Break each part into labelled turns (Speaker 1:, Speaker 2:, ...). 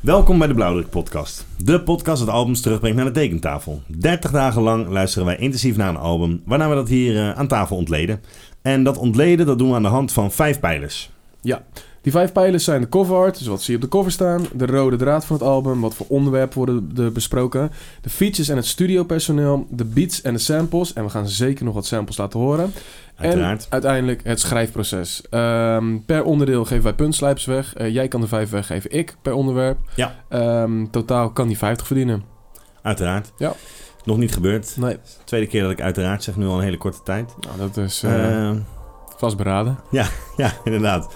Speaker 1: Welkom bij de Blauwdruk Podcast. De podcast dat albums terugbrengt naar de tekentafel. 30 dagen lang luisteren wij intensief naar een album, waarna we dat hier eh, aan tafel ontleden. En dat ontleden dat doen we aan de hand van vijf pijlers.
Speaker 2: Die vijf pijlers zijn de cover art, dus wat zie je op de cover staan. De rode draad van het album, wat voor onderwerpen worden er besproken. De features en het studiopersoneel. De beats en de samples. En we gaan zeker nog wat samples laten horen.
Speaker 1: Uiteraard.
Speaker 2: En uiteindelijk het schrijfproces. Ehm, per onderdeel geven wij puntslijps weg. Eh, jij kan de vijf weggeven, ik per onderwerp.
Speaker 1: Ja.
Speaker 2: Ehm, totaal kan die 50 verdienen.
Speaker 1: Uiteraard.
Speaker 2: Ja.
Speaker 1: Nog niet gebeurd.
Speaker 2: Nee.
Speaker 1: Tweede keer dat ik uiteraard zeg, nu al een hele korte tijd.
Speaker 2: Nou, dat is eh,
Speaker 1: Eh,
Speaker 2: vastberaden.
Speaker 1: Ja, inderdaad.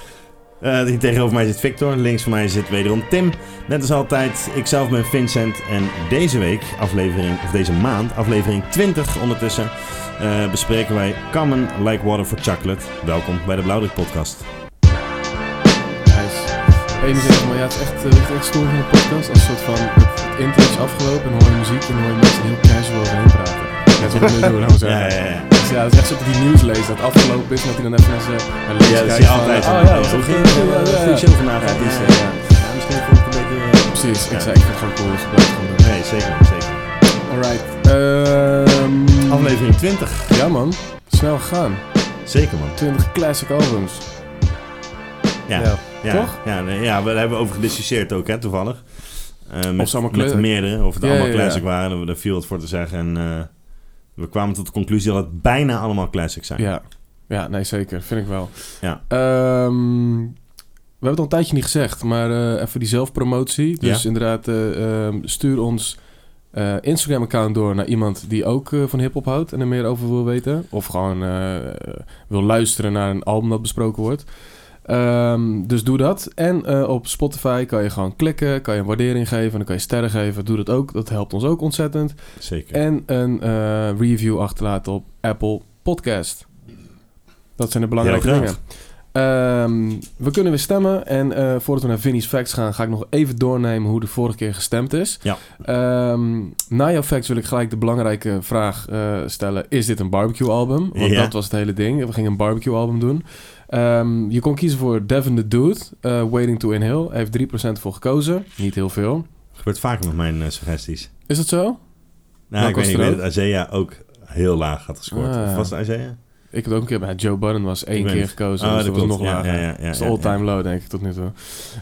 Speaker 1: Eh, hier tegenover mij zit Victor, links van mij zit wederom Tim. Net als altijd, ikzelf ben Vincent en deze week, aflevering, of deze maand, aflevering 20 ondertussen, eh, bespreken wij Common Like Water for Chocolate. Welkom bij de Blauwdruk Podcast.
Speaker 2: Nice. Eén zegt, maar ja, het is echt, eh, het is echt stoer in de podcast. Als een soort van, het, het intro is afgelopen en hoor je muziek en hoor je mensen heel casual overheen praten. Net wat we nu doen, laten we zeggen.
Speaker 1: Ja, ja, ja.
Speaker 2: Dus ja, het is echt zo dat die nieuws leest dat het afgelopen is en dat hij dan even eh, naar zijn naar links
Speaker 1: Ja, dat
Speaker 2: kijkt
Speaker 1: zie je
Speaker 2: van,
Speaker 1: altijd.
Speaker 2: Oh ja,
Speaker 1: ja,
Speaker 2: dat is
Speaker 1: hoe
Speaker 2: een
Speaker 1: ging het?
Speaker 2: goed, ja, ja,
Speaker 1: Eh,
Speaker 2: ja.
Speaker 1: goede show vandaag.
Speaker 2: Ja,
Speaker 1: Het is,
Speaker 2: ja,
Speaker 1: eh,
Speaker 2: ja.
Speaker 1: ja, Misschien vond ik het een beetje... eh,
Speaker 2: Precies, ik
Speaker 1: Ja.
Speaker 2: zei, ik vind het gewoon cool, dus blijf gewoon doen.
Speaker 1: eh, Nee, zeker, zeker.
Speaker 2: Alright. Ehm,
Speaker 1: Aflevering 20.
Speaker 2: Ja man, snel gegaan.
Speaker 1: Zeker, man.
Speaker 2: 20 classic albums.
Speaker 1: Ja. Ja,
Speaker 2: Toch?
Speaker 1: Ja, nee, ja, we daar hebben we over gediscussieerd ook, hè, toevallig. Eh,
Speaker 2: Of ze
Speaker 1: met,
Speaker 2: allemaal
Speaker 1: met
Speaker 2: kleur-
Speaker 1: meerdere, of het
Speaker 2: Ja,
Speaker 1: allemaal
Speaker 2: ja, ja.
Speaker 1: classic waren. Daar viel het voor te zeggen. En eh, we kwamen tot de conclusie dat het bijna allemaal classic zijn.
Speaker 2: Ja. ja, nee zeker. Vind ik wel.
Speaker 1: Ja.
Speaker 2: Ehm, we hebben het al een tijdje niet gezegd, maar eh, even die zelfpromotie. Dus
Speaker 1: Ja.
Speaker 2: inderdaad, eh, ehm, stuur ons eh, Instagram-account door naar iemand die ook eh, van hip-hop houdt en er meer over wil weten. Of gewoon eh, wil luisteren naar een album dat besproken wordt. Ehm, dus doe dat. En eh, op Spotify kan je gewoon klikken, kan je een waardering geven, dan kan je sterren geven. Doe dat ook, dat helpt ons ook ontzettend.
Speaker 1: Zeker.
Speaker 2: En een eh, review achterlaten op Apple Podcast. Dat zijn de belangrijke
Speaker 1: Heel
Speaker 2: dingen.
Speaker 1: graag.
Speaker 2: Ehm, we kunnen weer stemmen. En eh, voordat we naar Vinnie's Facts gaan, ga ik nog even doornemen hoe de vorige keer gestemd is.
Speaker 1: Ja.
Speaker 2: Ehm, na jouw facts wil ik gelijk de belangrijke vraag eh, stellen. Is dit een barbecue album? Want
Speaker 1: Ja.
Speaker 2: dat was het hele ding. We gingen een barbecue album doen. Ehm, je kon kiezen voor Devin the Dude, eh, Waiting to Inhale. Hij heeft 3% voor gekozen. Niet heel veel.
Speaker 1: Gebeurt vaak met mijn eh, suggesties.
Speaker 2: Is dat zo?
Speaker 1: Nou, ik weet
Speaker 2: was
Speaker 1: niet,
Speaker 2: er
Speaker 1: ik weet
Speaker 2: ook?
Speaker 1: dat Isaiah ook heel laag had gescoord.
Speaker 2: Ah.
Speaker 1: Of was het Isaiah?
Speaker 2: Ik heb ook een keer bij Joe Budden was één
Speaker 1: Ik weet
Speaker 2: keer
Speaker 1: het.
Speaker 2: gekozen.
Speaker 1: Ah,
Speaker 2: dus dat was
Speaker 1: klopt.
Speaker 2: nog
Speaker 1: Ja,
Speaker 2: lager.
Speaker 1: Ja, ja, ja,
Speaker 2: dat is
Speaker 1: ja,
Speaker 2: all-time low, denk ik, tot nu toe.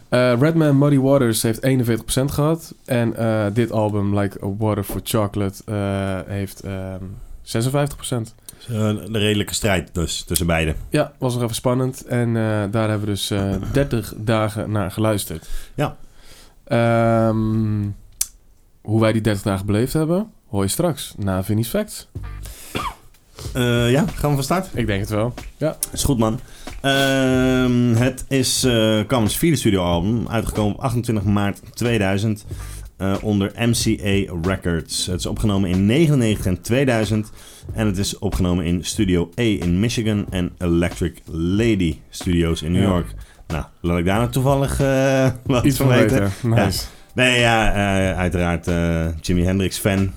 Speaker 2: Eh, Redman Muddy Waters heeft 41% gehad. En eh, dit album, Like a Water for Chocolate, eh, heeft ehm 56%.
Speaker 1: Dus, eh, Een redelijke strijd dus tussen beiden.
Speaker 2: Ja, was nog even spannend. En eh, daar hebben we dus eh, 30 dagen naar geluisterd.
Speaker 1: Ja.
Speaker 2: Ehm, hoe wij die 30 dagen beleefd hebben, hoor je straks na Vinnie's Facts.
Speaker 1: Eh, ja, gaan we van start?
Speaker 2: Ik denk het wel.
Speaker 1: Is goed, man. Ehm, het is eh Kam's vierde studioalbum, uitgekomen op 28 maart 2000 eh, onder MCA Records. Het is opgenomen in 99 en 2000 en het is opgenomen in Studio A in Michigan en Electric Lady Studios in New
Speaker 2: Ja.
Speaker 1: York. Nou, laat ik daar nou toevallig eh, wat
Speaker 2: Iets
Speaker 1: van
Speaker 2: van
Speaker 1: weten.
Speaker 2: weten. Nice.
Speaker 1: Nee, ja, eh, uiteraard eh Jimi Hendrix fan.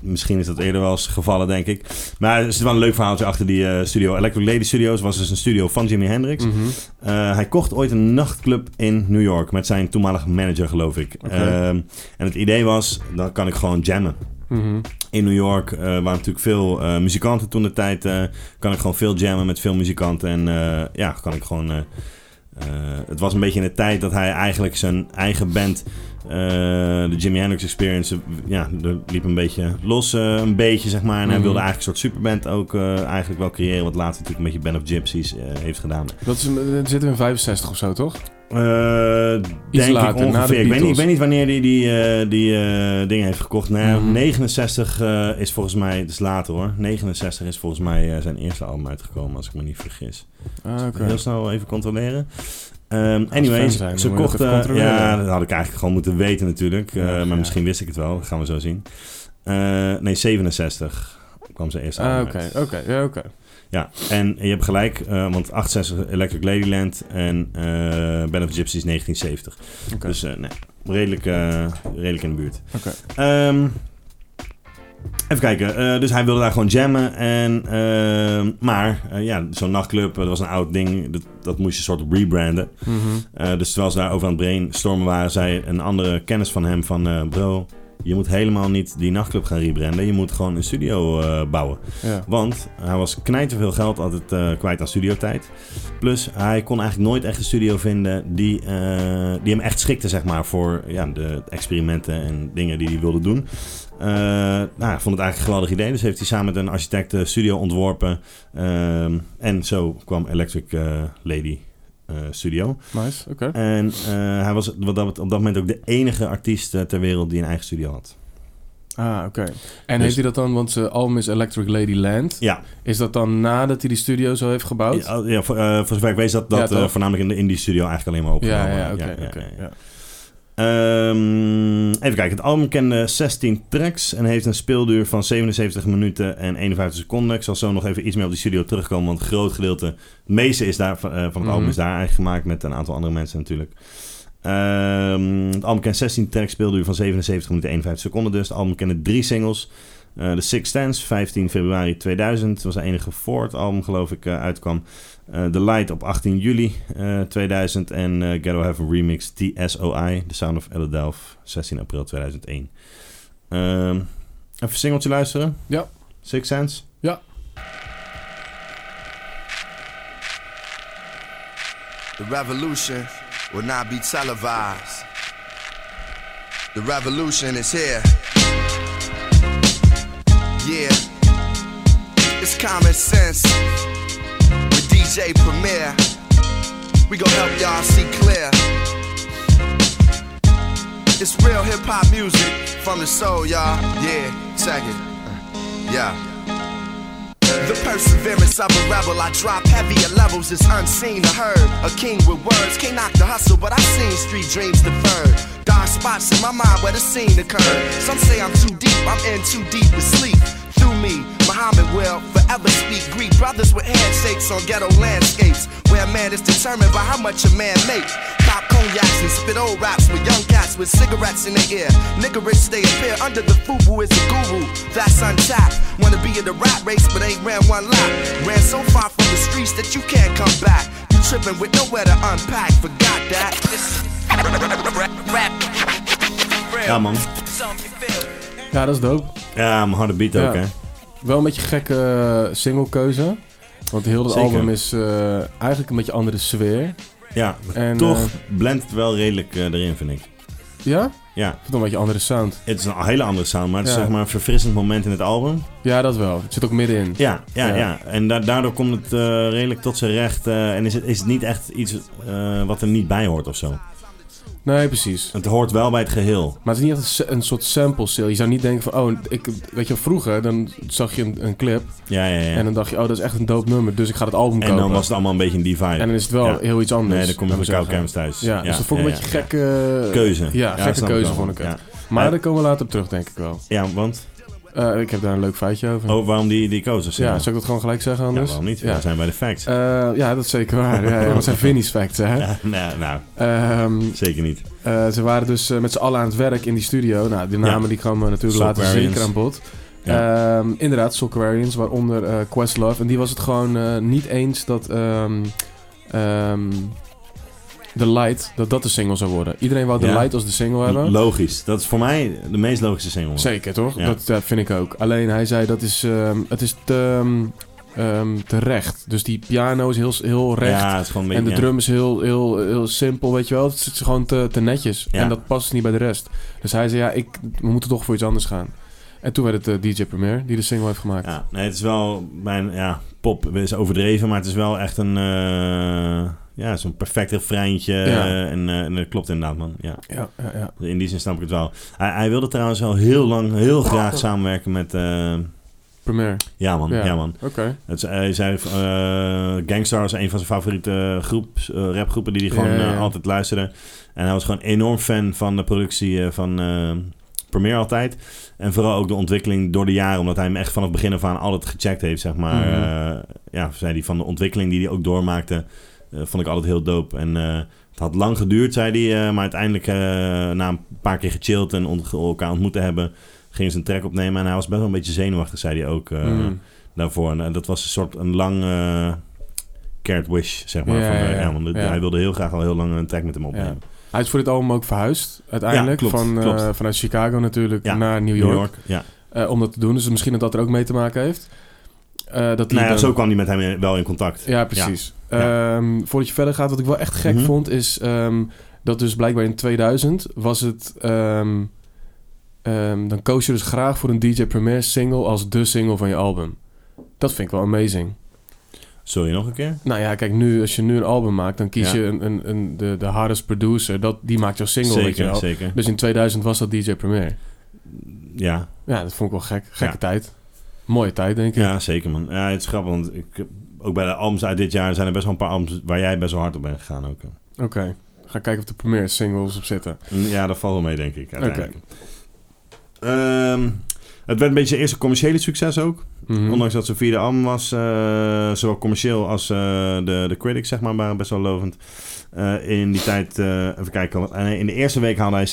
Speaker 1: Misschien is dat eerder wel eens gevallen, denk ik. Maar er zit wel een leuk verhaaltje achter die eh, studio. Electric Lady Studios was dus een studio van Jimi Hendrix.
Speaker 2: Mhm.
Speaker 1: Eh, hij kocht ooit een nachtclub in New York met zijn toenmalige manager, geloof ik.
Speaker 2: Oké.
Speaker 1: Ehm, en het idee was, dan kan ik gewoon jammen.
Speaker 2: Mhm.
Speaker 1: In New York eh, waren natuurlijk veel eh, muzikanten toen de tijd. eh, kan ik gewoon veel jammen met veel muzikanten. En eh, ja, kan ik gewoon... eh, eh, het was een beetje in de tijd dat hij eigenlijk zijn eigen band... eh, de Jimi Hendrix Experience, eh, ja, dat liep een beetje los, eh, een beetje zeg maar. En hij
Speaker 2: Mhm.
Speaker 1: wilde eigenlijk een soort superband ook eh, eigenlijk wel creëren. Wat later natuurlijk een beetje Band of Gypsies eh, heeft gedaan.
Speaker 2: Dat is, eh, dat zitten we in 65 of zo, toch?
Speaker 1: Eh, denk
Speaker 2: later,
Speaker 1: ik
Speaker 2: na de
Speaker 1: ongeveer. Ik weet, niet, ik
Speaker 2: Beatles.
Speaker 1: weet niet wanneer hij die, eh, die eh, dingen heeft gekocht. Nou, ja,
Speaker 2: Mhm.
Speaker 1: 69 eh, is volgens mij, het is later hoor. 69 is volgens mij eh, zijn eerste album uitgekomen, als ik me niet vergis.
Speaker 2: Ah, oké.
Speaker 1: Heel snel even controleren. Ehm
Speaker 2: fan
Speaker 1: anyways,
Speaker 2: zijn, dan
Speaker 1: ze
Speaker 2: moet je dat
Speaker 1: kochten...
Speaker 2: even controleren.
Speaker 1: ja, dat had ik eigenlijk gewoon moeten weten natuurlijk. eh,
Speaker 2: Ja,
Speaker 1: maar
Speaker 2: ja.
Speaker 1: misschien wist ik het wel, dat gaan we zo zien. Eh, nee, 67 kwam zijn eerste
Speaker 2: Ah,
Speaker 1: album
Speaker 2: oké,
Speaker 1: uit.
Speaker 2: oké, ja, oké.
Speaker 1: Ja, en je hebt gelijk, eh, want 68 Electric Ladyland en eh Band of Gypsies 1970.
Speaker 2: Oké.
Speaker 1: Dus eh, nee, redelijk, eh, redelijk in de buurt.
Speaker 2: Oké.
Speaker 1: Ehm, Even kijken, eh, dus hij wilde daar gewoon jammen. En, ehm, maar eh, ja, zo'n nachtclub, eh, dat was een oud ding, dat, dat moest je soort rebranden.
Speaker 2: Mhm.
Speaker 1: Eh, dus terwijl ze daar over aan het brainstormen waren, zei een andere kennis van hem van... eh, bro, je moet helemaal niet die nachtclub gaan rebranden. Je moet gewoon een studio eh, bouwen.
Speaker 2: Ja.
Speaker 1: Want hij was knijterveel geld altijd eh, kwijt aan studiotijd. Plus hij kon eigenlijk nooit echt een studio vinden die, eh, die hem echt schikte zeg maar, voor ja, de experimenten en dingen die hij wilde doen. Eh, nou, hij vond het eigenlijk een geweldig idee. Dus heeft hij samen met een architect de studio ontworpen. Ehm, en zo kwam Electric eh, Lady eh, Studio.
Speaker 2: Nice, oké.
Speaker 1: En eh, hij was wat dat, op dat moment ook de enige artiest eh, ter wereld die een eigen studio had.
Speaker 2: Ah, oké. En
Speaker 1: Dus-
Speaker 2: heeft hij dat dan, want zijn album is Electric Lady Land.
Speaker 1: Ja,
Speaker 2: Is dat dan nadat hij die studio zo heeft gebouwd?
Speaker 1: Ja, ja, voor, eh, voor zover ik weet is dat, dat
Speaker 2: Ja, toch?
Speaker 1: eh, voornamelijk in de indie studio eigenlijk alleen maar
Speaker 2: ja,
Speaker 1: opgenomen.
Speaker 2: ja, oké.
Speaker 1: ja,
Speaker 2: oké,
Speaker 1: ja, ja.
Speaker 2: ja.
Speaker 1: Ehm, even kijken, het album kende 16 tracks en heeft een speelduur van 77 minuten en 51 seconden. Ik zal zo nog even iets meer op die studio terugkomen, want een groot gedeelte, het meeste is daar, van eh, van het album
Speaker 2: Mhm.
Speaker 1: is daar eigenlijk gemaakt met een aantal andere mensen natuurlijk. Ehm, het album kent 16 tracks, speelduur van 77 minuten en 51 seconden dus. Het album kende drie singles. Eh, The Six Stands, 15 februari 2000, was de enige voor het album geloof ik eh, uitkwam. Eh, The Light op 18 juli eh, 2000 en eh Ghetto Heaven Remix TSOI, The Sound of Elderdelf, 16 april 2001. Ehm, even een singeltje luisteren.
Speaker 2: Ja.
Speaker 1: Six Sense.
Speaker 3: The revolution will not be televised. The revolution is here. Yeah. It's common sense. With DJ Premier, we gon' help y'all see clear. It's real hip hop music from the soul, y'all. Yeah, check it. Uh, Yeah. The perseverance of a rebel, I drop heavier levels, it's unseen to heard. A king with words, can't knock the hustle, but I've seen street dreams deferred. Dark spots in my mind where the scene occurred. Some say I'm too deep, I'm in too deep to sleep. Through me, Muhammad will forever speak Greek. Brothers with handshakes on ghetto landscapes, where man is determined by how much a man makes. Pop cognacs and spit old raps with young cats with cigarettes in their ear. Nigga rich, they appear under the fubu is a guru. That's untapped. Wanna be in the rat race, but ain't ran one lap. Ran so far from the streets that you can't come back. You tripping with nowhere to unpack. Forgot that.
Speaker 1: Ja man.
Speaker 2: Ja, dat is dope.
Speaker 1: Ja, maar harde beat
Speaker 2: Ja.
Speaker 1: ook hè.
Speaker 2: Wel een beetje gekke singlekeuze. Want heel het
Speaker 1: Zeker.
Speaker 2: album is eh, eigenlijk een beetje andere sfeer.
Speaker 1: Ja,
Speaker 2: En,
Speaker 1: toch
Speaker 2: eh,
Speaker 1: blendt het wel redelijk eh, erin vind ik.
Speaker 2: ja? Ik
Speaker 1: Ja,
Speaker 2: vind het een beetje andere sound.
Speaker 1: het is een hele andere sound, maar het is
Speaker 2: Ja.
Speaker 1: zeg maar een verfrissend moment in het album.
Speaker 2: Ja, dat wel. Het zit ook middenin.
Speaker 1: Ja, ja, ja.
Speaker 2: Ja.
Speaker 1: En da- daardoor komt het eh, redelijk tot zijn recht eh, en is het, is het niet echt iets eh, wat er niet bij hoort of zo.
Speaker 2: Nee, precies.
Speaker 1: Het hoort wel bij het geheel.
Speaker 2: Maar het is niet echt een sa- een soort sample sale. Je zou niet denken van, oh, ik, weet je, vroeger dan zag je een, een clip
Speaker 1: Ja, ja, ja.
Speaker 2: en dan dacht je, oh, dat is echt een dope nummer, dus ik ga het album
Speaker 1: En
Speaker 2: kopen.
Speaker 1: dan was het allemaal een beetje een die vibe.
Speaker 2: En dan is het wel
Speaker 1: Ja.
Speaker 2: heel iets anders.
Speaker 1: nee, dan kom je
Speaker 2: laten
Speaker 1: van
Speaker 2: we
Speaker 1: koude
Speaker 2: zeggen.
Speaker 1: kermis thuis.
Speaker 2: Ja, dus dat vond ik
Speaker 1: ja,
Speaker 2: een beetje
Speaker 1: ja,
Speaker 2: gekke...
Speaker 1: ja. Keuze.
Speaker 2: Ja,
Speaker 1: dat
Speaker 2: gekke
Speaker 1: snap
Speaker 2: keuze
Speaker 1: wel.
Speaker 2: vond ik het.
Speaker 1: Ja,
Speaker 2: Maar
Speaker 1: Ja.
Speaker 2: daar komen we later op terug, denk ik wel.
Speaker 1: Ja, want?
Speaker 2: Eh, ik heb daar een leuk feitje over.
Speaker 1: Oh, waarom die, die keuze?
Speaker 2: ja, zou ik dat gewoon gelijk zeggen
Speaker 1: ja,
Speaker 2: anders?
Speaker 1: waarom niet?
Speaker 2: Ja,
Speaker 1: We zijn bij de facts.
Speaker 2: Eh, ja dat is zeker waar. ja, ja, dat zijn Vinnie's facts, hè?
Speaker 1: Ja, nou, nou,
Speaker 2: Ehm,
Speaker 1: zeker niet.
Speaker 2: eh, ze waren dus eh, met z'n allen aan het werk in die studio. Nou, die namen
Speaker 1: Ja.
Speaker 2: die kwamen natuurlijk later
Speaker 1: Soulquarians.
Speaker 2: zeker aan bod.
Speaker 1: Ja.
Speaker 2: Ehm, inderdaad, Soulquarians, waaronder eh Questlove. En die was het gewoon eh, niet eens dat ehm, ehm, The Light, dat dat de single zou worden. Iedereen wou The
Speaker 1: Ja.
Speaker 2: Light als de single hebben.
Speaker 1: Logisch. Dat is voor mij de meest logische single.
Speaker 2: Zeker, toch?
Speaker 1: Ja.
Speaker 2: Dat eh, vind ik ook. Alleen hij zei dat is, ehm, het is te, ehm, ehm, te recht. Dus die piano is heel, heel recht.
Speaker 1: Ja, het is gewoon een
Speaker 2: en de
Speaker 1: beetje...
Speaker 2: drum is heel, heel, heel simpel, weet je wel. Het is gewoon te, te netjes.
Speaker 1: Ja.
Speaker 2: En dat past niet bij de rest. Dus hij zei, ja, ik, we moeten toch voor iets anders gaan. En toen werd het eh, DJ Premier die de single heeft gemaakt.
Speaker 1: ja. Ja, nee, het is wel... Mijn, ja, pop is overdreven, maar het is wel echt een... eh, ja, zo'n perfect refreintje.
Speaker 2: Ja.
Speaker 1: eh, en, eh, en dat klopt inderdaad, man. Ja.
Speaker 2: Ja, ja, ja.
Speaker 1: In die zin snap ik het wel. Hij, hij wilde trouwens wel heel lang, heel graag samenwerken met... eh,
Speaker 2: Premier.
Speaker 1: ja, man.
Speaker 2: Ja.
Speaker 1: Ja, man.
Speaker 2: Oké.
Speaker 1: Het, is- hij zei, eh Gangstar was een van zijn favoriete groep, rapgroepen die hij gewoon
Speaker 2: Ja, ja, ja.
Speaker 1: eh, altijd luisterde. En hij was gewoon enorm fan van de productie eh, van eh Premiere altijd. En vooral ook de ontwikkeling door de jaren, omdat hij hem echt vanaf het begin af aan altijd gecheckt heeft, zeg maar.
Speaker 2: Mhm.
Speaker 1: Eh, ja, zei hij, van de ontwikkeling die hij ook doormaakte, eh, vond ik altijd heel dope. En eh, het had lang geduurd, zei hij, eh, maar uiteindelijk eh, na een paar keer gechilled en ont- elkaar ontmoet te hebben... gingen ze een track opnemen. En hij was best wel een beetje zenuwachtig, zei hij ook eh,
Speaker 2: Mm.
Speaker 1: daarvoor. En eh, dat was een soort een lang eh cared wish, zeg maar.
Speaker 2: Ja,
Speaker 1: van, eh,
Speaker 2: ja, ja.
Speaker 1: Elman.
Speaker 2: Ja.
Speaker 1: Hij wilde heel graag al heel lang een track met hem opnemen.
Speaker 2: Hij is voor dit album ook verhuisd uiteindelijk.
Speaker 1: Ja, klopt,
Speaker 2: van, eh,
Speaker 1: klopt.
Speaker 2: Vanuit Chicago natuurlijk
Speaker 1: Ja,
Speaker 2: naar New York.
Speaker 1: ja.
Speaker 2: eh, om dat te doen. Dus misschien dat dat er ook mee te maken heeft. Eh, dat hij
Speaker 1: Nou ja,
Speaker 2: dan-
Speaker 1: zo kwam hij met hem in- wel in contact.
Speaker 2: Ja, precies. Ehm, voordat je verder gaat, wat ik wel echt gek
Speaker 1: Mhm.
Speaker 2: vond, is ehm, dat dus blijkbaar in 2000 was het. ehm, ehm, dan koos je dus graag voor een DJ Premier single als de single van je album. Dat vind ik wel amazing.
Speaker 1: Zul je nog een keer?
Speaker 2: Nou ja, kijk, nu, als je nu een album maakt, dan kies
Speaker 1: Ja.
Speaker 2: je een, een, een, de, de hardest producer. Dat, die maakt jouw single, weet je
Speaker 1: zeker,
Speaker 2: wel.
Speaker 1: zeker.
Speaker 2: Dus in 2000 was dat DJ Premier.
Speaker 1: Ja,
Speaker 2: Ja, dat vond ik wel gek. Gekke
Speaker 1: Ja.
Speaker 2: tijd. Mooie tijd, denk ik.
Speaker 1: ja, zeker man. Ja, het is grappig, want ik, heb- ook bij de albums uit dit jaar zijn er best wel een paar albums waar jij best wel hard op bent gegaan ook.
Speaker 2: Oké. Ga kijken of de Premier singles op zitten.
Speaker 1: Ja, dat valt wel mee, denk ik. uiteindelijk. Ehm, het werd een beetje eerst een commerciële succes ook.
Speaker 2: Mhm.
Speaker 1: Ondanks dat ze vierde album was, eh, zowel commercieel als eh, de, de critics, zeg maar, waren best wel lovend. Eh, in die tijd, eh, even kijken, eh, in de eerste week haalde hij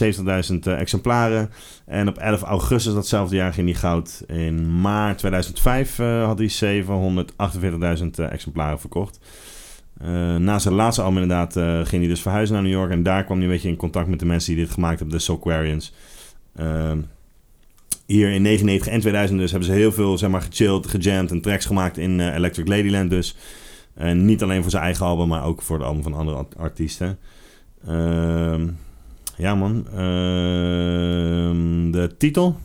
Speaker 1: 70.000 eh, exemplaren. En op 11 augustus datzelfde jaar ging hij goud. In maart 2005 eh, had hij 748.000 eh, exemplaren verkocht. Eh, na zijn laatste album inderdaad eh, ging hij dus verhuizen naar New York. En daar kwam hij een beetje in contact met de mensen die dit gemaakt hebben, de Soulquarians. Ehm, hier in 99 en 2000 dus hebben ze heel veel zeg maar, gechilled, gejamd en tracks gemaakt in eh, Electric Ladyland dus. En niet alleen voor zijn eigen album, maar ook voor het album van andere art- artiesten. Ehm, ja man, Ehm, de titel?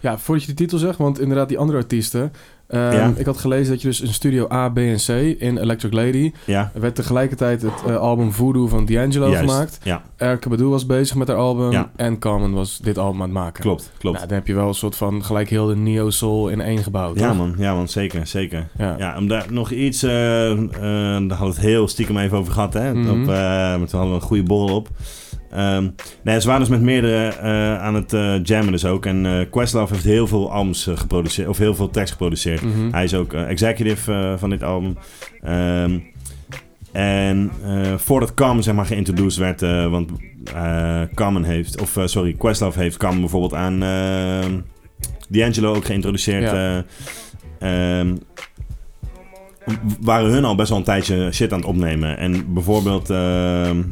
Speaker 2: Ja, voordat je de titel zegt, want inderdaad die andere artiesten. Ehm,
Speaker 1: Ja.
Speaker 2: Ik had gelezen dat je dus in studio A, B en C in Electric Lady...
Speaker 1: Ja,
Speaker 2: Er werd tegelijkertijd het eh, album Voodoo van D'Angelo
Speaker 1: Juist,
Speaker 2: gemaakt.
Speaker 1: ja.
Speaker 2: Erke Badu was bezig met haar album.
Speaker 1: Ja.
Speaker 2: En Carmen was dit album aan het maken.
Speaker 1: klopt, klopt.
Speaker 2: Nou, dan heb je wel een soort van gelijk heel de neo-soul in één gebouwd.
Speaker 1: ja
Speaker 2: toch?
Speaker 1: man, ja man, zeker, zeker.
Speaker 2: Ja.
Speaker 1: Ja, om daar nog iets... eh eh, daar hadden we het heel stiekem even over gehad, hè?
Speaker 2: Mhm.
Speaker 1: Op, eh, maar toen hadden we een goede borrel op. Ehm, nee, ze waren dus met meerdere eh, aan het eh, jammen dus ook. En eh, Questlove heeft heel veel albums eh, geproduceerd, of heel veel tracks geproduceerd.
Speaker 2: Mhm.
Speaker 1: Hij is ook eh, executive eh, van dit album. Ehm, en eh, voordat Carmen zeg maar geïntroduced werd, eh, want eh Carmen heeft, of eh, sorry, Questlove heeft Carmen bijvoorbeeld aan eh, D'Angelo ook geïntroduceerd.
Speaker 2: Ja.
Speaker 1: eh, ehm, w- waren hun al best wel een tijdje shit aan het opnemen. En bijvoorbeeld, ehm,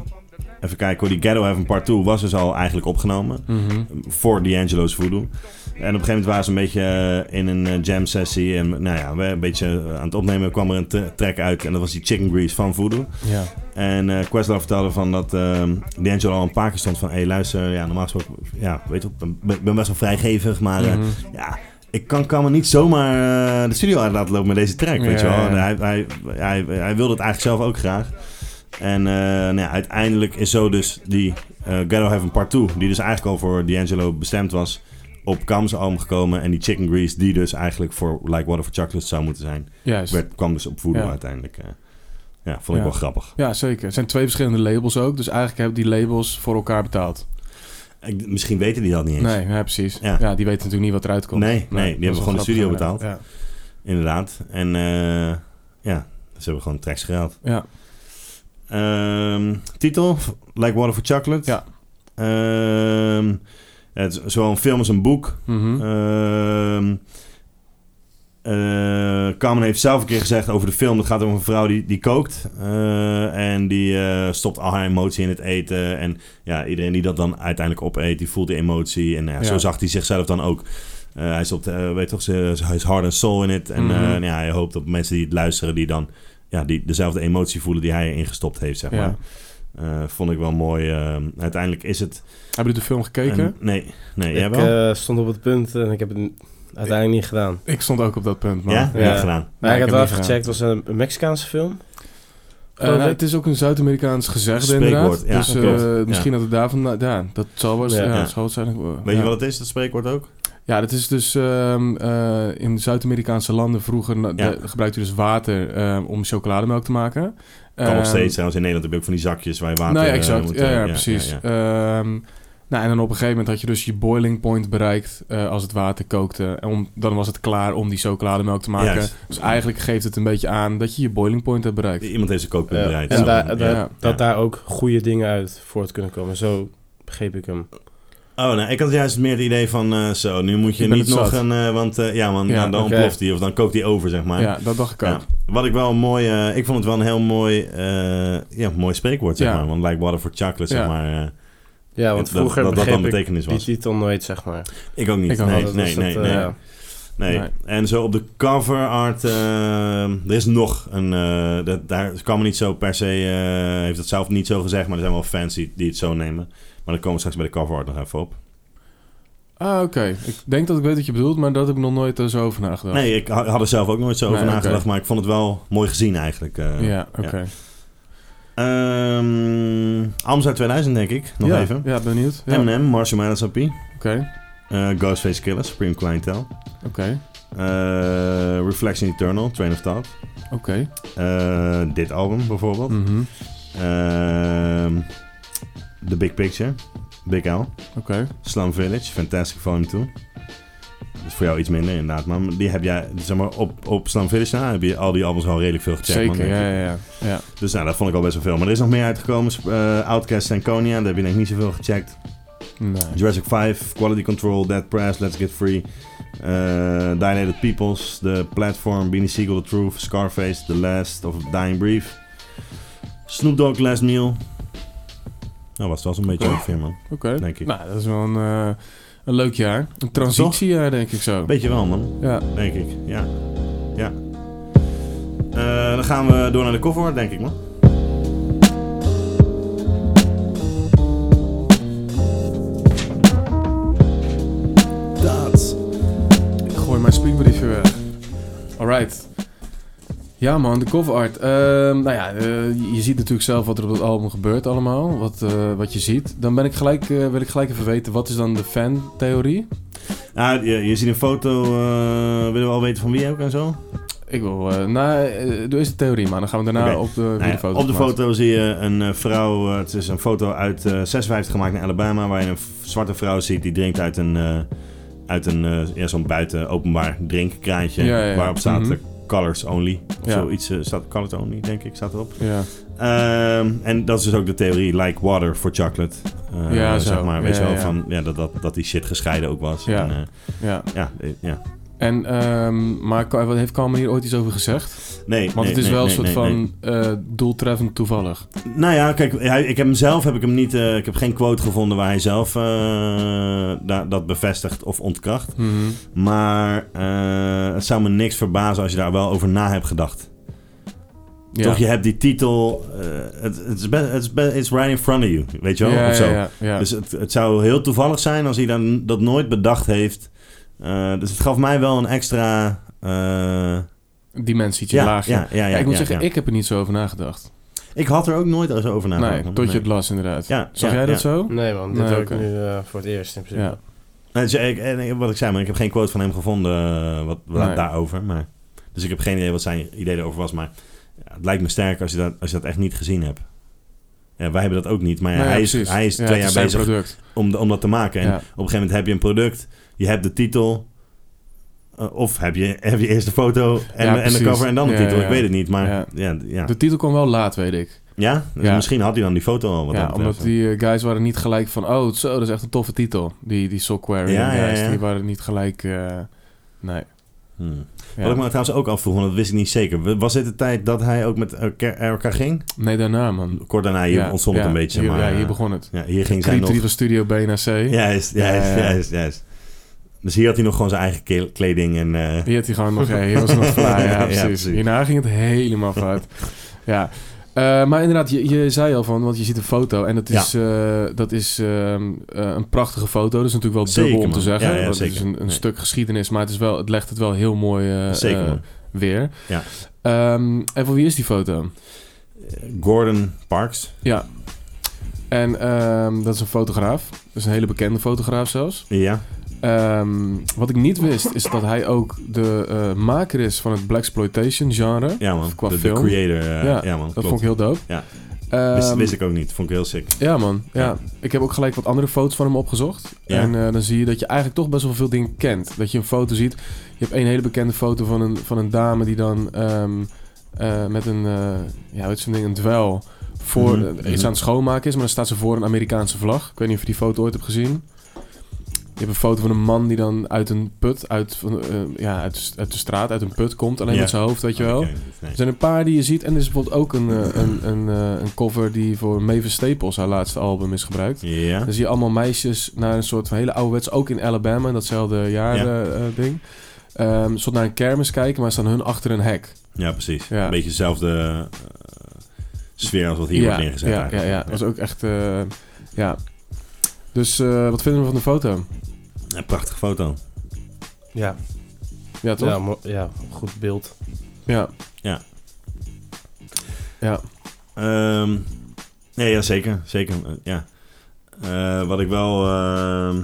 Speaker 1: even kijken hoor, die Ghetto Heaven Part 2 was dus al eigenlijk opgenomen
Speaker 2: Mhm.
Speaker 1: voor D'Angelo's voodoo. En op een gegeven moment waren ze een beetje eh, in een eh, jam sessie. En nou ja, we een beetje eh, aan het opnemen kwam er een t- track uit. En dat was die Chicken Grease van Voodoo.
Speaker 2: Ja.
Speaker 1: En eh Questlove vertelde van dat ehm D'Angelo al een paar keer stond van... Hé, hey, luister, ja, normaal gesproken... Ja, weet je, wel, ik ben, ben best wel vrijgevig, maar... eh,
Speaker 2: Mhm.
Speaker 1: ja, ik kan, kan me niet zomaar eh, de studio uit laten lopen met deze track, weet je
Speaker 2: Ja,
Speaker 1: wel.
Speaker 2: ja, ja.
Speaker 1: Hij, hij, hij, hij wilde het eigenlijk zelf ook graag. En eh, nou ja, uiteindelijk is zo dus die eh Ghetto Heaven Part 2, die dus eigenlijk al voor D'Angelo bestemd was, op Cam's album gekomen. En die Chicken Grease, die dus eigenlijk voor Like Water for Chocolate zou moeten zijn,
Speaker 2: Juist.
Speaker 1: werd, kwam dus op voodoo
Speaker 2: Ja.
Speaker 1: uiteindelijk. eh. ja, vond ik
Speaker 2: Ja.
Speaker 1: wel grappig.
Speaker 2: Ja, zeker. Het zijn twee verschillende labels ook. Dus eigenlijk hebben die labels voor elkaar betaald.
Speaker 1: Ik- misschien weten die dat niet eens.
Speaker 2: Nee, ja, precies.
Speaker 1: Ja.
Speaker 2: Ja. die weten natuurlijk niet wat eruit komt.
Speaker 1: Nee, nee, die
Speaker 2: dat
Speaker 1: hebben
Speaker 2: is wel
Speaker 1: gewoon de
Speaker 2: grappig,
Speaker 1: studio
Speaker 2: inderdaad.
Speaker 1: Inderdaad. En eh, ja, ze hebben gewoon tracks gehaald.
Speaker 2: Ja. ja.
Speaker 1: Ehm, titel, Like Water for Chocolate.
Speaker 2: Ja.
Speaker 1: Ehm, het is zowel een film als een boek.
Speaker 2: Mhm.
Speaker 1: Ehm eh, Carmen heeft zelf een keer gezegd over de film. Het gaat over een vrouw die, die kookt. eh, en die eh, stopt al haar emotie in het eten. En ja, iedereen die dat dan uiteindelijk opeet, die voelt die emotie. En nou ja, zo
Speaker 2: Ja.
Speaker 1: zag hij zichzelf dan ook. Eh, hij stopt, eh, weet toch, ze- ze- hij is hard en soul in het. En
Speaker 2: Mhm.
Speaker 1: eh, nou ja, hij hoopt op mensen die het luisteren, die dan ja, die dezelfde emotie voelen die hij erin gestopt heeft, zeg
Speaker 2: Ja.
Speaker 1: maar. Eh, vond ik wel mooi. eh, uiteindelijk is het...
Speaker 2: Hebben jullie de film gekeken?
Speaker 1: een- nee, nee, jij
Speaker 4: ik
Speaker 1: wel?
Speaker 4: eh, stond op het punt en ik heb het n- uiteindelijk niet gedaan.
Speaker 2: Ik stond ook op dat punt, man.
Speaker 1: ja?
Speaker 4: Ja.
Speaker 1: Ja, gedaan.
Speaker 4: Maar
Speaker 2: ik
Speaker 4: ik
Speaker 2: heb
Speaker 4: had
Speaker 2: niet
Speaker 4: wel even
Speaker 2: gedaan.
Speaker 4: gecheckt, het was een een Mexicaanse film.
Speaker 2: Eh,
Speaker 4: Oh,
Speaker 2: nou, het is ook een Zuid-Amerikaans gezegde
Speaker 1: Spreekwoord,
Speaker 2: inderdaad.
Speaker 1: ja,
Speaker 2: dus eh,
Speaker 1: klopt.
Speaker 2: misschien dat het daar vandaan... Ja, dat zal wel eens-
Speaker 4: Ja.
Speaker 2: ja,
Speaker 1: Ja.
Speaker 2: dat zal het zijn. eh,
Speaker 1: Weet
Speaker 2: ja.
Speaker 1: je wat het is, dat spreekwoord ook?
Speaker 2: Ja, dat is dus ehm, eh, in Zuid-Amerikaanse landen vroeger na-
Speaker 1: Ja.
Speaker 2: de- gebruikte je dus water ehm, om chocolademelk te maken.
Speaker 1: Kan nog
Speaker 2: Ehm,
Speaker 1: steeds trouwens. In Nederland heb je ook van die zakjes waar je water...
Speaker 2: nou ja,
Speaker 1: eh,
Speaker 2: exact.
Speaker 1: moet,
Speaker 2: ja,
Speaker 1: eh,
Speaker 2: ja, precies.
Speaker 1: ja, ja.
Speaker 2: Ehm, nou, en dan op een gegeven moment had je dus je boiling point bereikt eh, als het water kookte. En om, dan was het klaar om die chocolademelk te maken.
Speaker 1: Juist.
Speaker 2: Dus eigenlijk geeft het een beetje aan dat je je boiling point hebt bereikt.
Speaker 1: Iemand heeft zijn kookpunt
Speaker 4: Ja.
Speaker 1: bereid.
Speaker 4: En
Speaker 1: Zo,
Speaker 4: daar-
Speaker 1: ja.
Speaker 4: daar-
Speaker 2: ja.
Speaker 4: Dat daar ook goede dingen uit voort kunnen komen. Zo begreep ik hem.
Speaker 1: Oh, nou, ik had juist meer het idee van eh, zo, nu moet je
Speaker 2: Ik ben
Speaker 1: niet
Speaker 2: het
Speaker 1: nog
Speaker 2: zat.
Speaker 1: een... eh, want eh, ja, man,
Speaker 2: Ja,
Speaker 1: nou, dan
Speaker 4: oké.
Speaker 1: ontploft hij of dan kookt hij over, zeg maar.
Speaker 2: Ja, dat dacht ik ook.
Speaker 1: Ja, wat ik wel een mooi... eh, ik vond het wel een heel mooi, eh, ja, mooi spreekwoord, zeg
Speaker 2: Ja.
Speaker 1: maar. Want like water for chocolate, zeg
Speaker 2: Ja.
Speaker 1: maar. eh,
Speaker 4: Ja, want
Speaker 1: dat-
Speaker 4: vroeger
Speaker 1: dat, dat
Speaker 4: begreep
Speaker 1: dan
Speaker 4: ik
Speaker 1: betekenis
Speaker 4: die
Speaker 1: was.
Speaker 4: titel nooit, zeg maar.
Speaker 1: Ik ook niet.
Speaker 2: Ik ook
Speaker 1: nee,
Speaker 2: niet.
Speaker 1: nee,
Speaker 4: Dus dat,
Speaker 1: nee,
Speaker 4: eh,
Speaker 1: nee,
Speaker 4: ja.
Speaker 1: nee.
Speaker 2: Nee.
Speaker 1: En zo op de cover art... eh, er is nog een... eh, dat, daar kwam het niet zo per se... eh, heeft het zelf niet zo gezegd, maar er zijn wel fans die, die het zo nemen. Maar daar komen we straks bij de cover art nog even op.
Speaker 2: Ah, oké. Ik denk dat ik weet wat je bedoelt, maar dat heb ik nog nooit eh, zo over nagedacht.
Speaker 1: Nee, ik ha- had er zelf ook nooit zo over
Speaker 2: Nee, oké.
Speaker 1: nagedacht, maar ik vond het wel mooi gezien eigenlijk. eh.
Speaker 2: Ja, oké.
Speaker 1: Ehm, Amsterdam 2000 denk ik, nog
Speaker 2: ja,
Speaker 1: even. M&M.
Speaker 2: Ja, benieuwd. Ja. Oké,
Speaker 1: Eminem, Marshall Mathers LP,
Speaker 2: oké.
Speaker 1: eh, Ghostface Killer, Supreme Clientele, eh Reflection Eternal, Train of Thought,
Speaker 2: Oké.
Speaker 1: eh, dit album bijvoorbeeld,
Speaker 2: Mhm.
Speaker 1: Ehm, The Big Picture, Big L,
Speaker 2: Oké.
Speaker 1: Slum Village, Fantastic Volume 2. Dat is voor jou iets minder inderdaad, maar die heb jij, zeg maar, op, op Slum Village na heb je al die albums al redelijk veel gecheckt. man,
Speaker 2: Zeker,
Speaker 1: denk
Speaker 2: ja,
Speaker 1: ik.
Speaker 2: ja, ja. ja.
Speaker 1: Dus nou, dat vond ik al best wel veel. Maar er is nog meer uitgekomen. Eh Outcast en Konya, daar heb je denk ik niet zoveel gecheckt.
Speaker 2: Nee.
Speaker 1: Jurassic 5, Quality Control, Dead Press, Let's Get Free. eh Dilated Peoples, The Platform, Beanie Siegel, The Truth, Scarface, The Last of Dying Brief. Snoop Dogg, Last Meal. Nou, was het wel zo'n beetje ongeveer, man.
Speaker 2: Oké.
Speaker 1: Denk ik.
Speaker 2: Nou, dat is wel een, eh, een leuk jaar. Een transitiejaar, denk ik zo.
Speaker 1: Beetje wel, man.
Speaker 2: Ja.
Speaker 1: Denk ik, ja. Ja. Eh, dan gaan we door naar de cover, denk ik, man.
Speaker 2: Dat. Ik gooi mijn spiekbriefje weg. Alright. Ja man, de cover art. Ehm, nou ja, eh, je ziet natuurlijk zelf wat er op het album gebeurt allemaal. Wat, eh, wat je ziet. Dan ben ik gelijk, eh, wil ik gelijk even weten, wat is dan de fan-theorie?
Speaker 1: Ah, je, je ziet een foto. eh, willen we al weten van wie ook en zo?
Speaker 2: Ik wil, eh nou, eh, doe eens de theorie man. Dan gaan we daarna
Speaker 1: Oké.
Speaker 2: op de,
Speaker 1: Nou
Speaker 2: wie
Speaker 1: ja,
Speaker 2: de foto
Speaker 1: op de
Speaker 2: gemaakt.
Speaker 1: foto zie je een eh, vrouw. eh, het is een foto uit eh 56 gemaakt in Alabama. Waar je een v- zwarte vrouw ziet die drinkt uit een. eh, uit een. eh, ja, zo'n buiten openbaar drinkkraantje.
Speaker 2: Ja, ja, ja.
Speaker 1: Waarop staat
Speaker 2: Mhm.
Speaker 1: eh, Colors Only. Of
Speaker 2: Ja.
Speaker 1: zoiets. eh, staat Colors Only, denk ik, staat erop.
Speaker 2: Ja,
Speaker 1: Ehm, en dat is dus ook de theorie. Like water for chocolate. Eh,
Speaker 2: Ja,
Speaker 1: zeg
Speaker 2: zo.
Speaker 1: maar. Weet
Speaker 2: Ja,
Speaker 1: je wel
Speaker 2: ja.
Speaker 1: van. Ja, dat, dat, dat die shit gescheiden ook was.
Speaker 2: Ja.
Speaker 1: En, eh,
Speaker 2: ja.
Speaker 1: ja, eh, ja.
Speaker 2: En, ehm maar Ka- wat heeft Kalman hier ooit iets over gezegd?
Speaker 1: Nee.
Speaker 2: Want
Speaker 1: nee,
Speaker 2: het is
Speaker 1: nee,
Speaker 2: wel
Speaker 1: nee,
Speaker 2: een soort
Speaker 1: nee, nee.
Speaker 2: van eh, doeltreffend toevallig.
Speaker 1: Nou ja, kijk, hij, ik heb hem zelf heb ik hem niet. eh, ik heb geen quote gevonden waar hij zelf eh, da- dat bevestigt of ontkracht.
Speaker 2: Mhm.
Speaker 1: Maar eh, het zou me niks verbazen als je daar wel over na hebt gedacht.
Speaker 2: Ja.
Speaker 1: Toch, je hebt die titel. eh, het het is best- het is best- it's right in front of you. Weet je wel?
Speaker 2: Ja,
Speaker 1: of zo.
Speaker 2: ja, ja, ja.
Speaker 1: Dus het, het zou heel toevallig zijn als hij dan dat nooit bedacht heeft. Eh, dus het gaf mij wel een extra. eh,
Speaker 2: dimensietje
Speaker 1: ja, ja,
Speaker 2: lager.
Speaker 1: ja, ja,
Speaker 2: Ja, ik moet
Speaker 1: ja,
Speaker 2: zeggen,
Speaker 1: ja. Ik,
Speaker 2: ik heb er niet zo over nagedacht.
Speaker 1: had er ook nooit zo over nagedacht.
Speaker 2: nee,
Speaker 1: man.
Speaker 2: tot je het las inderdaad.
Speaker 1: nou, Ja,
Speaker 2: Zag
Speaker 1: ja,
Speaker 2: jij dat
Speaker 1: ja.
Speaker 2: zo?
Speaker 4: Nee man, dit
Speaker 2: Nee,
Speaker 4: hoor
Speaker 2: oké.
Speaker 4: ik nu eh, voor het eerst in principe.
Speaker 2: Ja.
Speaker 1: Nee, dus ik, en ik- wat ik zei, maar ik heb geen quote van hem gevonden eh, wat, wat
Speaker 2: Nee.
Speaker 1: daarover. Maar, dus ik heb geen idee wat zijn idee erover was. Maar ja, het lijkt me sterk als je dat, als je dat echt niet gezien hebt. Ja, wij hebben dat ook niet. Maar ja,
Speaker 2: Nee,
Speaker 1: hij, is,
Speaker 2: precies.
Speaker 1: hij is
Speaker 2: Nou Ja,
Speaker 1: twee
Speaker 2: het
Speaker 1: jaar
Speaker 2: zijn
Speaker 1: bezig
Speaker 2: product.
Speaker 1: om, de- om dat te maken. En
Speaker 2: Ja.
Speaker 1: op een gegeven moment heb je een product. Je hebt de titel. eh, of heb je, heb je eerst de foto en,
Speaker 2: Ja,
Speaker 1: en de
Speaker 2: precies.
Speaker 1: cover en dan de
Speaker 2: Ja,
Speaker 1: titel.
Speaker 2: ja.
Speaker 1: Ik weet het niet. Maar ja,
Speaker 2: Ja.
Speaker 1: ja, ja.
Speaker 2: De titel kwam wel laat, weet ik.
Speaker 1: Dus
Speaker 2: Ja.
Speaker 1: misschien had hij dan die foto al. Wat
Speaker 2: ja,
Speaker 1: dat
Speaker 2: omdat
Speaker 1: betreft.
Speaker 2: die eh, guys waren niet gelijk van... Oh, zo, dat is echt een toffe titel. Die, die Sockware
Speaker 1: Ja, ja,
Speaker 2: guys,
Speaker 1: ja.
Speaker 2: die waren niet gelijk... eh, nee.
Speaker 1: Hmm.
Speaker 2: Ja.
Speaker 1: Wat ik me trouwens ook afvroeg, want dat wist ik niet zeker. Was dit de tijd dat hij ook met elkaar elkaar ging?
Speaker 2: Nee, daarna, man.
Speaker 1: Kort daarna, hier
Speaker 2: Ja,
Speaker 1: ontstond het
Speaker 2: ja,
Speaker 1: een beetje.
Speaker 2: hier-
Speaker 1: maar,
Speaker 2: ja, hier begon het.
Speaker 1: ja, hier ging zij
Speaker 2: Creep
Speaker 1: nog...
Speaker 2: 3 van Studio B naar C.
Speaker 1: Juist, juist,
Speaker 2: Ja, ja.
Speaker 1: juist, juist. Dus hier had hij nog gewoon zijn eigen ke- kleding en... eh,
Speaker 2: Die had hij gewoon nog... Ja, hier was hij nog fly. Ja,
Speaker 1: Ja,
Speaker 2: precies.
Speaker 1: precies.
Speaker 2: Hierna ging het helemaal fout. ja. Eh, maar inderdaad, je, je zei al van, want je ziet een foto en dat is, eh, dat is ehm, eh, een prachtige foto. Dat is natuurlijk wel
Speaker 1: Zeker,
Speaker 2: dubbel om te
Speaker 1: man.
Speaker 2: zeggen.
Speaker 1: Ja, ja,
Speaker 2: want het is
Speaker 1: zeker.
Speaker 2: een, een
Speaker 1: Nee.
Speaker 2: stuk geschiedenis, maar het, is wel, het legt het wel heel mooi eh,
Speaker 1: zeker,
Speaker 2: eh,
Speaker 1: man.
Speaker 2: weer.
Speaker 1: Ja.
Speaker 2: Ehm, en voor wie is die foto?
Speaker 1: Gordon Parks.
Speaker 2: Ja. En ehm, dat is een fotograaf. Dat is een hele bekende fotograaf zelfs.
Speaker 1: Ja.
Speaker 2: Ehm, wat ik niet wist, is dat hij ook de eh, maker is van het blaxploitation genre.
Speaker 1: Ja, man.
Speaker 2: Qua
Speaker 1: de, de
Speaker 2: film.
Speaker 1: creator. eh, ja,
Speaker 2: Ja,
Speaker 1: man.
Speaker 2: Dat
Speaker 1: klopt.
Speaker 2: vond ik heel dope.
Speaker 1: Ja.
Speaker 2: Ehm,
Speaker 1: wist, wist ik ook niet. Vond ik heel sick.
Speaker 2: Ja, man. Ja.
Speaker 1: Ja.
Speaker 2: Ik heb ook gelijk wat andere foto's van hem opgezocht.
Speaker 1: Ja.
Speaker 2: En eh, dan zie je dat je eigenlijk toch best wel veel dingen kent. Dat je een foto ziet. Je hebt één hele bekende foto van een, van een dame die dan ehm, eh, met een, eh ja, wat is zo'n ding, een dweil voor
Speaker 1: Mhm.
Speaker 2: eh, iets aan het schoonmaken is. Maar dan staat ze voor een Amerikaanse vlag. Ik weet niet of je die foto ooit hebt gezien. Je hebt een foto van een man die dan uit een put, uit, van, eh, ja, uit, uit de straat, uit een put komt. Alleen
Speaker 1: Ja.
Speaker 2: met zijn hoofd, weet je wel. Dus-
Speaker 1: Oké, nee.
Speaker 2: Er zijn een paar die je ziet. En er is bijvoorbeeld ook een, eh, een, een, eh, een cover die voor Mavis Staples, haar laatste album, is gebruikt.
Speaker 1: Ja.
Speaker 2: Dan zie je allemaal meisjes naar een soort van hele ouderwets, ook in Alabama, in datzelfde jaar
Speaker 1: Ja.
Speaker 2: eh, eh, ding. Ehm, Een soort naar een kermis kijken, maar staan hun achter een hek.
Speaker 1: ja, precies.
Speaker 2: Ja.
Speaker 1: Een beetje dezelfde eh, sfeer als wat hier wordt neergezet.
Speaker 2: ja, ja,
Speaker 1: eigenlijk.
Speaker 2: ja. Dat was ook echt... eh, ja. Dus eh, wat vinden we van de foto?
Speaker 1: Ja, prachtige foto.
Speaker 4: Ja,
Speaker 2: Ja, toch?
Speaker 4: ja,
Speaker 2: Ja.
Speaker 4: mo- ja, goed beeld.
Speaker 2: Ja.
Speaker 1: Ja.
Speaker 2: Ja.
Speaker 1: Ehm, nee, ja, zeker. Zeker, eh, ja. Eh, wat ik wel... ehm,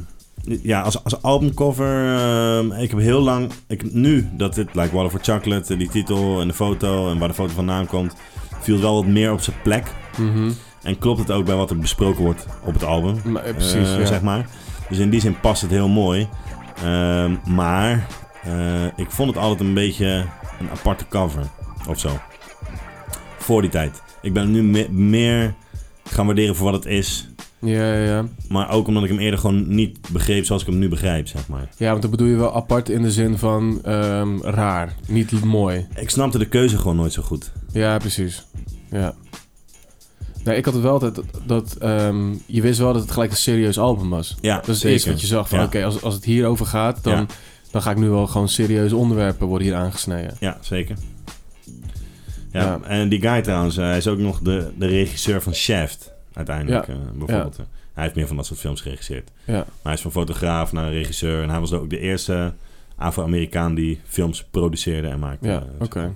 Speaker 1: ja, als, als albumcover... ehm, ik heb heel lang... Ik, heb nu, dat dit, like Water for Chocolate, eh, die titel en de foto en waar de foto vandaan komt... viel het wel wat meer op zijn plek.
Speaker 2: Mhm.
Speaker 1: En klopt het ook bij wat er besproken wordt op het album.
Speaker 2: Maar, eh, precies,
Speaker 1: Eh,
Speaker 2: ja.
Speaker 1: zeg maar. Dus in die zin past het heel mooi. Ehm, maar eh, ik vond het altijd een beetje een aparte cover of zo. Voor die tijd. Ik ben hem nu me- meer gaan waarderen voor wat het is.
Speaker 2: ja, ja, ja.
Speaker 1: Maar ook omdat ik hem eerder gewoon niet begreep zoals ik hem nu begrijp, zeg maar.
Speaker 2: Ja, want dat bedoel je wel apart in de zin van ehm, raar, niet mooi.
Speaker 1: Ik snapte de keuze gewoon nooit zo goed.
Speaker 2: Ja, precies. Ja. Nee, ik had het wel altijd dat, dat ehm, je wist wel dat het gelijk een serieus album was.
Speaker 1: Ja,
Speaker 2: Dat is het
Speaker 1: zeker.
Speaker 2: eerste wat je zag van
Speaker 1: Ja.
Speaker 2: oké, als, als het hierover gaat, dan,
Speaker 1: Ja.
Speaker 2: dan ga ik nu wel gewoon serieuze onderwerpen worden hier aangesneden.
Speaker 1: Ja, zeker. Ja,
Speaker 2: Ja.
Speaker 1: en die guy trouwens, eh, hij is ook nog de, de regisseur van Shaft, uiteindelijk eh, bijvoorbeeld. Hij heeft meer van dat soort films geregisseerd.
Speaker 2: Ja.
Speaker 1: Maar hij is van fotograaf naar regisseur en hij was ook de eerste Afro-Amerikaan die films produceerde en maakte.
Speaker 2: Ja,
Speaker 1: Eh,
Speaker 2: oké.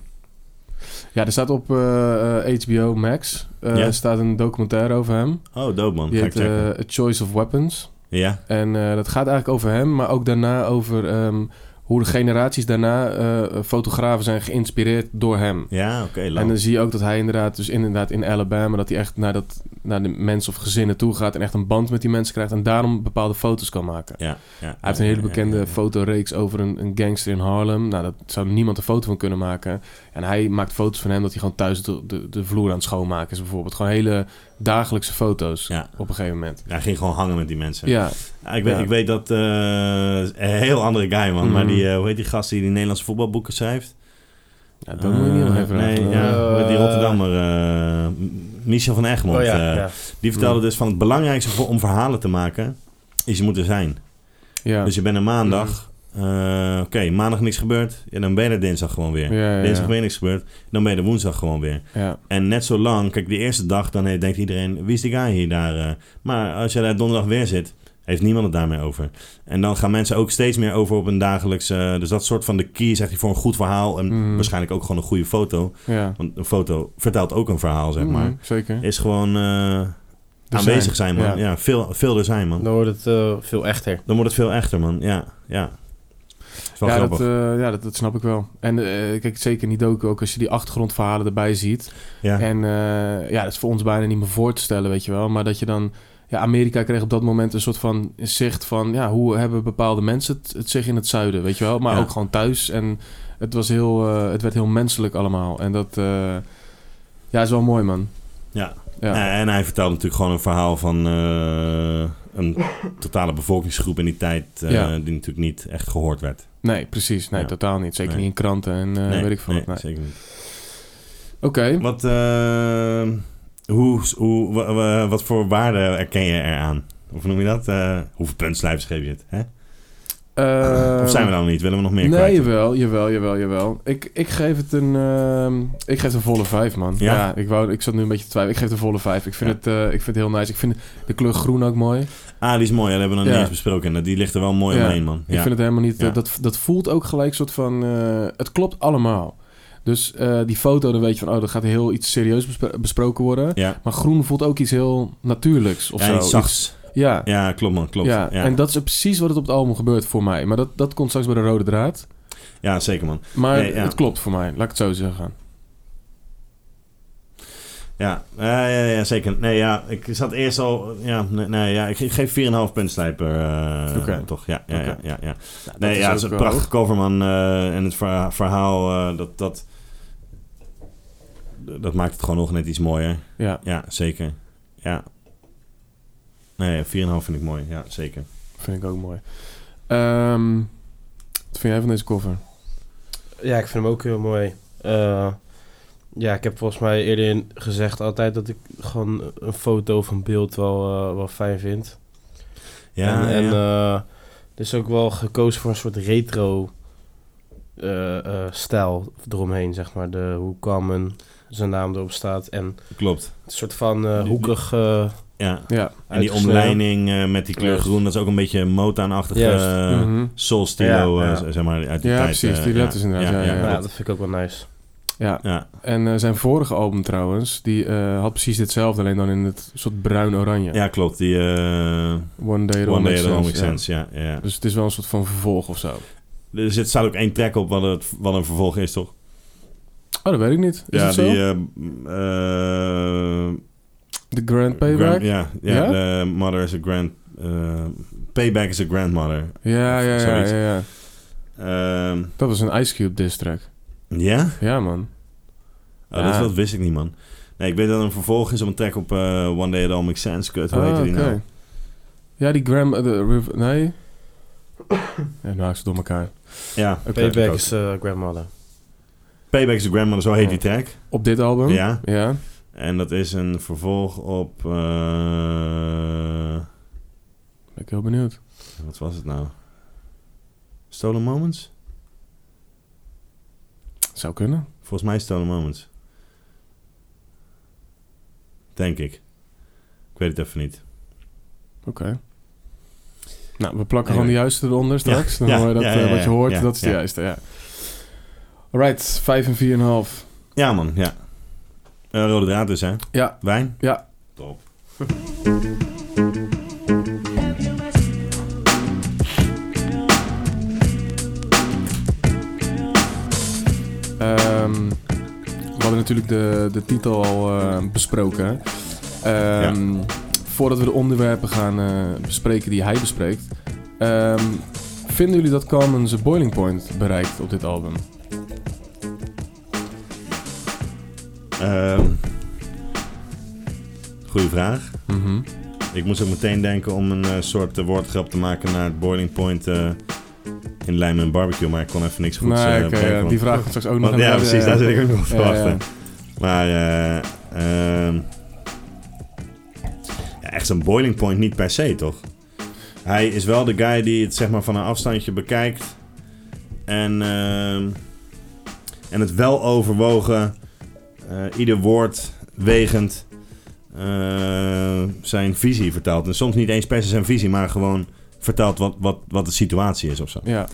Speaker 2: Ja, er staat op eh, eh, HBO Max eh,
Speaker 1: Ja.
Speaker 2: staat een documentaire over hem.
Speaker 1: Oh, dope man,
Speaker 2: Die
Speaker 1: ga ik
Speaker 2: heet
Speaker 1: checken.
Speaker 2: eh, A Choice of Weapons.
Speaker 1: ja,
Speaker 2: En eh, dat gaat eigenlijk over hem, maar ook daarna over ehm, hoe de generaties daarna eh, fotografen zijn geïnspireerd door hem.
Speaker 1: ja oké, lauw.
Speaker 2: En dus- dan zie je ook dat hij inderdaad, dus inderdaad in Alabama, dat hij echt naar, dat, naar de mensen of gezinnen toe gaat en echt een band met die mensen krijgt en daarom bepaalde foto's kan maken.
Speaker 1: ja, ja.
Speaker 2: Hij heeft een hele
Speaker 1: Ja, ja,
Speaker 2: bekende
Speaker 1: ja, ja.
Speaker 2: fotoreeks over een, een gangster in Harlem. Nou, daar zou niemand een foto van kunnen maken. En hij maakt foto's van hem dat hij gewoon thuis de, de, de vloer aan het schoonmaken is bijvoorbeeld. Gewoon hele dagelijkse foto's
Speaker 1: Ja.
Speaker 2: op een gegeven moment.
Speaker 1: Hij ging gewoon hangen met die mensen.
Speaker 2: Ja,
Speaker 1: Ja, ik, weet,
Speaker 2: Ja.
Speaker 1: ik weet dat... eh, een heel andere guy, man.
Speaker 2: Mhm.
Speaker 1: Maar die, eh, hoe heet die gast die die Nederlandse voetbalboeken schrijft?
Speaker 2: ja dat moet je niet
Speaker 1: Eh,
Speaker 2: aan even
Speaker 1: Nee, ja,
Speaker 4: Eh,
Speaker 1: die Rotterdammer, eh, M- Michel van Egmond.
Speaker 4: Oh ja,
Speaker 1: eh,
Speaker 4: ja.
Speaker 1: Die vertelde dus van het belangrijkste voor, om verhalen te maken, is je moet er zijn.
Speaker 2: ja. Mm.
Speaker 1: Dus je bent een maandag, eh, oké, maandag niks gebeurd, ja, dan ben je er dinsdag gewoon weer.
Speaker 2: ja, ja,
Speaker 1: Dinsdag
Speaker 2: ja.
Speaker 1: weer niks gebeurd, dan ben je er woensdag gewoon weer.
Speaker 2: Ja,
Speaker 1: En net zo lang, kijk, de eerste dag, dan eh, denkt iedereen, wie is die guy hier daar? eh? maar als je daar donderdag weer zit, heeft niemand het daarmee over. En dan gaan mensen ook steeds meer over op een dagelijks... eh, dus dat soort van de key, zegt hij, voor een goed verhaal en
Speaker 2: Mhm.
Speaker 1: waarschijnlijk ook gewoon een goede foto.
Speaker 2: ja.
Speaker 1: Want een foto vertelt ook een verhaal, zeg maar.
Speaker 2: Mhm, zeker.
Speaker 1: Is gewoon eh,
Speaker 2: Er
Speaker 1: aanwezig zijn, man.
Speaker 2: Ja.
Speaker 1: Ja, veel, veel er zijn, man.
Speaker 4: Dan wordt het eh, veel echter.
Speaker 1: Dan wordt het veel echter, man. Ja, ja. Is wel
Speaker 2: ja,
Speaker 1: grappig.
Speaker 2: dat, eh, ja dat, dat snap ik wel. En eh, kijk, zeker in die docu, ook als je die achtergrondverhalen erbij ziet.
Speaker 1: ja.
Speaker 2: En eh, ja, dat is voor ons bijna niet meer voor te stellen, weet je wel. Maar dat je dan... Ja, Amerika kreeg op dat moment een soort van zicht van... Ja, hoe hebben bepaalde mensen het, het zich in het zuiden, weet je wel. Maar
Speaker 1: Ja.
Speaker 2: ook gewoon thuis. En het, was heel, eh, het werd heel menselijk allemaal. En dat... eh, ja, is wel mooi, man.
Speaker 1: Ja.
Speaker 2: Ja,
Speaker 1: Eh, en hij vertelde natuurlijk gewoon een verhaal van eh, een totale bevolkingsgroep in die tijd... eh,
Speaker 2: Ja.
Speaker 1: die natuurlijk niet echt gehoord werd.
Speaker 2: Nee, precies. Nee,
Speaker 1: Ja.
Speaker 2: totaal niet. Zeker
Speaker 1: Nee.
Speaker 2: niet in kranten en eh, weet ik veel
Speaker 1: nee,
Speaker 2: wat. Nee.
Speaker 1: zeker niet.
Speaker 2: Oké.
Speaker 1: Wat, eh, hoe, hoe, wa- wa- wat voor waarde erken je eraan? Of noem je dat? Eh, hoeveel puntslijvers geef je het? Hè? of zijn we dan niet? Willen we nog meer
Speaker 2: Eh, nee,
Speaker 1: kwijt?
Speaker 2: jawel, jawel, jawel, jawel. Ik, ik geef het een, ehm, ik geef het een volle vijf, man. Ja,
Speaker 1: Ja?
Speaker 2: ik, wou, ik zat nu een beetje te twijfelen. Ik geef het een volle vijf. Ik vind,
Speaker 1: Ja.
Speaker 2: het, eh, ik vind het heel nice. Ik vind de kleur groen ook mooi.
Speaker 1: Ah, die is mooi. Ja, Dat hebben we nog
Speaker 2: Ja.
Speaker 1: niet eens besproken. Die ligt er wel mooi
Speaker 2: Ja.
Speaker 1: omheen, man.
Speaker 2: Ik
Speaker 1: Ja.
Speaker 2: vind het helemaal niet... eh,
Speaker 1: Ja.
Speaker 2: dat, dat voelt ook gelijk soort van... eh, het klopt allemaal. Dus eh, die foto, dan weet je van... Oh, dat gaat heel iets serieus bespro- besproken worden.
Speaker 1: Ja.
Speaker 2: Maar groen voelt ook iets heel natuurlijks of
Speaker 1: Ja,
Speaker 2: zo.
Speaker 1: iets zachts.
Speaker 2: Iets- ja.
Speaker 1: Ja, klopt man, klopt.
Speaker 2: Ja,
Speaker 1: Ja, ja.
Speaker 2: en dat is precies wat het op het album gebeurt voor mij. Maar dat, dat komt straks bij de rode draad.
Speaker 1: zeker man.
Speaker 2: Maar
Speaker 1: Nee, ja.
Speaker 2: het klopt voor mij, laat ik het zo zeggen.
Speaker 1: Ja, eh, ja, ja, zeker. Nee, ja, ik zat eerst al... Ja, nee, nee, ja ik ge- geef 4,5 punt slijper. eh,
Speaker 2: Oké.
Speaker 1: Toch, ja, ja,
Speaker 2: Oké.
Speaker 1: ja, ja, ja.
Speaker 2: dat
Speaker 1: Nee,
Speaker 2: is
Speaker 1: ja,
Speaker 2: ook
Speaker 1: het is een
Speaker 2: wel
Speaker 1: prachtig cover man. eh, en het verha- verhaal, eh, dat, dat, dat maakt het gewoon nog net iets mooier.
Speaker 2: Ja.
Speaker 1: Ja, zeker. Ja. Nee, 4,5 vind ik mooi. Ja, zeker.
Speaker 2: Vind ik ook mooi. Ehm, wat vind jij van deze cover?
Speaker 4: Ja, ik vind hem ook heel mooi. Eh, ja, ik heb volgens mij eerder in- gezegd altijd dat ik gewoon een foto of een beeld wel, eh, wel fijn vind.
Speaker 1: Ja,
Speaker 4: en en
Speaker 1: ja.
Speaker 4: eh, er is ook wel gekozen voor een soort retro eh, eh, stijl eromheen, zeg maar. De, hoe Common zijn naam erop staat. En
Speaker 1: klopt.
Speaker 4: een soort van eh,
Speaker 1: Die-
Speaker 4: hoekig... eh,
Speaker 1: Ja.
Speaker 2: Ja.
Speaker 1: En die
Speaker 4: Uitgesneden.
Speaker 1: omleiding eh, met die kleur
Speaker 4: Ja.
Speaker 1: groen, dat is ook een beetje Motown-achtig eh,
Speaker 4: Juist.
Speaker 2: Mhm.
Speaker 1: soul stilo,
Speaker 4: Ja,
Speaker 1: eh,
Speaker 4: ja.
Speaker 1: z- zeg maar, uit die
Speaker 2: Ja,
Speaker 1: tijd.
Speaker 2: precies,
Speaker 1: eh,
Speaker 2: die
Speaker 1: ja.
Speaker 2: letters inderdaad, ja,
Speaker 4: ja,
Speaker 2: ja.
Speaker 1: ja.
Speaker 4: dat vind ik ook wel nice.
Speaker 2: ja.
Speaker 1: Ja.
Speaker 2: En eh, zijn vorige album trouwens, die eh, had precies hetzelfde, alleen dan in het soort bruin-oranje.
Speaker 1: Ja, klopt. Die eh,
Speaker 2: One Day It All
Speaker 1: One Day
Speaker 2: Makes
Speaker 1: It All
Speaker 2: Sense,
Speaker 1: Makes
Speaker 2: ja.
Speaker 1: Sense, ja. ja.
Speaker 2: Dus het is wel een soort van vervolg of zo.
Speaker 1: Er zit, staat ook één track op wat, het, wat een vervolg is, toch?
Speaker 2: Oh, dat weet ik niet. Is
Speaker 1: ja,
Speaker 2: het zo?
Speaker 1: die... eh, eh,
Speaker 2: The Grand Payback?
Speaker 1: Grand- ja, ja,
Speaker 2: Ja?
Speaker 1: de mother is a grand... eh, payback is a grandmother.
Speaker 2: ja, ja, ja,
Speaker 1: Zoiets.
Speaker 2: ja, ja.
Speaker 1: Ehm,
Speaker 2: Dat was een Ice Cube diss track.
Speaker 1: ja?
Speaker 2: Ja, man.
Speaker 1: Oh, dat,
Speaker 2: Ja.
Speaker 1: dat wist ik niet, man. Nee, ik weet dat er een vervolg is op een track op eh, One Day It All Makes Sense. Kut, hoe
Speaker 2: Ah,
Speaker 1: heette die
Speaker 2: oké.
Speaker 1: nou?
Speaker 2: Ja, die Gram... eh, de Riv- nee? ja, nou, ik zit door elkaar.
Speaker 1: Ja,
Speaker 2: Oké.
Speaker 4: Payback is eh, Grandmother.
Speaker 1: Payback is a grandmother, zo heet die track.
Speaker 2: Op dit album?
Speaker 1: Ja.
Speaker 2: Ja.
Speaker 1: En dat is een vervolg op... eh,
Speaker 2: Ben ik heel benieuwd.
Speaker 1: wat was het nou? Stolen Moments?
Speaker 2: Zou kunnen.
Speaker 1: Volgens mij Stolen Moments. Denk ik. Ik weet het even niet.
Speaker 2: Oké. Nou, we plakken
Speaker 1: Anyway.
Speaker 2: gewoon de juiste eronder straks. Dan
Speaker 1: ja,
Speaker 2: hoor je dat,
Speaker 1: ja, ja,
Speaker 2: eh, wat
Speaker 1: ja,
Speaker 2: je hoort.
Speaker 1: ja,
Speaker 2: dat is de
Speaker 1: ja.
Speaker 2: juiste, ja. Alright, 5 en 4,5.
Speaker 1: Ja, man, ja. Eh, rode draad dus, hè?
Speaker 2: Ja.
Speaker 1: Wijn?
Speaker 2: Ja.
Speaker 1: Top.
Speaker 2: Ehm, we hadden natuurlijk de, de titel al eh, besproken. Ehm, Voordat we de onderwerpen gaan eh, bespreken die hij bespreekt. ehm, vinden jullie dat Common zijn boiling point bereikt op dit album?
Speaker 1: Ehm goeie vraag.
Speaker 2: Mhm.
Speaker 1: Ik moest ook meteen denken om een eh, soort eh, woordgrap te maken naar het boiling point eh, in Lijm en Barbecue. Maar ik kon even niks goeds
Speaker 2: Nee,
Speaker 1: eh,
Speaker 2: oké,
Speaker 1: bedenken,
Speaker 2: ja,
Speaker 1: want-
Speaker 2: die vraag komt straks ook nog
Speaker 1: Want,
Speaker 2: aan
Speaker 1: ja,
Speaker 2: de-
Speaker 1: precies, daar zit ik ook nog op te
Speaker 2: Ja, ja.
Speaker 1: wachten. Maar eh, ehm, ja, echt zo'n boiling point niet per se, toch? Hij is wel de guy die het zeg maar van een afstandje bekijkt. En, ehm, en het wel overwogen, eh, ieder woord wegend, eh, zijn visie vertaalt. En soms niet eens per se zijn visie, maar gewoon vertaalt wat, wat, wat de situatie is of zo.
Speaker 2: Ja,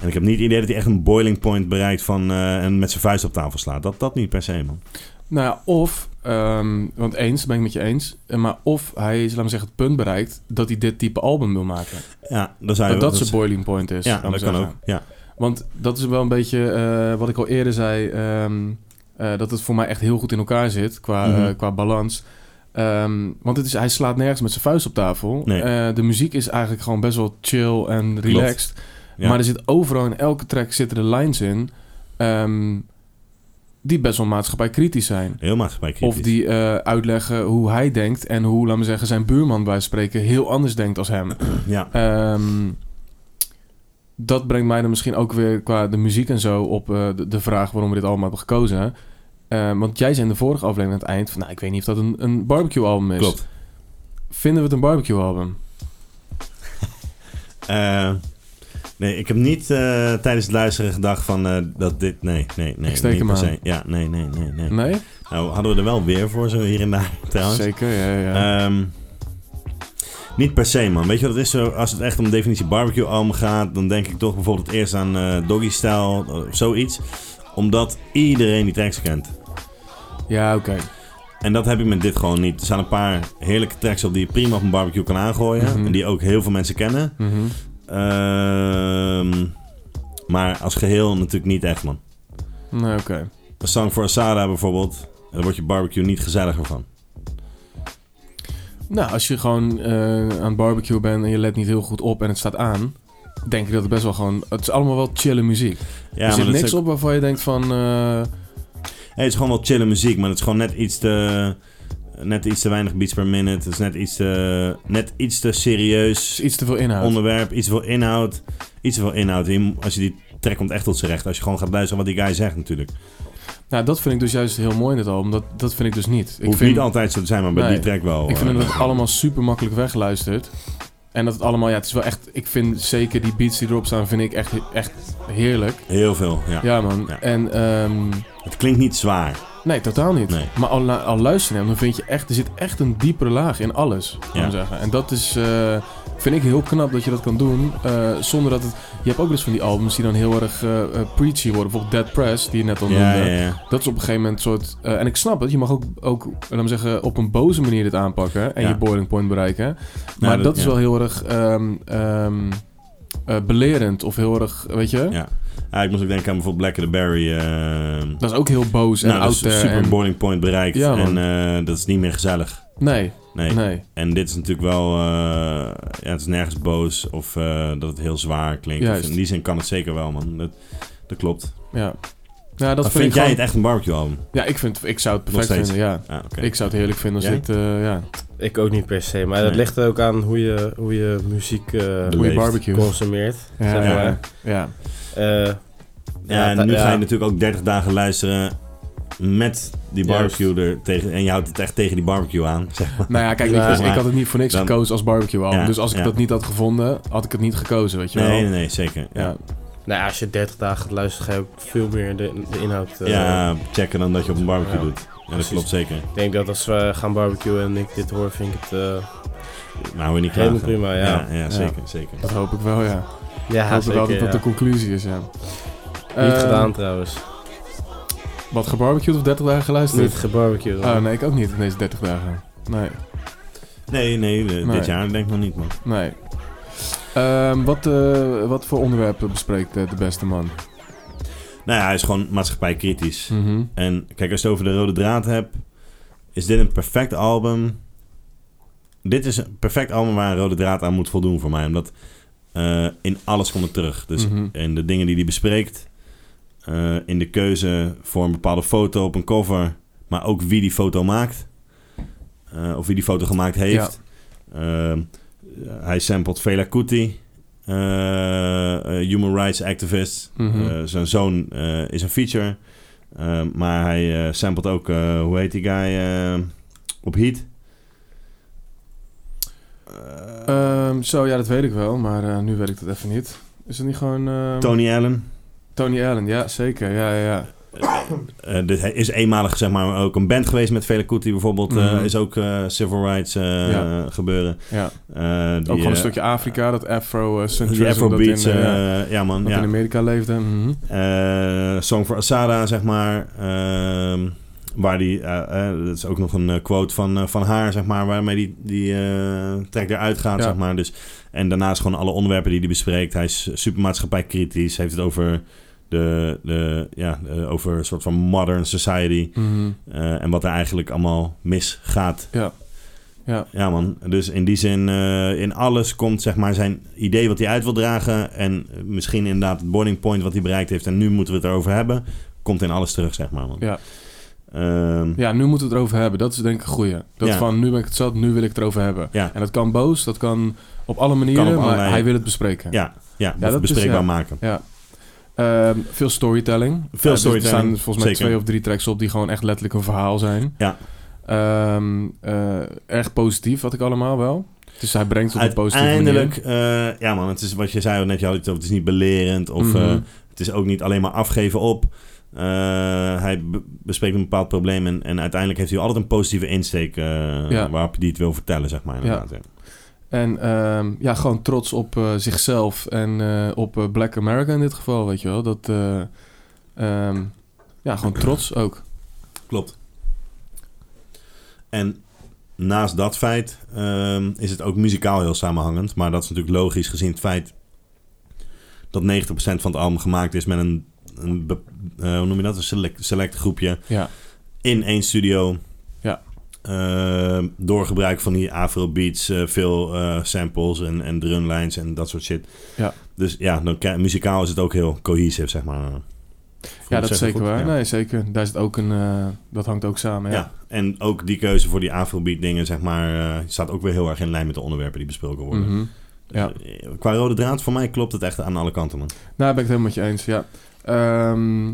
Speaker 1: En ik heb niet het idee dat hij echt een boiling point bereikt van eh, en met zijn vuist op tafel slaat. Dat, dat niet per se, man.
Speaker 2: Nou ja, of, ehm, want eens, ben ik met je eens. eh, Maar of hij is, laat me zeggen, het punt bereikt dat hij dit type album wil maken.
Speaker 1: Ja, dan zou je
Speaker 2: dat Oh,
Speaker 1: dat
Speaker 2: dat zijn boiling point is.
Speaker 1: Ja,
Speaker 2: laat me
Speaker 1: dat kan
Speaker 2: zeggen.
Speaker 1: ook. Ja,
Speaker 2: Want dat is wel een beetje eh, wat ik al eerder zei. ehm, eh, dat het voor mij echt heel goed in elkaar zit qua,
Speaker 1: Mhm.
Speaker 2: eh, qua balans. Ehm, want het is, hij slaat nergens met zijn vuist op tafel.
Speaker 1: Nee.
Speaker 2: Eh, de muziek is eigenlijk gewoon best wel chill en relaxed.
Speaker 1: Ja.
Speaker 2: Maar er zit overal in elke track zitten er lines in. ehm, die best wel maatschappijkritisch zijn.
Speaker 1: heel maatschappij
Speaker 2: Of die eh, uitleggen hoe hij denkt en hoe, laten we zeggen, zijn buurman bij spreken heel anders denkt als hem.
Speaker 1: Ja,
Speaker 2: Ehm, dat brengt mij dan misschien ook weer qua de muziek en zo op eh, de, de vraag waarom we dit allemaal hebben gekozen. Ehm, want jij zei in de vorige aflevering aan het eind van, nou, ik weet niet of dat een, een barbecue album is.
Speaker 1: klopt.
Speaker 2: Vinden we het een barbecue album?
Speaker 1: Eh, nee, ik heb niet eh, tijdens het luisteren gedacht van eh, dat dit... Nee, nee, nee.
Speaker 2: Ik steek
Speaker 1: niet
Speaker 2: hem
Speaker 1: per
Speaker 2: aan.
Speaker 1: se. Ja, nee, nee, nee, nee.
Speaker 2: Nee?
Speaker 1: Nou, hadden we er wel weer voor, zo hier en daar trouwens.
Speaker 2: Zeker, ja, ja.
Speaker 1: Ehm, niet per se, man. Weet je wat het is? Zo, Als het echt om de definitie barbecue album gaat, dan denk ik toch bijvoorbeeld eerst aan eh, Doggy Style eh, of zoiets. Omdat iedereen die tracks kent.
Speaker 2: ja, oké.
Speaker 1: En dat heb ik met dit gewoon niet. Er staan een paar heerlijke tracks op die je prima op een barbecue kan aangooien.
Speaker 2: Mhm.
Speaker 1: En die ook heel veel mensen kennen.
Speaker 2: Mhm.
Speaker 1: Ehm, maar als geheel natuurlijk niet echt, man.
Speaker 2: Nee, Nou, oké.
Speaker 1: Een song voor Asada bijvoorbeeld. Daar wordt je barbecue niet gezelliger van.
Speaker 2: Nou, als je gewoon eh, aan het barbecue bent en je let niet heel goed op en het staat aan, denk ik dat het best wel gewoon... Het is allemaal wel chille muziek.
Speaker 1: Ja,
Speaker 2: er zit
Speaker 1: dat is
Speaker 2: niks
Speaker 1: ook-
Speaker 2: op waarvan je denkt van... eh,
Speaker 1: Hey, het is gewoon wel chille muziek, maar het is gewoon net iets te... eh, net iets te weinig beats per minute. Het is net iets te, net iets te serieus.
Speaker 2: is iets te veel inhoud.
Speaker 1: onderwerp, iets te veel inhoud. Iets te veel inhoud. Je moet- Als je die track komt echt tot zijn recht. Als je gewoon gaat luisteren wat die guy zegt natuurlijk.
Speaker 2: Nou, dat vind ik dus juist heel mooi in het album. Dat, dat vind ik dus niet. Ik
Speaker 1: Hoeft
Speaker 2: vind,
Speaker 1: niet altijd zo te zijn, maar bij
Speaker 2: Nee.
Speaker 1: die track wel.
Speaker 2: ik vind
Speaker 1: eh,
Speaker 2: dat het allemaal super makkelijk weggeluisterd. En dat het allemaal, ja, het is wel echt... Ik vind zeker die beats die erop staan, vind ik echt, echt heerlijk.
Speaker 1: Heel veel, ja.
Speaker 2: Ja, man.
Speaker 1: Ja.
Speaker 2: En, ehm,
Speaker 1: Het klinkt niet zwaar.
Speaker 2: nee, totaal niet.
Speaker 1: Nee.
Speaker 2: Maar al, na- al luister je hem, dan vind je echt... Er zit echt een diepere laag in alles, kan
Speaker 1: Ja.
Speaker 2: ik zeggen. En dat is... eh, vind ik heel knap dat je dat kan doen. eh, zonder dat het... Je hebt ook dus van die albums die dan heel erg eh, eh, preachy worden. Bijvoorbeeld Dead Press, die je net al noemde.
Speaker 1: Ja, ja, ja.
Speaker 2: Dat is op een gegeven moment een soort. eh, en ik snap het, je mag ook, ook laat maar zeggen, op een boze manier dit aanpakken en
Speaker 1: Ja.
Speaker 2: je boiling point bereiken. Maar
Speaker 1: dat-
Speaker 2: dat, is
Speaker 1: ja.
Speaker 2: wel heel erg ehm, ehm, eh, belerend of heel erg, weet je?
Speaker 1: Ja. Ja, Ah, ik moest ook denken aan bijvoorbeeld Black and the Berry. eh,
Speaker 2: Dat is ook heel boos en
Speaker 1: nou, dat
Speaker 2: out
Speaker 1: is
Speaker 2: there.
Speaker 1: super
Speaker 2: en-
Speaker 1: boiling point bereikt.
Speaker 2: Ja,
Speaker 1: en
Speaker 2: man.
Speaker 1: eh, dat is niet meer gezellig.
Speaker 2: nee,
Speaker 1: Nee.
Speaker 2: nee,
Speaker 1: En dit is natuurlijk wel... eh, ja, het is nergens boos of eh, dat het heel zwaar klinkt.
Speaker 2: Juist.
Speaker 1: Of in die zin kan het zeker wel, man. Dat, dat klopt.
Speaker 2: Ja. ja, dat
Speaker 1: Maar
Speaker 2: vind,
Speaker 1: vind
Speaker 2: ik
Speaker 1: jij
Speaker 2: gewoon-
Speaker 1: het echt een barbecue album?
Speaker 2: Ja, ik, vind, ik zou het
Speaker 1: Nog
Speaker 2: perfect
Speaker 1: steeds.
Speaker 2: vinden, ja.
Speaker 1: Ah, oké.
Speaker 2: Ik zou het heerlijk vinden als
Speaker 1: Jij?
Speaker 2: dit, eh, ja,
Speaker 4: Ik ook niet per se, maar dat
Speaker 1: Nee.
Speaker 4: ligt er ook aan hoe je, hoe je muziek eh,
Speaker 1: Beleefd.
Speaker 2: hoe je barbecue.
Speaker 4: consumeert.
Speaker 2: Ja,
Speaker 4: zeg
Speaker 2: ja,
Speaker 4: maar.
Speaker 2: ja.
Speaker 4: Eh,
Speaker 1: Ja,
Speaker 4: Ja, ta-
Speaker 1: en nu
Speaker 4: ja.
Speaker 1: ga je natuurlijk ook 30 dagen luisteren met die barbecue er tegen. En je houdt het echt tegen die barbecue aan. Zeg maar.
Speaker 2: Nou ja, kijk, ik-
Speaker 4: Ja.
Speaker 2: ik, had het niet voor niks
Speaker 1: Dan-
Speaker 2: gekozen als barbecue album.
Speaker 1: Ja,
Speaker 2: dus als ik
Speaker 1: ja.
Speaker 2: dat niet had gevonden, had ik het niet gekozen, weet je
Speaker 1: Nee,
Speaker 2: wel.
Speaker 1: nee, nee, zeker. Ja,
Speaker 2: Ja.
Speaker 4: nou ja, als je 30 dagen gaat luisteren, ga je ook veel meer de, de inhoud. eh,
Speaker 1: ja checken dan dat je op een barbecue
Speaker 4: Ja.
Speaker 1: doet. Ja, dat
Speaker 4: Precies.
Speaker 1: klopt zeker.
Speaker 4: Ik denk dat als we gaan barbecuen en ik dit hoor, vind ik het eh,
Speaker 1: Nou, hou je niet klaar.
Speaker 4: helemaal prima. Ja,
Speaker 1: ja, zeker, zeker.
Speaker 2: Dat hoop ik wel, ja.
Speaker 4: ja,
Speaker 2: Ik hoop
Speaker 4: zeker,
Speaker 2: wel dat dat
Speaker 4: ja.
Speaker 2: de conclusie is, ja.
Speaker 4: Niet
Speaker 2: Eh,
Speaker 4: gedaan trouwens.
Speaker 2: Wat, gebarbecued of 30 dagen geluisterd?
Speaker 4: Niet Ah, gebarbecued.
Speaker 2: Oh, nee, ik ook niet in deze 30 dagen. Nee,
Speaker 1: Nee, nee, eh,
Speaker 2: Nee.
Speaker 1: dit jaar denk ik nog niet, man.
Speaker 2: nee. Ehm, wat, eh, wat voor onderwerpen bespreekt eh, de beste man?
Speaker 1: Nou ja, hij is gewoon maatschappijkritisch.
Speaker 2: Mhm.
Speaker 1: En kijk, als je het over de rode draad hebt, is dit een perfect album. Dit is een perfect album waar een rode draad aan moet voldoen voor mij. Omdat eh, in alles komt het terug. Dus
Speaker 2: Mhm.
Speaker 1: in de dingen die hij bespreekt, eh, in de keuze voor een bepaalde foto op een cover, maar ook wie die foto maakt. eh, of wie die foto gemaakt heeft. Eh, hij sampled Fela Kuti, eh, eh, human rights activist.
Speaker 2: Mhm.
Speaker 1: Eh, zijn zoon eh, is een feature. Eh, maar hij eh, sampled ook, eh, hoe heet die guy eh, op Heat?
Speaker 2: Ehm, zo, ja, dat weet ik wel, maar eh, nu weet ik dat even niet. Is het niet gewoon... ehm,
Speaker 1: Tony Allen.
Speaker 2: Tony Allen, ja, zeker. Ja, ja, ja.
Speaker 1: Eh, dit is eenmalig zeg maar ook een band geweest met Fela Kuti bijvoorbeeld. eh,
Speaker 2: Mhm.
Speaker 1: is ook eh, civil rights eh,
Speaker 2: Ja.
Speaker 1: gebeuren.
Speaker 2: ja.
Speaker 1: Eh, die,
Speaker 2: Ook gewoon een
Speaker 1: eh,
Speaker 2: stukje Afrika, dat eh, afro-centrisme
Speaker 1: Die Afrobeats,
Speaker 2: dat in, eh, ja,
Speaker 1: eh, ja man.
Speaker 2: dat
Speaker 1: Ja.
Speaker 2: in Amerika leefde. Mhm.
Speaker 1: Eh, Song for Asada, zeg maar. Ehm, waar die, eh, eh, dat is ook nog een eh, quote van, eh, van haar, zeg maar, waarmee die, die eh track eruit gaat,
Speaker 2: Ja.
Speaker 1: zeg maar. Dus, en daarnaast gewoon alle onderwerpen die hij bespreekt. Hij is supermaatschappijkritisch, heeft het over de, de ja, eh, over een soort van modern society.
Speaker 2: Mhm.
Speaker 1: eh, en wat er eigenlijk allemaal misgaat.
Speaker 2: Ja. Ja.
Speaker 1: Ja, man. Dus in die zin, eh, in alles komt zeg maar zijn idee wat hij uit wil dragen. En misschien inderdaad het boarding point wat hij bereikt heeft. En nu moeten we het erover hebben. Komt in alles terug, zeg maar, man.
Speaker 2: Ja.
Speaker 1: Ehm,
Speaker 2: Ja, nu moeten we het erover hebben. Dat is denk ik een goeie. Dat
Speaker 1: Ja.
Speaker 2: van, nu ben ik het zat, nu wil ik het erover hebben.
Speaker 1: Ja.
Speaker 2: En dat kan boos, dat kan op alle manieren,
Speaker 1: Kan op
Speaker 2: maar
Speaker 1: allerlei-
Speaker 2: hij wil het bespreken.
Speaker 1: ja, ja,
Speaker 2: dat is,
Speaker 1: bespreekbaar
Speaker 2: ja.
Speaker 1: maken.
Speaker 2: Ehm, veel storytelling.
Speaker 1: Veel
Speaker 2: Eh, dus
Speaker 1: storytelling,
Speaker 2: Er staan volgens mij
Speaker 1: zeker.
Speaker 2: twee of drie tracks op die gewoon echt letterlijk een verhaal zijn.
Speaker 1: Ja.
Speaker 2: Ehm, eh, erg positief, wat ik allemaal wel. Dus hij brengt het op een positieve manier.
Speaker 1: Uiteindelijk, eh, ja man, het is wat je zei ook net, je had het over, het is niet belerend of
Speaker 2: Mhm.
Speaker 1: eh, het is ook niet alleen maar afgeven op. Eh, hij be- bespreekt een bepaald probleem en, en uiteindelijk heeft hij altijd een positieve insteek eh,
Speaker 2: Ja.
Speaker 1: waarop hij het wil vertellen, zeg maar. Inderdaad, ja.
Speaker 2: En ehm, ja, gewoon trots op eh, zichzelf en eh, op eh, Black America in dit geval, weet je wel. Dat, eh, ehm, ja, gewoon trots ook.
Speaker 1: Klopt. En naast dat feit ehm, is het ook muzikaal heel samenhangend. Maar dat is natuurlijk logisch gezien het feit dat 90% van het album gemaakt is met een, een be- eh, hoe noem je dat? Een select, select groepje
Speaker 2: Ja.
Speaker 1: in één studio.
Speaker 2: Ja.
Speaker 1: Ehm, door gebruik van die afrobeats, eh, veel eh, samples en, en drumlines en dat soort shit.
Speaker 2: Ja.
Speaker 1: Dus ja, dan, krijg- muzikaal is het ook heel cohesief, zeg maar. zeg
Speaker 2: Ja, dat is
Speaker 1: ik
Speaker 2: zeker
Speaker 1: goed?
Speaker 2: waar.
Speaker 1: Ja.
Speaker 2: Nee, zeker. Daar zit ook een, eh, dat hangt ook samen. Ja.
Speaker 1: Ja. en ook die keuze voor die afrobeat dingen, zeg maar, eh, staat ook weer heel erg in lijn met de onderwerpen die besproken worden.
Speaker 2: Mhm. ja.
Speaker 1: Dus, eh, qua rode draad, voor mij klopt het echt aan alle kanten, man.
Speaker 2: Nou, ben ik het helemaal met je eens, ja. Ehm,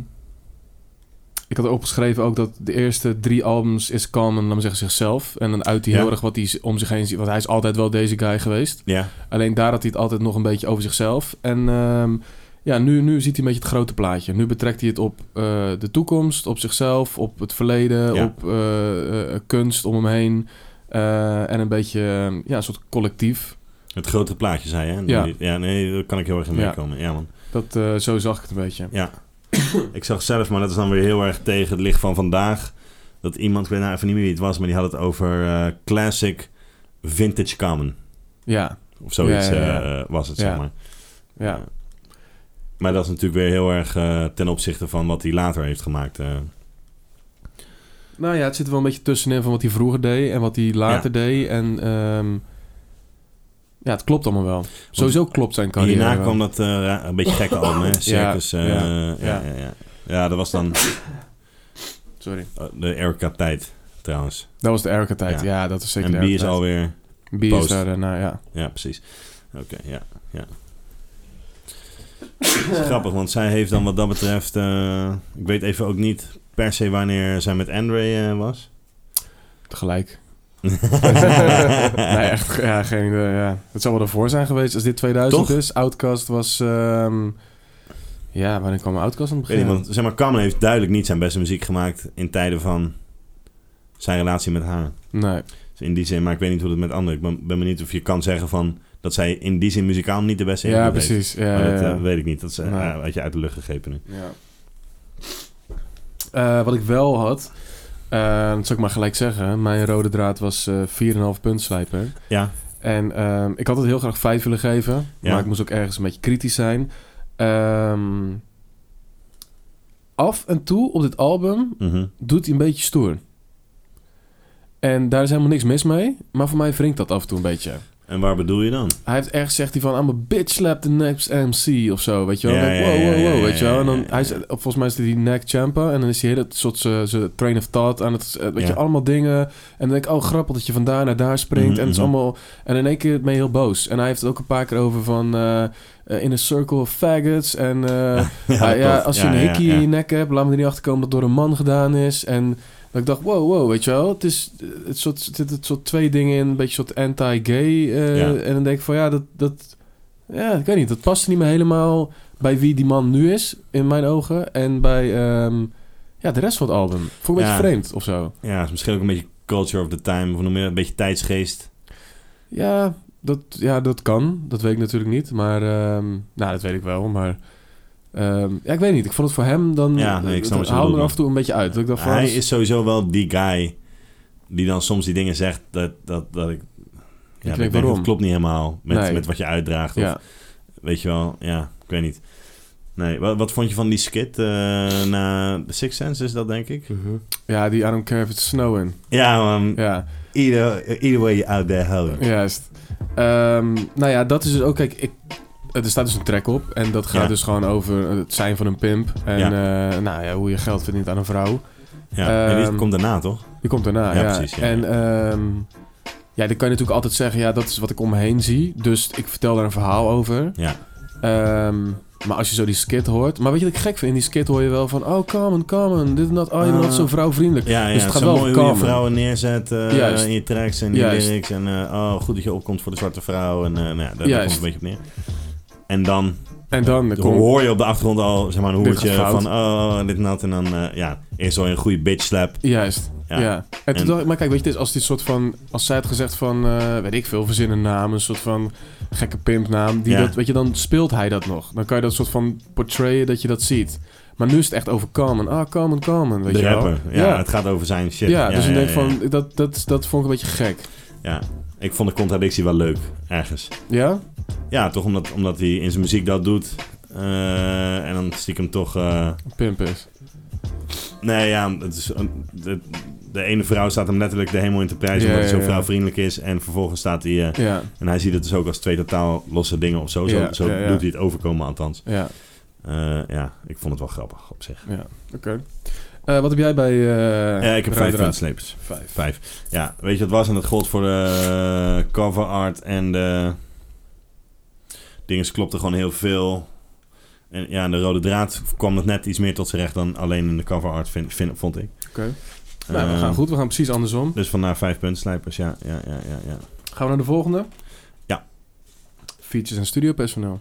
Speaker 2: ik had opgeschreven ook dat de eerste drie albums is Common, laat me zeggen, zichzelf. En dan uit hij
Speaker 1: Ja.
Speaker 2: heel erg wat hij z- om zich heen ziet. Want hij is altijd wel deze guy geweest.
Speaker 1: Ja,
Speaker 2: Alleen daar had hij het altijd nog een beetje over zichzelf. En ehm, ja, nu, nu ziet hij een beetje het grote plaatje. Nu betrekt hij het op eh, de toekomst, op zichzelf, op het verleden,
Speaker 1: Ja.
Speaker 2: op eh, eh, kunst om hem heen. Eh, en een beetje eh, ja, een soort collectief.
Speaker 1: het grotere plaatje, zei je. hè?
Speaker 2: Ja.
Speaker 1: ja, nee, daar kan ik heel erg in
Speaker 2: Ja.
Speaker 1: meekomen. Ja, man.
Speaker 2: Dat, eh, zo zag ik het een beetje.
Speaker 1: Ja. Ik zag zelf, maar dat is dan weer heel erg tegen het licht van vandaag. Dat iemand, ik weet nou even niet meer wie het was, maar die had het over eh, classic vintage common.
Speaker 2: Ja,
Speaker 1: Of zoiets
Speaker 2: Ja, ja, ja.
Speaker 1: eh, was het,
Speaker 2: Ja.
Speaker 1: zeg maar. Eh,
Speaker 2: ja.
Speaker 1: Maar dat is natuurlijk weer heel erg eh, ten opzichte van wat hij later heeft gemaakt. eh.
Speaker 2: Nou ja, het zit er wel een beetje tussenin van wat hij vroeger deed en wat hij later deed. En ehm, ja, het klopt allemaal wel. Sowieso klopt zijn carrière.
Speaker 1: Hierna
Speaker 2: wel.
Speaker 1: kwam dat eh, ra- een beetje gekke album, hè? Circus. eh,
Speaker 2: ja,
Speaker 1: ja, ja.
Speaker 2: ja.
Speaker 1: Ja, ja. dat was dan
Speaker 2: Sorry.
Speaker 1: eh, de Erica-tijd, trouwens.
Speaker 2: Dat was de Erica-tijd.
Speaker 1: Ja.
Speaker 2: Ja. dat is zeker
Speaker 1: en
Speaker 2: de
Speaker 1: B is
Speaker 2: Erica-tijd.
Speaker 1: alweer...
Speaker 2: B is
Speaker 1: post.
Speaker 2: daar daarna, ja.
Speaker 1: Ja, precies. Oké, ja. ja. Het is grappig, want zij heeft dan wat dat betreft... eh, ik weet even ook niet per se wanneer zij met Andre eh, was.
Speaker 2: Tegelijk. nee, echt. Ja, geen idee. Ja. Het zou wel ervoor zijn geweest als dit 2000
Speaker 1: Toch?
Speaker 2: is. Outcast was... ehm, ja, wanneer kwam Outcast aan het
Speaker 1: Ik weet niet,
Speaker 2: begin?
Speaker 1: want zeg maar, Kamen heeft duidelijk niet zijn beste muziek gemaakt... in tijden van zijn relatie met haar.
Speaker 2: Nee.
Speaker 1: Dus in die zin, maar ik weet niet hoe dat met anderen... Ik ben, ben benieuwd of je kan zeggen van... dat zij in die zin muzikaal niet de beste
Speaker 2: Ja,
Speaker 1: invloed heeft.
Speaker 2: precies. Ja,
Speaker 1: Maar dat
Speaker 2: ja, ja.
Speaker 1: eh, weet ik niet. Dat is eh,
Speaker 2: Nee.
Speaker 1: uit je uit de lucht gegrepen nu.
Speaker 2: Ja. Eh, wat ik wel had, eh, dat zal ik maar gelijk zeggen. Mijn rode draad was eh 4,5 punt slijper.
Speaker 1: Ja,
Speaker 2: En ehm, ik had het heel graag 5 willen geven,
Speaker 1: Ja.
Speaker 2: maar ik moest ook ergens een beetje kritisch zijn. Ehm, af en toe op dit album
Speaker 1: mhm.
Speaker 2: doet hij een beetje stoer. En daar is helemaal niks mis mee, maar voor mij wringt dat af en toe een beetje.
Speaker 1: En waar bedoel je dan?
Speaker 2: Hij heeft echt zegt hij van, I'm a bitch slap the next MC of zo, weet je wel.
Speaker 1: Ja,
Speaker 2: Dan denk ik,
Speaker 1: ja,
Speaker 2: wow,
Speaker 1: ja,
Speaker 2: wow,
Speaker 1: ja,
Speaker 2: wow,
Speaker 1: ja,
Speaker 2: weet je wel. En
Speaker 1: ja,
Speaker 2: dan,
Speaker 1: ja,
Speaker 2: hij is,
Speaker 1: ja.
Speaker 2: volgens mij is hij die neck champa en dan is hij hele soort eh, zijn train of thought aan het, eh, weet
Speaker 1: Ja.
Speaker 2: je, allemaal dingen. En dan denk ik, oh grappig dat je van daar naar daar springt.
Speaker 1: Mhm,
Speaker 2: en het is
Speaker 1: mhm.
Speaker 2: allemaal, en in één keer ben je heel boos. En hij heeft het ook een paar keer over van, eh, eh, in a circle of faggots. En eh,
Speaker 1: dat
Speaker 2: ah, ja,
Speaker 1: klopt.
Speaker 2: als je
Speaker 1: Ja,
Speaker 2: een
Speaker 1: ja,
Speaker 2: hikkie
Speaker 1: ja.
Speaker 2: in je nek hebt, laat me er niet achter komen dat het door een man gedaan is. En dat ik dacht, wow, wow, weet je wel. Het is eh, het soort, het, het, soort twee dingen in, een beetje soort anti-gay. eh,
Speaker 1: Ja.
Speaker 2: En dan denk ik van, ja, dat, dat, ja, ik weet niet, dat past niet meer helemaal bij wie die man nu is, in mijn ogen. En bij ehm, ja, de rest van het album. Vond ik een
Speaker 1: Ja.
Speaker 2: beetje vreemd of zo.
Speaker 1: Ja, is misschien ook een beetje culture of the time. Of noem je dat, een beetje tijdsgeest.
Speaker 2: Ja, dat, ja, dat kan. Dat weet ik natuurlijk niet. Maar, ehm, nou, dat weet ik wel. Maar, ehm, ja, ik weet niet. Ik vond het voor hem dan...
Speaker 1: Ja, nee, ik snap wat
Speaker 2: het
Speaker 1: je
Speaker 2: haalde
Speaker 1: bedoelt,
Speaker 2: er af en toe een beetje uit. Dat ik dacht van,
Speaker 1: Hij
Speaker 2: dat
Speaker 1: is sowieso wel die guy die dan soms die dingen zegt dat, dat, dat ik... Ja,
Speaker 2: denk,
Speaker 1: dat ik denk,
Speaker 2: waarom?
Speaker 1: dat klopt niet helemaal met,
Speaker 2: Nee.
Speaker 1: met wat je uitdraagt. Of,
Speaker 2: Ja,
Speaker 1: Weet je wel, ja, ik weet niet. Nee, wat, wat vond je van die skit eh, na The Sixth Sense is dat, denk ik?
Speaker 2: ja, die I don't care if it's snowing.
Speaker 1: Ja, man.
Speaker 2: Mhm. Ja,
Speaker 1: Either, either way you out there, hell yeah.
Speaker 2: juist. Ehm, nou ja, dat is dus ook... Kijk, ik, er staat dus een track op. En dat gaat
Speaker 1: Ja.
Speaker 2: dus gewoon over het zijn van een pimp. En eh, nou ja, hoe je geld verdient aan een vrouw.
Speaker 1: Ja, en
Speaker 2: Ehm,
Speaker 1: dit komt daarna, toch?
Speaker 2: Die komt daarna,
Speaker 1: Ja,
Speaker 2: ja.
Speaker 1: precies, ja.
Speaker 2: En ehm, ja, dan kan je natuurlijk altijd zeggen... Ja, dat is wat ik om me heen zie. Dus ik vertel daar een verhaal over.
Speaker 1: Ja.
Speaker 2: Ehm, maar als je zo die skit hoort... Maar weet je wat ik gek vind? In die skit hoor je wel van... Oh, Carmen, Carmen. Dit en dat. Oh, je bent
Speaker 1: Ah.
Speaker 2: altijd zo vrouwvriendelijk.
Speaker 1: Ja, ja
Speaker 2: Dus het
Speaker 1: het
Speaker 2: gaat
Speaker 1: is
Speaker 2: wel
Speaker 1: mooi hoe je
Speaker 2: komen.
Speaker 1: vrouwen neerzet eh,
Speaker 2: Juist.
Speaker 1: in je tracks en in je
Speaker 2: Juist.
Speaker 1: lyrics. En eh, oh, goed dat je opkomt voor de zwarte vrouw. En eh, nou, ja, daar- daar, komt
Speaker 2: Juist.
Speaker 1: het een beetje op neer. En dan
Speaker 2: En dan komt...
Speaker 1: hoor je op de achtergrond al zeg maar, een
Speaker 2: Dit
Speaker 1: hoertje
Speaker 2: gaat fout.
Speaker 1: van oh, dit en dat. En dan, eh, ja, eerst al een goede bitch slap.
Speaker 2: Juist.
Speaker 1: Ja.
Speaker 2: Ja. En toen
Speaker 1: En-
Speaker 2: dacht ik, maar kijk, weet je, het is als dit soort van, als zij had gezegd van, eh, weet ik veel, verzin een naam, een soort van gekke pimpnaam, die
Speaker 1: Ja.
Speaker 2: dat, weet je, dan speelt hij dat nog. Dan kan je dat soort van portrayen dat je dat ziet. Maar nu is het echt over Carmen. Ah, Carmen, Carmen, weet
Speaker 1: de
Speaker 2: je
Speaker 1: rapper.
Speaker 2: wel.
Speaker 1: Ja,
Speaker 2: ja.
Speaker 1: het gaat over zijn shit.
Speaker 2: Ja, dus dan denk ik
Speaker 1: ja,
Speaker 2: van, dat, dat, dat vond ik een beetje gek.
Speaker 1: ja. Ik vond de contradictie wel leuk, ergens.
Speaker 2: Ja?
Speaker 1: Ja, toch omdat, omdat hij in zijn muziek dat doet. eh, en dan stiekem toch... eh,
Speaker 2: Pimp is.
Speaker 1: Nee, ja, het is, een- de, de ene vrouw staat hem letterlijk de hemel in te prijzen
Speaker 2: Ja,
Speaker 1: omdat hij zo
Speaker 2: ja, ja.
Speaker 1: vrouwvriendelijk is. En vervolgens staat hij, eh,
Speaker 2: Ja,
Speaker 1: en hij ziet het dus ook als twee totaal losse dingen of zo. Zo,
Speaker 2: Ja,
Speaker 1: zo
Speaker 2: ja, ja.
Speaker 1: doet hij het overkomen althans.
Speaker 2: ja.
Speaker 1: Eh, Eh, ja, ik vond het wel grappig op zich.
Speaker 2: Ja, oké. Eh, wat heb jij bij... eh,
Speaker 1: Ja, ik heb vijf
Speaker 2: Rijder Raad?
Speaker 1: puntslepers.
Speaker 2: Vijf.
Speaker 1: Vijf. Ja, weet je wat het was? En dat gold voor de eh, cover art en de... Dingen klopten gewoon heel veel. En ja, en de rode draad kwam het net iets meer tot zijn recht dan alleen in de cover art, vind, vind, vond ik.
Speaker 2: Oké. Nou, we
Speaker 1: Ehm,
Speaker 2: gaan goed. We gaan precies andersom.
Speaker 1: Dus vandaar vijf puntslijpers, ja, ja, ja, ja, ja.
Speaker 2: Gaan we naar de volgende?
Speaker 1: Ja.
Speaker 2: Features en studiopersoneel.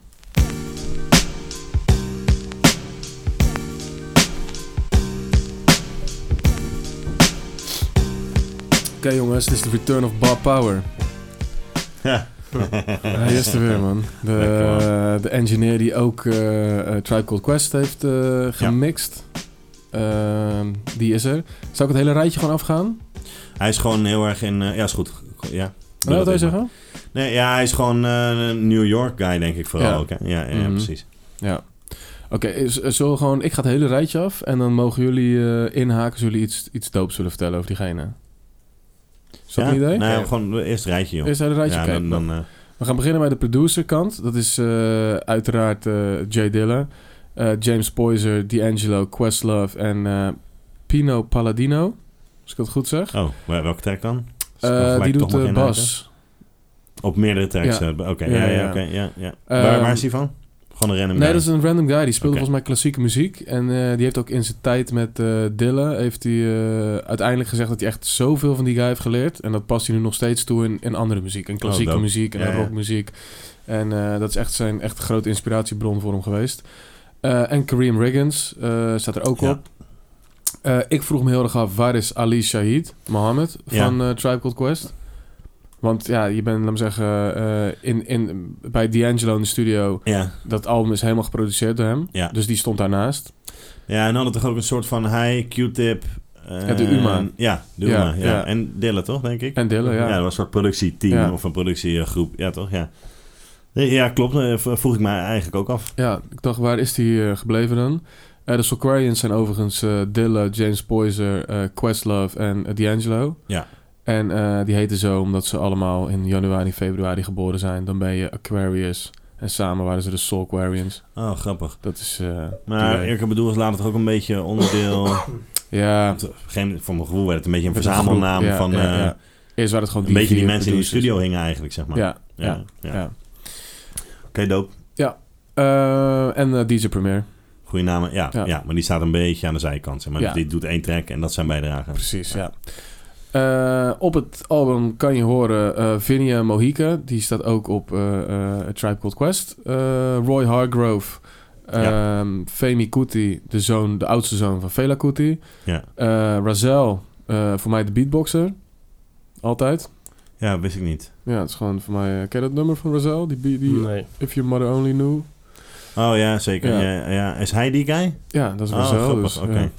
Speaker 2: Oké jongens, dit is de Return of Bob Power.
Speaker 1: Ja.
Speaker 2: Hij is er weer man. De,
Speaker 1: Lekker,
Speaker 2: de engineer die ook eh eh, Tribe Called Quest heeft eh, gemixt. Ehm, die is er. Zou ik het hele rijtje gewoon afgaan?
Speaker 1: Hij is gewoon heel erg in... eh, ja, is goed. Ja. Doe
Speaker 2: Wat wil
Speaker 1: even.
Speaker 2: je zeggen?
Speaker 1: Nee, ja, hij is gewoon eh, een New York guy, denk ik vooral
Speaker 2: Ja.
Speaker 1: ook. Hè? Ja, ja, ja,
Speaker 2: Mhm.
Speaker 1: precies.
Speaker 2: Oké, is- eh, zullen we gewoon... Ik ga het hele rijtje af en dan mogen jullie eh, inhaken... als jullie iets, iets doops zullen vertellen over diegene. Is dat
Speaker 1: ja?
Speaker 2: een idee?
Speaker 1: Nou, ja,
Speaker 4: Ja.
Speaker 1: gewoon eerst het rijtje, joh.
Speaker 2: Eerst het hele rijtje
Speaker 1: ja,
Speaker 2: kijken.
Speaker 1: dan, dan, eh,
Speaker 2: We gaan beginnen bij de producerkant. Dat is eh, uiteraard eh, Jay Dilla, eh, James Poyser, D'Angelo, Questlove en eh, Pino Palladino. Als ik dat goed zeg.
Speaker 1: Oh, wel- welke track dan? Is het
Speaker 2: Eh,
Speaker 1: dan gelijk
Speaker 2: die
Speaker 1: toch
Speaker 2: doet
Speaker 1: nog
Speaker 2: de
Speaker 1: inhaken?
Speaker 2: bas.
Speaker 1: Op meerdere tracks.
Speaker 2: Ja.
Speaker 1: eh, Oké,
Speaker 2: Ja,
Speaker 1: ja, ja,
Speaker 2: ja.
Speaker 1: oké, ja, ja. waar,
Speaker 2: Ehm,
Speaker 1: waar is hij van? Gewoon een random
Speaker 2: Nee,
Speaker 1: guy.
Speaker 2: dat is een random guy. Die speelde
Speaker 1: Oké.
Speaker 2: volgens mij klassieke muziek. En eh, die heeft ook in zijn tijd met eh Dilla... heeft hij eh, uiteindelijk gezegd dat hij echt zoveel van die guy heeft geleerd. En dat past hij nu nog steeds toe in, in andere muziek. In klassieke
Speaker 1: Oh, dope.
Speaker 2: muziek en
Speaker 1: Ja,
Speaker 2: aan
Speaker 1: ja.
Speaker 2: rockmuziek. En eh, dat is echt zijn echt grote inspiratiebron voor hem geweest. Eh, en Kareem Riggins eh, staat er ook
Speaker 1: Ja.
Speaker 2: op. Eh, ik vroeg me heel erg af, waar is Ali Shahid Mohammed
Speaker 1: Ja.
Speaker 2: van eh, Tribe Called Quest? Want ja, je bent, laat me zeggen, eh, in, in, bij D'Angelo in de studio
Speaker 1: Ja.
Speaker 2: dat album is helemaal geproduceerd door hem.
Speaker 1: Ja.
Speaker 2: Dus die stond daarnaast.
Speaker 1: ja, en hadden toch ook een soort van hij, Q-tip... eh,
Speaker 2: Ja, de Uma.
Speaker 1: Ja, de
Speaker 2: Ja,
Speaker 1: Uma, ja.
Speaker 2: ja.
Speaker 1: En Dilla, toch, denk ik?
Speaker 2: En Dilla, ja.
Speaker 1: dat was een soort productieteam
Speaker 2: Ja.
Speaker 1: of een productiegroep. Ja, toch? Ja, Nee, ja klopt. eh, v- Vroeg ik me eigenlijk ook af.
Speaker 2: Ja, ik dacht, waar is die eh, gebleven dan? Eh, de Soulquarians zijn overigens eh, Dilla, James Poyser, eh, Questlove en eh, D'Angelo.
Speaker 1: Ja.
Speaker 2: En eh, die heten zo omdat ze allemaal in januari, februari geboren zijn. Dan ben je Aquarius. En samen waren ze de Soulquarians.
Speaker 1: Oh, grappig.
Speaker 2: Dat is... eh,
Speaker 1: Maar
Speaker 2: die-
Speaker 1: Erika Bedoel is later toch ook een beetje onderdeel... Op
Speaker 2: Ja,
Speaker 1: een gegeven moment, voor mijn gevoel werd het een beetje een
Speaker 2: Met een groep,
Speaker 1: verzamelnaam
Speaker 2: ja,
Speaker 1: van...
Speaker 2: ja,
Speaker 1: eh,
Speaker 2: ja. eerst waren het gewoon
Speaker 1: Een beetje die
Speaker 2: vier
Speaker 1: mensen die in de
Speaker 2: producers.
Speaker 1: studio hingen eigenlijk, zeg maar.
Speaker 2: Ja, ja.
Speaker 1: ja. ja.
Speaker 2: ja.
Speaker 1: Oké, dope.
Speaker 2: Eh, en eh, DJ Premier.
Speaker 1: Goeie namen. Ja,
Speaker 2: Ja.
Speaker 1: ja. maar die staat een beetje aan de zijkant. Zeg maar
Speaker 2: Ja.
Speaker 1: die doet één track en dat zijn bijdragen.
Speaker 2: Precies, ja. Eh, op het album kan je horen eh Vinia Mohica. Die staat ook op eh eh, A Tribe Called Quest. Eh, Roy Hargrove. ehm, Femi Kuti, de, zoon, de oudste zoon van Fela Kuti.
Speaker 1: Ja.
Speaker 2: Eh, Razel, eh, voor mij de beatboxer. Altijd.
Speaker 1: Ja, wist ik niet.
Speaker 2: Ja, het is gewoon voor mij... eh, ken je dat nummer van Razel? Die, die, die
Speaker 4: Nee.
Speaker 2: If Your Mother Only Knew?
Speaker 1: Oh ja, zeker.
Speaker 2: Ja.
Speaker 1: Ja. Ja, Is hij die guy?
Speaker 2: Ja, dat is
Speaker 1: oh,
Speaker 2: Razel.
Speaker 1: grappig.
Speaker 2: dus,
Speaker 1: Oké.
Speaker 2: ja.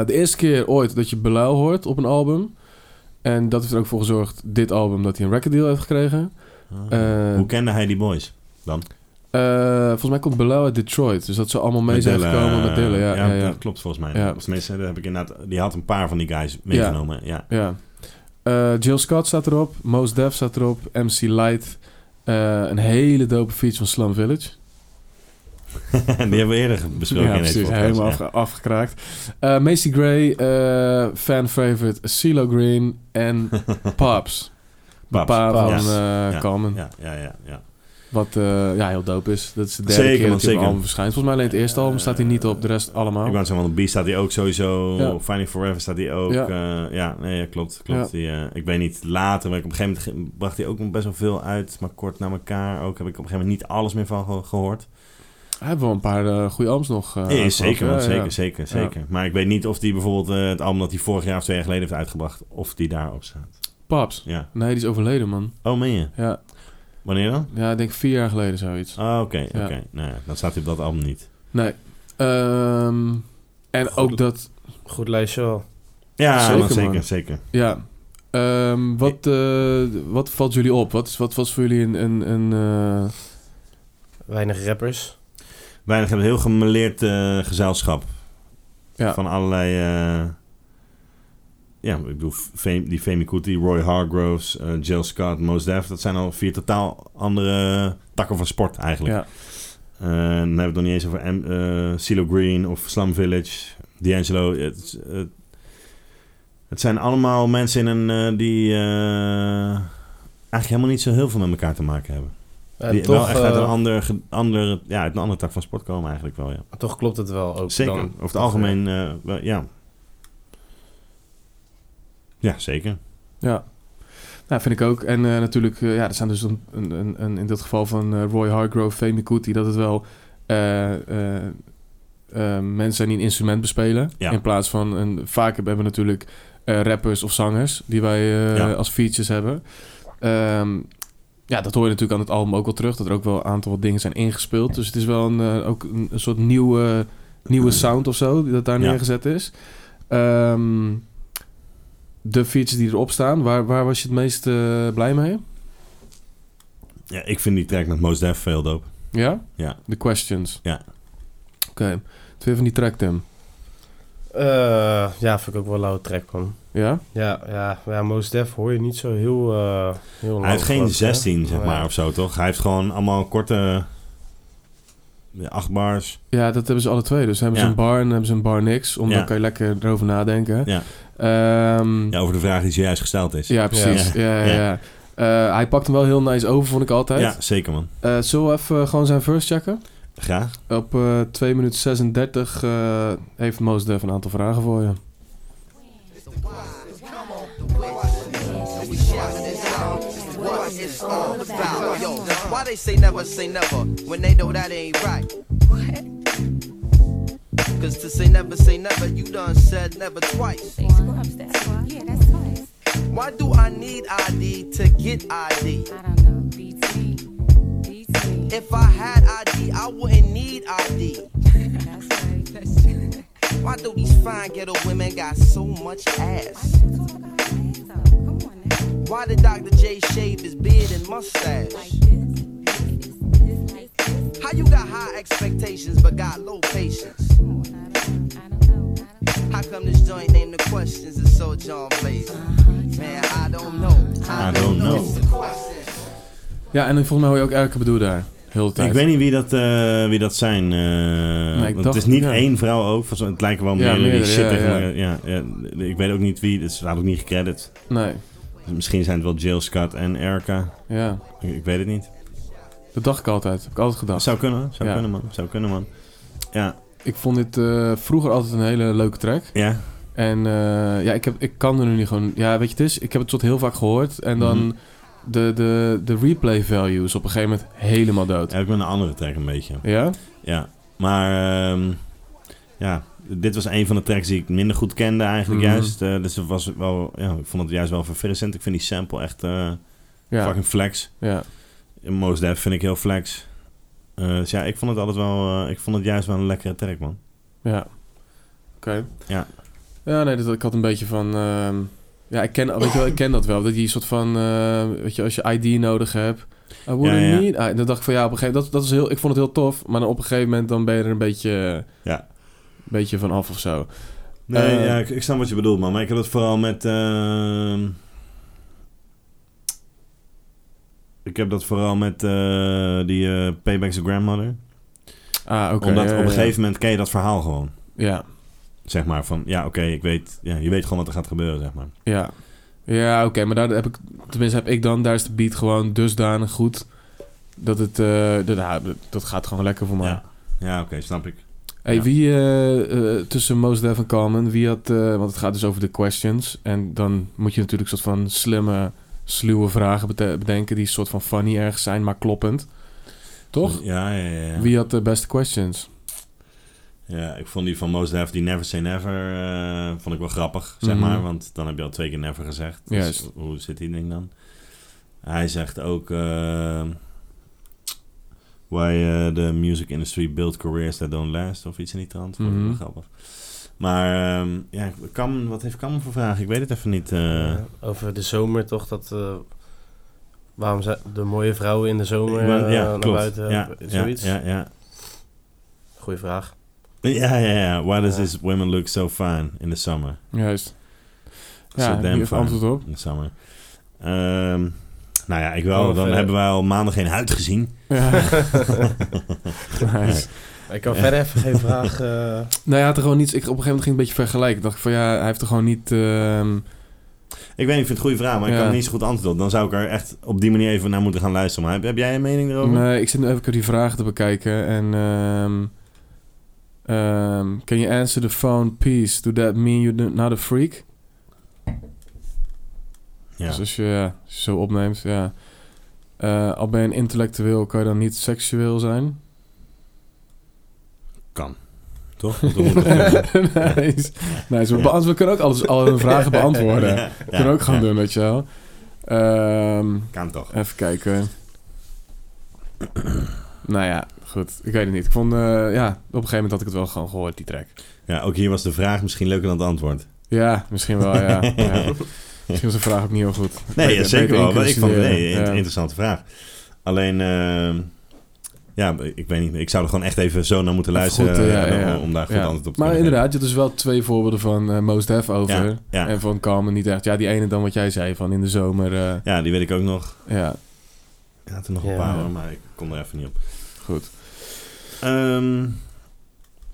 Speaker 2: Eh, de eerste keer ooit dat je Beluil hoort op een album. En dat heeft er ook voor gezorgd, dit album, dat hij een record deal heeft gekregen.
Speaker 1: Ah.
Speaker 2: Eh,
Speaker 1: Hoe kende hij die boys?
Speaker 2: eh, volgens mij komt Beluil uit Detroit. Dus dat ze allemaal mee zijn
Speaker 1: Dilla,
Speaker 2: gekomen met Dilla. Ja, ja, ja,
Speaker 1: eh, dat klopt volgens mij.
Speaker 2: Ja.
Speaker 1: Of tenminste, daar heb ik inderdaad, die had een paar van die guys meegenomen. Ja.
Speaker 2: Ja. Eh, Jill Scott staat erop. Mos Def staat erop. MC Light. eh, een hele dope feature van Slum Village.
Speaker 1: die hebben we eerder besproken
Speaker 2: ja,
Speaker 1: in deze
Speaker 2: precies.
Speaker 1: podcast.
Speaker 2: Helemaal
Speaker 1: ja.
Speaker 2: afge- afgekraakt. Eh, Macy Gray, eh, fan favorite CeeLo Green en Pops.
Speaker 1: Paps.
Speaker 2: Pa van
Speaker 1: Ja.
Speaker 2: eh,
Speaker 1: Ja.
Speaker 2: Common.
Speaker 1: Ja, ja, ja. ja.
Speaker 2: Wat eh, ja, heel dope is. Dat is de derde
Speaker 1: Zeker,
Speaker 2: keer
Speaker 1: man,
Speaker 2: dat hij op
Speaker 1: zeker. Eh,
Speaker 2: een album verschijnt. Volgens mij alleen het eerste album staat hij niet op, de rest allemaal.
Speaker 1: Ik wou zeggen, want op B staat hij ook sowieso.
Speaker 2: Ja.
Speaker 1: Finding Forever staat hij ook.
Speaker 2: Ja.
Speaker 1: Ja, ja nee, ja, klopt. klopt. Die, eh, ik weet niet, later, maar ik op een gegeven moment ge- bracht hij ook best wel veel uit. Maar kort na elkaar ook heb ik op een gegeven moment niet alles meer van ge- gehoord.
Speaker 2: Hij heeft wel een paar eh goede albums nog. eh,
Speaker 1: Nee,
Speaker 2: uitgebracht.
Speaker 1: zeker, man,
Speaker 2: Ja,
Speaker 1: zeker,
Speaker 2: ja.
Speaker 1: zeker, zeker. Maar ik weet niet of die bijvoorbeeld eh, het album dat hij vorig jaar of twee jaar geleden heeft uitgebracht, of die daarop staat.
Speaker 2: Paps.
Speaker 1: Ja.
Speaker 2: Nee, die is overleden, man.
Speaker 1: Oh, meen je?
Speaker 2: Ja,
Speaker 1: Wanneer dan?
Speaker 2: ja ik denk vier jaar geleden zoiets.
Speaker 1: Ah, oké, oké.
Speaker 2: Ja.
Speaker 1: Nou ja, dan staat hij op dat album niet.
Speaker 2: Nee. Ehm, en
Speaker 1: Goed.
Speaker 2: ook dat...
Speaker 4: Goed lijstje wel.
Speaker 1: Ja,
Speaker 2: Zeker,
Speaker 1: zeker, man,
Speaker 2: man.
Speaker 1: zeker, zeker.
Speaker 2: Ja. Ehm, wat, eh, wat valt jullie op? Wat, is- wat was voor jullie een... een, een eh,
Speaker 4: Weinig rappers.
Speaker 1: Weinig hebben heel gemeleerd eh, gezelschap.
Speaker 2: Ja.
Speaker 1: Van allerlei... eh, ja, ik bedoel, Fem- die Femi Kuti, Roy Hargroves, eh Jill Scott, Mos Def. Dat zijn al vier totaal andere takken van sport eigenlijk.
Speaker 2: ja.
Speaker 1: Eh, dan hebben we het nog niet eens over M- eh, CeeLo Green of Slum Village, D'Angelo. Het, is- het, het zijn allemaal mensen in een, eh, die eh, eigenlijk helemaal niet zo heel veel met elkaar te maken hebben.
Speaker 4: En
Speaker 1: die
Speaker 4: toch,
Speaker 1: wel echt uit een,
Speaker 4: eh,
Speaker 1: ander, ge- ander, ja, uit een andere tak van sport komen eigenlijk wel, ja.
Speaker 4: toch klopt het wel ook.
Speaker 1: Zeker.
Speaker 4: dan.
Speaker 1: Over het algemeen, eh, wel, ja. Ja, zeker.
Speaker 2: Ja. Nou, vind ik ook. En eh, natuurlijk, eh, ja, er zijn dus een, een, een, een- in dit geval van eh, Roy Hargrove, Femi Kuti, dat het wel eh, eh, eh, mensen zijn die een instrument bespelen.
Speaker 1: Ja.
Speaker 2: In plaats van, een, vaak hebben we natuurlijk eh, rappers of zangers die wij eh,
Speaker 1: Ja.
Speaker 2: als features hebben. Ehm, ja, dat hoor je natuurlijk aan het album ook wel terug, dat er ook wel een aantal wat dingen zijn ingespeeld. Dus het is wel een, eh, ook een, een soort nieuwe, nieuwe sound of zo, die dat daar
Speaker 1: Eh, Ja.
Speaker 2: neergezet is. Ehm, de features die erop staan, waar, waar was je het meest eh, blij mee?
Speaker 1: Ja, ik vind die track met Mos Def veel dope.
Speaker 2: Ja?
Speaker 1: Ja.
Speaker 2: De questions.
Speaker 1: Ja.
Speaker 2: Oké. Twee van die track, Tim.
Speaker 4: Eh, ja, vind ik ook wel een lauwe track, man.
Speaker 2: Ja?
Speaker 4: Ja, ja, ja Mos Def hoor je niet zo heel, eh heel lang.
Speaker 1: Hij heeft geen
Speaker 4: geloof ik, hè?
Speaker 1: 16, zeg
Speaker 4: Nee.
Speaker 1: maar, of zo, toch? Hij heeft gewoon allemaal korte... ja, acht bars.
Speaker 2: Ja, dat hebben ze alle twee. Dus hebben ze
Speaker 1: Ja.
Speaker 2: een bar en hebben ze een bar niks. Om
Speaker 1: Ja.
Speaker 2: dan kan je lekker erover nadenken.
Speaker 1: Ja.
Speaker 2: Ehm,
Speaker 1: Ja, over de vraag die zojuist gesteld is.
Speaker 2: ja, precies. Ja. Ja,
Speaker 1: Ja.
Speaker 2: ja. Eh, hij pakt hem wel heel nice over, vond ik altijd.
Speaker 1: Ja, zeker man.
Speaker 2: Eh, zullen we even gewoon zijn first checken?
Speaker 1: Graag.
Speaker 2: Op eh 2 minuten 36 eh, heeft Mos Def een aantal vragen voor je.
Speaker 5: What it's all about. Yo, why they say never say never when they know that ain't right? Cause to say never say never, you done said never twice.
Speaker 6: Thanks, go upstairs. Yeah, that's twice.
Speaker 5: Why do I need ID to get ID?
Speaker 6: I don't know. BT. BT.
Speaker 5: If I had ID, I wouldn't need ID.
Speaker 6: That's right. That's right.
Speaker 5: Why do these fine ghetto women got so much ass?
Speaker 6: Why you talk about our hands up? Come on now.
Speaker 5: Why did Dr. J shave his beard and mustache?
Speaker 6: Like this. Like this. This. Like this.
Speaker 5: How you got high expectations but got low patience?
Speaker 6: Come on. I don't know. I don't know. I don't know.
Speaker 5: How come this joint named the questions is so John Blazer?
Speaker 6: Uh-huh,
Speaker 5: Man, I don't know.
Speaker 1: I don't know.
Speaker 2: Ja, en volgens mij hoor je ook elke bedoel daar. Heel de tijd.
Speaker 1: Ik weet niet wie dat, eh, wie dat zijn. eh, want
Speaker 2: dacht-
Speaker 1: het is niet
Speaker 2: ja.
Speaker 1: één vrouw ook. volgens mij- Het lijken wel
Speaker 2: Ja,
Speaker 1: meerdere die
Speaker 2: meerdere,
Speaker 1: shit
Speaker 2: ja,
Speaker 1: tegen
Speaker 2: ja.
Speaker 1: elkaar- ja. Ja, Ik weet ook niet wie. Het staat ook niet gecredit.
Speaker 2: Nee.
Speaker 1: Dus misschien zijn het wel Jill Scott en Erica.
Speaker 2: Ja.
Speaker 1: Ik, ik weet het niet.
Speaker 2: Dat dacht ik altijd. Heb ik altijd gedacht.
Speaker 1: Zou kunnen, zou
Speaker 2: Ja.
Speaker 1: kunnen man. Zou kunnen man. Ja,
Speaker 2: Ik vond dit eh, vroeger altijd een hele leuke track.
Speaker 1: ja.
Speaker 2: En eh, ja, ik, heb, ik kan er nu niet gewoon... Ja, weet je, het is... Ik heb het tot heel vaak gehoord. En dan
Speaker 1: Mhm.
Speaker 2: de, de, de replay value is op een gegeven moment helemaal dood.
Speaker 1: Heb ik met een andere track een beetje.
Speaker 2: Ja?
Speaker 1: Ja, maar ehm, ja, dit was een van de tracks die ik minder goed kende eigenlijk
Speaker 2: Mhm.
Speaker 1: juist. Eh, dus het was wel, ja, ik vond het juist wel verfrissend. Ik vind die sample echt eh,
Speaker 2: Ja.
Speaker 1: fucking flex.
Speaker 2: ja.
Speaker 1: Most Def vind ik heel flex. Eh, dus ja, ik vond het altijd wel, eh, ik vond het juist wel een lekkere track man.
Speaker 2: Ja. Oké.
Speaker 1: Ja.
Speaker 2: Ja, nee, dus dat, ik had een beetje van... ehm, ja, ik ken, weet je wel, ik ken dat wel. Dat je een soort van... eh, weet je, als je ID nodig hebt... I wouldn't
Speaker 1: Ja, ja.
Speaker 2: need... ah, dan dacht ik van ja, op een gegeven moment... Dat, dat is heel, ik vond het heel tof. Maar dan op een gegeven moment dan ben je er een beetje...
Speaker 1: Ja.
Speaker 2: Een beetje van af of zo.
Speaker 1: Nee,
Speaker 2: Eh,
Speaker 1: ja, ik, ik snap wat je bedoelt, man. Maar ik had het vooral met... ehm, ik heb dat vooral met eh, die eh, Payback's Grandmother.
Speaker 2: Ah, oké.
Speaker 1: Omdat
Speaker 2: ja,
Speaker 1: op een
Speaker 2: ja.
Speaker 1: gegeven moment ken je dat verhaal gewoon.
Speaker 2: Ja.
Speaker 1: Zeg maar van, ja, oké, ik weet... Ja, je weet gewoon wat er gaat gebeuren, zeg maar.
Speaker 2: Ja, ja oké, maar daar heb ik, tenminste heb ik dan, daar is de beat gewoon dusdanig goed dat het, eh, dat, nou, dat- dat gaat gewoon lekker voor mij.
Speaker 1: Ja, ja oké, snap ik.
Speaker 2: Hey,
Speaker 1: Ja.
Speaker 2: wie eh, eh, tussen Mos Def en Common, wie had, eh, want het gaat dus over de questions en dan moet je natuurlijk een soort van slimme, sluwe vragen bete- bedenken die een soort van funny ergens zijn, maar kloppend. Toch?
Speaker 1: Ja, ja, ja. ja.
Speaker 2: Wie had de beste questions?
Speaker 1: Ja, ik vond die van Most Def, die Never Say Never, eh, vond ik wel grappig, zeg
Speaker 2: Mhm.
Speaker 1: maar. Want dan heb je al twee keer never gezegd. Dus
Speaker 2: Juist.
Speaker 1: hoe zit die ding dan? Hij zegt ook... eh, why eh, the music industry build careers that don't last, of iets in die trant. Vond ik wel
Speaker 2: Mhm.
Speaker 1: grappig. Maar ehm, ja, Cam, wat heeft Cam voor vragen? Ik weet het even niet. eh.
Speaker 4: Ja, over de zomer toch, dat... eh, waarom zijn de mooie vrouwen in de zomer
Speaker 1: Ik ben-
Speaker 4: eh,
Speaker 1: ja,
Speaker 4: naar
Speaker 1: klopt.
Speaker 4: buiten? eh,
Speaker 1: ja, ja,
Speaker 4: zoiets?
Speaker 1: ja, ja.
Speaker 4: Goeie vraag.
Speaker 1: Ja, ja, ja. Why does
Speaker 4: Ja.
Speaker 1: this women look so fine in the summer?
Speaker 2: Juist.
Speaker 1: so
Speaker 2: Ja,
Speaker 1: damn
Speaker 2: wie heeft
Speaker 1: fine
Speaker 2: antwoord op?
Speaker 1: in the summer. Ehm, Nou ja, ik
Speaker 2: Oh,
Speaker 1: wel.
Speaker 4: Of,
Speaker 1: Dan
Speaker 4: eh,
Speaker 1: hebben wij al maanden geen huid gezien.
Speaker 2: Ja. Nice.
Speaker 4: Ik kan verder even geen vraag... eh,
Speaker 2: Nou, hij had er gewoon niets. Ik, op een gegeven moment ging ik een beetje vergelijken. Dacht ik van ja, hij heeft er gewoon niet. ehm,
Speaker 1: Ik weet niet, ik vind het een goede vraag, maar ik
Speaker 2: Ja.
Speaker 1: kan niet zo goed antwoorden. Dan zou ik er echt op die manier even naar moeten gaan luisteren. Maar heb, heb jij een mening erover?
Speaker 2: nee, ik zit nu even die vragen te bekijken. En. ehm ehm, can you answer the phone, please? Do that mean you're not a freak?
Speaker 1: Ja.
Speaker 2: Dus als je, ja, als je zo opneemt, ja. Eh, al ben je een intellectueel, kan je dan niet seksueel zijn?
Speaker 1: Kan. Toch? Dat moet toch kunnen.
Speaker 2: nice. nice. We, beantwoorden- we kunnen ook alles, al hun vragen beantwoorden.
Speaker 1: Ja,
Speaker 2: We kunnen ook gaan
Speaker 1: ja,
Speaker 2: doen, weet je wel. Ehm,
Speaker 1: Kan toch.
Speaker 2: even kijken. nou ja, goed. Ik weet het niet. Ik vond, eh, ja, op een gegeven moment had ik het wel gewoon gehoord, die track.
Speaker 1: Ja, ook hier was de vraag misschien leuker dan het antwoord.
Speaker 2: Ja, misschien wel, ja. ja. Misschien was de vraag ook niet heel goed.
Speaker 1: Nee,
Speaker 2: Beter-
Speaker 1: ja, zeker
Speaker 2: beter
Speaker 1: wel.
Speaker 2: in
Speaker 1: Maar ik vond het
Speaker 2: kunnen
Speaker 1: nee,
Speaker 2: studeren.
Speaker 1: een
Speaker 2: Ja.
Speaker 1: interessante vraag. Alleen, eh, ja, ik weet niet. Ik zou er gewoon echt even zo naar moeten
Speaker 2: Even
Speaker 1: luisteren
Speaker 2: goed, eh, ja,
Speaker 1: eh,
Speaker 2: ja, ja.
Speaker 1: Om, om daar goed
Speaker 2: Ja.
Speaker 1: antwoord op te
Speaker 2: Maar
Speaker 1: kunnen
Speaker 2: inderdaad, je had dus wel twee voorbeelden van eh Most Def over.
Speaker 1: geven. Ja, ja.
Speaker 2: En van Carmen niet echt. Ja, die ene dan wat jij zei van in de zomer. eh,
Speaker 1: ja, die weet ik ook nog.
Speaker 2: ja,
Speaker 1: Ik had er nog
Speaker 4: Ja.
Speaker 1: een paar, hoor, maar ik kom er even niet op.
Speaker 2: goed.
Speaker 1: Ehm,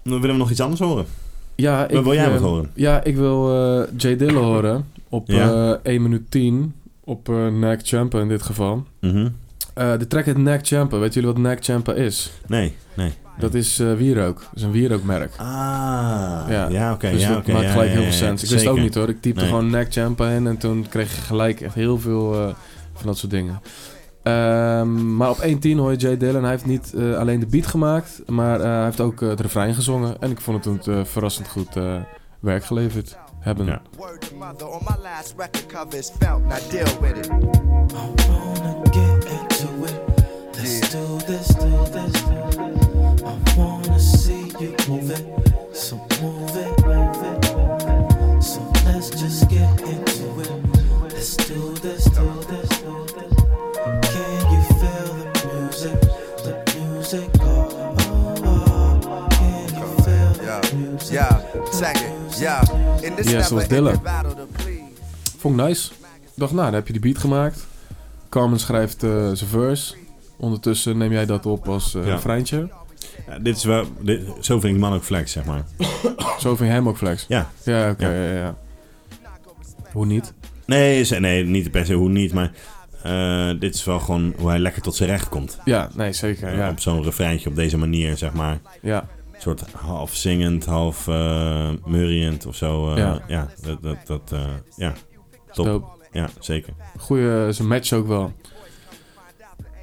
Speaker 1: dan willen we nog iets anders horen.
Speaker 2: Ja, ik,
Speaker 1: Wat wil jij
Speaker 2: eh,
Speaker 1: wat horen?
Speaker 2: Ja, ik wil eh Jay Dillon horen. Op
Speaker 1: Ja.
Speaker 2: eh 1 minuut 10. Op eh Neck Champa in dit geval.
Speaker 1: Mhm.
Speaker 2: Eh, de track heet Neck Champa. Weet jullie wat Neck Champa is?
Speaker 1: Nee, nee.
Speaker 2: Dat is eh, wierook. Dat is een wierookmerk.
Speaker 1: Ah, ja,
Speaker 2: Ja.
Speaker 1: oké.
Speaker 2: dus
Speaker 1: ja,
Speaker 2: dat
Speaker 1: oké,
Speaker 2: maakt
Speaker 1: ja,
Speaker 2: gelijk
Speaker 1: ja,
Speaker 2: heel
Speaker 1: ja,
Speaker 2: veel sens. Ik wist
Speaker 1: zeker.
Speaker 2: het ook niet hoor. Ik typte
Speaker 1: Nee.
Speaker 2: gewoon Neck Champa in en toen kreeg je gelijk echt heel veel eh, van dat soort dingen. Ehm, maar op 1.10 hoor je Jay Dillon. Hij heeft niet eh, alleen de beat gemaakt, maar eh, hij heeft ook eh, het refrein gezongen. En ik vond het toen eh, verrassend goed eh, werk geleverd hebben.
Speaker 1: Ja.
Speaker 3: Word to mother on my last record cover is felt, now deal with it.
Speaker 7: I wanna get into it. Let's do this, do this, do this. I wanna see you move it. So move it, move it, move it. So let's just get into it. Let's do this, do this, do this. Can you feel the music? The music, oh, oh, oh. Can you feel
Speaker 3: Yeah,
Speaker 7: the music?
Speaker 3: yeah, check it, yeah. In this
Speaker 2: Yes,
Speaker 3: never
Speaker 2: was Dilla.
Speaker 3: ending battle to please.
Speaker 2: Vond ik nice. Ik dacht, nou, dan heb je die beat gemaakt. Carmen schrijft eh, zijn verse. Ondertussen neem jij dat op als eh
Speaker 1: Ja.
Speaker 2: refreintje.
Speaker 1: Ja, dit is wel, dit- zo vind ik de man ook flex, zeg maar.
Speaker 2: Zo vind je hem ook flex.
Speaker 1: Ja.
Speaker 2: Ja, oké,
Speaker 1: Ja.
Speaker 2: ja. ja, ja. Hoe niet?
Speaker 1: Nee, ze- nee niet per se hoe niet, maar eh, dit is wel gewoon hoe hij lekker tot zijn recht komt.
Speaker 2: Ja, nee, zeker.
Speaker 1: Eh,
Speaker 2: Ja,
Speaker 1: Op zo'n refreintje op deze manier, zeg maar.
Speaker 2: ja.
Speaker 1: Een soort half zingend, half eh murriënd of zo. eh, ja.
Speaker 2: Ja.
Speaker 1: dat, dat, dat eh, ja, top.
Speaker 2: Dope.
Speaker 1: Ja, zeker.
Speaker 2: Goeie, eh, ze match ook wel,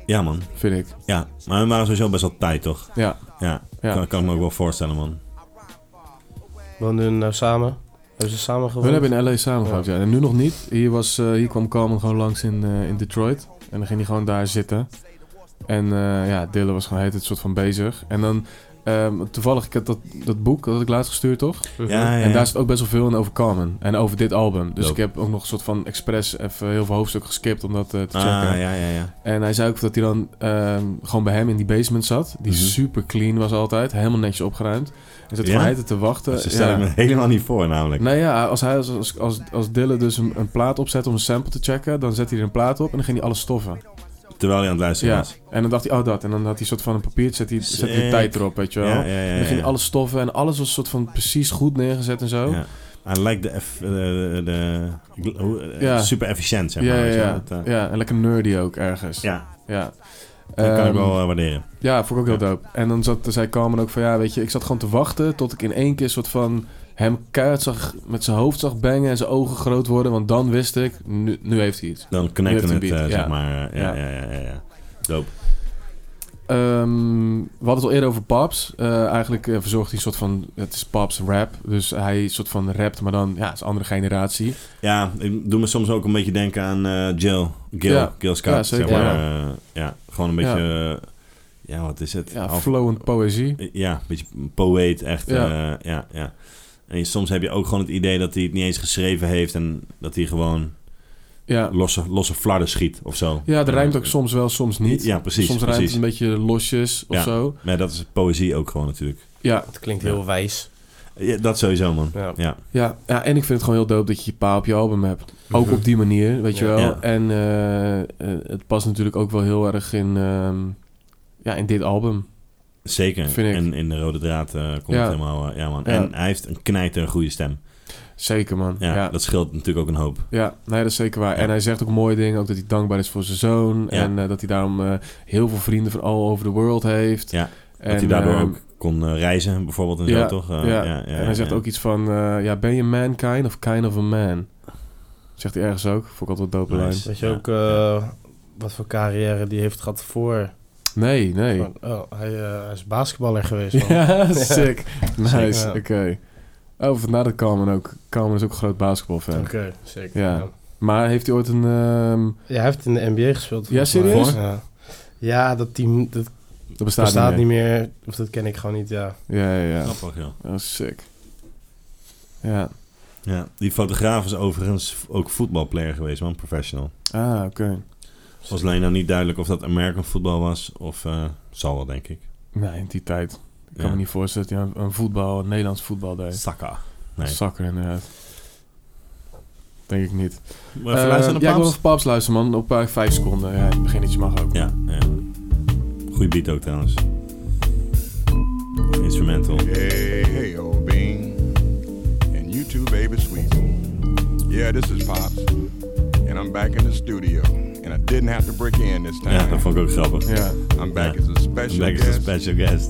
Speaker 1: Ja, man.
Speaker 2: vind ik.
Speaker 1: Ja, maar we waren sowieso best wel tijd, toch?
Speaker 2: Ja,
Speaker 1: Ja,
Speaker 2: Ja.
Speaker 1: Kan, kan ik me ook wel voorstellen, man.
Speaker 4: Wonen hun nou samen? Hebben ze samen gewoond?
Speaker 2: hun hebben in LA samengehouden. Ja. En nu nog niet. Hier, was, eh, hier kwam Carmen gewoon langs in, eh, in Detroit. En dan ging hij gewoon daar zitten. En eh, ja, Dylan was gewoon heet het soort van bezig. En dan, ehm, toevallig, ik heb dat, dat boek dat had ik laatst gestuurd, toch?
Speaker 1: Ja, ja,
Speaker 2: En
Speaker 1: ja.
Speaker 2: daar zit ook best wel veel in over Carmen. En over dit album. Dus
Speaker 1: Dope.
Speaker 2: ik heb ook nog een soort van expres even heel veel hoofdstukken geskipt om dat eh, te
Speaker 1: Ah,
Speaker 2: checken.
Speaker 1: ja, ja, ja.
Speaker 2: En hij zei ook dat hij dan ehm, gewoon bij hem in die basement zat. Die
Speaker 1: Mhm.
Speaker 2: super clean was altijd. Helemaal netjes opgeruimd. En zat
Speaker 1: Ja?
Speaker 2: van hij te wachten.
Speaker 1: Ze stellen
Speaker 2: Eh, ja.
Speaker 1: me helemaal niet voor, namelijk.
Speaker 2: Nou ja, als, hij, als- als, als, als Dylan dus een, een plaat opzet om een sample te checken, dan zet hij er een plaat op en dan ging hij alles stoffen.
Speaker 1: Terwijl hij aan het luisteren
Speaker 2: Ja.
Speaker 1: was.
Speaker 2: En dan dacht hij, oh dat. En dan had hij een soort van een papiertje, zet hij, zet hij de
Speaker 1: Sick.
Speaker 2: tijd erop, weet je wel.
Speaker 1: Ja, ja, ja,
Speaker 2: En dan ging
Speaker 1: ja.
Speaker 2: hij alles stoffen en alles was soort van precies goed neergezet en zo.
Speaker 1: Ja. Hij lijkt de, eff- eh, de, de, de- hoe- eh,
Speaker 2: Ja.
Speaker 1: super efficiënt, zeg maar.
Speaker 2: Ja, ja,
Speaker 1: weet je wel.
Speaker 2: ja.
Speaker 1: Dat, eh,
Speaker 2: Ja, en lekker nerdy ook ergens.
Speaker 1: ja,
Speaker 2: ja.
Speaker 1: dat kan ik
Speaker 2: Ehm,
Speaker 1: wel eh, waarderen.
Speaker 2: Ja, vond ik ook heel dope. En dan zat, zei Carmen ook van, ja, weet je, ik zat gewoon te wachten tot ik in één keer soort van hem keihard zag, met zijn hoofd zag bangen en zijn ogen groot worden. Want dan wist ik, nu, nu heeft hij iets.
Speaker 1: Dan connecten
Speaker 2: je
Speaker 1: het,
Speaker 2: hebt een
Speaker 1: eh,
Speaker 2: beat,
Speaker 1: zeg
Speaker 2: ja.
Speaker 1: maar. eh, Ja, ja, ja,
Speaker 2: Ja.
Speaker 1: ja. ja. Dope.
Speaker 2: Ehm, we hadden het al eerder over Paps. Eh, eigenlijk eh, verzorgt hij een soort van, het is Paps rap. Dus hij soort van rapt, maar dan, ja, is een andere generatie.
Speaker 1: Ja, ik doe me soms ook een beetje denken aan eh Jill. Gil,
Speaker 2: Ja.
Speaker 1: Gil Scott,
Speaker 2: Ja, zeker,
Speaker 1: zeg maar.
Speaker 2: ja.
Speaker 1: eh, ja, gewoon een beetje... eh, Ja, wat is het?
Speaker 2: Ja,
Speaker 1: Half-
Speaker 2: flowend poëzie.
Speaker 1: ja, een beetje een poëet, echt. Ja.
Speaker 2: Ja.
Speaker 1: ja, ja. En je- soms heb je ook gewoon het idee dat hij het niet eens geschreven heeft... en dat hij gewoon
Speaker 2: Ja,
Speaker 1: losse, losse flarden schiet of zo.
Speaker 2: ja de rijmt ook
Speaker 1: Eh,
Speaker 2: soms wel, soms niet.
Speaker 1: Ja, precies.
Speaker 2: soms rijmt
Speaker 1: precies.
Speaker 2: het een beetje losjes of
Speaker 1: Ja.
Speaker 2: zo.
Speaker 1: Maar dat is poëzie ook gewoon natuurlijk.
Speaker 2: Ja,
Speaker 4: Het klinkt heel wijs.
Speaker 1: Ja, dat sowieso, man.
Speaker 4: Ja.
Speaker 1: Ja.
Speaker 2: Ja, ja, en ik vind het gewoon heel dope dat je je pa op je album hebt. Ook
Speaker 4: Mhm.
Speaker 2: op die manier, weet je
Speaker 4: Ja.
Speaker 2: wel.
Speaker 1: Ja.
Speaker 2: En eh, eh, het past natuurlijk ook wel heel erg in, ehm, ja, in dit album.
Speaker 1: Zeker.
Speaker 2: Vind ik.
Speaker 1: En in de rode draad eh, komt
Speaker 2: Ja.
Speaker 1: het helemaal... eh, ja, man.
Speaker 2: Ja.
Speaker 1: En hij heeft een knijter goede stem.
Speaker 2: Zeker, man.
Speaker 1: Ja,
Speaker 2: Ja, ja.
Speaker 1: Dat scheelt natuurlijk ook een hoop.
Speaker 2: nee, dat is zeker waar.
Speaker 1: Ja.
Speaker 2: En hij zegt ook mooie dingen. Ook dat hij dankbaar is voor zijn zoon.
Speaker 1: Ja.
Speaker 2: En eh, dat hij daarom eh, heel veel vrienden van all over the world heeft.
Speaker 1: Ja.
Speaker 2: En,
Speaker 1: dat hij daardoor
Speaker 2: ehm,
Speaker 1: ook kon eh, reizen, bijvoorbeeld. En zo,
Speaker 2: ja,
Speaker 1: toch? Eh,
Speaker 2: ja. en hij zegt
Speaker 1: ja.
Speaker 2: ook iets van... eh, ja, ben je mankind of kind of a man? Zegt hij ergens ook. Vond ik altijd een dope
Speaker 1: Nice.
Speaker 2: lijn.
Speaker 4: Weet je
Speaker 1: Ja.
Speaker 4: ook eh, wat voor carrière die heeft gehad voor?
Speaker 2: Nee, nee.
Speaker 4: Van, oh, hij, eh, hij is basketballer geweest. man.
Speaker 2: Ja, sick. Nice,
Speaker 4: Ja.
Speaker 2: oké. Oh, vandaar dat Carmen ook... Carmen is ook een groot basketbalfan.
Speaker 4: Oké, zeker.
Speaker 2: Ja.
Speaker 4: Ja.
Speaker 2: Maar heeft hij ooit een... ehm,
Speaker 4: Ja, hij heeft in de NBA gespeeld.
Speaker 2: Ja,
Speaker 4: volgens mij.
Speaker 2: serieus?
Speaker 4: Ja. Ja, dat team dat
Speaker 2: dat bestaat,
Speaker 4: bestaat niet meer. Of dat ken ik gewoon niet, ja.
Speaker 2: Ja, ja, ja.
Speaker 1: Grappig, ja.
Speaker 2: Oh, sick. Ja.
Speaker 1: Ja, die fotograaf is overigens ook voetbalplayer geweest, man, professional.
Speaker 2: Ah, oké.
Speaker 1: Was alleen nou niet duidelijk of dat American voetbal was of eh, zal wel, denk ik.
Speaker 2: Nee, in die tijd. Ik
Speaker 1: Ja.
Speaker 2: kan me niet voorstellen dat hij een- een voetbal, een Nederlands voetbal deed.
Speaker 1: Saka. Nee.
Speaker 2: Zakker inderdaad. Denk ik niet.
Speaker 1: Maar even luisteren
Speaker 2: Eh,
Speaker 1: naar
Speaker 2: ja, ik wil
Speaker 1: Paps?
Speaker 2: even Paps luisteren, man. Op eh, vijf seconden. Ja, het beginnetje mag ook.
Speaker 1: Ja, ja. Goeie beat ook trouwens. Instrumental.
Speaker 8: Hey, hey, old bean. And you too, baby sweet. Yeah, this is Pops. And I'm back in the studio. And I didn't have to break in this
Speaker 1: Ja,
Speaker 8: time.
Speaker 1: dat vond ik ook grappig.
Speaker 2: Ja.
Speaker 8: I'm back
Speaker 1: ja.
Speaker 8: as a special
Speaker 1: Back as a
Speaker 8: guest
Speaker 1: special guest.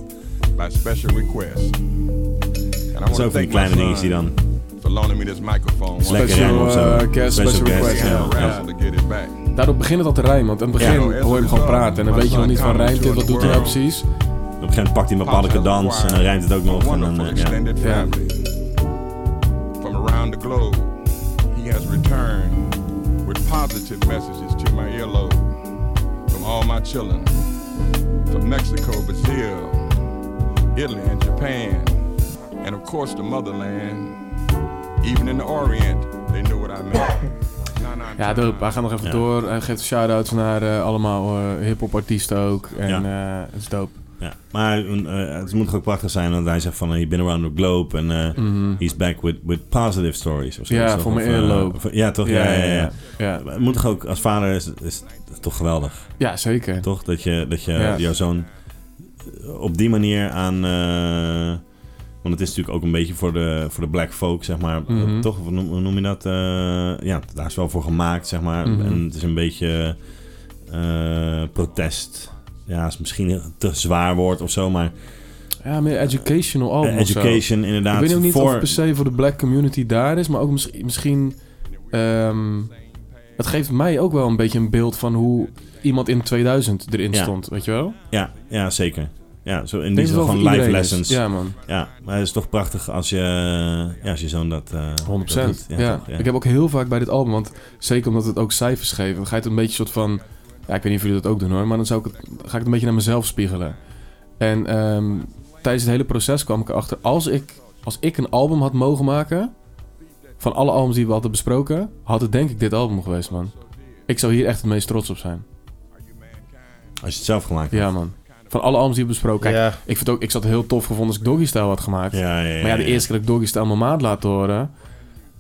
Speaker 8: by special request. And I
Speaker 1: Dat is ook
Speaker 8: want
Speaker 1: van
Speaker 8: to
Speaker 1: die
Speaker 8: thank my
Speaker 1: kleine dingetjes die
Speaker 8: son
Speaker 1: dan...
Speaker 8: for loaning me this microphone.
Speaker 1: Is lekker,
Speaker 2: Special,
Speaker 1: hè, of zo.
Speaker 2: eh, guest,
Speaker 1: Special
Speaker 2: special
Speaker 1: guest,
Speaker 2: request.
Speaker 8: Yeah,
Speaker 1: ja.
Speaker 8: I
Speaker 2: ja.
Speaker 8: wrestled to get it back.
Speaker 2: Daardoor begint het al te rijmen, want aan het
Speaker 1: Ja.
Speaker 2: begin hoor je hem gewoon praten. En dan weet je nog niet van rijmt dit, wat doet hij nou precies.
Speaker 1: Op een gegeven moment pakt hij mijn
Speaker 8: Pops
Speaker 1: paddelijke
Speaker 8: has
Speaker 1: dans en dan
Speaker 8: acquired
Speaker 1: rijmt het ook
Speaker 8: a
Speaker 1: nog. En dan,
Speaker 8: wonderful
Speaker 1: eh, ja.
Speaker 8: extended
Speaker 2: Ja.
Speaker 8: family. From around the globe, he has returned with positive messages to my earlobe from all my children, from Mexico, Brazil, Italy, and Japan, and of course the motherland. Even in the Orient, they knew what I meant. Na, na,
Speaker 2: Ja,
Speaker 8: na,
Speaker 2: dope. Hij gaat nog even
Speaker 1: Ja.
Speaker 2: door. Hij geeft shout-outs naar eh, allemaal eh, hip-hop artiesten ook. En eh het is dope.
Speaker 1: Ja. Maar eh, het moet toch ook prachtig zijn, want hij zegt van... eh, You've been around the globe en eh, he's back with, with positive stories. Of zo,
Speaker 2: Ja,
Speaker 1: toch?
Speaker 2: voor mijn
Speaker 1: Of, eh,
Speaker 2: earlobe.
Speaker 1: voor- Ja, toch? Ja, ja, ja.
Speaker 2: ja.
Speaker 1: ja.
Speaker 2: ja.
Speaker 1: Maar het Moet toch ook, als vader is, is het toch geweldig,
Speaker 2: Ja, zeker.
Speaker 1: toch? Dat je, dat je
Speaker 2: Ja.
Speaker 1: jouw zoon eh, op die manier aan... eh, want het is natuurlijk ook een beetje voor de, voor de black folk, zeg maar. Eh,
Speaker 2: Mhm.
Speaker 1: Toch? Hoe noem, hoe noem je dat? Eh, ja, daar is wel voor gemaakt, zeg maar.
Speaker 2: Mhm.
Speaker 1: En het is een beetje eh, protest. Ja, is misschien een te zwaar woord of zo, maar...
Speaker 2: Ja, meer educational album
Speaker 1: Eh,
Speaker 2: of zo.
Speaker 1: education, inderdaad.
Speaker 2: Ik weet ook niet of
Speaker 1: voor,
Speaker 2: het per se voor de black community daar is, maar ook misschien... misschien ehm, het geeft mij ook wel een beetje een beeld van hoe iemand in 2000 erin
Speaker 1: Ja.
Speaker 2: stond, weet je wel?
Speaker 1: ja, ja, zeker. Ja, zo in die
Speaker 2: Ik denk dat het
Speaker 1: zin
Speaker 2: wel voor
Speaker 1: gewoon live
Speaker 2: iedereen is.
Speaker 1: lessons. Ja.
Speaker 2: Ja, man.
Speaker 1: maar het is toch prachtig als je, ja, als je zo'n dat... eh,
Speaker 2: 100%.
Speaker 1: dat
Speaker 2: ja,
Speaker 1: doet. toch,
Speaker 2: Ik heb ook heel vaak bij dit album, want zeker omdat het ook cijfers geeft, dan ga je het een beetje soort van. Ja, ik weet niet of jullie dat ook doen hoor, maar dan zou ik het, ga ik het een beetje naar mezelf spiegelen. En ehm, tijdens het hele proces kwam ik erachter, als ik, als ik een album had mogen maken, van alle albums die we hadden besproken, had het denk ik dit album geweest, man. Ik zou hier echt het meest trots op zijn.
Speaker 1: Als je het zelf gemaakt hebt.
Speaker 2: Ja, man. Van alle albums die we besproken. Kijk,
Speaker 4: ja.
Speaker 2: ik, vind ook, ik zou het heel tof gevonden als ik Doggy Style had gemaakt.
Speaker 1: Ja, ja, ja,
Speaker 2: Maar ja, de eerste keer dat ik Doggy Style mijn maat laat horen, dan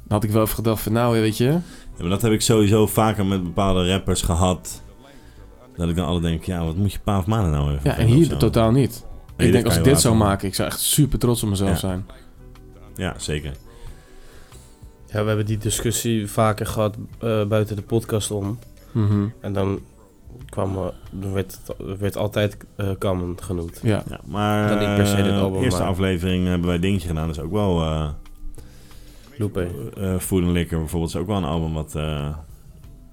Speaker 2: had ik wel even gedacht van, nou, weet je,
Speaker 1: Ja, maar dat heb ik sowieso vaker met bepaalde rappers gehad. Dat ik dan alle denk, ja, wat moet je pa of maanden nou even
Speaker 2: Ja, en
Speaker 1: vertellen
Speaker 2: hier
Speaker 1: of zo?
Speaker 2: totaal niet.
Speaker 1: dit
Speaker 2: ik denk
Speaker 1: kan
Speaker 2: als
Speaker 1: je
Speaker 2: ik dit
Speaker 1: laten,
Speaker 2: zou
Speaker 1: man.
Speaker 2: maken, ik zou echt super trots op mezelf
Speaker 1: Ja.
Speaker 2: zijn.
Speaker 1: Ja, zeker.
Speaker 4: ja, we hebben die discussie vaker gehad eh, buiten de podcast om.
Speaker 2: Mhm.
Speaker 4: En dan kwam, eh, dan werd, het- werd altijd eh Common genoemd.
Speaker 2: Ja.
Speaker 1: Ja, maar
Speaker 4: Dan niet per se dit
Speaker 1: eh,
Speaker 4: album,
Speaker 1: eerste
Speaker 4: maar-
Speaker 1: aflevering hebben wij dingetje gedaan. Dat is ook wel... eh
Speaker 4: Loepe.
Speaker 1: eh Food and Liquor bijvoorbeeld is ook wel een album wat... eh,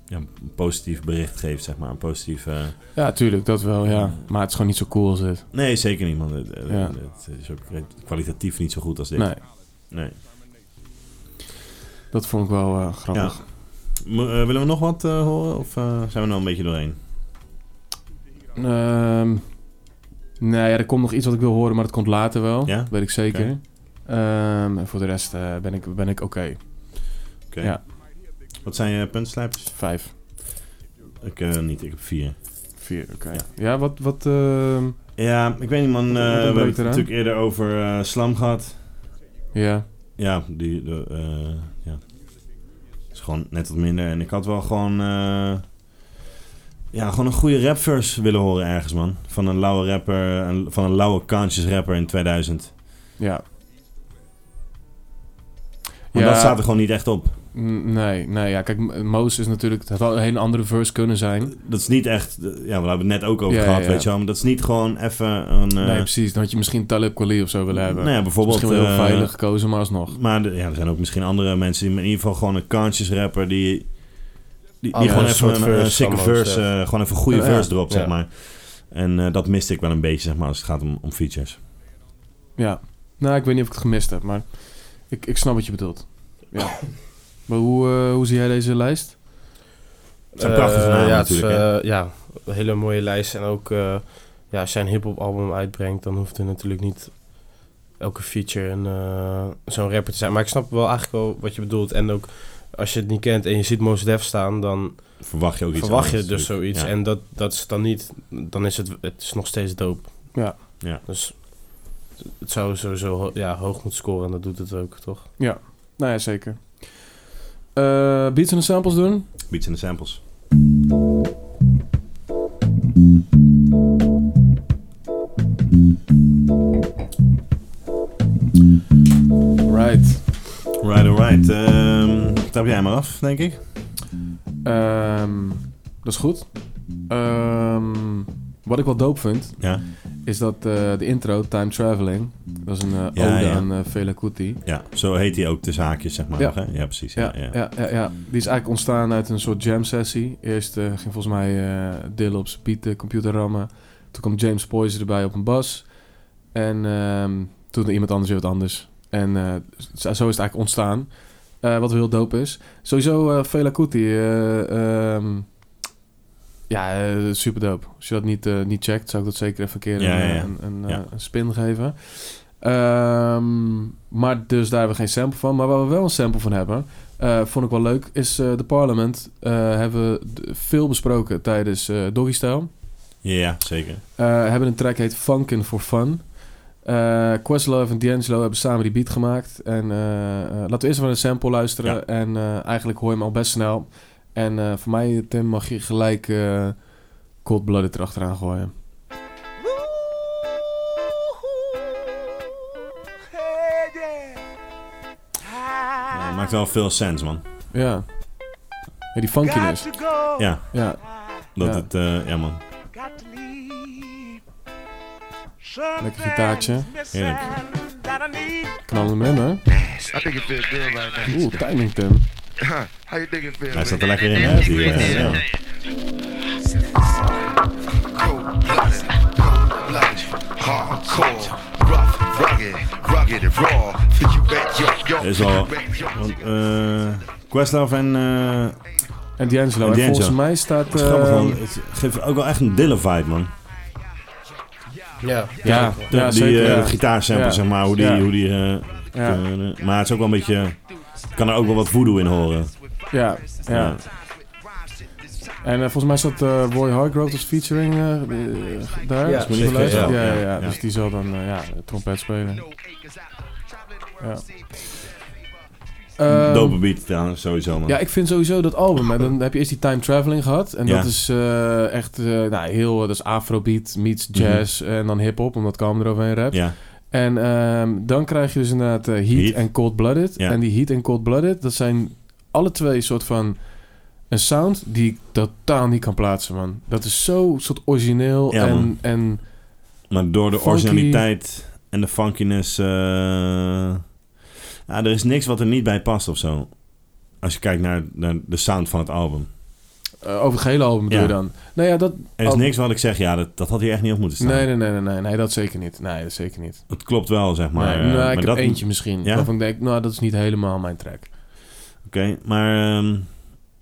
Speaker 1: ja, een positief bericht geeft, zeg maar. Een positief... eh,
Speaker 2: ja, tuurlijk, dat wel, ja. Maar het is gewoon niet zo cool als dit.
Speaker 1: Nee, zeker niet, man. Het, het-
Speaker 2: Ja.
Speaker 1: het is ook kwalitatief niet zo goed als dit.
Speaker 2: Nee,
Speaker 1: Nee.
Speaker 2: dat vond ik wel eh, grappig.
Speaker 1: M- eh, willen we nog wat eh, horen? Of eh, zijn we nou een beetje doorheen?
Speaker 2: Ehm nou ja, er komt nog iets wat ik wil horen, maar dat komt later wel.
Speaker 1: Ja?
Speaker 2: Dat weet ik zeker. Ehm, en voor de rest eh, ben ik, ben ik oké.
Speaker 1: Oké.
Speaker 2: Ja.
Speaker 1: Wat zijn je puntslijpers?
Speaker 2: Vijf,
Speaker 1: Ik eh, niet, ik heb vier.
Speaker 2: vier, oké.
Speaker 1: Ja.
Speaker 2: Ja. wat, wat, ehm,
Speaker 1: Ja, ik weet niet, man. eh,
Speaker 2: Wat ontbreekt
Speaker 1: we hebben het
Speaker 2: eraan?
Speaker 1: natuurlijk eerder over eh, Slam gehad.
Speaker 2: Ja.
Speaker 1: Ja, die, de, eh, ja. is gewoon net wat minder. En ik had wel gewoon, eh, ja, gewoon een goede rapverse willen horen ergens, man. Van een lauwe rapper, een- van een lauwe conscious rapper in 2000.
Speaker 2: Ja.
Speaker 1: Maar dat staat er gewoon niet echt op.
Speaker 2: N- Nee, nee, ja. Kijk, M- Moos is natuurlijk... Het had wel een hele andere verse kunnen zijn.
Speaker 1: Dat is niet echt, eh, ja, we hebben het net ook over
Speaker 2: Ja,
Speaker 1: gehad,
Speaker 2: ja, ja.
Speaker 1: weet je wel. Maar dat is niet gewoon even een... eh,
Speaker 2: nee, precies. Dan had je misschien Talib Kweli of zo willen hebben.
Speaker 1: Nou ja, bijvoorbeeld...
Speaker 2: misschien wel heel
Speaker 1: eh,
Speaker 2: veilig gekozen, maar alsnog.
Speaker 1: Maar de- ja, er zijn ook misschien andere mensen die in ieder geval gewoon een conscious rapper die. Die, die
Speaker 4: Andere
Speaker 1: gewoon even
Speaker 4: Oh, soort
Speaker 1: een,
Speaker 4: verse
Speaker 1: een sikke
Speaker 4: allemaal,
Speaker 1: verse,
Speaker 4: zeg.
Speaker 1: eh, gewoon even een goede
Speaker 2: Ja, ja.
Speaker 1: verse erop, zeg
Speaker 4: Ja.
Speaker 1: maar. En eh, dat miste ik wel een beetje, zeg maar, als het gaat om, om features.
Speaker 2: Ja. Nou, ik weet niet of ik het gemist heb, maar... Ik, ik snap wat je bedoelt. Ja. maar hoe, eh, hoe zie jij deze lijst?
Speaker 1: Het zijn prachtige
Speaker 4: Eh,
Speaker 1: namen
Speaker 4: ja, het is,
Speaker 1: natuurlijk, hè.
Speaker 4: eh, ja, een hele mooie lijst. En ook eh, ja, als jij een hip-hop album uitbrengt, dan hoeft er natuurlijk niet elke feature een, eh, zo'n rapper te zijn. Maar ik snap wel eigenlijk wel wat je bedoelt. En ook als je het niet kent en je ziet Mos Def staan, dan
Speaker 1: Verwacht je ook iets
Speaker 4: eh, verwacht je
Speaker 1: anders,
Speaker 4: dus
Speaker 1: natuurlijk.
Speaker 4: zoiets.
Speaker 1: Ja.
Speaker 4: En dat, dat is dan niet, dan is het, het is nog steeds dope.
Speaker 2: Ja.
Speaker 1: Ja.
Speaker 4: Dus het zou sowieso ho- ja, hoog moeten scoren en dat doet het ook, toch?
Speaker 2: Nou ja, zeker. Eh, beats en de samples doen?
Speaker 1: Beats en de samples.
Speaker 2: Right.
Speaker 1: Right, alright. Ehm trap jij maar af, denk ik.
Speaker 2: Ehm, dat is goed. Ehm, wat ik wel dope vind,
Speaker 1: Ja.
Speaker 2: is dat eh, de intro, Time Traveling, dat is een eh,
Speaker 1: Ja,
Speaker 2: ode
Speaker 1: ja.
Speaker 2: aan eh, Fela Kuti.
Speaker 1: Ja, zo heet hij ook de zaakjes, zeg maar.
Speaker 2: Ja.
Speaker 1: nog, hè? ja precies.
Speaker 2: Ja, ja. Ja, ja, Die is eigenlijk ontstaan uit een soort jam sessie. Eerst eh, ging volgens mij eh Dill op zijn beat de computer rammen. Toen kwam James Poyser erbij op een bas. En ehm, toen iemand anders weer wat anders. En eh, zo zo is het eigenlijk ontstaan. Eh, wat heel dope is. Sowieso eh Fela Kuti. eh, ehm, ja, super dope. Als je dat niet, eh, niet checkt, zou ik dat zeker even een keer
Speaker 1: Ja,
Speaker 2: een,
Speaker 1: ja, ja.
Speaker 2: Een, een, eh,
Speaker 1: Ja.
Speaker 2: een spin geven. Ehm, maar dus daar hebben we geen sample van. Maar waar we wel een sample van hebben, eh, vond ik wel leuk, is eh The Parliament. eh, hebben we d- veel besproken tijdens eh Doggy Style.
Speaker 1: Ja, ja, zeker.
Speaker 2: Eh, hebben een track heet Funkin' for Fun. Eh, Questlove en D'Angelo hebben samen die beat gemaakt. En eh, eh, laten we eerst even naar de sample luisteren.
Speaker 1: Ja.
Speaker 2: En eh, eigenlijk hoor je hem al best snel. En eh, voor mij, Tim, mag je gelijk eh Cold Blooded erachteraan gooien.
Speaker 1: Ja, maakt wel veel sense, man.
Speaker 2: Ja. ja die funkiness.
Speaker 1: Ja,
Speaker 2: Ja,
Speaker 1: dat
Speaker 2: Ja.
Speaker 1: het... eh, ja, man.
Speaker 2: lekker gitaartje.
Speaker 1: Heerlijk.
Speaker 2: Knallen hem in, hè?
Speaker 9: I think it feels good right now.
Speaker 2: Oeh, timing, Tim.
Speaker 9: Huh, How you think it feels?
Speaker 1: Hij
Speaker 9: man?
Speaker 1: staat er lekker in, hè? Die, eh, ja.
Speaker 9: Cold-blooded, cold-blooded, hardcore, rough, rugged, rugged and raw. Fit you back, yo, yo.
Speaker 1: Er is al.
Speaker 9: Back, yo.
Speaker 1: Want, eh, Questlove en. eh,
Speaker 2: En D'Angelo. En
Speaker 1: D'Angelo.
Speaker 2: volgens mij staat...
Speaker 1: het is grappig,
Speaker 2: eh,
Speaker 1: man. Het geeft ook wel echt een dille vibe, man.
Speaker 4: Ja.
Speaker 2: ja,
Speaker 1: De,
Speaker 2: ja,
Speaker 1: die
Speaker 2: zeker.
Speaker 1: eh,
Speaker 2: ja.
Speaker 1: gitaarsample,
Speaker 2: Ja.
Speaker 1: zeg maar. Hoe die.
Speaker 2: Ja.
Speaker 1: Hoe die eh,
Speaker 2: Ja,
Speaker 1: eh, maar het is ook wel een beetje. Kan er ook wel wat voodoo in horen.
Speaker 2: ja, ja. En eh, volgens mij zat eh Roy Hargrove als featuring eh, eh, daar.
Speaker 4: Ja,
Speaker 2: als we
Speaker 1: zeker,
Speaker 2: luisteren.
Speaker 1: ja.
Speaker 2: ja, ja,
Speaker 1: Ja, ja.
Speaker 2: Dus die zal dan eh, ja, trompet spelen. Ja. Ehm,
Speaker 1: Dope beat trouwens, sowieso, man.
Speaker 2: ja, ik vind sowieso dat album. hè, Dan heb je eerst die time traveling gehad. En
Speaker 1: Ja.
Speaker 2: dat is eh, echt eh, nou, heel... Dat is afrobeat meets jazz
Speaker 1: Mhm.
Speaker 2: en dan hiphop. Omdat Calm eroverheen rapt.
Speaker 1: Ja,
Speaker 2: En ehm, dan krijg je dus inderdaad eh, Heat
Speaker 1: Heat.
Speaker 2: en Cold Blooded.
Speaker 1: Ja.
Speaker 2: En die Heat en Cold Blooded, dat zijn alle twee soort van een sound die ik totaal niet kan plaatsen, man. Dat is zo soort origineel
Speaker 1: Ja,
Speaker 2: en,
Speaker 1: man.
Speaker 2: en
Speaker 1: Maar door de
Speaker 2: Funky.
Speaker 1: originaliteit en de funkiness. eh, ja, er is niks wat er niet bij past of zo. Als je kijkt naar, naar de sound van het album.
Speaker 2: eh, over het gehele album bedoel
Speaker 1: Ja.
Speaker 2: je dan. Nou ja, dat...
Speaker 1: Er is
Speaker 2: Oh.
Speaker 1: niks wat ik zeg, ja, dat, dat had hier echt niet op moeten staan.
Speaker 2: Nee, nee, nee, nee, nee, nee, dat zeker niet. Nee, dat zeker niet.
Speaker 1: Het klopt wel, zeg maar.
Speaker 2: nee,
Speaker 1: eh,
Speaker 2: nou, ik
Speaker 1: maar
Speaker 2: heb
Speaker 1: dat,
Speaker 2: eentje misschien.
Speaker 1: Ja?
Speaker 2: Waarvan ik denk, nou, dat is niet helemaal mijn track.
Speaker 1: Oké, maar ehm,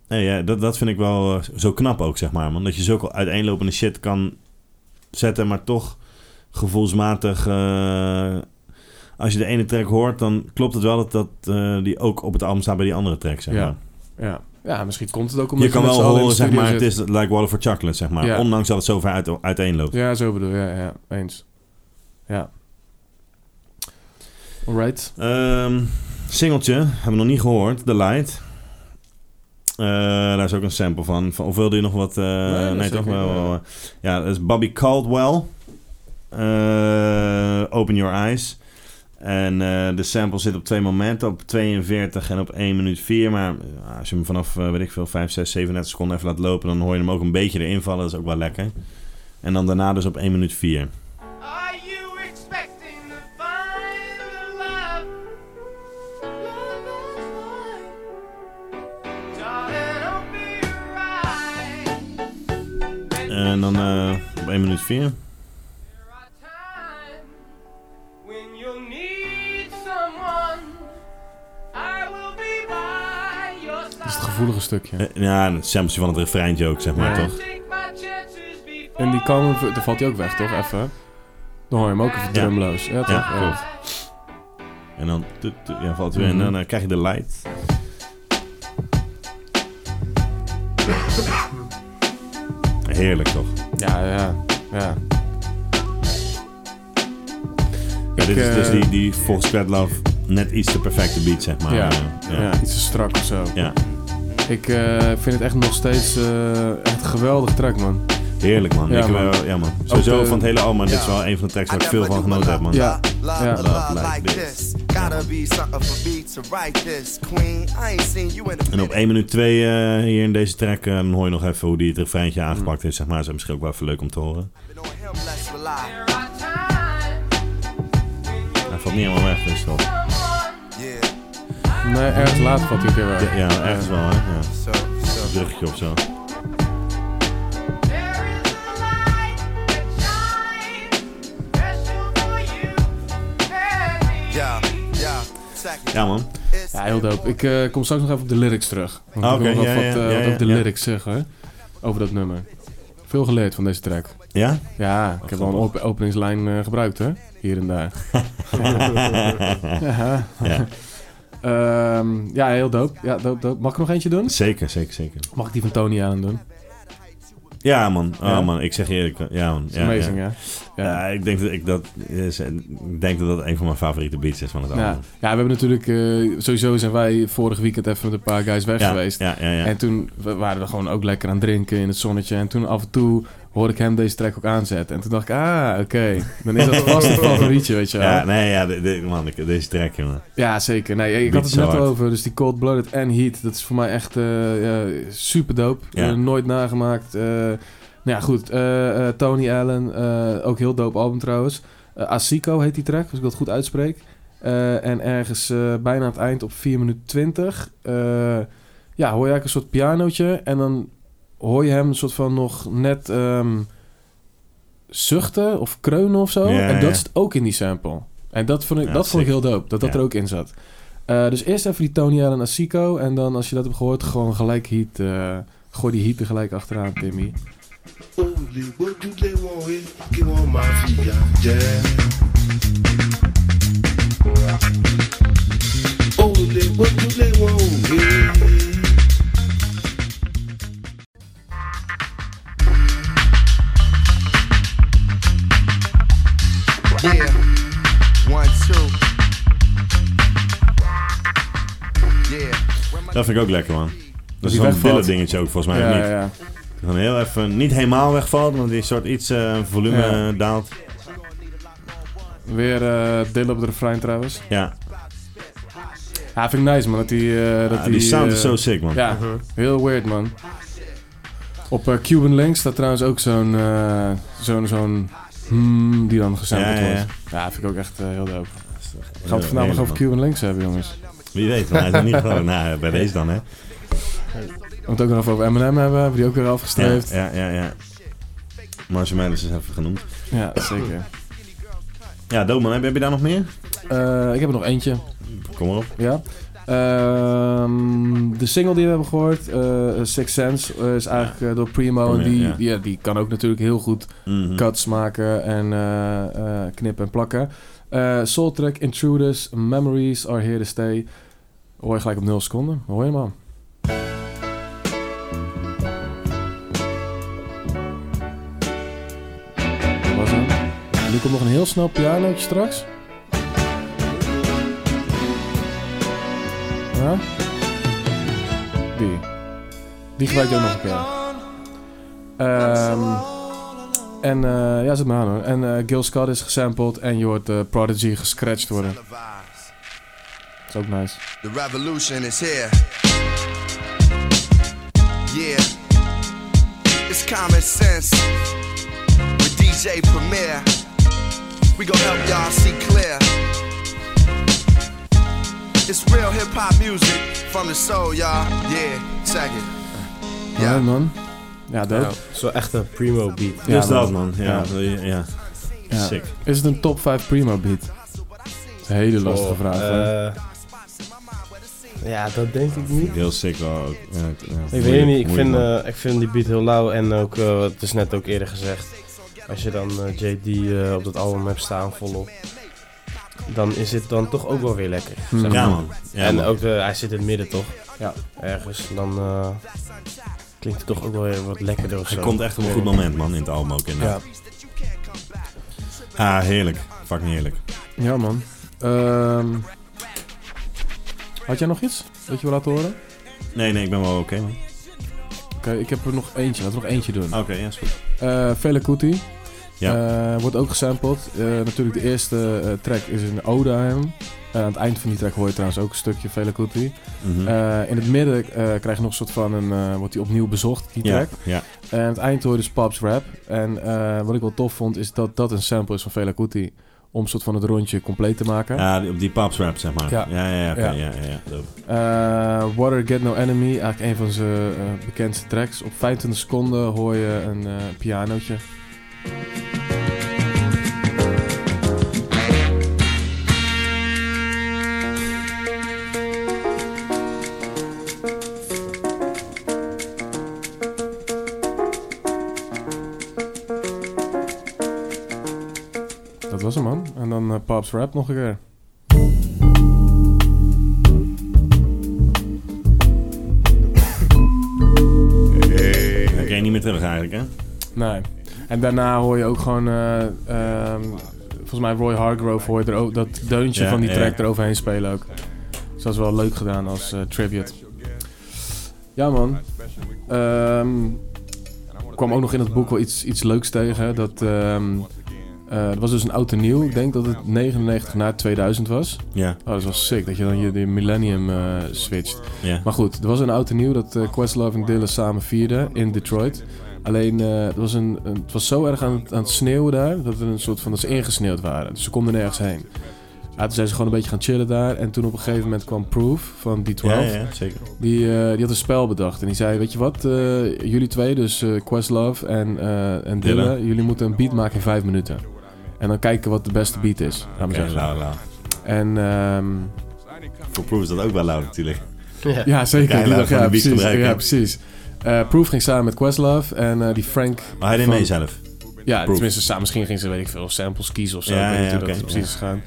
Speaker 1: nee, ja, dat, dat vind ik wel eh, zo knap ook, zeg maar. Man. Dat je zulke uiteenlopende shit kan zetten, maar toch gevoelsmatig... eh, als je de ene track hoort, dan klopt het wel dat, dat eh, die ook op het album staat bij die andere track, zeg
Speaker 2: Ja,
Speaker 1: maar.
Speaker 2: Ja, ja misschien komt het ook omdat
Speaker 1: Je kan
Speaker 2: met
Speaker 1: wel
Speaker 2: z'n allen in
Speaker 1: horen,
Speaker 2: de
Speaker 1: zeg
Speaker 2: studio
Speaker 1: maar, het
Speaker 2: zit.
Speaker 1: is like Water for Chocolate, zeg maar.
Speaker 2: Ja.
Speaker 1: Ondanks dat het zo ver uit, uiteenloopt.
Speaker 2: Ja, zo bedoel je. Ja, ja, eens. Ja. Alright.
Speaker 1: Ehm, singeltje, hebben we nog niet gehoord, The Light. Eh, daar is ook een sample van. Van- Of wilde je nog wat... eh,
Speaker 2: dat
Speaker 1: nee,
Speaker 2: is
Speaker 1: toch
Speaker 2: oké,
Speaker 1: wel.
Speaker 2: ja.
Speaker 1: wel, eh, Ja, dat is Bobby Caldwell. Eh, Open Your Eyes. En eh, de sample zit op twee momenten, op 42 en op 1 minuut 4. Maar eh, als je hem vanaf, eh, weet ik veel, 5, 6, 37 seconden even laat lopen, dan hoor je hem ook een beetje erin vallen. Dat is ook wel lekker. En dan daarna dus op 1 minuut 4.
Speaker 10: Are you expecting to find the love? Love is mine. Darling, open your eyes.
Speaker 1: En dan eh, op 1 minuut 4.
Speaker 10: There are times when you'll need someone. I will be by your
Speaker 2: Dat is het
Speaker 10: side.
Speaker 2: gevoelige stukje.
Speaker 1: Eh, ja, het sampletje van het refreintje ook, zeg maar,
Speaker 2: Ja.
Speaker 1: toch?
Speaker 10: Take my chances before
Speaker 2: En die kan, daar valt hij ook weg, toch? Even. Dan hoor je hem ook even
Speaker 10: Ja.
Speaker 2: drumloos. Ja, toch?
Speaker 1: Ja,
Speaker 2: Ja.
Speaker 1: klopt. En dan tut, tut, ja, valt het weer in
Speaker 2: Mhm.
Speaker 1: en dan eh, krijg je de light. Heerlijk toch?
Speaker 2: Ja, ja, ja.
Speaker 1: Ja, dit is
Speaker 2: eh,
Speaker 1: dus die, die volgens Love net iets de perfecte beat, zeg maar.
Speaker 2: Ja,
Speaker 1: Eh,
Speaker 2: ja. iets te strak of zo.
Speaker 1: Ja.
Speaker 2: Ik eh, vind het echt nog steeds eh, echt een geweldige track, man.
Speaker 1: Heerlijk man.
Speaker 2: Ja,
Speaker 1: ik,
Speaker 2: man.
Speaker 1: eh, ja, man. Sowieso
Speaker 2: de-
Speaker 1: van het hele album, dit is
Speaker 3: Ja.
Speaker 1: wel een van de tracks waar ik veel van genoten heb man.
Speaker 2: Ja.
Speaker 3: Love,
Speaker 2: Ja.
Speaker 3: love,
Speaker 1: Love like
Speaker 3: like
Speaker 1: this.
Speaker 3: this. Gotta be something for me to write this. Queen, I ain't seen you in a
Speaker 1: En op
Speaker 3: minute.
Speaker 1: 1 minuut 2 eh, hier in deze track eh, dan hoor je nog even hoe die het refreintje aangepakt is, zeg maar. Dat is misschien ook wel even leuk om te horen.
Speaker 3: But on him, let's rely.
Speaker 10: there are times when
Speaker 1: Hij
Speaker 10: you'll
Speaker 1: valt niet helemaal weg, dus dat.
Speaker 10: need someone.
Speaker 3: Yeah,
Speaker 2: Nee, erg laat valt hij een keer weg.
Speaker 1: Ja, ergens wel hè. Ja.
Speaker 3: so, so.
Speaker 1: Bruggetje of zo.
Speaker 10: There is a light that shines special for you and me.
Speaker 3: Yeah, yeah. Second.
Speaker 1: Ja man.
Speaker 3: It's
Speaker 2: Ja, heel dope. Ik eh, kom straks nog even op de lyrics terug. Want
Speaker 1: Ah,
Speaker 2: ik wil
Speaker 1: oké,
Speaker 2: nog
Speaker 1: ja,
Speaker 2: wat,
Speaker 1: ja,
Speaker 2: eh,
Speaker 1: ja,
Speaker 2: wat
Speaker 1: ja,
Speaker 2: over de
Speaker 1: ja.
Speaker 2: lyrics zeggen. Over dat nummer. Veel geleerd van deze track.
Speaker 1: Ja?
Speaker 2: Ja, ik heb wel een op- openingslijn eh, gebruikt, hè? Hier en daar. ja.
Speaker 1: Ja.
Speaker 2: Ehm, ja, heel dope. Ja, dope, dope. Mag ik nog eentje doen?
Speaker 1: Zeker, zeker, zeker.
Speaker 2: Mag ik die van Tony aan doen?
Speaker 1: Ja man. Oh
Speaker 2: Ja.
Speaker 1: man, ik zeg je eerlijk. Ja man.
Speaker 2: Is
Speaker 1: Ja,
Speaker 2: amazing,
Speaker 1: ja.
Speaker 2: ja. Ja.
Speaker 1: Ja, ik denk dat ik dat is, eh, ik denk dat dat een van mijn favoriete beats is van het
Speaker 2: Ja.
Speaker 1: album.
Speaker 2: ja, we hebben natuurlijk... eh, sowieso zijn wij vorig weekend even met een paar guys weg
Speaker 1: ja,
Speaker 2: geweest.
Speaker 1: Ja, ja, ja.
Speaker 2: En toen we waren we gewoon ook lekker aan het drinken in het zonnetje. En toen af en toe hoorde ik hem deze track ook aanzetten. En toen dacht ik, ah, oké. Dan is dat vast een favorietje, weet je wel.
Speaker 1: ja,
Speaker 2: Ja,
Speaker 1: nee, ja, de- de- man, ik- deze track, jongen.
Speaker 2: zeker. Nee, ik
Speaker 1: Beat
Speaker 2: had het
Speaker 1: zo
Speaker 2: net al
Speaker 1: hard.
Speaker 2: over. Dus die Cold Blooded en Heat, dat is voor mij echt eh, ja, super dope.
Speaker 1: Ja.
Speaker 2: Eh, nooit nagemaakt. Eh, nou ja, goed. eh, eh, Tony Allen, eh, ook heel dope album trouwens. Eh Asico heet die track, als ik dat goed uitspreek. Eh, en ergens eh, bijna aan het eind op 4 minuten 20. eh, ja, hoor je eigenlijk een soort pianootje. En dan hoor je hem een soort van nog net ehm, zuchten of kreunen of zo.
Speaker 1: Ja,
Speaker 2: en dat
Speaker 1: ja.
Speaker 2: zit ook in die sample. En dat vond ik,
Speaker 1: Ja,
Speaker 2: dat vond ik heel dope, dat dat
Speaker 1: Ja.
Speaker 2: er ook in zat. Eh, dus eerst even die Tony Allen Asico. En dan als je dat hebt gehoord, gewoon gelijk heat. eh, gooi die heat er gelijk achteraan, Timmy.
Speaker 9: Only what do they want here? Give on my feet, yeah. Only what do they want here?
Speaker 3: Yeah. One, two. Yeah.
Speaker 1: Dat vind ik ook lekker, man. Dat is
Speaker 2: die
Speaker 1: zo'n
Speaker 2: wegvalt.
Speaker 1: Dylan dingetje ook, volgens mij. of niet?
Speaker 2: ja.
Speaker 1: Dan heel even, niet helemaal wegvalt, maar die soort iets eh, volume
Speaker 2: Ja.
Speaker 1: eh, daalt.
Speaker 2: Weer eh deel op de refrein trouwens.
Speaker 1: Ja, Ah,
Speaker 2: Ja, vind ik nice man. Dat die, eh, dat
Speaker 1: Ah, die sound
Speaker 2: eh,
Speaker 1: is zo Uh-huh. sick, man.
Speaker 2: Ja, heel weird man. Op eh, Cuban Links staat trouwens ook zo'n... eh, zo'n... zo'n hmm, die dan gesampled
Speaker 1: Ja, ja, ja.
Speaker 2: wordt. Ja, vind ik ook echt eh, heel dope. Gaan we het
Speaker 1: Heel-
Speaker 2: vandaag nog
Speaker 1: heerlijk,
Speaker 2: over Cuban Links hebben jongens.
Speaker 1: man. Wie weet, maar hij is nog niet gewoon. Nou, bij deze dan, hè.
Speaker 2: We het ook nog even over Eminem hebben. Hebben we die ook weer
Speaker 1: Ja,
Speaker 2: afgestreefd. Ja,
Speaker 1: ja, ja. ja. Marshall Mathers is even genoemd.
Speaker 2: zeker.
Speaker 1: Ja, Doman, heb heb je daar nog meer?
Speaker 2: Eh, ik heb er nog eentje.
Speaker 1: Kom maar op.
Speaker 2: Ja. Ehm, de single die we hebben gehoord, eh Six Sense, eh, is eigenlijk eh, door Primo.
Speaker 1: Oh,
Speaker 2: en
Speaker 1: ja,
Speaker 2: die,
Speaker 1: ja.
Speaker 2: Die, ja, die kan ook natuurlijk heel goed
Speaker 1: Mhm.
Speaker 2: cuts maken en eh, eh, knippen en plakken. Eh Soul Track, Intruders, Memories are here to stay. Hoor je gelijk op 0 seconden. Hoor je hem al? Dat was hem. Nu komt nog een heel snel pianootje straks.
Speaker 10: There
Speaker 2: Ja? Die. Die gebruik je ook nog een keer. Ehm, en eh, ja, zet maar aan hoor. En eh, Gil Scott is gesampled en je hoort eh, Prodigy gescratcht worden. Dat is ook nice.
Speaker 3: The revolution is here. Yeah. It's common sense. With DJ Premier, we gon' help y'all see clear. It's real hip hop music from the soul, y'all. Yeah, check it.
Speaker 2: Ja, man. Ja,
Speaker 4: Ja,
Speaker 2: dope.
Speaker 4: het is wel echt een primo beat.
Speaker 2: Ja,
Speaker 1: dus dat
Speaker 2: man.
Speaker 1: man. Ja, ja. ja.
Speaker 2: Ja.
Speaker 1: Sick.
Speaker 2: Is het een top 5 primo beat? Dat is een hele lastige
Speaker 4: Oh,
Speaker 2: vraag. hoor.
Speaker 4: eh, ja, dat denk ik niet.
Speaker 1: Heel sick wel ook. Ja, ja,
Speaker 4: Ik
Speaker 1: moeilijk,
Speaker 4: weet niet, ik
Speaker 1: moeilijk,
Speaker 4: vind,
Speaker 1: man.
Speaker 4: eh, ik vind die beat heel lauw en ook, eh, het is net ook eerder gezegd, als je dan eh, JD eh, op dat album hebt staan volop, dan is het dan toch ook wel weer lekker. zeg
Speaker 2: Hmm.
Speaker 4: maar.
Speaker 1: ja man. Ja,
Speaker 4: eh, en
Speaker 1: man.
Speaker 4: ook, de, hij zit in het midden toch?
Speaker 2: Ja.
Speaker 4: Ergens, dan eh, klinkt het toch ook wel weer wat lekkerder of
Speaker 1: Hij
Speaker 4: zo.
Speaker 1: komt echt op een goed moment man in het album ook inderdaad. Ah, heerlijk. Fucking heerlijk.
Speaker 2: Ja, man. Ehm, had jij nog iets dat je wil laten horen?
Speaker 1: Nee, nee, ik ben wel oké man.
Speaker 2: Oké, ik heb er nog eentje. Laten we nog eentje doen.
Speaker 1: Oké, ja, is goed.
Speaker 2: Eh Fela Kuti.
Speaker 1: Ja.
Speaker 2: Eh, wordt ook gesampled. Eh, natuurlijk de eerste eh, track is een ode aan hem. Eh, aan het eind van die track hoor je trouwens ook een stukje Fela Kuti.
Speaker 1: Mhm.
Speaker 2: Eh, in het midden eh, krijg je nog een soort van een... eh, wordt hij opnieuw bezocht, die
Speaker 1: ja,
Speaker 2: track.
Speaker 1: ja.
Speaker 2: En aan het eind hoor je dus Pops Rap. En eh, wat ik wel tof vond is dat dat een sample is van Fela Kuti. Om een soort van het rondje compleet te maken.
Speaker 1: Ja, Ah, die- op die paps rap zeg maar.
Speaker 2: Ja.
Speaker 1: Ja, ja, ja. oké,
Speaker 2: Ja.
Speaker 1: ja. ja, ja, dope.
Speaker 2: Eh, Water Get No Enemy, eigenlijk een van zijn eh, bekendste tracks. Op 25 seconden hoor je een eh pianootje. Dat was hem man. En dan eh, Pops Rap nog een keer.
Speaker 1: Dan kan je niet meer terug eigenlijk, hè?
Speaker 2: Nee. En daarna hoor je ook gewoon, eh, ehm, volgens mij Roy Hargrove hoor je er ook dat deuntje
Speaker 1: Ja,
Speaker 2: van die
Speaker 1: ja.
Speaker 2: track eroverheen spelen ook. Dus dat is wel leuk gedaan als eh, tribute. Ja man. Ehm, ik kwam ook nog in het boek wel iets, iets leuks tegen. Dat, ehm eh, het was dus een oud en nieuw. Ik denk dat het 99 na 2000 was.
Speaker 1: Ja,
Speaker 2: Oh, dat was sick dat je dan je de millennium eh, switcht.
Speaker 1: ja.
Speaker 2: Maar goed, er was een oud en nieuw dat eh, Questlove en Dylan samen vierden in Detroit. Alleen, eh, het, was een, een- het was zo erg aan, het- aan het sneeuwen daar, dat, we een soort van, dat ze ingesneeuwd waren. Dus ze konden nergens heen. Ja, toen zijn ze gewoon een beetje gaan chillen daar. En toen op een gegeven moment kwam Proof van D12.
Speaker 1: Ja, ja, ja, zeker.
Speaker 2: Die, eh, die had een spel bedacht. En die zei, weet je wat, eh, jullie twee, dus eh, Questlove en, eh en Dylan,
Speaker 1: Dylan.
Speaker 2: jullie moeten een beat maken in vijf minuten. En dan kijken wat de beste beat is. Laat maar
Speaker 1: Oké, nou.
Speaker 2: zeggen.
Speaker 1: lauw, lauw.
Speaker 2: En ehm,
Speaker 1: Voor Proof is dat ook wel lauw natuurlijk.
Speaker 4: Ja.
Speaker 2: ja, zeker.
Speaker 1: Kijk,
Speaker 2: die
Speaker 1: laten
Speaker 2: dag,
Speaker 1: we de beat
Speaker 2: ja, precies,
Speaker 1: gebruiken.
Speaker 2: ja, precies. Eh, Proof ging samen met Questlove en eh, die Frank...
Speaker 1: Maar hij deed
Speaker 2: van-
Speaker 1: mee zelf.
Speaker 2: Ja,
Speaker 1: Proof.
Speaker 2: tenminste, samen, misschien ging ze, weet ik veel, samples kiezen of zo.
Speaker 1: Ja,
Speaker 2: ik weet niet
Speaker 1: ja,
Speaker 2: hoe dat
Speaker 1: oké,
Speaker 2: precies is gegaan.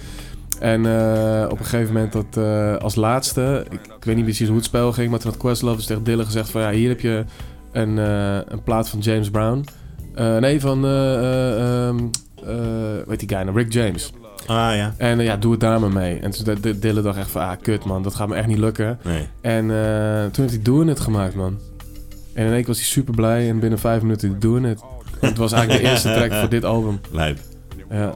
Speaker 2: En eh, op een gegeven moment dat eh, als laatste, ik, ik weet niet precies hoe het spel ging, maar toen had Questlove dus tegen Dylan gezegd van ja, hier heb je een, eh, een plaat van James Brown. Eh, nee, van, eh, eh, ehm, eh, weet die guy nou, Rick James.
Speaker 1: Ah, ja.
Speaker 2: En eh, ja, doe het daar maar mee. En toen dacht Dylan dacht echt van, ah, kut man, dat gaat me echt niet lukken.
Speaker 1: Nee.
Speaker 2: En eh, toen heeft hij Doing It gemaakt, man. En in één keer was hij super blij en binnen vijf minuten had hij Doing It. Het was eigenlijk de eerste track voor dit album.
Speaker 1: Lijp.
Speaker 2: Ja,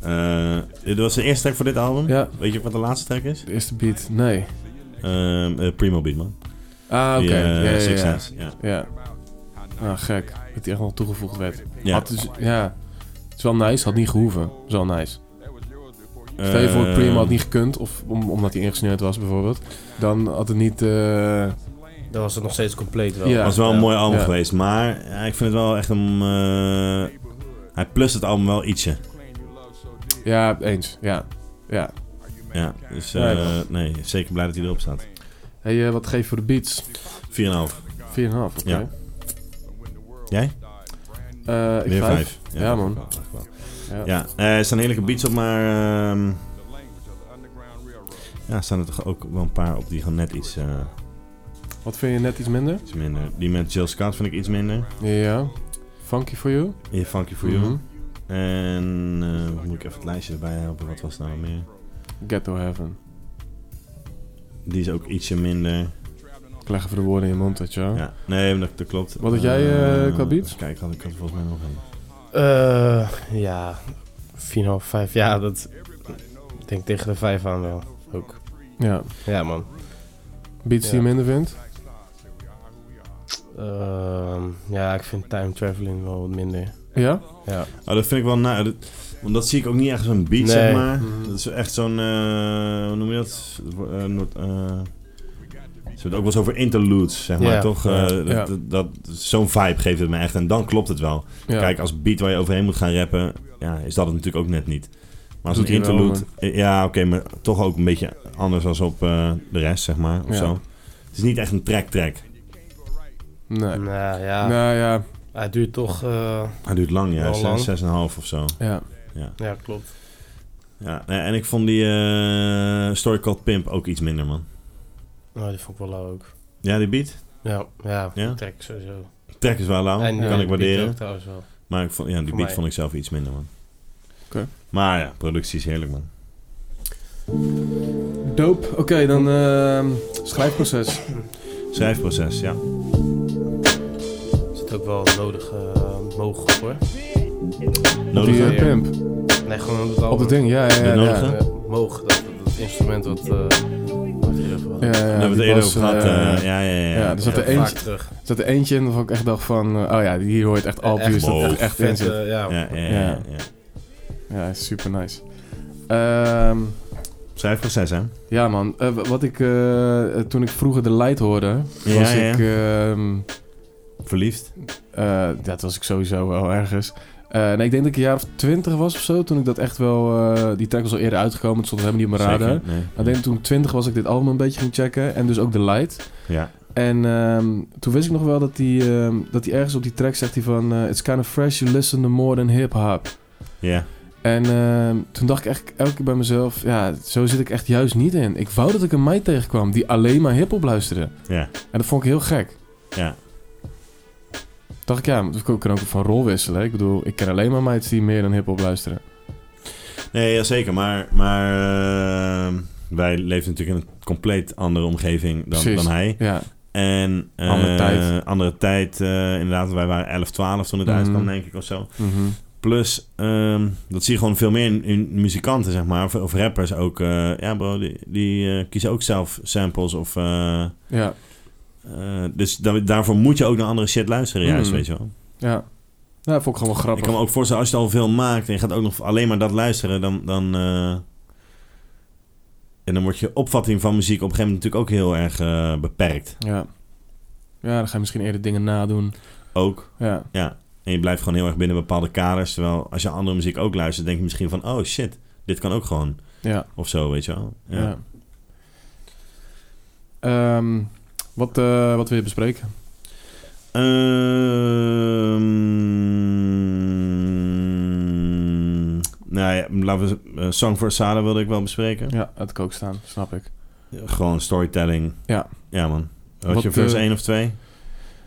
Speaker 1: Eh, dit was de eerste track voor dit album.
Speaker 2: ja
Speaker 1: Weet je ook wat de laatste track is?
Speaker 2: de eerste beat. Nee.
Speaker 1: Ehm, eh, Primo Beat, man.
Speaker 2: Ah, oké.
Speaker 1: Die, eh,
Speaker 2: ja, ja,
Speaker 1: Six
Speaker 2: ja,
Speaker 1: Sense, ja.
Speaker 2: ja. Ah, gek. Dat hij echt nog toegevoegd werd.
Speaker 1: Ja.
Speaker 2: Had dus, ja. Het is wel nice, had niet gehoeven. Het is wel nice. Stel je voor,
Speaker 1: Ehm,
Speaker 2: Primo had niet gekund, of om, omdat hij ingesneeuwd was bijvoorbeeld. Dan had het niet... eh,
Speaker 4: Dan was het nog steeds compleet wel.
Speaker 2: Ja.
Speaker 1: Eh, was wel een mooi album
Speaker 2: Ja.
Speaker 1: geweest, maar ja, ik vind het wel echt een... eh, hij plust het album wel ietsje.
Speaker 2: ja, eens. Ja. Ja.
Speaker 1: Ja, dus eh,
Speaker 2: Nee,
Speaker 1: nee, zeker blij dat hij erop staat. 4,5.
Speaker 2: hey, eh, wat geef je voor de beats? 4,5, oké.
Speaker 1: Ja. Jij?
Speaker 2: Eh, ik
Speaker 1: Weer
Speaker 2: vijf.
Speaker 1: 5.
Speaker 2: Ja, man. Ja.
Speaker 1: Ja, eh, er staan heerlijke beats op, maar... ehm, ja, er staan er toch ook wel een paar op die gewoon net iets, eh,
Speaker 2: Wat vind je net iets minder?
Speaker 1: iets minder. Die met Jill Scott vind ik iets minder.
Speaker 2: Ja. Funky for you?
Speaker 1: Hier, Funky For You.
Speaker 2: Mhm.
Speaker 1: En eh, moet ik even het lijstje erbij helpen? Wat was nou meer?
Speaker 2: Ghetto Heaven.
Speaker 1: Die is ook ietsje minder.
Speaker 2: Ik leg even de woorden in je mond, weet je wel.
Speaker 1: Ja. Nee, dat, dat klopt.
Speaker 2: Wat had jij, eh, qua beats?
Speaker 1: Kijk, had ik had er volgens mij nog een.
Speaker 4: Eh, ja, 4,5, 5. Ja, dat ik denk tegen de 5 aan wel. Ook.
Speaker 2: Ja.
Speaker 4: Ja, man.
Speaker 2: Beats die je
Speaker 4: Ja.
Speaker 2: minder vindt?
Speaker 4: Ehm, ja, ik vind time traveling wel wat minder.
Speaker 2: Ja?
Speaker 4: Ja.
Speaker 1: Oh, dat vind ik wel na. Dat, want dat zie ik ook niet echt als een beat,
Speaker 4: Nee.
Speaker 1: zeg maar.
Speaker 2: Mhm.
Speaker 1: Dat is echt zo'n. eh, hoe noem je dat? Eh, Noord, eh, ze hebben het ook wel eens over interludes, zeg maar,
Speaker 4: Ja.
Speaker 1: toch? Eh,
Speaker 4: Ja.
Speaker 1: dat-
Speaker 2: Ja.
Speaker 1: dat, dat, zo'n vibe geeft het me echt. En dan klopt het wel.
Speaker 2: Ja.
Speaker 1: Kijk, als beat waar je overheen moet gaan rappen, ja, is dat het natuurlijk ook net niet. Maar als
Speaker 2: Doet
Speaker 1: een
Speaker 2: hij wel,
Speaker 1: interlude, eh, ja, oké, maar toch ook een beetje anders als op eh, de rest, zeg maar, of
Speaker 2: Ja.
Speaker 1: zo. Het is niet echt een track-track.
Speaker 2: Nee.
Speaker 4: Nou ja,
Speaker 2: Nou ja.
Speaker 4: het duurt toch. eh,
Speaker 1: Hij duurt lang, ja,
Speaker 4: Wel
Speaker 1: zes-
Speaker 4: lang.
Speaker 1: zes en een half of zo.
Speaker 2: Ja.
Speaker 4: ja, klopt.
Speaker 1: Ja, nee, en ik vond die eh, Story Called Pimp ook iets minder, man.
Speaker 4: Nou, die vond ik wel lauw ook.
Speaker 1: Ja, die beat.
Speaker 4: Ja, ja,
Speaker 1: Ja?
Speaker 4: trek sowieso.
Speaker 1: Track is wel lauw,
Speaker 4: En,
Speaker 1: kan
Speaker 4: eh, die
Speaker 1: ik
Speaker 4: beat
Speaker 1: waarderen.
Speaker 4: ook trouwens wel.
Speaker 1: Maar ik vond, ja, die
Speaker 4: Voor
Speaker 1: beat
Speaker 4: mij.
Speaker 1: vond ik zelf iets minder, man.
Speaker 2: Oké.
Speaker 1: Maar ja, productie is heerlijk, man.
Speaker 2: Doop. Oké, dan ehm, schrijfproces.
Speaker 1: Schrijfproces, ja.
Speaker 4: Er zit ook wel nodig eh mogelijk hoor.
Speaker 2: Op
Speaker 1: Nodig
Speaker 2: die eh,
Speaker 1: ook?
Speaker 4: weer.
Speaker 2: pimp.
Speaker 4: Nee, gewoon het
Speaker 2: Op
Speaker 4: album.
Speaker 2: het ding, ja, ja, ja.
Speaker 1: De nodige?
Speaker 2: ja.
Speaker 4: Eh, moog, dat, dat instrument wat. eh wat hier even
Speaker 2: Ja, ja,
Speaker 1: Daar hebben we het
Speaker 2: die
Speaker 1: eerder
Speaker 2: bas,
Speaker 1: over gehad.
Speaker 2: eh,
Speaker 1: eh, ja, ja, ja.
Speaker 2: ja, er zat
Speaker 4: Ja,
Speaker 2: er één-
Speaker 4: vaak terug.
Speaker 2: Er zat er eentje in waarvan ik echt dacht van... eh, oh ja, hier hoort echt al
Speaker 4: Echt
Speaker 2: views dat
Speaker 1: mooi.
Speaker 2: er echt in
Speaker 4: Vet,
Speaker 2: zit.
Speaker 4: eh, ja.
Speaker 1: ja, ja, ja,
Speaker 2: Ja.
Speaker 1: ja.
Speaker 2: Ja, super nice. Ehm,
Speaker 1: Schrijfproces, hè?
Speaker 2: ja man, Eh, w- wat ik... eh, eh, toen ik vroeger de light hoorde...
Speaker 1: Ja,
Speaker 2: was
Speaker 1: ja.
Speaker 2: ik... ehm,
Speaker 1: Verliefd.
Speaker 2: eh, dat was ik sowieso wel ergens. Eh, nee, ik denk dat ik een jaar of twintig was of zo. Toen ik dat echt wel... eh, die track was al eerder uitgekomen. dus Het stond helemaal niet op mijn radar.
Speaker 1: Zeker, nee.
Speaker 2: Maar ik denk dat toen ik twintig was ik dit album een beetje ging checken. En dus ook de light.
Speaker 1: Ja.
Speaker 2: En ehm, toen wist ik nog wel dat hij dat hij ergens op die track zegt hij van... eh, It's kind of fresh, you listen to more than hip-hop.
Speaker 1: Ja.
Speaker 2: En ehm, toen dacht ik eigenlijk elke keer bij mezelf... Ja, zo zit ik echt juist niet in. Ik wou dat ik een meid tegenkwam die alleen maar hip-hop luisterde.
Speaker 1: Ja.
Speaker 2: En dat vond ik heel gek.
Speaker 1: Ja.
Speaker 2: Dacht ik, ja, maar ik kan ook van rol wisselen. hè. Ik bedoel, ik ken alleen maar meids die meer dan hip-hop luisteren.
Speaker 1: Nee, ja, zeker. Maar, maar ehm, wij leven natuurlijk in een compleet andere omgeving dan,
Speaker 2: Precies.
Speaker 1: dan hij.
Speaker 2: Ja,
Speaker 1: En eh,
Speaker 2: Andere tijd.
Speaker 1: Andere tijd eh, inderdaad, wij waren 11, 12 toen het
Speaker 2: Mhm.
Speaker 1: uitkwam, denk ik, of zo.
Speaker 2: mhm.
Speaker 1: Plus, ehm, dat zie je gewoon veel meer in, in muzikanten, zeg maar, of, of rappers ook. eh, ja, bro, die, die eh, kiezen ook zelf samples of. eh,
Speaker 2: ja,
Speaker 1: eh, dus da- daarvoor moet je ook naar andere shit luisteren, juist,
Speaker 2: Mm.
Speaker 1: weet je wel.
Speaker 2: ja. Nou, dat vond ik gewoon wel
Speaker 1: Ik
Speaker 2: grappig.
Speaker 1: kan me ook voorstellen, als je al veel maakt en je gaat ook nog alleen maar dat luisteren, dan. dan eh, en dan wordt je opvatting van muziek op een gegeven moment natuurlijk ook heel erg eh, beperkt.
Speaker 2: Ja. ja, dan ga je misschien eerder dingen nadoen.
Speaker 1: Ook.
Speaker 2: Ja,
Speaker 1: En je blijft gewoon heel erg binnen bepaalde kaders. Terwijl als je andere muziek ook luistert, denk je misschien van... Oh shit, dit kan ook gewoon.
Speaker 2: ja.
Speaker 1: Of zo, weet je wel. Ja.
Speaker 2: Ja. Ehm, wat, eh, wat wil je bespreken?
Speaker 1: Ehm, nou ja, laten we... eh, Song for Asada wilde ik wel bespreken.
Speaker 2: Ja, het kook staan, snap ik.
Speaker 1: Gewoon storytelling.
Speaker 2: Ja.
Speaker 1: Ja, man. Had
Speaker 2: Wat,
Speaker 1: je vers
Speaker 2: eh,
Speaker 1: één of twee?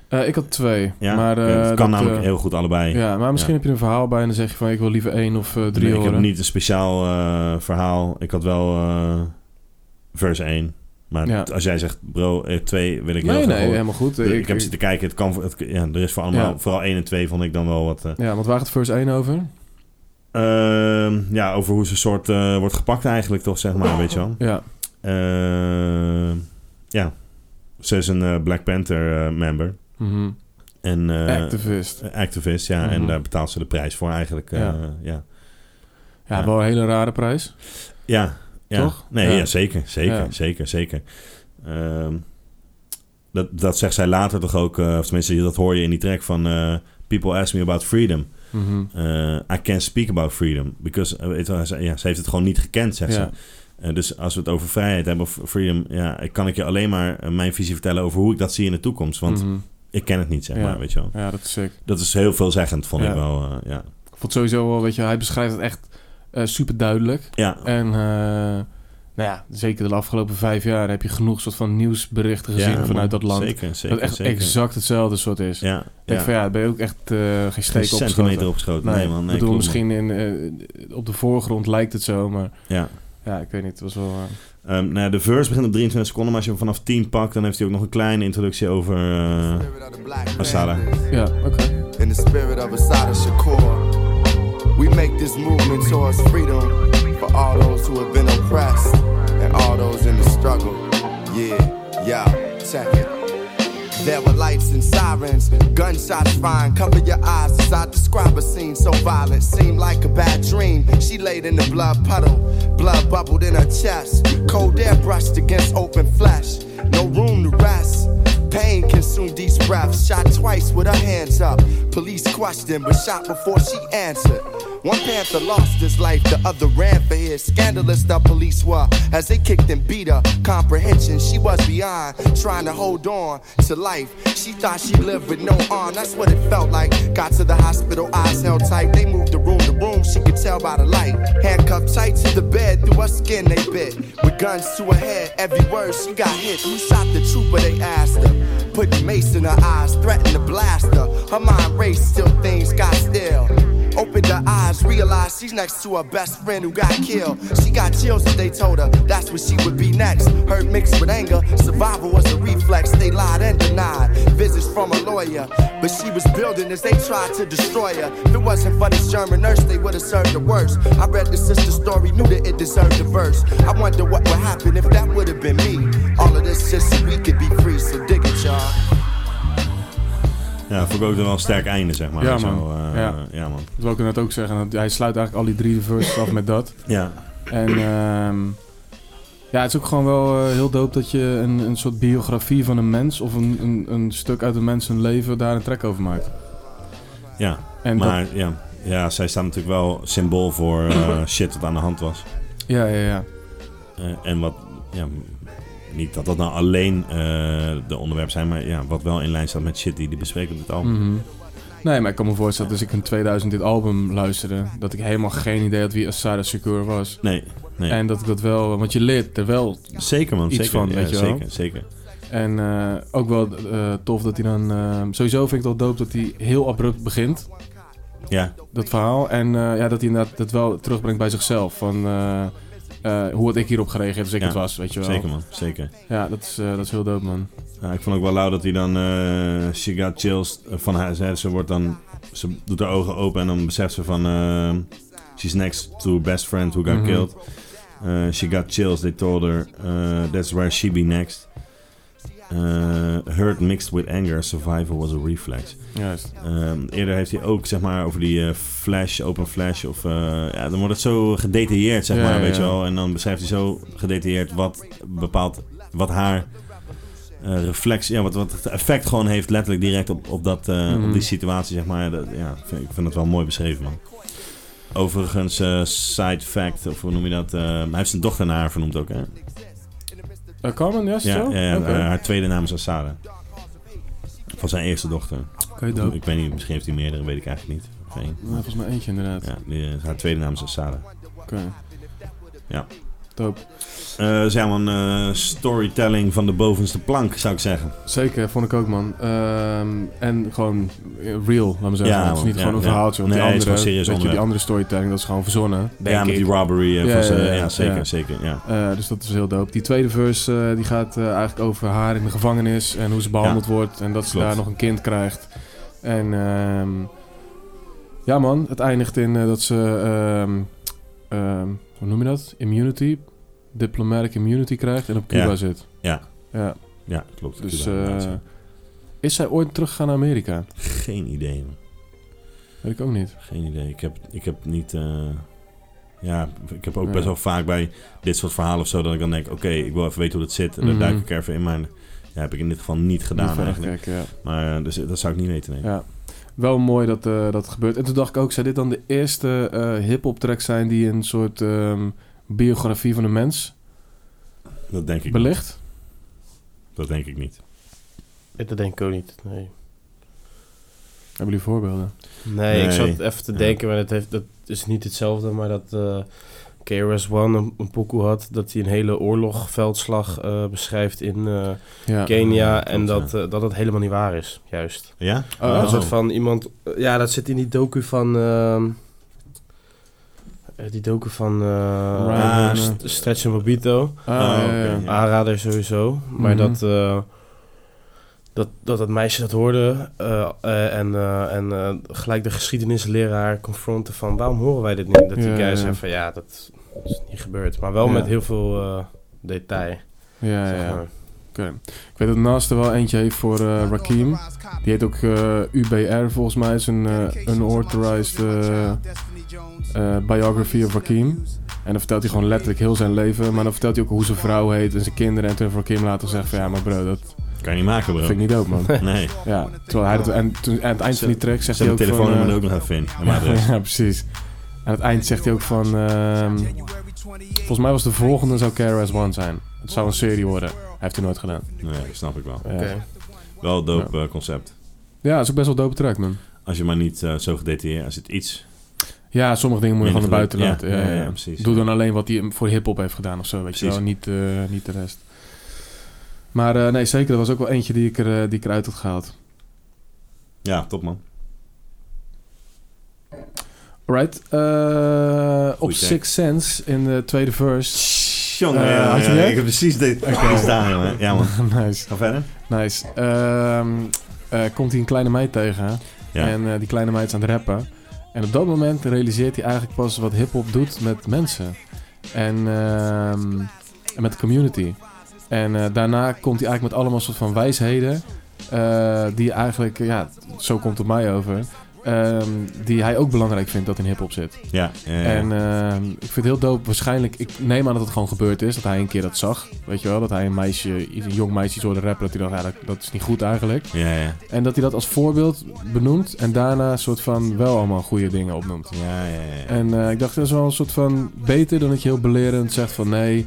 Speaker 2: Eh, ik had twee.
Speaker 1: Ja,
Speaker 2: maar,
Speaker 1: Oké,
Speaker 2: eh,
Speaker 1: het
Speaker 2: dat,
Speaker 1: kan namelijk
Speaker 2: eh,
Speaker 1: heel goed allebei.
Speaker 2: Ja, maar misschien heb je er een verhaal bij en dan zeg je van ik wil liever één of eh, drie
Speaker 1: Nee, ik
Speaker 2: horen.
Speaker 1: heb niet een speciaal eh, verhaal. Ik had wel eh, vers 1. Maar
Speaker 2: Ja.
Speaker 1: t- als jij zegt, bro, 2 wil ik heel
Speaker 2: nee,
Speaker 1: graag
Speaker 2: nee,
Speaker 1: horen.
Speaker 2: helemaal goed.
Speaker 1: Ik,
Speaker 2: Ik,
Speaker 1: heb
Speaker 2: ik-
Speaker 1: zitten kijken, het kan, voor- het, ja, er is voor allemaal,
Speaker 2: Ja.
Speaker 1: vooral 1 en 2 vond ik dan wel wat. eh.
Speaker 2: Ja, want waar gaat het first één over?
Speaker 1: Ehm, ja, over hoe ze soort eh, wordt gepakt eigenlijk toch, zeg maar, weet je wel.
Speaker 2: Ja,
Speaker 1: Ehm, ja, ze is een eh, Black Panther eh, member
Speaker 2: mhm.
Speaker 1: en eh,
Speaker 2: activist.
Speaker 1: activist, ja, en
Speaker 2: Mhm.
Speaker 1: daar betaalt ze de prijs voor eigenlijk. eh,
Speaker 2: Ja.
Speaker 1: ja.
Speaker 2: Ja,
Speaker 1: ja.
Speaker 2: wel een hele rare prijs.
Speaker 1: Ja, ja.
Speaker 2: Toch?
Speaker 1: Nee,
Speaker 2: Ja.
Speaker 1: ja. zeker, zeker,
Speaker 2: Ja.
Speaker 1: zeker, zeker. Ehm, dat, dat zegt zij later toch ook, eh, of tenminste, dat hoor je in die track van eh, People Ask Me About Freedom.
Speaker 2: Mhm.
Speaker 1: Eh, I can't speak about freedom. Because eh, weet je wel, ze, ja, ze heeft het gewoon niet gekend, zegt ze.
Speaker 2: Ja.
Speaker 1: Eh, dus als we het over vrijheid hebben of freedom, ja, ik- kan ik je alleen maar eh, mijn visie vertellen over hoe ik dat zie in de toekomst. Want
Speaker 2: mhm.
Speaker 1: ik ken het niet, zeg
Speaker 2: Ja.
Speaker 1: maar, weet je wel.
Speaker 2: ja, dat is sick.
Speaker 1: Dat is heel veelzeggend, vond
Speaker 2: Ja.
Speaker 1: ik wel. eh, ja.
Speaker 2: Ik vond sowieso wel, weet je, hij beschrijft het echt super duidelijk.
Speaker 1: Ja.
Speaker 2: En eh, nou ja, zeker de afgelopen vijf jaar heb je genoeg soort van nieuwsberichten gezien
Speaker 1: Ja,
Speaker 2: vanuit dat land.
Speaker 1: Zeker, zeker,
Speaker 2: dat echt
Speaker 1: zeker.
Speaker 2: exact hetzelfde soort is. Ik
Speaker 1: Ja, ja.
Speaker 2: denk van ja, daar ben je ook echt eh, geen
Speaker 1: Geen
Speaker 2: steek op
Speaker 1: centimeter opgeschoten. Nee, man. Nee,
Speaker 2: ik bedoel,
Speaker 1: klopt, man.
Speaker 2: misschien in, eh, op de voorgrond lijkt het zo, maar
Speaker 1: Ja.
Speaker 2: ja, ik weet niet. Het was wel... eh,
Speaker 1: Ehm, nou ja, de verse begint op 23 seconden, maar als je hem vanaf 10 pakt, dan heeft hij ook nog een kleine introductie over eh Asada.
Speaker 2: Ja, oké.
Speaker 3: in the spirit of Asada Shakur. We make this movement towards freedom for all those who have been oppressed and all those in the struggle. Yeah, yeah, check it. There were lights and sirens, gunshots fine. Cover your eyes as I describe a scene so violent. Seemed like a bad dream. She laid in the blood puddle, blood bubbled in her chest. Cold air brushed against open flesh. No room to rest. Pain consumed each breath. Shot twice with her hands up. Police questioned, but shot before she answered. One panther lost his life, the other ran for his. Scandalous the police were as they kicked and beat her. Comprehension, she was beyond trying to hold on to life. She thought she lived with no arm, that's what it felt like. Got to the hospital, eyes held tight. They moved the room to room, she could tell by the light. Handcuffed tight to the bed, through her skin they bit. With guns to her head, every word she got hit. Who shot the trooper? They asked her. Put the mace in her eyes, threatened to blast her. Her mind raced, still things got still. Opened her eyes, realized she's next to her best friend who got killed. She got chills when they told her that's what she would be next. Hurt mixed with anger, survival was a reflex. They lied and denied visits from a lawyer, but she was building as they tried to destroy her. If it wasn't for this German nurse, they would have served the worst. I read the sister's story, knew that it deserved a verse. I wonder what would happen if that would have been me. All of this just so we could be free, so dig it, y'all.
Speaker 1: Ja, vond ik ook wel een sterk einde, zeg maar.
Speaker 2: Ja,
Speaker 1: Zo,
Speaker 2: man.
Speaker 1: eh,
Speaker 2: Ja.
Speaker 1: ja, man.
Speaker 2: Dat wil ik net ook zeggen. dat Hij sluit eigenlijk al die drie verses af met dat.
Speaker 1: Ja.
Speaker 2: En ehm, ja, het is ook gewoon wel eh, heel dope dat je een, een soort biografie van een mens... of een, een, een stuk uit een mens zijn leven daar een track over maakt.
Speaker 1: Ja,
Speaker 2: En dat-
Speaker 1: maar ja. ja, zij staan natuurlijk wel symbool voor eh, shit wat aan de hand was.
Speaker 2: ja, ja, ja.
Speaker 1: Eh, en wat, ja, m- niet dat dat nou alleen eh, de onderwerpen zijn, maar ja, wat wel in lijn staat met shit die die bespreken op dit album.
Speaker 2: Mhm. Nee, maar ik kan me voorstellen dat als ik in 2000 dit album luisterde... dat ik helemaal geen idee had wie Asada Secure was.
Speaker 1: Nee, nee.
Speaker 2: En dat ik dat wel... Want je leert er wel
Speaker 1: zeker man,
Speaker 2: Iets
Speaker 1: zeker.
Speaker 2: van,
Speaker 1: Ja,
Speaker 2: weet je wel.
Speaker 1: zeker, zeker.
Speaker 2: En eh, ook wel eh, tof dat hij dan... eh, sowieso vind ik het wel dope dat hij heel abrupt begint,
Speaker 1: Ja,
Speaker 2: dat verhaal. En eh, ja, dat hij inderdaad dat wel terugbrengt bij zichzelf. Van eh, eh, hoe had ik hierop gereageerd als ik
Speaker 1: Ja,
Speaker 2: het was, weet je wel.
Speaker 1: zeker man, zeker.
Speaker 2: Ja, dat is, eh, dat is heel dope, man.
Speaker 1: Ja, ik vond ook wel lauw dat hij dan eh She Got Chills van haar zei. Ze, wordt dan, ze doet haar ogen open en dan beseft ze van... eh, she's next to her best friend who got
Speaker 2: Mhm.
Speaker 1: killed. Eh, she got chills, they told her. eh, that's where she be next. Eh, hurt mixed with anger, survival was a reflex.
Speaker 2: Juist.
Speaker 1: Ehm, eerder heeft hij ook zeg maar over die eh, flash, open flash. Of, eh, ja, dan wordt het zo gedetailleerd, zeg
Speaker 2: Ja,
Speaker 1: maar,
Speaker 2: ja,
Speaker 1: weet
Speaker 2: ja.
Speaker 1: je wel. En dan beschrijft hij zo gedetailleerd wat bepaalt, wat haar eh reflex, ja, wat, wat het effect gewoon heeft letterlijk direct op, op, dat, eh,
Speaker 2: Mhm.
Speaker 1: op die situatie, zeg maar. Dat, ja, ik vind- ik vind het wel mooi beschreven, man. Overigens, eh, side fact, of hoe noem je dat? eh, hij heeft zijn dochter naar haar vernoemd ook, hè?
Speaker 2: Eh, Carmen, ja, is het
Speaker 1: Ja,
Speaker 2: zo?
Speaker 1: ja, ja,
Speaker 2: Oké,
Speaker 1: eh, haar tweede naam is Asada. Van zijn eerste dochter.
Speaker 2: Oké, dope.
Speaker 1: Ik weet niet, misschien heeft hij meerdere, weet ik eigenlijk niet. Of één.
Speaker 2: Nou, volgens mij eentje inderdaad.
Speaker 1: Ja, die, eh, haar tweede naam is dus Asada.
Speaker 2: Oké.
Speaker 1: Ja.
Speaker 2: Dope.
Speaker 1: Eh zeg maar een eh, storytelling van de bovenste plank, zou ik zeggen.
Speaker 2: Zeker, vond ik ook, man. Ehm, en gewoon eh, real, laat me zeggen.
Speaker 1: Ja,
Speaker 2: het is niet
Speaker 1: man.
Speaker 2: gewoon
Speaker 1: Ja,
Speaker 2: een
Speaker 1: ja.
Speaker 2: verhaaltje. Want
Speaker 1: Nee,
Speaker 2: die
Speaker 1: het is gewoon
Speaker 2: andere,
Speaker 1: serieus
Speaker 2: weet je, die
Speaker 1: onderwerp.
Speaker 2: andere storytelling, dat is gewoon verzonnen. denk
Speaker 1: ja, met
Speaker 2: ik.
Speaker 1: die robbery. eh,
Speaker 2: Ja,
Speaker 1: van zijn-
Speaker 2: ja,
Speaker 1: ja,
Speaker 2: ja,
Speaker 1: zeker,
Speaker 2: ja.
Speaker 1: zeker. Ja.
Speaker 2: Eh, dus dat is heel dope. Die tweede verse eh, die gaat eh, eigenlijk over haar in de gevangenis en hoe ze behandeld wordt en dat ze
Speaker 1: Klopt.
Speaker 2: daar nog een kind krijgt. En ehm, ja man, het eindigt in eh, dat ze, ehm, ehm, hoe noem je dat? Immunity, diplomatic immunity krijgt en op Cuba
Speaker 1: Ja.
Speaker 2: zit.
Speaker 1: Ja.
Speaker 2: ja.
Speaker 1: ja, klopt.
Speaker 2: Dus
Speaker 1: Cuba, inderdaad,
Speaker 2: eh,
Speaker 1: ja.
Speaker 2: is zij ooit teruggegaan naar Amerika?
Speaker 1: Geen idee, man.
Speaker 2: Weet ik ook niet.
Speaker 1: Geen idee. Ik heb, ik heb niet... eh, ja, ik heb ook
Speaker 2: Ja.
Speaker 1: best wel vaak bij dit soort verhalen of zo... dat ik dan denk, oké, ik wil even weten hoe dat zit. En dan
Speaker 2: Mhm.
Speaker 1: duik ik er even in, maar... Ja, heb ik in dit geval niet gedaan
Speaker 2: Niet verder
Speaker 1: eigenlijk.
Speaker 2: gekeken, ja.
Speaker 1: Maar eh, dus, dat zou ik niet weten, nee.
Speaker 2: Ja. Wel mooi dat eh, dat gebeurt. En toen dacht ik ook, zou dit dan de eerste eh hip-hop track zijn die een soort ehm, biografie van een mens
Speaker 1: Dat denk ik niet.
Speaker 2: belicht?
Speaker 1: Dat denk ik niet.
Speaker 4: Ja, Dat denk ik ook niet, nee.
Speaker 2: Hebben jullie voorbeelden?
Speaker 4: Nee,
Speaker 1: Nee.
Speaker 4: ik zat even te
Speaker 1: Ja.
Speaker 4: denken, maar dat, heeft, dat is niet hetzelfde. Maar dat eh, KRS-One een, een pokoe had, dat hij een hele oorlogveldslag eh, beschrijft in eh,
Speaker 2: Ja.
Speaker 4: Kenia.
Speaker 1: ja,
Speaker 4: en
Speaker 1: klopt,
Speaker 4: dat, eh, dat het helemaal niet waar is, juist.
Speaker 1: Ja?
Speaker 2: Oh.
Speaker 4: eh, Een soort van iemand... ja, dat zit in die docu van... ehm, eh, die docu van eh
Speaker 2: Ryan,
Speaker 4: eh,
Speaker 2: eh,
Speaker 4: St- Stretch en Mobito.
Speaker 2: Ah,
Speaker 1: Oh,
Speaker 2: ja,
Speaker 1: oké,
Speaker 2: ja, ja.
Speaker 1: ja.
Speaker 4: Aanrader sowieso. Maar
Speaker 2: Mhm.
Speaker 4: dat, eh, dat, dat dat meisje dat hoorde eh, eh, en, eh, en eh, gelijk de geschiedenisleraar confronten van waarom horen wij dit niet? Dat die
Speaker 2: Ja,
Speaker 4: guy
Speaker 2: ja.
Speaker 4: zei van ja, dat is niet gebeurd. Maar wel
Speaker 2: Ja.
Speaker 4: met heel veel eh, detail.
Speaker 2: Ja,
Speaker 4: zeg
Speaker 2: ja, ja.
Speaker 4: maar.
Speaker 2: Oké. Ik weet dat naast er wel eentje heeft voor eh, Rakim. Die heet ook eh, UBR volgens mij. is een eh, unauthorized eh, eh, biography of Rakim. En dan vertelt hij gewoon letterlijk heel zijn leven. Maar dan vertelt hij ook hoe zijn vrouw heet en zijn kinderen. En toen heeft Rakim later gezegd van ja, maar bro, dat
Speaker 1: Kan je niet maken, bro.
Speaker 2: vind ik niet dope man.
Speaker 1: Nee.
Speaker 2: Ja, terwijl hij dat, en toen, aan het eind van die track zegt
Speaker 1: Zet
Speaker 2: hij
Speaker 1: mijn
Speaker 2: ook van...
Speaker 1: telefoonnummer
Speaker 2: eh,
Speaker 1: er ook nog even in. dus, En mijn adres.
Speaker 2: ja, precies. Aan het eind zegt hij ook van... ehm, volgens mij was de volgende zou KRS One zijn. Het zou een serie worden. Hij heeft hij nooit gedaan.
Speaker 1: Nee, snap ik wel.
Speaker 2: Ja.
Speaker 4: Oké.
Speaker 1: Wel een dope eh, concept.
Speaker 2: Ja, dat is ook best wel dope track, man.
Speaker 1: Als je maar niet eh, zo gedetailleerd, als het iets...
Speaker 2: Ja, sommige dingen moet je
Speaker 1: Minder
Speaker 2: gewoon naar buiten
Speaker 1: gelukt.
Speaker 2: laten.
Speaker 1: Ja,
Speaker 2: Ja,
Speaker 1: ja,
Speaker 2: ja,
Speaker 1: ja, precies.
Speaker 2: Doe dan alleen wat hij voor hip-hop heeft gedaan of zo, weet je
Speaker 1: Precies.
Speaker 2: wel. Niet, eh, niet de rest. Maar eh, nee, zeker. Er was ook wel eentje die ik, er, eh, die ik eruit had gehaald.
Speaker 1: Ja, top man.
Speaker 2: Alright. eh, op
Speaker 1: Goeie track.
Speaker 2: Six Sense in de tweede verse.
Speaker 1: Jongen,
Speaker 2: Eh,
Speaker 1: ja,
Speaker 2: had je
Speaker 1: ja,
Speaker 2: die?
Speaker 1: ik heb precies dit okay. staan, jongen. Ja man,
Speaker 2: nice.
Speaker 1: ga verder.
Speaker 2: Nice. Ehm, eh, komt hij een kleine meid tegen.
Speaker 1: Ja.
Speaker 2: En eh, die kleine meid is aan het rappen. En op dat moment realiseert hij eigenlijk pas wat hip-hop doet met mensen. En, ehm, en met de community. En eh, daarna komt hij eigenlijk met allemaal soort van wijsheden. eh, die eigenlijk, ja, zo komt het mij over. ehm, die hij ook belangrijk vindt dat in hip-hop zit.
Speaker 1: Ja, ja, ja.
Speaker 2: En ehm, ik vind het heel dope. Waarschijnlijk, ik neem aan dat het gewoon gebeurd is. Dat hij een keer dat zag. Weet je wel, dat hij een meisje, iets- een jong meisje iets hoorde rappen. Dat hij dacht, ja, dat, dat is niet goed eigenlijk.
Speaker 1: ja, ja.
Speaker 2: En dat hij dat als voorbeeld benoemt. En daarna soort van wel allemaal goede dingen opnoemt.
Speaker 1: Ja, ja, ja.
Speaker 2: En eh, ik dacht, dat is wel een soort van beter dan dat je heel belerend zegt van nee,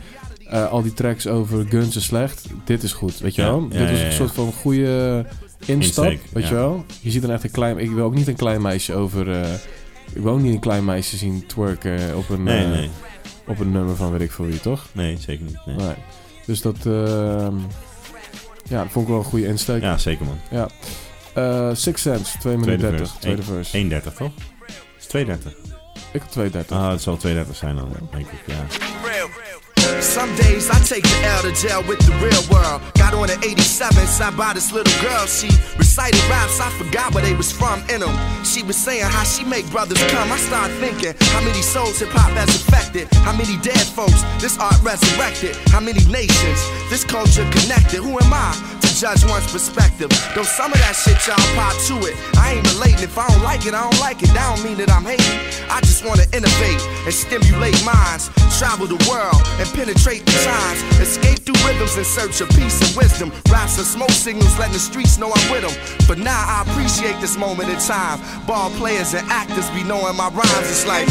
Speaker 2: eh, al die tracks over guns is slecht. Dit is goed, weet je
Speaker 1: Ja,
Speaker 2: wel?
Speaker 1: ja,
Speaker 2: dit was
Speaker 1: ja,
Speaker 2: een
Speaker 1: ja.
Speaker 2: soort van goede instap,
Speaker 1: Insteek,
Speaker 2: weet
Speaker 1: ja.
Speaker 2: je wel? Je ziet dan echt een klein... Ik wil ook niet een klein meisje over... eh, ik wil ook niet een klein meisje zien twerken op een,
Speaker 1: Nee,
Speaker 2: eh,
Speaker 1: nee,
Speaker 2: op een nummer van weet ik veel wie, toch?
Speaker 1: nee, zeker niet. Nee.
Speaker 2: Nee. Dus dat... ehm, ja, dat vond ik wel een goede insteek.
Speaker 1: Ja, zeker man.
Speaker 2: Eh, Six Sense, 2 minuten
Speaker 1: Tweede
Speaker 2: 30.
Speaker 1: verse.
Speaker 2: Tweede verse.
Speaker 1: 1,30 toch? Is 2,30?
Speaker 2: Ik had 2.30.
Speaker 1: Ah, het zal 2,30 zijn dan, denk ik. Ja.
Speaker 3: Some days I take the L to jail with the real world. Got on an 87, sat by this little girl. She recited raps, I forgot where they was from in 'em. She was saying how she make brothers come. I start thinking how many souls hip hop has affected. How many dead folks this art resurrected. How many nations this culture connected. Who am I to judge one's perspective? Though some of that shit y'all pop to it. I ain't relating. If I don't like it, I don't like it. That don't mean that I'm hating. I just wanna innovate and stimulate minds. Travel the world and penetrate the times. Escape through rhythms in search of peace and wisdom. Raps and smoke signals letting the streets know I'm with them. But now I appreciate this moment in time. Ball players and actors be knowing my rhymes. It's like.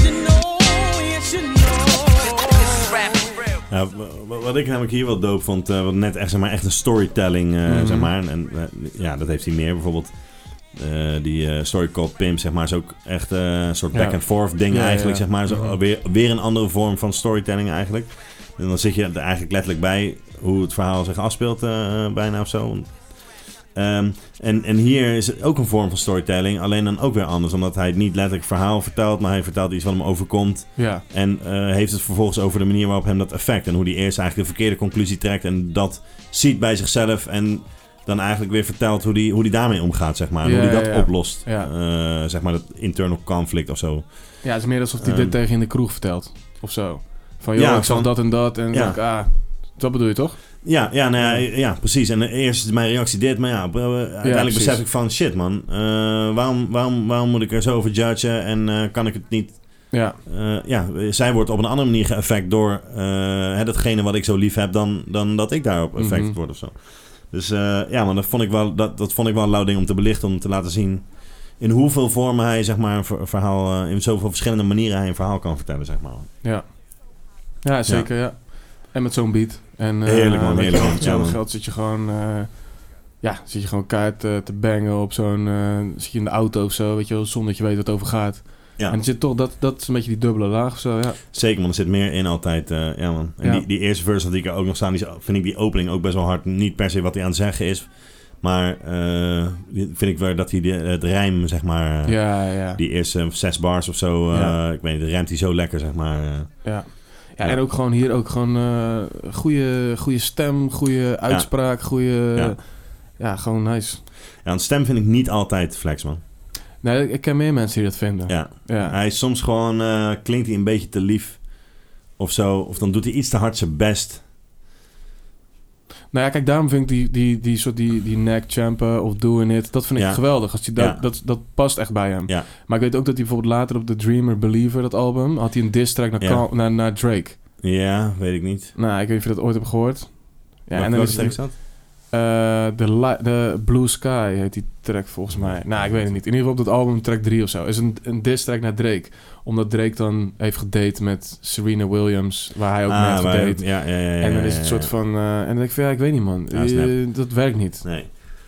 Speaker 1: Ja, w- w- wat ik namelijk hier wel doop vond, eh, wat net echt, zeg maar, echt een storytelling, eh,
Speaker 2: Mhm.
Speaker 1: zeg maar. En eh, ja, dat heeft hij meer. Bijvoorbeeld eh, die eh story called Pimp, zeg maar, is ook echt eh, een soort
Speaker 2: Ja.
Speaker 1: back-and-forth ding
Speaker 2: Ja, ja,
Speaker 1: eigenlijk,
Speaker 2: ja.
Speaker 1: zeg maar. Zo,
Speaker 2: Mhm.
Speaker 1: weer, weer een andere vorm van storytelling eigenlijk. En dan zit je er eigenlijk letterlijk bij hoe het verhaal zich afspeelt eh, bijna of zo. Ehm, en, en hier is het ook een vorm van storytelling, alleen dan ook weer anders. Omdat hij niet letterlijk verhaal vertelt, maar hij vertelt iets wat hem overkomt.
Speaker 2: Ja,
Speaker 1: En eh, heeft het vervolgens over de manier waarop hem dat effect. En hoe hij eerst eigenlijk de verkeerde conclusie trekt. En dat ziet bij zichzelf. En dan eigenlijk weer vertelt hoe hij hoe die daarmee omgaat, zeg maar. En
Speaker 2: Ja,
Speaker 1: hoe hij dat
Speaker 2: ja, ja.
Speaker 1: oplost.
Speaker 2: Ja.
Speaker 1: Eh, zeg maar dat internal conflict of zo.
Speaker 2: ja het is meer alsof hij
Speaker 1: Ehm.
Speaker 2: dit tegen in de kroeg vertelt. Of zo. Van, joh,
Speaker 1: Ja,
Speaker 2: ik zag
Speaker 1: van-
Speaker 2: dat en dat. En
Speaker 1: Ja.
Speaker 2: dacht ik, ah, dat bedoel je toch?
Speaker 1: Ja, ja, nou ja, ja, precies. En eerst is mijn reactie dit. Maar ja, bro, eh, uiteindelijk
Speaker 2: precies.
Speaker 1: besef ik van... Shit, man. eh, waarom, waarom, waarom moet ik er zo over judgen? En eh, kan ik het niet
Speaker 2: Ja,
Speaker 1: Eh, ja, zij wordt op een andere manier geëffect door eh, hè, datgene wat ik zo lief heb, dan, dan dat ik daarop effect
Speaker 2: Mhm.
Speaker 1: word of zo. Dus eh, ja, maar dat vond ik wel, dat, dat vond ik wel een lauw ding om te belichten, om te laten zien in hoeveel vormen hij zeg maar, een ver- verhaal, eh, in zoveel verschillende manieren hij een verhaal kan vertellen, zeg maar.
Speaker 2: ja zeker, ja. En met zo'n beat. En, eh,
Speaker 1: Heerlijk, man,
Speaker 2: met
Speaker 1: heerlijk.
Speaker 2: Hetzelfde
Speaker 1: Ja, man.
Speaker 2: geld zit je gewoon... eh, ja, zit je gewoon kaart te bangen op zo'n... eh, zit je in de auto of zo, weet je wel, zonder dat je weet wat het over gaat.
Speaker 1: Ja.
Speaker 2: En het zit toch, dat, dat is een beetje die dubbele laag of zo, ja.
Speaker 1: Zeker, man, er zit meer in altijd. eh, ja, man. En
Speaker 2: Ja.
Speaker 1: Die, die eerste verse die ik er ook nog staan, die, is- vind ik die opening ook best wel hard. Niet per se wat hij aan het zeggen is, Maar eh, vind ik wel dat hij de- het rijm, zeg maar... eh,
Speaker 2: Ja, ja.
Speaker 1: Die eerste zes bars of zo, eh,
Speaker 2: Ja.
Speaker 1: ik weet niet, rijmt hij zo lekker, zeg maar. eh.
Speaker 2: Ja. Ja, en ook gewoon hier ook gewoon eh goede, goede stem, goede uitspraak, goede...
Speaker 1: Ja.
Speaker 2: Ja. gewoon nice.
Speaker 1: Ja, een stem vind ik niet altijd flex, man.
Speaker 2: Nee, ik ken meer mensen die dat vinden.
Speaker 1: Ja.
Speaker 2: Ja.
Speaker 1: Hij is soms gewoon, eh, klinkt hij een beetje te lief of zo. Of dan doet hij iets te hard zijn best.
Speaker 2: Nou ja, kijk, daarom vind ik die, die, die soort die, die neck champen of doing it, dat vind ik
Speaker 1: Ja.
Speaker 2: geweldig. Als hij dat,
Speaker 1: Ja.
Speaker 2: dat, dat past echt bij hem.
Speaker 1: Ja.
Speaker 2: Maar ik weet ook dat hij bijvoorbeeld later op The Dreamer Believer, dat album, had hij een diss track naar,
Speaker 1: Ja.
Speaker 2: Cal- naar, naar Drake.
Speaker 1: Ja, weet ik niet.
Speaker 2: Nou, ik weet niet of je dat ooit hebt gehoord. Ja,
Speaker 1: Welke-
Speaker 2: en dan
Speaker 1: welke
Speaker 2: is
Speaker 1: track
Speaker 2: het,
Speaker 1: is dat?
Speaker 2: eh, de, li- de Blue Sky heet die track volgens mij. Nou, ik weet het niet. In ieder geval op dat album track 3 of zo. Is een, een diss track naar Drake. Omdat Drake dan heeft gedate met Serena Williams, waar hij ook mee heeft
Speaker 1: Ah, maar-
Speaker 2: gedate.
Speaker 1: ja, ja, ja, ja,
Speaker 2: en dan
Speaker 1: ja,
Speaker 2: is het
Speaker 1: ja,
Speaker 2: soort
Speaker 1: ja.
Speaker 2: van... eh, en dan denk ik van, ja, ik weet niet, man.
Speaker 1: Ja, snap.
Speaker 2: Eh, dat werkt niet.
Speaker 1: Nee.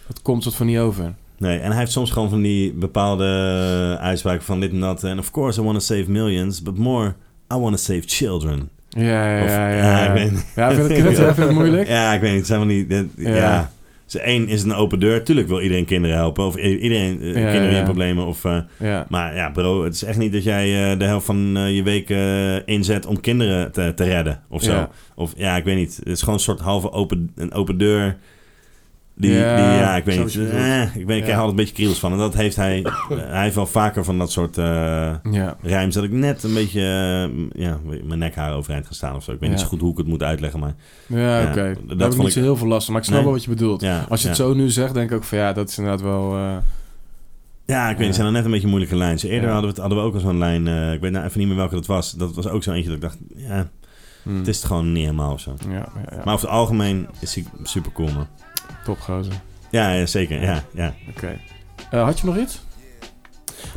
Speaker 2: Dat komt soort van niet over.
Speaker 1: Nee, en hij heeft soms gewoon van die bepaalde eh, uitspraken van dit en dat. En of course I want to save millions, but more I want to save children.
Speaker 2: Ja, ja,
Speaker 1: Of-
Speaker 2: ja.
Speaker 1: ja,
Speaker 2: Ja,
Speaker 1: ik
Speaker 2: ja.
Speaker 1: weet niet.
Speaker 2: Ja, vind ik knut, ja, vind ik het moeilijk.
Speaker 1: Ja, ik weet niet. Het zijn van die... dit- ja.
Speaker 2: Ja.
Speaker 1: Dus één is een open deur. Tuurlijk wil iedereen kinderen helpen. Of i- iedereen eh,
Speaker 2: Ja,
Speaker 1: kinderen
Speaker 2: ja,
Speaker 1: die in
Speaker 2: ja.
Speaker 1: problemen. Of, eh,
Speaker 2: Ja.
Speaker 1: maar ja, bro, het is echt niet dat jij eh, de helft van eh, je week eh, inzet om kinderen te, te redden. Of zo.
Speaker 2: Ja.
Speaker 1: Of ja, ik weet niet. Het is gewoon een soort halve open, een open deur. Die, ja,
Speaker 2: Ja,
Speaker 1: die, ja ik weet
Speaker 2: zo
Speaker 1: niet.
Speaker 2: wat je bedoelt.
Speaker 1: Eh, ik, ben, ik krijg
Speaker 2: Ja.
Speaker 1: altijd een beetje kriels van. En dat heeft hij... eh, hij heeft wel vaker van dat soort eh
Speaker 2: Ja.
Speaker 1: rijms... dat ik net een beetje eh, ja, mijn nekhaar overeind ga staan of zo. Ik weet
Speaker 2: Ja.
Speaker 1: niet zo goed hoe ik het moet uitleggen, maar...
Speaker 2: Ja,
Speaker 1: Ja,
Speaker 2: oké.
Speaker 1: dat
Speaker 2: Daar heb
Speaker 1: vond
Speaker 2: ik niet
Speaker 1: ik-
Speaker 2: zo heel veel last van, maar ik snap
Speaker 1: Nee.
Speaker 2: wel wat je bedoelt.
Speaker 1: Ja,
Speaker 2: Als je het
Speaker 1: ja.
Speaker 2: zo nu zegt, denk ik ook van ja, dat is inderdaad wel... eh,
Speaker 1: Ja, ik weet niet, het zijn dan net een beetje moeilijke lijnen. Eerder
Speaker 2: Ja.
Speaker 1: hadden, we het, hadden we ook al zo'n lijn, eh, ik weet nou even niet meer welke dat was. Dat was ook zo eentje dat ik dacht, ja,
Speaker 2: hmm.
Speaker 1: het is het gewoon niet helemaal of zo.
Speaker 2: Ja, ja, ja.
Speaker 1: Maar over het algemeen is hij super cool, man.
Speaker 2: Top, gozer.
Speaker 1: Ja, ja zeker, ja, ja.
Speaker 2: Oké. Eh, had je nog iets?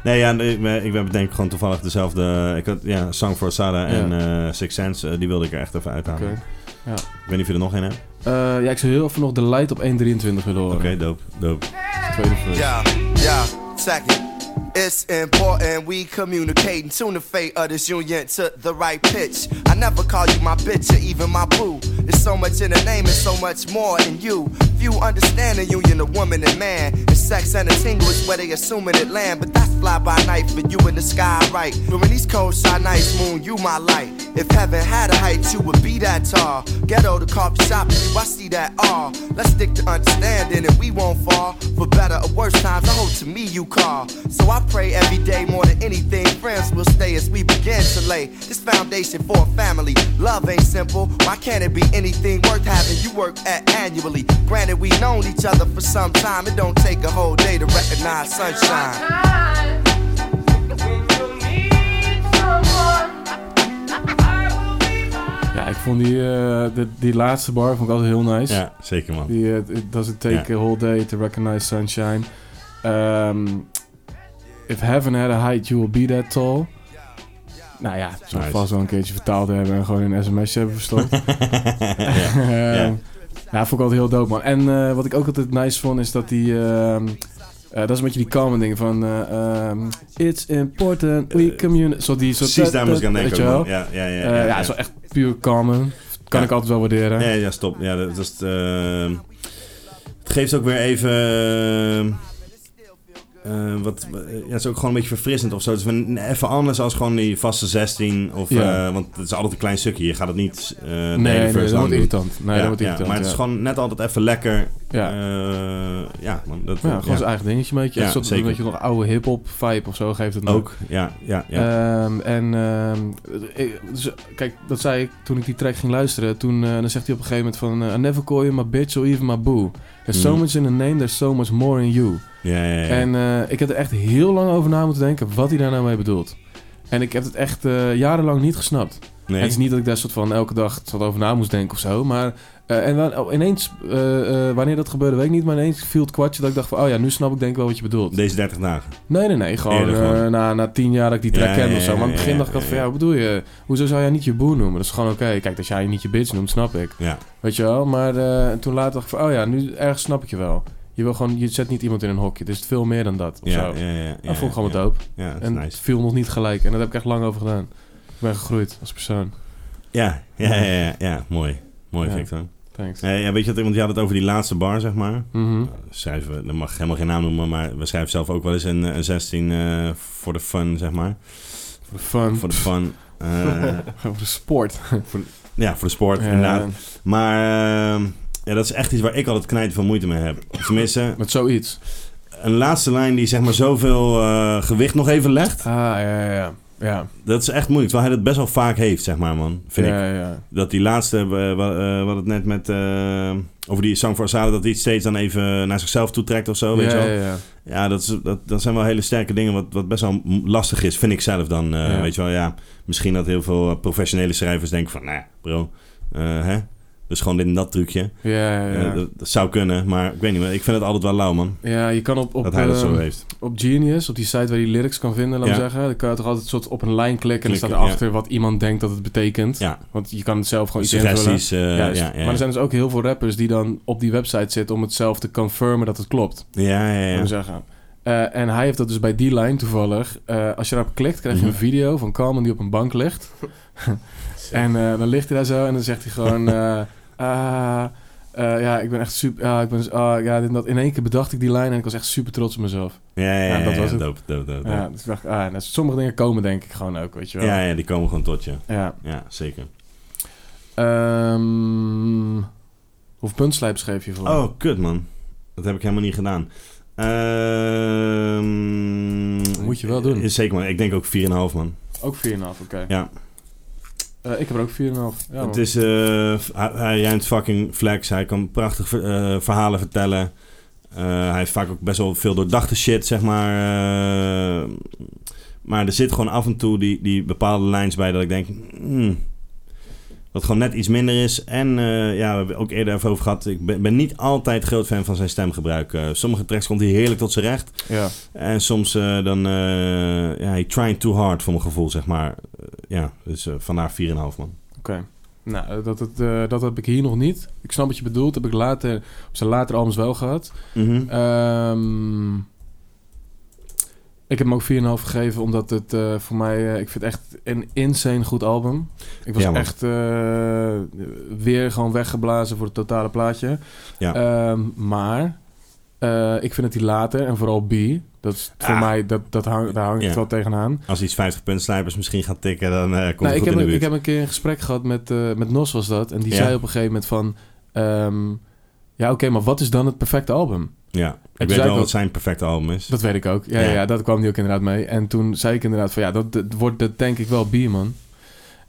Speaker 1: Nee, ja, nee, ik, ben- ik ben bedenk gewoon toevallig dezelfde, eh, ik had, ja, Song for Sada en eh, Six Sense, eh, die wilde ik er echt even uithalen.
Speaker 2: Oké. Ja.
Speaker 1: Ik weet niet of je er nog een hebt. Oké,
Speaker 2: Eh, ja, ik zou heel even nog de light op 1.23 willen horen.
Speaker 1: dope, dope.
Speaker 2: Tweede verse.
Speaker 3: Yeah, yeah, second. It's important we communicate and tune the fate of this union to the right pitch. I never call you my bitch or even my boo. It's so much in the name and so much more in you. Few understand the union of woman and man. And sex and a tingle is where they assuming it land. But that's fly by night for you in the sky, right? During these cold shy nights, moon, you my light. If heaven had a height, you would be that tall. Ghetto to coffee shop, you, I see that all. Let's stick to understanding and we won't fall. For better or worse times, I hope to me you call. So I pray every day more than anything. Friends will stay as we begin to lay this foundation for a family. Love ain't simple. Why can't it be anything worth having? You work at annually. Granted, we've known each other for some time. It don't take a whole day to recognize sunshine.
Speaker 2: Ja, ik vond die, eh, de- die laatste bar vond ik altijd heel nice.
Speaker 1: Ja, zeker, man.
Speaker 2: Die eh, it doesn't take
Speaker 1: Ja.
Speaker 2: a whole day to recognize sunshine. Ehm, if heaven had a height, you will be that tall. Nou ja, ik zou
Speaker 1: Nice.
Speaker 2: vast wel een keertje vertaald hebben en gewoon in een sms'je hebben verstopt.
Speaker 1: ja.
Speaker 2: Ehm, Ja, vond ik altijd heel dope, man. En eh, wat ik ook altijd nice vond, is dat die... ehm, eh, dat is een beetje die common ding van... eh, ehm, It's important we communicate... Zo die, zo
Speaker 1: Eh, Precies
Speaker 2: dat-
Speaker 1: daar moest ik aan
Speaker 2: dat-
Speaker 1: denken.
Speaker 2: weet je
Speaker 1: ook,
Speaker 2: wel?
Speaker 1: man. Ja, ja, ja.
Speaker 2: Eh, ja, zo echt puur common. Kan
Speaker 1: Ja.
Speaker 2: ik altijd wel waarderen.
Speaker 1: Nee, ja, stop. Ja, dat, dat is, eh, het geeft ook weer even. eh, eh, wat, eh, ja, het is ook gewoon een beetje verfrissend of zo. Het is een- even anders als gewoon die vaste 16. Of,
Speaker 2: Ja.
Speaker 1: eh, want het is altijd een klein stukje. Je gaat het niet. eh, de hele
Speaker 2: nee,
Speaker 1: verse
Speaker 2: nee, dat
Speaker 1: lang
Speaker 2: wordt
Speaker 1: doen.
Speaker 2: irritant. Nee,
Speaker 1: ja,
Speaker 2: dat wordt
Speaker 1: ja,
Speaker 2: irritant.
Speaker 1: maar het
Speaker 2: ja.
Speaker 1: is gewoon net altijd even lekker.
Speaker 2: Ja.
Speaker 1: eh, ja, man, dat,
Speaker 2: Ja, gewoon
Speaker 1: ja.
Speaker 2: zijn eigen dingetje een beetje.
Speaker 1: Ja,
Speaker 2: een soort
Speaker 1: zeker.
Speaker 2: een beetje nog oude hip-hop vibe of zo geeft het nog.
Speaker 1: ook. Ja, ja, ja.
Speaker 2: Ehm, en ehm, ik- dus, kijk, dat zei ik toen ik die track ging luisteren. Toen eh, dan zegt hij op een gegeven moment van... eh, I never call you my bitch or even my boo. There's so
Speaker 1: Mhm.
Speaker 2: much in a name, there's so much more in you.
Speaker 1: ja, ja, ja.
Speaker 2: En eh, ik heb er echt heel lang over na moeten denken wat hij daar nou mee bedoelt. En ik heb het echt eh, jarenlang niet gesnapt.
Speaker 1: nee.
Speaker 2: Het is niet dat ik daar soort van elke dag wat over na moest denken of zo. Maar eh, en dan, oh, ineens, eh, eh, wanneer dat gebeurde, weet ik niet. Maar ineens viel het kwartje dat ik dacht van... Oh ja, nu snap ik denk ik wel wat je bedoelt.
Speaker 1: Deze 30 dagen.
Speaker 2: Nee, nee, nee. Gewoon
Speaker 1: Eerder gewoon.
Speaker 2: eh, na, na tien jaar dat ik die track
Speaker 1: Ja,
Speaker 2: ken
Speaker 1: ja,
Speaker 2: of zo. Maar in het
Speaker 1: ja,
Speaker 2: begin
Speaker 1: ja,
Speaker 2: dacht ik
Speaker 1: ja,
Speaker 2: altijd van...
Speaker 1: ja.
Speaker 2: Ja, wat bedoel je? Hoezo zou jij niet je boer noemen? Dat is gewoon oké. Kijk, als jij niet je bitch noemt, snap ik.
Speaker 1: Ja.
Speaker 2: Weet je wel? Maar eh, toen later dacht ik van... Oh ja, nu ergens snap ik je wel. Je, wil gewoon, je zet niet iemand in een hokje. Het is veel meer dan dat. Of
Speaker 1: Ja,
Speaker 2: zo.
Speaker 1: ja, ja, ja,
Speaker 2: dat vond ik gewoon
Speaker 1: ja.
Speaker 2: wat dope.
Speaker 1: Ja, dat is
Speaker 2: En het
Speaker 1: nice.
Speaker 2: viel nog niet gelijk. En daar heb ik echt lang over gedaan. Ik ben gegroeid als persoon.
Speaker 1: Ja, ja, ja, ja, ja. mooi. Mooi,
Speaker 2: Ja.
Speaker 1: Victor.
Speaker 2: Thanks.
Speaker 1: Eh, ja, weet je wat, want je had het over die laatste bar, zeg maar.
Speaker 2: Mhm.
Speaker 1: Schrijven, we- dat mag ik helemaal geen naam noemen, maar we schrijven zelf ook wel eens een, eh, een 16 eh, voor de fun, zeg maar.
Speaker 2: Voor de fun.
Speaker 1: Voor de fun. eh,
Speaker 2: Voor de sport.
Speaker 1: ja, voor de sport,
Speaker 2: Ja.
Speaker 1: inderdaad. Maar eh, ja, dat is echt iets waar ik altijd knijt van moeite mee heb. Tenminste,
Speaker 2: Met zoiets.
Speaker 1: een laatste lijn die zeg maar zoveel eh, gewicht nog even legt.
Speaker 2: Ah, ja, ja, ja. Ja,
Speaker 1: Dat is echt moeilijk, terwijl hij dat best wel vaak heeft, zeg maar, man. Vind ik.
Speaker 2: ja, ja.
Speaker 1: Dat die laatste, eh, wa- eh, we hadden het net met, eh, over die Sang voor Asada, dat hij het steeds dan even naar zichzelf toetrekt of zo, Oh, weet
Speaker 2: ja,
Speaker 1: je wel.
Speaker 2: ja, ja.
Speaker 1: Ja, dat, is, dat, dat zijn wel hele sterke dingen, wat, wat best wel m- lastig is, vind ik zelf dan. eh,
Speaker 2: Ja.
Speaker 1: Weet je wel, ja. Misschien dat heel veel eh, professionele schrijvers denken van, nou, bro, eh, hè? Dus gewoon dit en dat trucje.
Speaker 2: Ja, ja, ja.
Speaker 1: Eh, dat, dat zou kunnen, maar ik weet niet, maar ik vind het altijd wel lauw, man.
Speaker 2: Ja, je kan op, op,
Speaker 1: dat hij dat zo
Speaker 2: ehm,
Speaker 1: heeft.
Speaker 2: op Genius, op die site waar je lyrics kan vinden, laat me
Speaker 1: Ja.
Speaker 2: zeggen. Dan kan je toch altijd soort op een lijn klikken en dan staat
Speaker 1: Klikken,
Speaker 2: erachter wat iemand denkt dat het betekent.
Speaker 1: Ja.
Speaker 2: Want je kan het zelf gewoon iets invullen.
Speaker 1: Suggesties, eh, ja,
Speaker 2: Juist.
Speaker 1: ja, ja.
Speaker 2: Maar er zijn dus ook heel veel rappers die dan op die website zitten om het zelf te confirmen dat het klopt.
Speaker 1: ja, ja,
Speaker 2: laat
Speaker 1: ja.
Speaker 2: me zeggen. Eh, en hij heeft dat dus bij die lijn toevallig. Eh, als je daarop klikt, krijg je
Speaker 1: Mhm.
Speaker 2: een video van Carmen die op een bank ligt. en eh, dan ligt hij daar zo en dan zegt hij gewoon... eh, ah, eh, ja, ik ben echt super... ah, ik ben, z- ah, ja, dit en dat. In één keer bedacht ik die lijn en ik was echt super trots op mezelf.
Speaker 1: Ja, ja, ja,
Speaker 2: Ja, dat
Speaker 1: ja,
Speaker 2: was het.
Speaker 1: dope, dope, dope, dope.
Speaker 2: Ja, dus ik dacht, ah, nou, sommige dingen komen denk ik gewoon ook, weet je wel.
Speaker 1: Ja, ja, die komen gewoon tot je.
Speaker 2: ja.
Speaker 1: Ja, zeker.
Speaker 2: Ehm, hoeveel puntslijp schreef je voor?
Speaker 1: Oh, kut man. Dat heb ik helemaal niet gedaan. Ehm,
Speaker 2: Moet je wel doen.
Speaker 1: eh, Zeker man. Ik denk ook 4,5 man.
Speaker 2: Ook 4,5, oké.
Speaker 1: Ja.
Speaker 2: Eh, ik heb er ook 4,5. Ja,
Speaker 1: het
Speaker 2: man.
Speaker 1: is, eh, f- hij, hij ruimt fucking flex. Hij kan prachtig ver- eh, verhalen vertellen. Eh, hij heeft vaak ook best wel veel doordachte shit, zeg maar. Eh, maar er zit gewoon af en toe die, die bepaalde lijns bij dat ik denk... hmm, dat gewoon net iets minder is. En eh, ja, we hebben ook eerder even over gehad. Ik ben, ben niet altijd groot fan van zijn stemgebruik. Eh, sommige tracks komt hij heerlijk tot zijn recht.
Speaker 2: ja.
Speaker 1: En soms eh, dan... eh ja, hij trying too hard voor mijn gevoel, zeg maar. Eh, ja, dus eh, vandaar 4,5 man.
Speaker 2: Oké. Nou, eh, dat, het, eh, dat heb ik hier nog niet. Ik snap wat je bedoelt. Heb ik later, op zijn later albums wel gehad.
Speaker 1: Mhm.
Speaker 2: Ehm, ik heb hem ook 4,5 gegeven, omdat het eh, voor mij... eh, ik vind het echt een insane goed album. Ik was
Speaker 1: Ja, man.
Speaker 2: echt eh, weer gewoon weggeblazen voor het totale plaatje.
Speaker 1: Ja.
Speaker 2: Ehm, maar eh, ik vind het die later, en vooral B... Dat is voor
Speaker 1: Ah.
Speaker 2: mij, dat, dat hang, daar hang ik
Speaker 1: Ja.
Speaker 2: het wel tegenaan.
Speaker 1: Als iets 50 punt snipers misschien gaat tikken, dan eh, komt
Speaker 2: Nou,
Speaker 1: het
Speaker 2: ik,
Speaker 1: goed in
Speaker 2: heb
Speaker 1: de
Speaker 2: een, ik
Speaker 1: buurt.
Speaker 2: heb een keer een gesprek gehad met, eh, met Nos, was dat. En die
Speaker 1: Ja.
Speaker 2: zei op een gegeven moment van... ehm, ja, oké, maar wat is dan het perfecte album?
Speaker 1: ja, ik
Speaker 2: zei
Speaker 1: weet wel
Speaker 2: ook-
Speaker 1: wat zijn perfecte album is.
Speaker 2: Dat weet ik ook. Ja, ja.
Speaker 1: Ja.
Speaker 2: ja, dat kwam die ook inderdaad mee. En toen zei ik inderdaad van... Ja, dat, dat wordt dat denk ik wel B, man.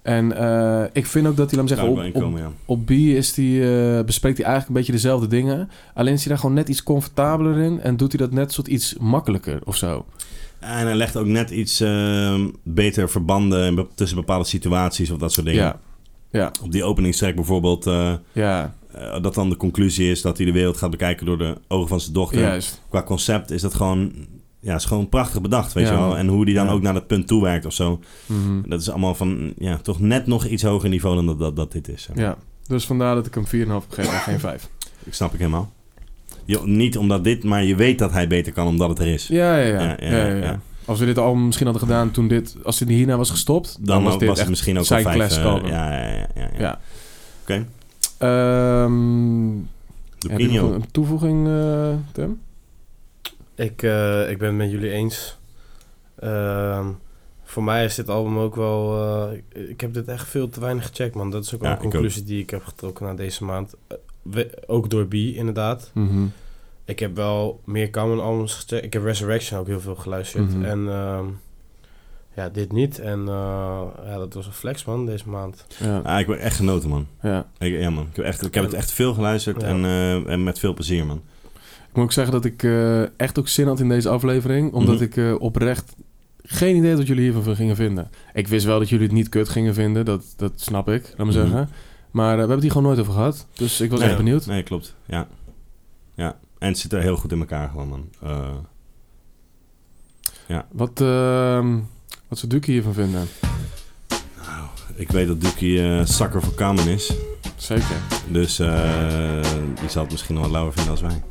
Speaker 2: En eh, ik vind ook dat hij, laat me
Speaker 1: Daar
Speaker 2: zeggen...
Speaker 1: ook
Speaker 2: Op,
Speaker 1: wel in
Speaker 2: op-
Speaker 1: komen, ja.
Speaker 2: op B is die, eh, bespreekt hij eigenlijk een beetje dezelfde dingen. Alleen is hij daar gewoon net iets comfortabeler in. En doet hij dat net soort iets makkelijker of zo.
Speaker 1: En hij legt ook net iets eh, beter verbanden in be- tussen bepaalde situaties of dat soort dingen.
Speaker 2: Ja,
Speaker 1: Op die openingstrek bijvoorbeeld, eh,
Speaker 2: ja,
Speaker 1: eh, dat dan de conclusie is dat hij de wereld gaat bekijken door de ogen van zijn dochter.
Speaker 2: juist.
Speaker 1: Qua concept is dat gewoon, ja, is gewoon prachtig bedacht, weet
Speaker 2: Ja,
Speaker 1: je wel.
Speaker 2: man.
Speaker 1: En hoe die dan
Speaker 2: Ja.
Speaker 1: ook naar dat punt toe werkt of zo.
Speaker 2: Mhm.
Speaker 1: Dat is allemaal van, ja, toch net nog iets hoger niveau dan dat, dat, dat dit is. zeg maar.
Speaker 2: Ja, dus vandaar dat ik hem 4,5 gegeven en geen 5.
Speaker 1: Ik snap ik helemaal. Je, niet omdat dit, maar je weet dat hij beter kan omdat het er is.
Speaker 2: Ja ja ja.
Speaker 1: Ja,
Speaker 2: ja, ja, ja.
Speaker 1: ja.
Speaker 2: Als we dit album misschien hadden gedaan toen dit... Als dit hierna was gestopt, dan,
Speaker 1: dan,
Speaker 2: was dit
Speaker 1: het
Speaker 2: echt...
Speaker 1: misschien ook
Speaker 2: zijn
Speaker 1: al vijf.
Speaker 2: classic
Speaker 1: eh,
Speaker 2: album.
Speaker 1: ja, ja, ja. ja, ja.
Speaker 2: Ja.
Speaker 1: Oké.
Speaker 2: Ehm, heb je nog
Speaker 1: Dupinho.
Speaker 2: een toevoeging, eh Tim?
Speaker 4: Ik, eh, ik ben het met jullie eens. Ehm, voor mij is dit album ook wel... eh, ik heb dit echt veel te weinig gecheckt, man. Dat is ook wel
Speaker 1: Ja,
Speaker 4: een
Speaker 1: ik ook.
Speaker 4: conclusie die ik heb getrokken na deze maand. Eh, we- ook door B, inderdaad.
Speaker 2: Mhm.
Speaker 4: Ik heb wel meer Common albums gecheckt. Ik heb Resurrection ook heel veel geluisterd.
Speaker 2: Mhm.
Speaker 4: En ehm, ja, dit niet. En eh, ja, dat was een flex, man, deze maand.
Speaker 2: Ja,
Speaker 1: Ah, ik heb echt genoten, man.
Speaker 2: ja.
Speaker 1: Ik, ja, man. Ik heb, echt, ik heb het echt veel geluisterd
Speaker 4: Ja.
Speaker 1: en, eh, en met veel plezier, man.
Speaker 2: Ik moet ook zeggen dat ik eh, echt ook zin had in deze aflevering. Omdat
Speaker 1: Mhm.
Speaker 2: ik eh, oprecht geen idee had wat jullie hiervan gingen vinden. Ik wist wel dat jullie het niet kut gingen vinden. Dat, dat snap ik, laat me
Speaker 1: Mhm.
Speaker 2: zeggen. Maar eh, we hebben het hier gewoon nooit over gehad. Dus ik was
Speaker 1: Nee.
Speaker 2: echt benieuwd.
Speaker 1: Nee, klopt. Ja. ja. En het zit er heel goed in elkaar, gewoon, man. Eh,
Speaker 2: Wat, ehm wat zou Duki hiervan vinden?
Speaker 1: nou, ik weet dat Doekie eh zakker voor Kamen is.
Speaker 2: Zeker.
Speaker 1: Dus eh, die zal het misschien nog wel lauwer vinden als wij.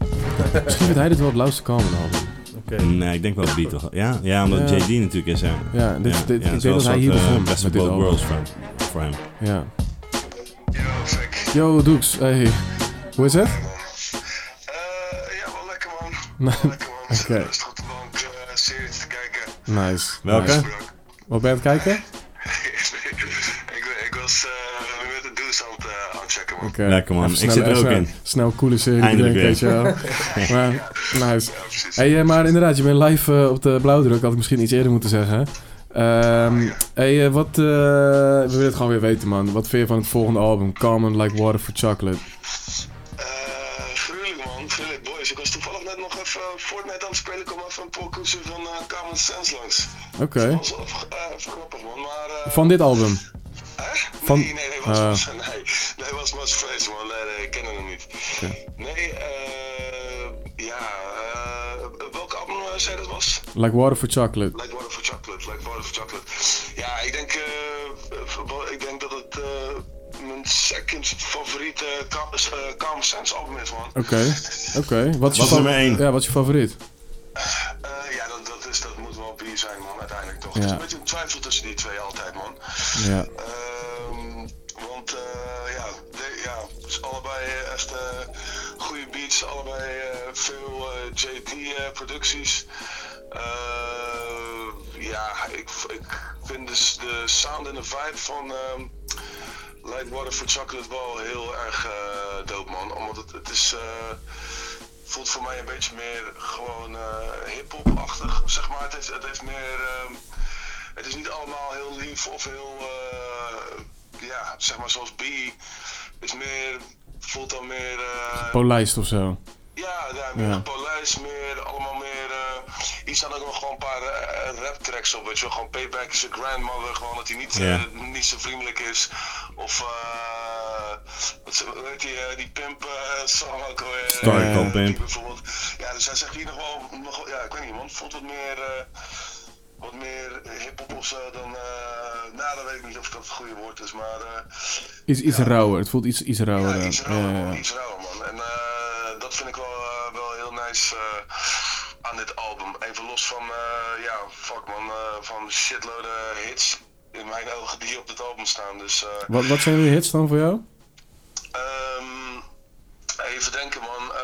Speaker 2: Misschien vindt hij dit wel het lauwste komen album.
Speaker 4: Oké.
Speaker 1: Nee, ik denk wel Beat toch? Ja, ja omdat
Speaker 2: Ja.
Speaker 1: JD natuurlijk is. Hè.
Speaker 2: Ja, dit,
Speaker 1: Ja,
Speaker 2: dit,
Speaker 1: ja,
Speaker 2: ik
Speaker 1: het is
Speaker 2: denk
Speaker 1: wel
Speaker 2: dat hij
Speaker 1: een eh,
Speaker 2: hier
Speaker 1: soort, eh,
Speaker 2: begon
Speaker 1: Best
Speaker 2: met
Speaker 1: of
Speaker 2: dit
Speaker 1: both
Speaker 2: album.
Speaker 1: worlds voor hem- voor hem.
Speaker 2: Ja.
Speaker 9: Yo, check. Eh,
Speaker 2: Yo, Doeks. Hey. Hoe is het?
Speaker 9: ja, wel lekker man.
Speaker 2: Nou,
Speaker 9: Lekker man. Zit
Speaker 2: Oké.
Speaker 9: rustig op de bank eh series te kijken.
Speaker 2: Nice.
Speaker 1: Welke?
Speaker 2: nice. Wat ben je aan het kijken?
Speaker 9: ik, wa- ik was eh met de douche aan het, eh, aan het checken man.
Speaker 2: Oké.
Speaker 1: Lekker, man.
Speaker 2: Even
Speaker 1: Ik zit er ook
Speaker 2: snel,
Speaker 1: in.
Speaker 2: Snel coole serie,
Speaker 1: Eindelijk
Speaker 2: denk,
Speaker 1: weer.
Speaker 2: weet je wel. maar, nice.
Speaker 9: Ja, precies.
Speaker 2: Hey, eh, maar inderdaad, je bent live eh, op de blauwdruk. Had ik misschien iets eerder moeten zeggen. Ehm hey, eh, wat... eh, we willen het gewoon weer weten, man. Wat vind je van het volgende album? Common Like Water for Chocolate.
Speaker 9: Eh, gruwelijk man, gruwelijk boys. Ik was toevallig net nog even eh, Fortnite aan het spelen. Ik kwam even een pokoetje van eh Common Sense langs.
Speaker 2: Oké.
Speaker 9: Dat was wel, eh, even grappig man, maar... eh,
Speaker 2: Van dit album?
Speaker 9: Hè?
Speaker 2: Van-
Speaker 9: Nee, nee, nee, was,
Speaker 2: Ah.
Speaker 9: was, nee, nee, was, was vrees, man. Nee, nee, ik ken hem niet. Nee, eh ja, eh welke album eh, zei dat was?
Speaker 2: Like Water for Chocolate.
Speaker 9: Like Water for Chocolate, Like Water for Chocolate. Ja, ik denk, eh, eh, wel, ik denk dat het eh, mijn second favoriete Calm, eh, Calm Sense album is, man.
Speaker 2: Oké. Oké. Wat is je
Speaker 1: Wat
Speaker 2: fa-
Speaker 1: nummer één?
Speaker 2: Ja, wat is je favoriet?
Speaker 9: Eh, ja, dat, dat, is, dat moet wel bier zijn, man, uiteindelijk toch.
Speaker 2: Ja.
Speaker 9: Het is een beetje een twijfel tussen die twee altijd, man.
Speaker 2: Ja.
Speaker 9: Ehm, want eh, ja, de- ja, dus allebei eh, echt eh, goede beats, allebei eh, veel JT-producties. Ehm, ja, ik, ik vind dus de sound en de vibe van ehm Like Water for Chocolate wel heel erg eh dope, man. Omdat het, het is. eh, voelt voor mij een beetje meer gewoon eh hip-hop-achtig, zeg maar. Het heeft, het heeft meer. ehm, het is niet allemaal heel lief of heel, eh, ja, zeg maar zoals B. Het is meer, voelt dan meer, eh,
Speaker 2: Polijst of zo.
Speaker 9: ja, ja, meer
Speaker 2: Ja.
Speaker 9: polijs, meer, allemaal meer, eh, hier staan ook nog gewoon een paar eh, rap tracks op, weet je wel. Gewoon Payback is een grandmother, gewoon dat hij niet,
Speaker 1: Ja.
Speaker 9: eh, niet zo vriendelijk is. Of, eh, wat ze- hoe heet die, eh, die pimp eh song ook alweer.
Speaker 1: Sorry,
Speaker 9: Eh,
Speaker 1: Cold
Speaker 9: die
Speaker 1: Pimp.
Speaker 9: Bijvoorbeeld. Ja, dus hij zegt hier nog wel, nog, wel- ja, ik weet niet man, het voelt wat meer... eh, wat meer hip-hop of zo dan. eh nou, dat weet ik niet of dat het goede woord is, maar. eh,
Speaker 2: Iets, iets rauwer. Het voelt iets, iets rauwer.
Speaker 9: ja,
Speaker 2: aan.
Speaker 9: iets
Speaker 2: eh, Ja,
Speaker 9: rauwer,
Speaker 2: ja,
Speaker 9: man,
Speaker 2: ja.
Speaker 9: iets rauwer, man. En eh, dat vind ik wel, eh, wel heel nice eh, aan dit album. Even los van, eh, ja, fuck man, eh, van shitloaden hits in mijn ogen die op dit album staan. Dus eh,
Speaker 2: Wat, wat zijn de hits dan voor jou?
Speaker 9: Ehm, even denken, man. Eh,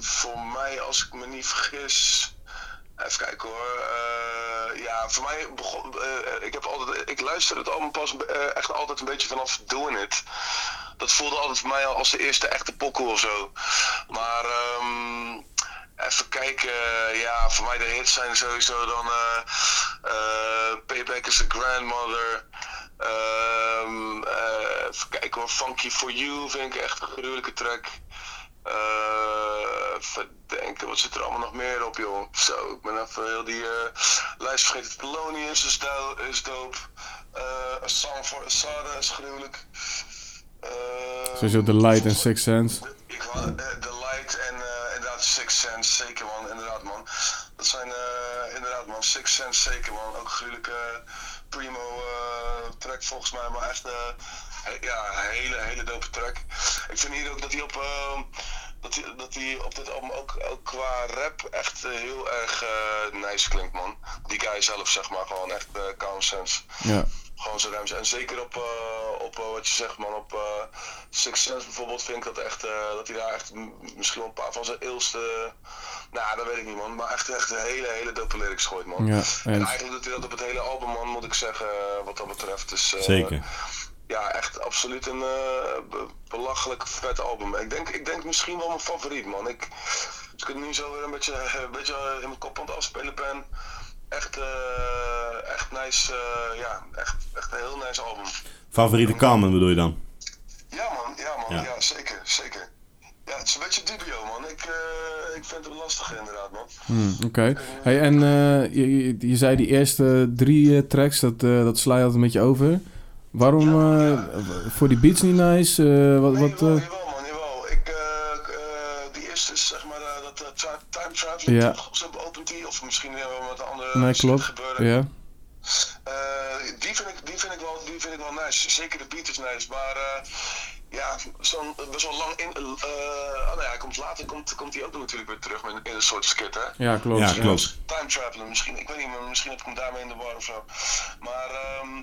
Speaker 9: voor mij, als ik me niet vergis. Even kijken hoor. Eh, ja, voor mij begon. eh, ik, heb altijd, ik luister het allemaal pas eh, echt altijd een beetje vanaf Doing It. Dat voelde altijd voor mij al als de eerste echte pokkel of zo. Maar ehm, even kijken. eh, ja, voor mij de hits zijn sowieso dan. eh, eh, Payback is a Grandmother. Ehm, eh, even kijken hoor, Funky For You vind ik echt een gruwelijke track. Eh even denken, wat zit er allemaal nog meer op joh. Zo, ik ben even heel die eh lijst vergeten. Polonius is, do is dope. Eh A Song For Asada is gruwelijk. Ehm,
Speaker 2: Sowieso The Light en Sixth Sense.
Speaker 9: ik wou, eh, The Light en eh, inderdaad Six Sense, zeker man, inderdaad man. Dat zijn eh, inderdaad man, Six Sense zeker man. Ook gruwelijke primo eh, track volgens mij, maar echt eh, he- ja, hele, hele dope track. Ik vind hier ook dat hij op, ehm, dat hij, dat hij op dit album ook, ook qua rap echt eh, heel erg eh, nice klinkt man. Die guy zelf zeg maar, gewoon echt eh common sense
Speaker 2: Ja.
Speaker 9: gewoon zijn ruimte. En zeker op, eh, op eh, wat je zegt man, op eh Six Sense bijvoorbeeld vind ik dat echt, eh, dat hij daar echt m- misschien wel een paar van zijn eelste, nou dat weet ik niet man, maar echt, echt een hele, hele dope lyrics gooit man.
Speaker 2: Ja,
Speaker 9: En
Speaker 2: eens.
Speaker 9: eigenlijk doet hij dat op het hele album man, moet ik zeggen, eh, wat dat betreft. Dus, eh,
Speaker 1: Zeker.
Speaker 9: Ja, echt absoluut een eh, be- belachelijk vet album. Ik denk, ik denk misschien wel mijn favoriet man. Ik, als ik het nu zo weer een beetje, een beetje in mijn kop aan het afspelen ben, echt, eh, echt nice, eh, ja, echt, echt een heel nice album.
Speaker 1: Favoriete Carmen bedoel je dan?
Speaker 9: Ja man, ja man,
Speaker 1: Ja.
Speaker 9: ja, zeker, zeker. Ja, het is een beetje dubio man. Ik, eh, ik vind hem lastig inderdaad man.
Speaker 2: Hmm, Oké. Hey, en eh, je, je- je zei die eerste drie eh, tracks, dat, eh, dat sla je altijd een beetje over. Waarom eh, w- voor die beats niet nice? Eh, wat,
Speaker 9: Nee,
Speaker 2: wat,
Speaker 9: jawel,
Speaker 2: eh,
Speaker 9: jawel, man, jawel. Ik, eh, k- eh, die eerste is zeg maar eh, dat eh, tra- Time Travel,
Speaker 2: Ja.
Speaker 9: toch? Zo opent die, of misschien hebben we met een andere
Speaker 2: nee,
Speaker 9: shit
Speaker 2: klopt.
Speaker 9: gebeuren.
Speaker 2: Ja.
Speaker 9: Eh, die, vind ik, die, vind ik wel, die vind ik wel nice. Zeker de beat is nice, maar eh, ja, zo'n, best wel lang in. eh, oh, nou ja, hij komt later komt, komt hij ook natuurlijk weer terug met, in een soort skit, hè?
Speaker 2: ja, klopt.
Speaker 1: Ja, klopt.
Speaker 9: Time travelen, misschien, ik weet niet, maar misschien heb ik hem daarmee in de war of zo. eh, Maar ehm,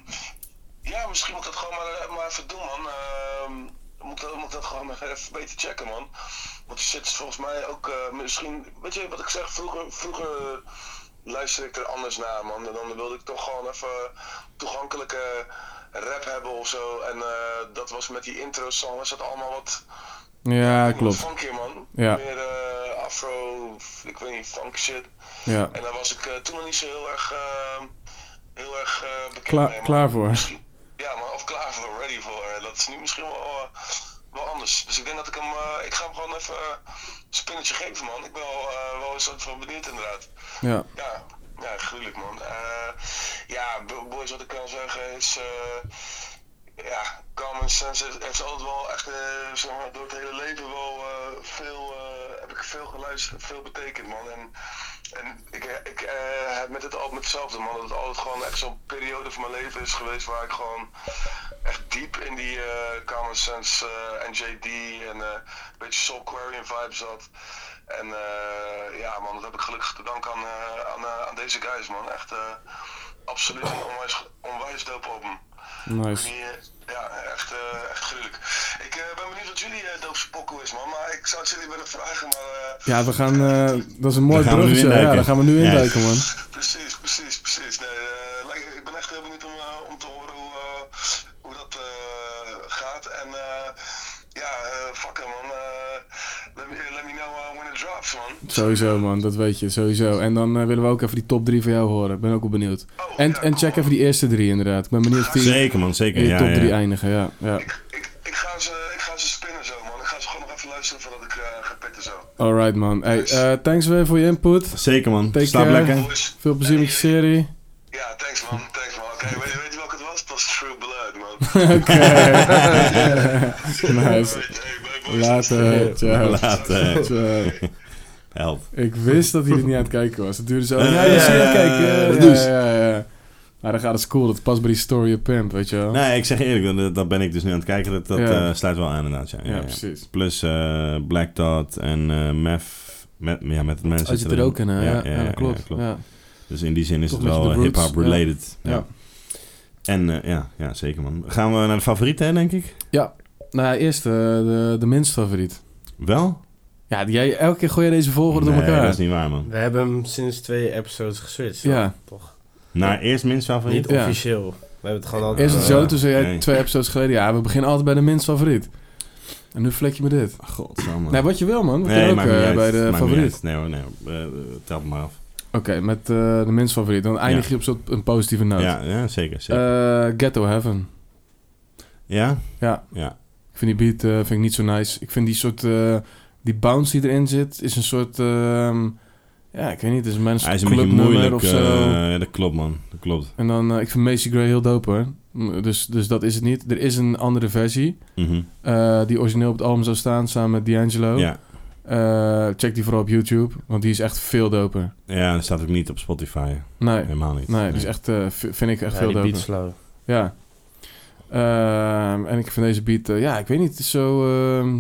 Speaker 9: ja, misschien moet ik dat gewoon maar, maar even doen, man. Ehm, moet, dat- moet dat gewoon nog even beter checken, man. Want die shit is volgens mij ook eh, misschien... Weet je wat ik zeg? Vroeger, vroeger luisterde ik er anders naar, man. En dan wilde ik toch gewoon even toegankelijke rap hebben of zo. En eh, dat was met die intro-song, was dat allemaal wat...
Speaker 2: Ja,
Speaker 9: Wat
Speaker 2: klopt.
Speaker 9: funkier, man.
Speaker 2: Ja.
Speaker 9: Meer eh, afro, ik weet niet, funk shit.
Speaker 2: Ja.
Speaker 9: En daar was ik eh, toen nog niet zo heel erg, eh, heel erg eh, bekend
Speaker 2: Klaar-
Speaker 9: mee, man.
Speaker 2: klaar voor.
Speaker 9: Misschien- Ja, maar of klaar voor, ready voor. eh, Dat is nu misschien wel, eh, wel anders. Dus ik denk dat ik hem, eh, ik ga hem gewoon even eh, een spinnetje geven, man. Ik ben wel, eh, wel een soort van benieuwd inderdaad.
Speaker 2: Ja.
Speaker 9: Ja, ja, gruwelijk man. Eh, ja, bo- boys, wat ik kan zeggen is, eh, ja, common sense heeft, heeft altijd wel echt, eh, zeg maar, door het hele leven wel eh, veel, eh, heb ik veel geluisterd, veel betekend man. En, en ik, ik eh, heb met dit album hetzelfde man, dat het altijd gewoon echt zo'n periode van mijn leven is geweest waar ik gewoon echt diep in die eh, common sense eh, en JD en eh, een beetje soul Quarian vibe zat. En eh, ja, man, dat heb ik gelukkig te danken aan, eh, aan, eh, aan deze guys, man. Echt eh, absoluut een onwijs, onwijs dope album.
Speaker 2: Nice.
Speaker 9: Die, eh, ja, echt, eh, echt gruwelijk. Ik eh, ben benieuwd wat jullie eh doopste pokoe is, man. Maar ik zou het jullie willen vragen, maar... eh,
Speaker 2: Ja, we gaan... eh, dat is een mooi
Speaker 1: Daar gaan we nu
Speaker 2: bruggetje. Ja,
Speaker 1: induiken.
Speaker 2: daar gaan we nu
Speaker 1: Ja.
Speaker 2: induiken, man.
Speaker 9: Precies, precies, precies. Nee, eh, lijkt- ik ben echt heel benieuwd om, eh, om te horen hoe, eh, hoe dat eh, gaat. En eh, ja, eh fuck it, man. Eh, let, me, let me know eh, when it drops, man.
Speaker 2: Sowieso, man. Dat weet je. Sowieso. En dan eh, willen we ook even die top 3 van jou horen. Ik ben ook wel benieuwd.
Speaker 9: Oh,
Speaker 2: En,
Speaker 9: ja,
Speaker 2: en
Speaker 9: cool,
Speaker 2: check
Speaker 9: man.
Speaker 2: even die eerste drie, inderdaad. Ik ben benieuwd of die
Speaker 1: Zeker man, zeker.
Speaker 2: in je
Speaker 1: ja,
Speaker 2: top
Speaker 1: ja.
Speaker 2: 3 eindigen. Ja, ja.
Speaker 9: Ik, ik, ga ze, ik ga ze spinnen zo, man. Ik ga ze gewoon nog even luisteren voordat ik eh, ga pitten zo.
Speaker 2: Alright, man. Hey, eh, thanks weer voor je input.
Speaker 1: Zeker man,
Speaker 2: Take
Speaker 1: slaap
Speaker 2: care.
Speaker 1: lekker.
Speaker 9: Boys,
Speaker 2: Veel plezier met je serie.
Speaker 9: ja, thanks man, thanks man. Oké, weet, je- weet je welke het was? Het was True Blood, man.
Speaker 2: Oké. nice.
Speaker 9: Alright, hey, bye,
Speaker 2: Later.
Speaker 9: boys.
Speaker 2: Ciao.
Speaker 1: Later.
Speaker 2: Ciao.
Speaker 1: eh, Help.
Speaker 2: Ik wist dat hij er niet aan het kijken was. Het duurde zo.
Speaker 1: Eh,
Speaker 2: ja, ja, zie je aan het kijken.
Speaker 1: eh,
Speaker 2: Ja,
Speaker 1: dus.
Speaker 2: ja, ja, ja. Maar dan gaat het cool. Dat past bij die story of pimp, weet je wel.
Speaker 1: Nee, ik zeg je eerlijk, dat, dat ben ik dus nu aan het kijken. Dat, dat
Speaker 2: Ja.
Speaker 1: eh, sluit wel aan inderdaad. Ja, ja,
Speaker 2: ja,
Speaker 1: ja.
Speaker 2: precies.
Speaker 1: Plus eh, Black Dot en eh Mef. Met, ja, met het mensen.
Speaker 2: Als je
Speaker 1: zitten
Speaker 2: het Oh, er
Speaker 1: erin.
Speaker 2: ook in, hè? Ja, ja, dat klopt. Ja.
Speaker 1: Dus in die zin is
Speaker 2: Toch
Speaker 1: het
Speaker 2: een beetje
Speaker 1: wel
Speaker 2: de roots,
Speaker 1: hip-hop related.
Speaker 2: ja.
Speaker 1: Ja. En eh, ja, ja, zeker man. Gaan we naar de favorieten, hè, denk ik?
Speaker 2: Nou, eerst eh, de, de minst favoriet.
Speaker 1: Wel?
Speaker 2: Ja, die- jij, elke keer gooi je deze volgorde
Speaker 1: nee,
Speaker 2: door elkaar.
Speaker 1: dat is niet waar man.
Speaker 4: We hebben hem sinds twee episodes geswitcht. toch?
Speaker 2: Ja.
Speaker 4: Toch?
Speaker 1: Naar eerst minst favoriet.
Speaker 4: Niet
Speaker 2: Ja.
Speaker 4: officieel. We hebben het gewoon altijd...
Speaker 2: Eerst
Speaker 1: Eh,
Speaker 2: het zo, toen zei jij
Speaker 1: nee.
Speaker 2: twee episodes geleden... Ja, we beginnen altijd bij de minst favoriet. En nu vlek je me dit.
Speaker 1: Oh, Godsamme.
Speaker 2: Nee, wat je wil, man. We
Speaker 1: Nee,
Speaker 2: kunnen ook
Speaker 1: maakt niet
Speaker 2: eh,
Speaker 1: uit.
Speaker 2: bij de
Speaker 1: Maakt niet
Speaker 2: favoriet.
Speaker 1: uit. Nee hoor, nee hoor. Eh, eh, Tel het maar af.
Speaker 2: Oké, met eh, de minst favoriet. Dan eindig
Speaker 1: Ja.
Speaker 2: je op zo'n een positieve noot.
Speaker 1: Ja, ja, zeker. zeker.
Speaker 2: Eh, Ghetto Heaven.
Speaker 1: ja?
Speaker 2: ja.
Speaker 1: Ja.
Speaker 2: Ik vind die beat eh, vind ik niet zo nice. Ik vind die soort... eh, die bounce die erin zit, is een soort... ehm, ja, ik weet niet. Het is mijn
Speaker 1: Hij is
Speaker 2: soort
Speaker 1: een beetje
Speaker 2: clubnummer of
Speaker 1: moeilijk.
Speaker 2: zo.
Speaker 1: eh, ja, dat klopt man. Dat klopt.
Speaker 2: En dan, eh, ik vind Macy Gray heel dope hoor. Mm, Dus, dus dat is het niet. Er is een andere versie
Speaker 1: Mhm.
Speaker 2: eh, die origineel op het album zou staan samen met D'Angelo.
Speaker 1: Ja.
Speaker 2: Eh, check die vooral op YouTube, want die is echt veel doper.
Speaker 1: Ja, dat staat ook niet op Spotify.
Speaker 2: Nee, nee,
Speaker 1: Helemaal niet.
Speaker 2: die is echt, eh, v- vind ik echt
Speaker 4: ja,
Speaker 2: veel
Speaker 4: die
Speaker 2: doper.
Speaker 4: beat slow.
Speaker 2: Ja. Ehm, en ik vind deze beat, eh, ja, ik weet niet, het is zo, ehm,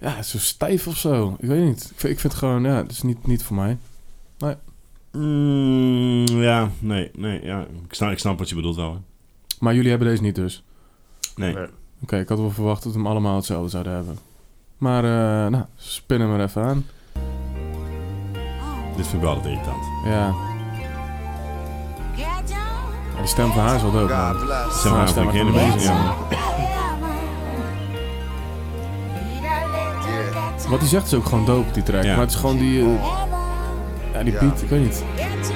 Speaker 2: ja, het is zo stijf of zo. Ik weet niet. Ik vind, ik vind het gewoon, ja, het is niet, niet voor mij.
Speaker 1: Mm, ja, nee, nee. Ja. Ik, snap, ik snap wat je bedoelt wel. hoor.
Speaker 2: Maar jullie hebben deze niet dus.
Speaker 1: Nee.
Speaker 4: Nee.
Speaker 2: Oké, ik had wel verwacht dat we hem allemaal hetzelfde zouden hebben. Maar, eh, nou, spin hem er even aan.
Speaker 11: Oh,
Speaker 1: Dit vind ik wel altijd irritant.
Speaker 2: Ja,
Speaker 10: Ghetto.
Speaker 2: die stem van haar is wel dood,
Speaker 3: God
Speaker 2: man.
Speaker 3: bless.
Speaker 1: Zeg maar,
Speaker 2: Ah, stem
Speaker 1: vind ik
Speaker 2: maar
Speaker 1: helemaal
Speaker 2: van
Speaker 1: niet.
Speaker 2: de
Speaker 1: Ja.
Speaker 2: Wat hij zegt is ook gewoon dope, die track.
Speaker 1: Ja.
Speaker 2: Maar het is gewoon die, eh, ja, die
Speaker 3: Ja.
Speaker 2: beat, ik weet niet.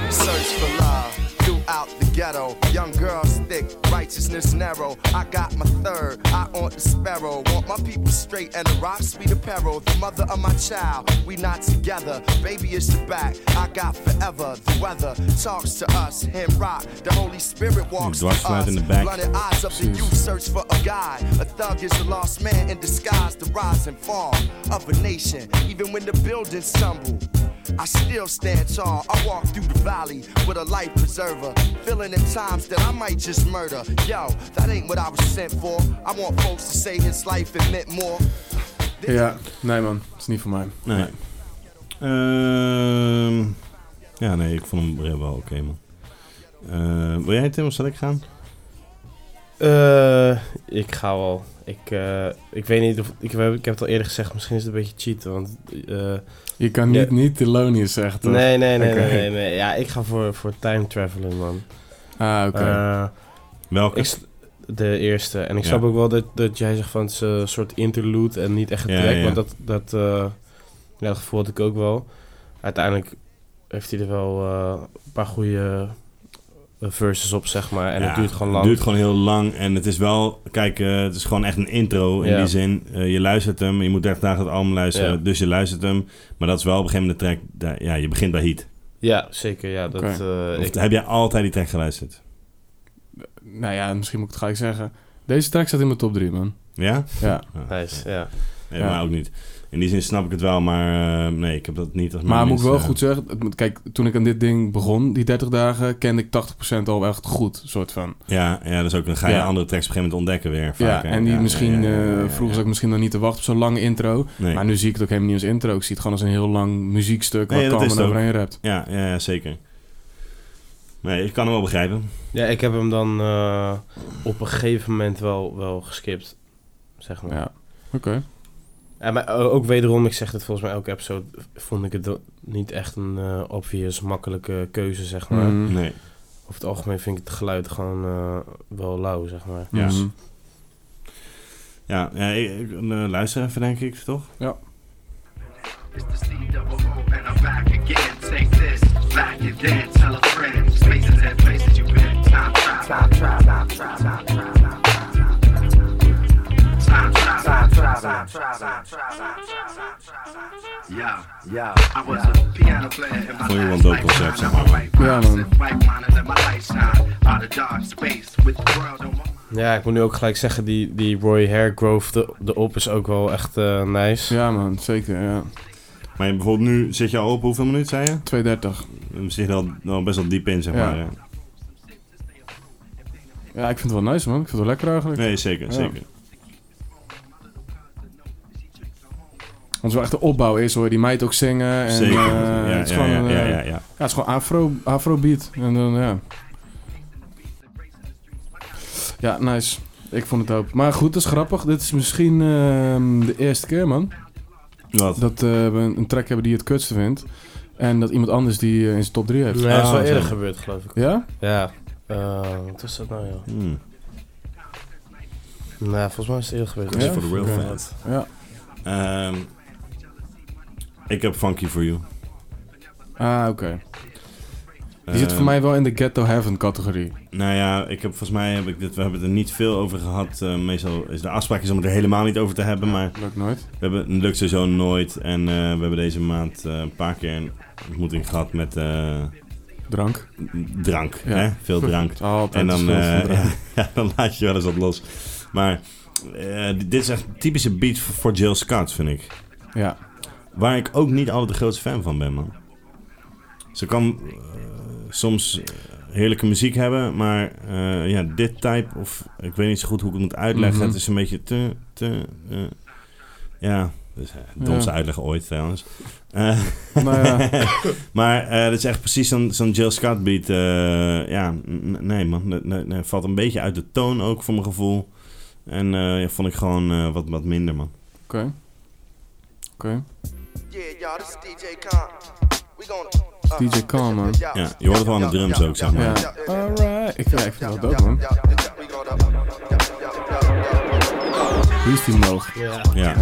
Speaker 3: Search for love throughout the ghetto. Young girls thick, righteousness narrow. I got my third, I want the sparrow. Want my people straight and the rock speed apparel. The mother of my child, we not together. Baby is your back, I got forever. The weather talks to us, him rock. The Holy Spirit walks to
Speaker 1: dwarf sluit
Speaker 3: us.
Speaker 1: in de back.
Speaker 3: Blinded eyes of the youth search for a guide. A thug is a lost man in disguise. The rise and fall of a nation, even when the buildings tumble. I still stand tall. I walk through the valley with a life preserver. Feeling in times that I might just murder. Yo, that ain't what I was sent for. I want folks to say his life it meant more.
Speaker 2: Ja, nee man, het is niet voor mij.
Speaker 1: Nee. Ehm, ja, nee, ik vond hem wel oké, man. Eh, wil jij Tim of zal ik gaan?
Speaker 4: Eh, ik ga wel. Ik, eh, ik weet niet of... Ik, heb- ik heb het al eerder gezegd, misschien is het een beetje cheaten, want... eh,
Speaker 2: Je kan niet,
Speaker 4: Ja.
Speaker 2: niet Thelonious zeggen, toch?
Speaker 4: nee, nee, nee,
Speaker 2: Oké.
Speaker 4: nee, nee, nee. Ja, ik ga voor, voor time traveling, man.
Speaker 2: Ah, oké.
Speaker 4: Eh,
Speaker 1: Welke?
Speaker 4: ik, s- de eerste. En ik
Speaker 1: Ja.
Speaker 4: snap ook wel dat, dat jij zegt van het is eh, een soort interlude en niet echt een
Speaker 1: Ja,
Speaker 4: track.
Speaker 1: ja.
Speaker 4: Want dat, dat, eh, ja, dat gevoel had ik ook wel. Uiteindelijk heeft hij er wel eh, een paar goede eh, verses op, zeg maar. En
Speaker 1: Ja,
Speaker 4: het duurt gewoon lang.
Speaker 1: Het duurt gewoon heel lang en het is wel... Kijk, eh, het is gewoon echt een intro in
Speaker 4: Ja.
Speaker 1: die zin. Eh, je luistert hem, je moet 30 dagen het album luisteren,
Speaker 4: Ja.
Speaker 1: dus je luistert hem. Maar dat is wel op een gegeven moment de track... daar- ja, je begint bij Heat.
Speaker 4: Ja, zeker. Ja, dat,
Speaker 2: Oké.
Speaker 4: eh,
Speaker 1: Of
Speaker 4: ik-
Speaker 1: heb jij altijd die track geluisterd?
Speaker 2: Nou ja, misschien moet ik het gelijk zeggen. Deze track staat in mijn top 3, man.
Speaker 1: Ja?
Speaker 2: Ja.
Speaker 4: nice, ja.
Speaker 1: Nee,
Speaker 2: Ja.
Speaker 1: maar ook niet. In die zin snap ik het wel, maar eh, nee, ik heb dat niet als mijn
Speaker 2: Maar moet ik wel
Speaker 1: minste-
Speaker 2: goed zeggen, het moet- kijk, toen ik aan dit ding begon, die 30 dagen, kende ik 80% al echt goed, soort van.
Speaker 1: Ja, ja, dus ook dan ga je
Speaker 2: Ja.
Speaker 1: andere tracks op een gegeven moment ontdekken weer.
Speaker 2: ja,
Speaker 1: vaker.
Speaker 2: en die misschien,
Speaker 1: ja, ja, ja,
Speaker 2: eh,
Speaker 1: ja, ja.
Speaker 2: vroeger zat ik misschien nog niet te wachten op zo'n lange intro.
Speaker 1: Nee.
Speaker 2: Maar nu zie ik het ook helemaal niet als intro. Ik zie het gewoon als een heel lang muziekstuk waar
Speaker 1: Nee, dat
Speaker 2: Carmen
Speaker 1: is het ook.
Speaker 2: overheen rapt.
Speaker 1: Ja, ja, ja, zeker. Nee, ik kan hem wel begrijpen.
Speaker 4: ja, ik heb hem dan eh, op een gegeven moment wel, wel geskipt, zeg maar.
Speaker 2: Ja, oké.
Speaker 4: En maar o- ook wederom, ik zeg het volgens mij elke episode, vond ik het do- niet echt een eh, obvious, makkelijke keuze, zeg maar.
Speaker 2: Mm.
Speaker 1: Mhm. Nee.
Speaker 4: Over het algemeen vind ik het geluid gewoon eh, wel lauw, zeg maar.
Speaker 1: Ja.
Speaker 2: Mhm.
Speaker 1: Ja, ja ik, ik- eh, luister even, denk ik, toch?
Speaker 10: It's the C double O and I'm back again. Take this, back it then, tell a friend. Spaces and places you've been. Time travel, time travel, time travel, time travel, time travel, time travel, time travel, time travel, time travel. Yeah, yeah. I was a piano player in my
Speaker 1: Goeie
Speaker 10: last
Speaker 1: one-dope concept, zeg
Speaker 10: lifetime. I
Speaker 1: maar.
Speaker 10: write rhymes
Speaker 2: Ja, man.
Speaker 10: and write mine in my lifetime. Out of dark space with the world on my
Speaker 4: Ja, ik moet nu ook gelijk zeggen, die, die Roy Hairgrove, de, de op is ook wel echt eh, nice.
Speaker 2: ja, man, zeker. Ja.
Speaker 1: Maar je- bijvoorbeeld nu zit je al op hoeveel minuten, zei je?
Speaker 2: 230.
Speaker 1: Dan zit je al, al best wel diep in, zeg
Speaker 2: Ja.
Speaker 1: maar. hè?
Speaker 2: Ja, ik vind het wel nice, man. Ik vind het wel lekker eigenlijk.
Speaker 1: Nee, zeker,
Speaker 2: Ja.
Speaker 1: zeker.
Speaker 2: Want zo echt de opbouw is, hoor je die meid ook zingen. En,
Speaker 1: Zeker.
Speaker 2: eh,
Speaker 1: ja,
Speaker 2: het is
Speaker 1: ja,
Speaker 2: gewoon,
Speaker 1: ja, ja,
Speaker 2: eh,
Speaker 1: ja, ja.
Speaker 2: Ja, het is gewoon afro, afrobeat. En dan, ja. Ja, nice. Ik vond het ook. Maar goed, dat is grappig. Dit is misschien ehm, de eerste keer, man.
Speaker 1: Wat?
Speaker 2: Dat eh, we een een track hebben die het kutste vindt. En dat iemand anders die eh, in zijn top 3 heeft.
Speaker 4: Nee, dat is wel
Speaker 1: Ah,
Speaker 4: eerder
Speaker 1: zo.
Speaker 4: gebeurd, geloof ik.
Speaker 2: Ja?
Speaker 4: Ja. Eh, wat is dat nou, joh?
Speaker 1: Hmm.
Speaker 4: Nou, volgens mij is het eerder gebeurd.
Speaker 1: Dat is
Speaker 2: Ja?
Speaker 1: voor de real
Speaker 2: Oké.
Speaker 1: fans.
Speaker 2: Ja.
Speaker 1: Ehm, ik heb Funky For You.
Speaker 2: Ah, oké. Die zit voor mij wel in de Ghetto Heaven categorie.
Speaker 1: Nou ja, ik heb, volgens mij heb ik dit, we hebben het er niet veel over gehad. Eh, meestal is de afspraak is om het er helemaal niet over te hebben. Maar
Speaker 2: Lukt nooit.
Speaker 1: we hebben, het lukt sowieso nooit. En eh, we hebben deze maand eh, een paar keer een ontmoeting gehad met eh,
Speaker 2: Drank.
Speaker 1: drank.
Speaker 2: Ja.
Speaker 1: Hè? Veel drank.
Speaker 2: Altijd.
Speaker 1: En dan,
Speaker 2: veel van
Speaker 1: eh,
Speaker 2: drank.
Speaker 1: ja, dan laat je wel eens wat los. Maar eh, dit is echt een typische beat voor voor Jill Scott, vind ik.
Speaker 2: Ja.
Speaker 1: Waar ik ook niet altijd de grootste fan van ben, man. Ze kan eh, soms eh, heerlijke muziek hebben, maar eh, ja, dit type, of ik weet niet zo goed hoe ik het moet uitleggen,
Speaker 2: Mhm.
Speaker 1: het is een beetje te. te eh, ja, dus, eh, domste
Speaker 2: Ja.
Speaker 1: uitleg ooit trouwens. Eh,
Speaker 2: Nou ja.
Speaker 1: maar eh dat is echt precies zo'n zo'n Jill Scott beat. eh, ja, n- nee man, nee, nee, nee, valt een beetje uit de toon ook voor mijn gevoel. En eh, ja, vond ik gewoon eh, wat, wat minder man.
Speaker 2: Oké. Oké.
Speaker 5: Yeah, y'all, this is DJ Khan. We gon' uh,
Speaker 2: DJ Khan, man.
Speaker 1: Ja, je hoort het wel aan de drums ook, zeg maar.
Speaker 2: Ja. Alright. Ik, ja, ik vind het wel dope, man. Hier is die moog.
Speaker 1: Ja.
Speaker 2: Ja.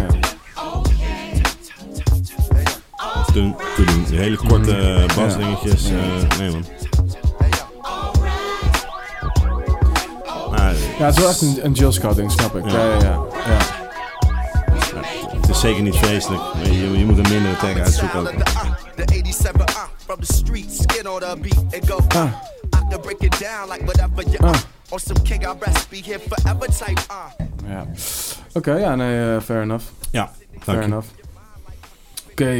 Speaker 1: Toen, toen, die hele
Speaker 2: Mm.
Speaker 1: korte eh, basdingetjes. eh, nee man. Maar
Speaker 2: Ja, het is wel echt een, een Jill Scott ding, snap ik. Ja, ja, ja. ja.
Speaker 1: het is zeker niet vreselijk. Je, je moet een mindere tag uitzoeken ook.
Speaker 5: The 87 uh, from the street, skin on the beat and go. Uh. I can break it down like whatever you uh.
Speaker 2: Ah.
Speaker 5: On some king, I rest be here forever type uh.
Speaker 2: ja. Oké, ja, nee, eh, fair enough.
Speaker 1: Ja,
Speaker 2: Fair
Speaker 1: dank je.
Speaker 2: enough. Oké,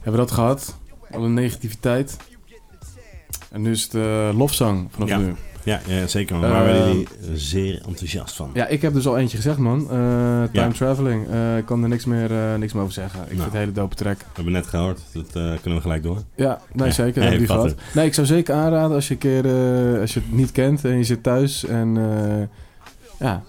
Speaker 2: hebben we dat gehad? Alle negativiteit. En nu is het eh, lofzang vanaf
Speaker 1: Ja.
Speaker 2: nu.
Speaker 1: Ja, ja, zeker man. Waar
Speaker 2: Eh,
Speaker 1: werden jullie zeer enthousiast van?
Speaker 2: Ja, ik heb dus al eentje gezegd, man. Eh, time
Speaker 1: Ja.
Speaker 2: traveling. Eh, ik kan er niks meer, eh, niks meer over zeggen. Ik
Speaker 1: Nou.
Speaker 2: vind het een hele dope track.
Speaker 1: We hebben net gehoord, dat eh, kunnen we gelijk door.
Speaker 2: Ja, nee,
Speaker 1: Ja,
Speaker 2: zeker.
Speaker 1: nee,
Speaker 2: heb die
Speaker 1: ik vat
Speaker 2: gehad. Nee, ik zou zeker aanraden als je, een keer, eh, als je het niet kent en je zit thuis en eh, Ja,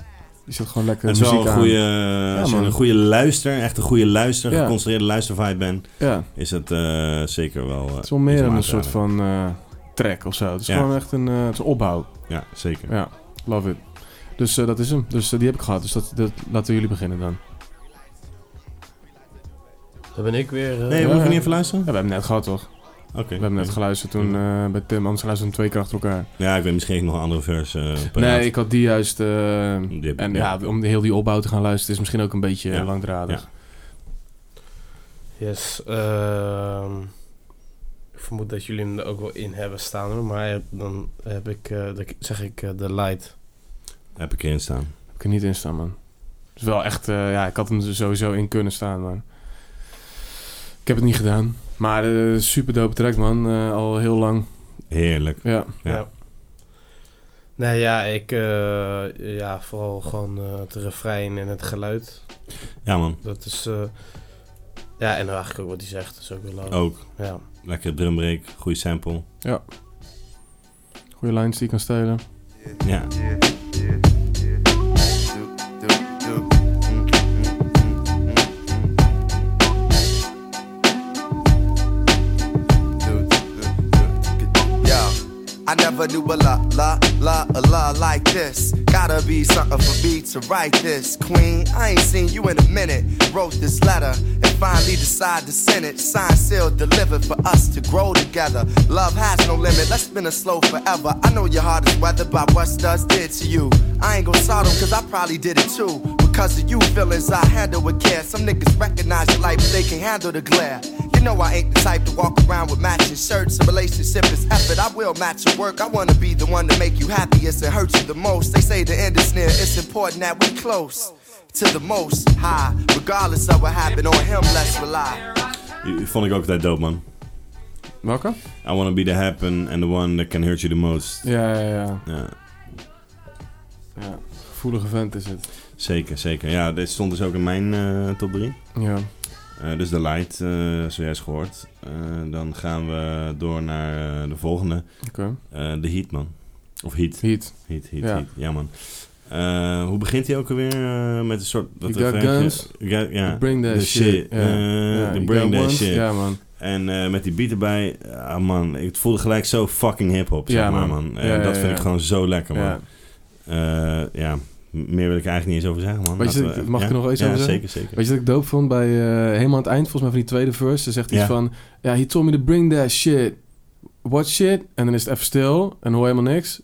Speaker 2: die zit gewoon lekker
Speaker 1: Het is wel
Speaker 2: muziek
Speaker 1: een
Speaker 2: aan.
Speaker 1: goede, als je
Speaker 2: man.
Speaker 1: een goede luister, echt een goede luister,
Speaker 2: Ja.
Speaker 1: geconcentreerde luistervibe bent,
Speaker 2: Ja,
Speaker 1: is het eh, zeker wel... eh,
Speaker 2: het is wel
Speaker 1: iets
Speaker 2: meer
Speaker 1: om aan
Speaker 2: een
Speaker 1: te
Speaker 2: soort
Speaker 1: raden.
Speaker 2: van eh, track of zo. Het is
Speaker 1: Ja.
Speaker 2: gewoon echt een, eh, het is een opbouw.
Speaker 1: Ja, zeker.
Speaker 2: Ja, love it. Dus eh, dat is hem. Dus eh, die heb ik gehad. Dus dat, dat, laten jullie beginnen dan.
Speaker 4: Dan ben ik weer... eh,
Speaker 1: Nee, we
Speaker 2: Ja.
Speaker 1: hoeven niet even luisteren?
Speaker 2: Ja, we hebben hem net gehad, toch?
Speaker 1: Oké.
Speaker 2: We hebben net geluisterd toen eh, bij Tim. Anders luisterden we hem twee keer achter elkaar.
Speaker 1: Ja, ik weet misschien heb ik nog een andere verse eh, paraat.
Speaker 2: Nee, ik had die juist... eh,
Speaker 1: Die heb-
Speaker 2: en
Speaker 1: ja.
Speaker 2: ja. om heel die opbouw te gaan luisteren is misschien ook een beetje
Speaker 1: Ja.
Speaker 2: langdradig.
Speaker 4: Yes. ehm, ik vermoed dat jullie hem er ook wel in hebben staan, hoor. Maar dan heb ik, eh, dan zeg ik eh, de light.
Speaker 1: Heb ik erin staan.
Speaker 2: Heb ik er niet in staan, man. Het is wel echt... eh, ja, ik had hem er sowieso in kunnen staan, man. Ik heb het niet gedaan. Maar eh super dope track, man. Eh, al heel lang.
Speaker 1: Heerlijk.
Speaker 2: Ja.
Speaker 1: Ja.
Speaker 4: Nee, ja, ik... eh, ja, vooral gewoon eh, het refrein en het geluid.
Speaker 1: Ja man,
Speaker 4: Dat is... eh, ja, en eigenlijk ook wat hij zegt. Dat is ook wel
Speaker 2: Oh.
Speaker 4: leuk.
Speaker 1: ook.
Speaker 4: Ja.
Speaker 1: Lekker drumbreak, goede sample.
Speaker 2: Goede lines die je kan stelen.
Speaker 1: Ja.
Speaker 3: Yo, I never knew a la, la, la, a la like this. Gotta be something for me to write this. Queen, I ain't seen you in a minute. Wrote this letter and finally decided to send it. Signed, sealed, delivered for us to grow together. Love has no limit, let's spin a slow forever. I know your heart is weathered by what studs did to you. I ain't gon' sodom, cause I probably did it too. Because of you, feelings I handle with care. Some niggas recognize your light, but they can handle the glare. You know I ain't the type to walk around with matching shirts. A relationship is effort. I will match your work. I wanna be the one to make you happiest and hurt you the most. They say the end is near. It's important that we close to the most high. Regardless of what happened on him, let's rely.
Speaker 1: Die Vond ik ook altijd dope man.
Speaker 2: Welke?
Speaker 1: I wanna be the happen and the one that can hurt you the most.
Speaker 2: Ja, ja, ja.
Speaker 1: Ja,
Speaker 2: ja. Gevoelige vent is het.
Speaker 1: zeker, zeker. Ja, dit stond dus ook in mijn eh, top 3.
Speaker 2: Ja.
Speaker 1: Eh, dus de light, eh, zojuist gehoord. Eh, dan gaan we door naar eh, de volgende.
Speaker 2: Oké.
Speaker 1: Eh, de heat, man. Of heat.
Speaker 2: Heat.
Speaker 1: Heat, heat,
Speaker 2: Ja.
Speaker 1: heat. Ja, man. Eh, hoe begint hij ook alweer? Eh, met een soort... dat
Speaker 2: You got
Speaker 1: refreintje.
Speaker 2: guns?
Speaker 1: You got- ja.
Speaker 2: Bring that
Speaker 1: The
Speaker 2: shit.
Speaker 1: shit.
Speaker 2: Ja.
Speaker 1: Eh,
Speaker 2: Ja,
Speaker 1: the
Speaker 2: you
Speaker 1: bring
Speaker 2: got
Speaker 1: that
Speaker 2: one?
Speaker 1: shit.
Speaker 2: Ja, man.
Speaker 1: En eh, met die beat erbij, ah man, ik het voelde gelijk zo fucking hip-hop, zeg
Speaker 2: Ja,
Speaker 1: maar,
Speaker 2: man.
Speaker 1: man.
Speaker 2: Ja,
Speaker 1: En
Speaker 2: ja,
Speaker 1: dat vind
Speaker 2: ja.
Speaker 1: ik gewoon zo lekker, man.
Speaker 2: Ja.
Speaker 1: Ja, ja m- meer wil ik eigenlijk niet eens over zeggen, man.
Speaker 2: Weet je,
Speaker 1: Laten we-
Speaker 2: mag ik
Speaker 1: ja?
Speaker 2: er nog wel iets
Speaker 1: ja,
Speaker 2: over zeggen?
Speaker 1: zeker, zeker.
Speaker 2: Weet je wat ik dope vond bij eh, helemaal aan het eind, volgens mij van die tweede verse, dan zegt hij
Speaker 1: Ja.
Speaker 2: van, ja, he told me to bring that shit. What shit? En dan is het even stil en dan hoor je helemaal niks.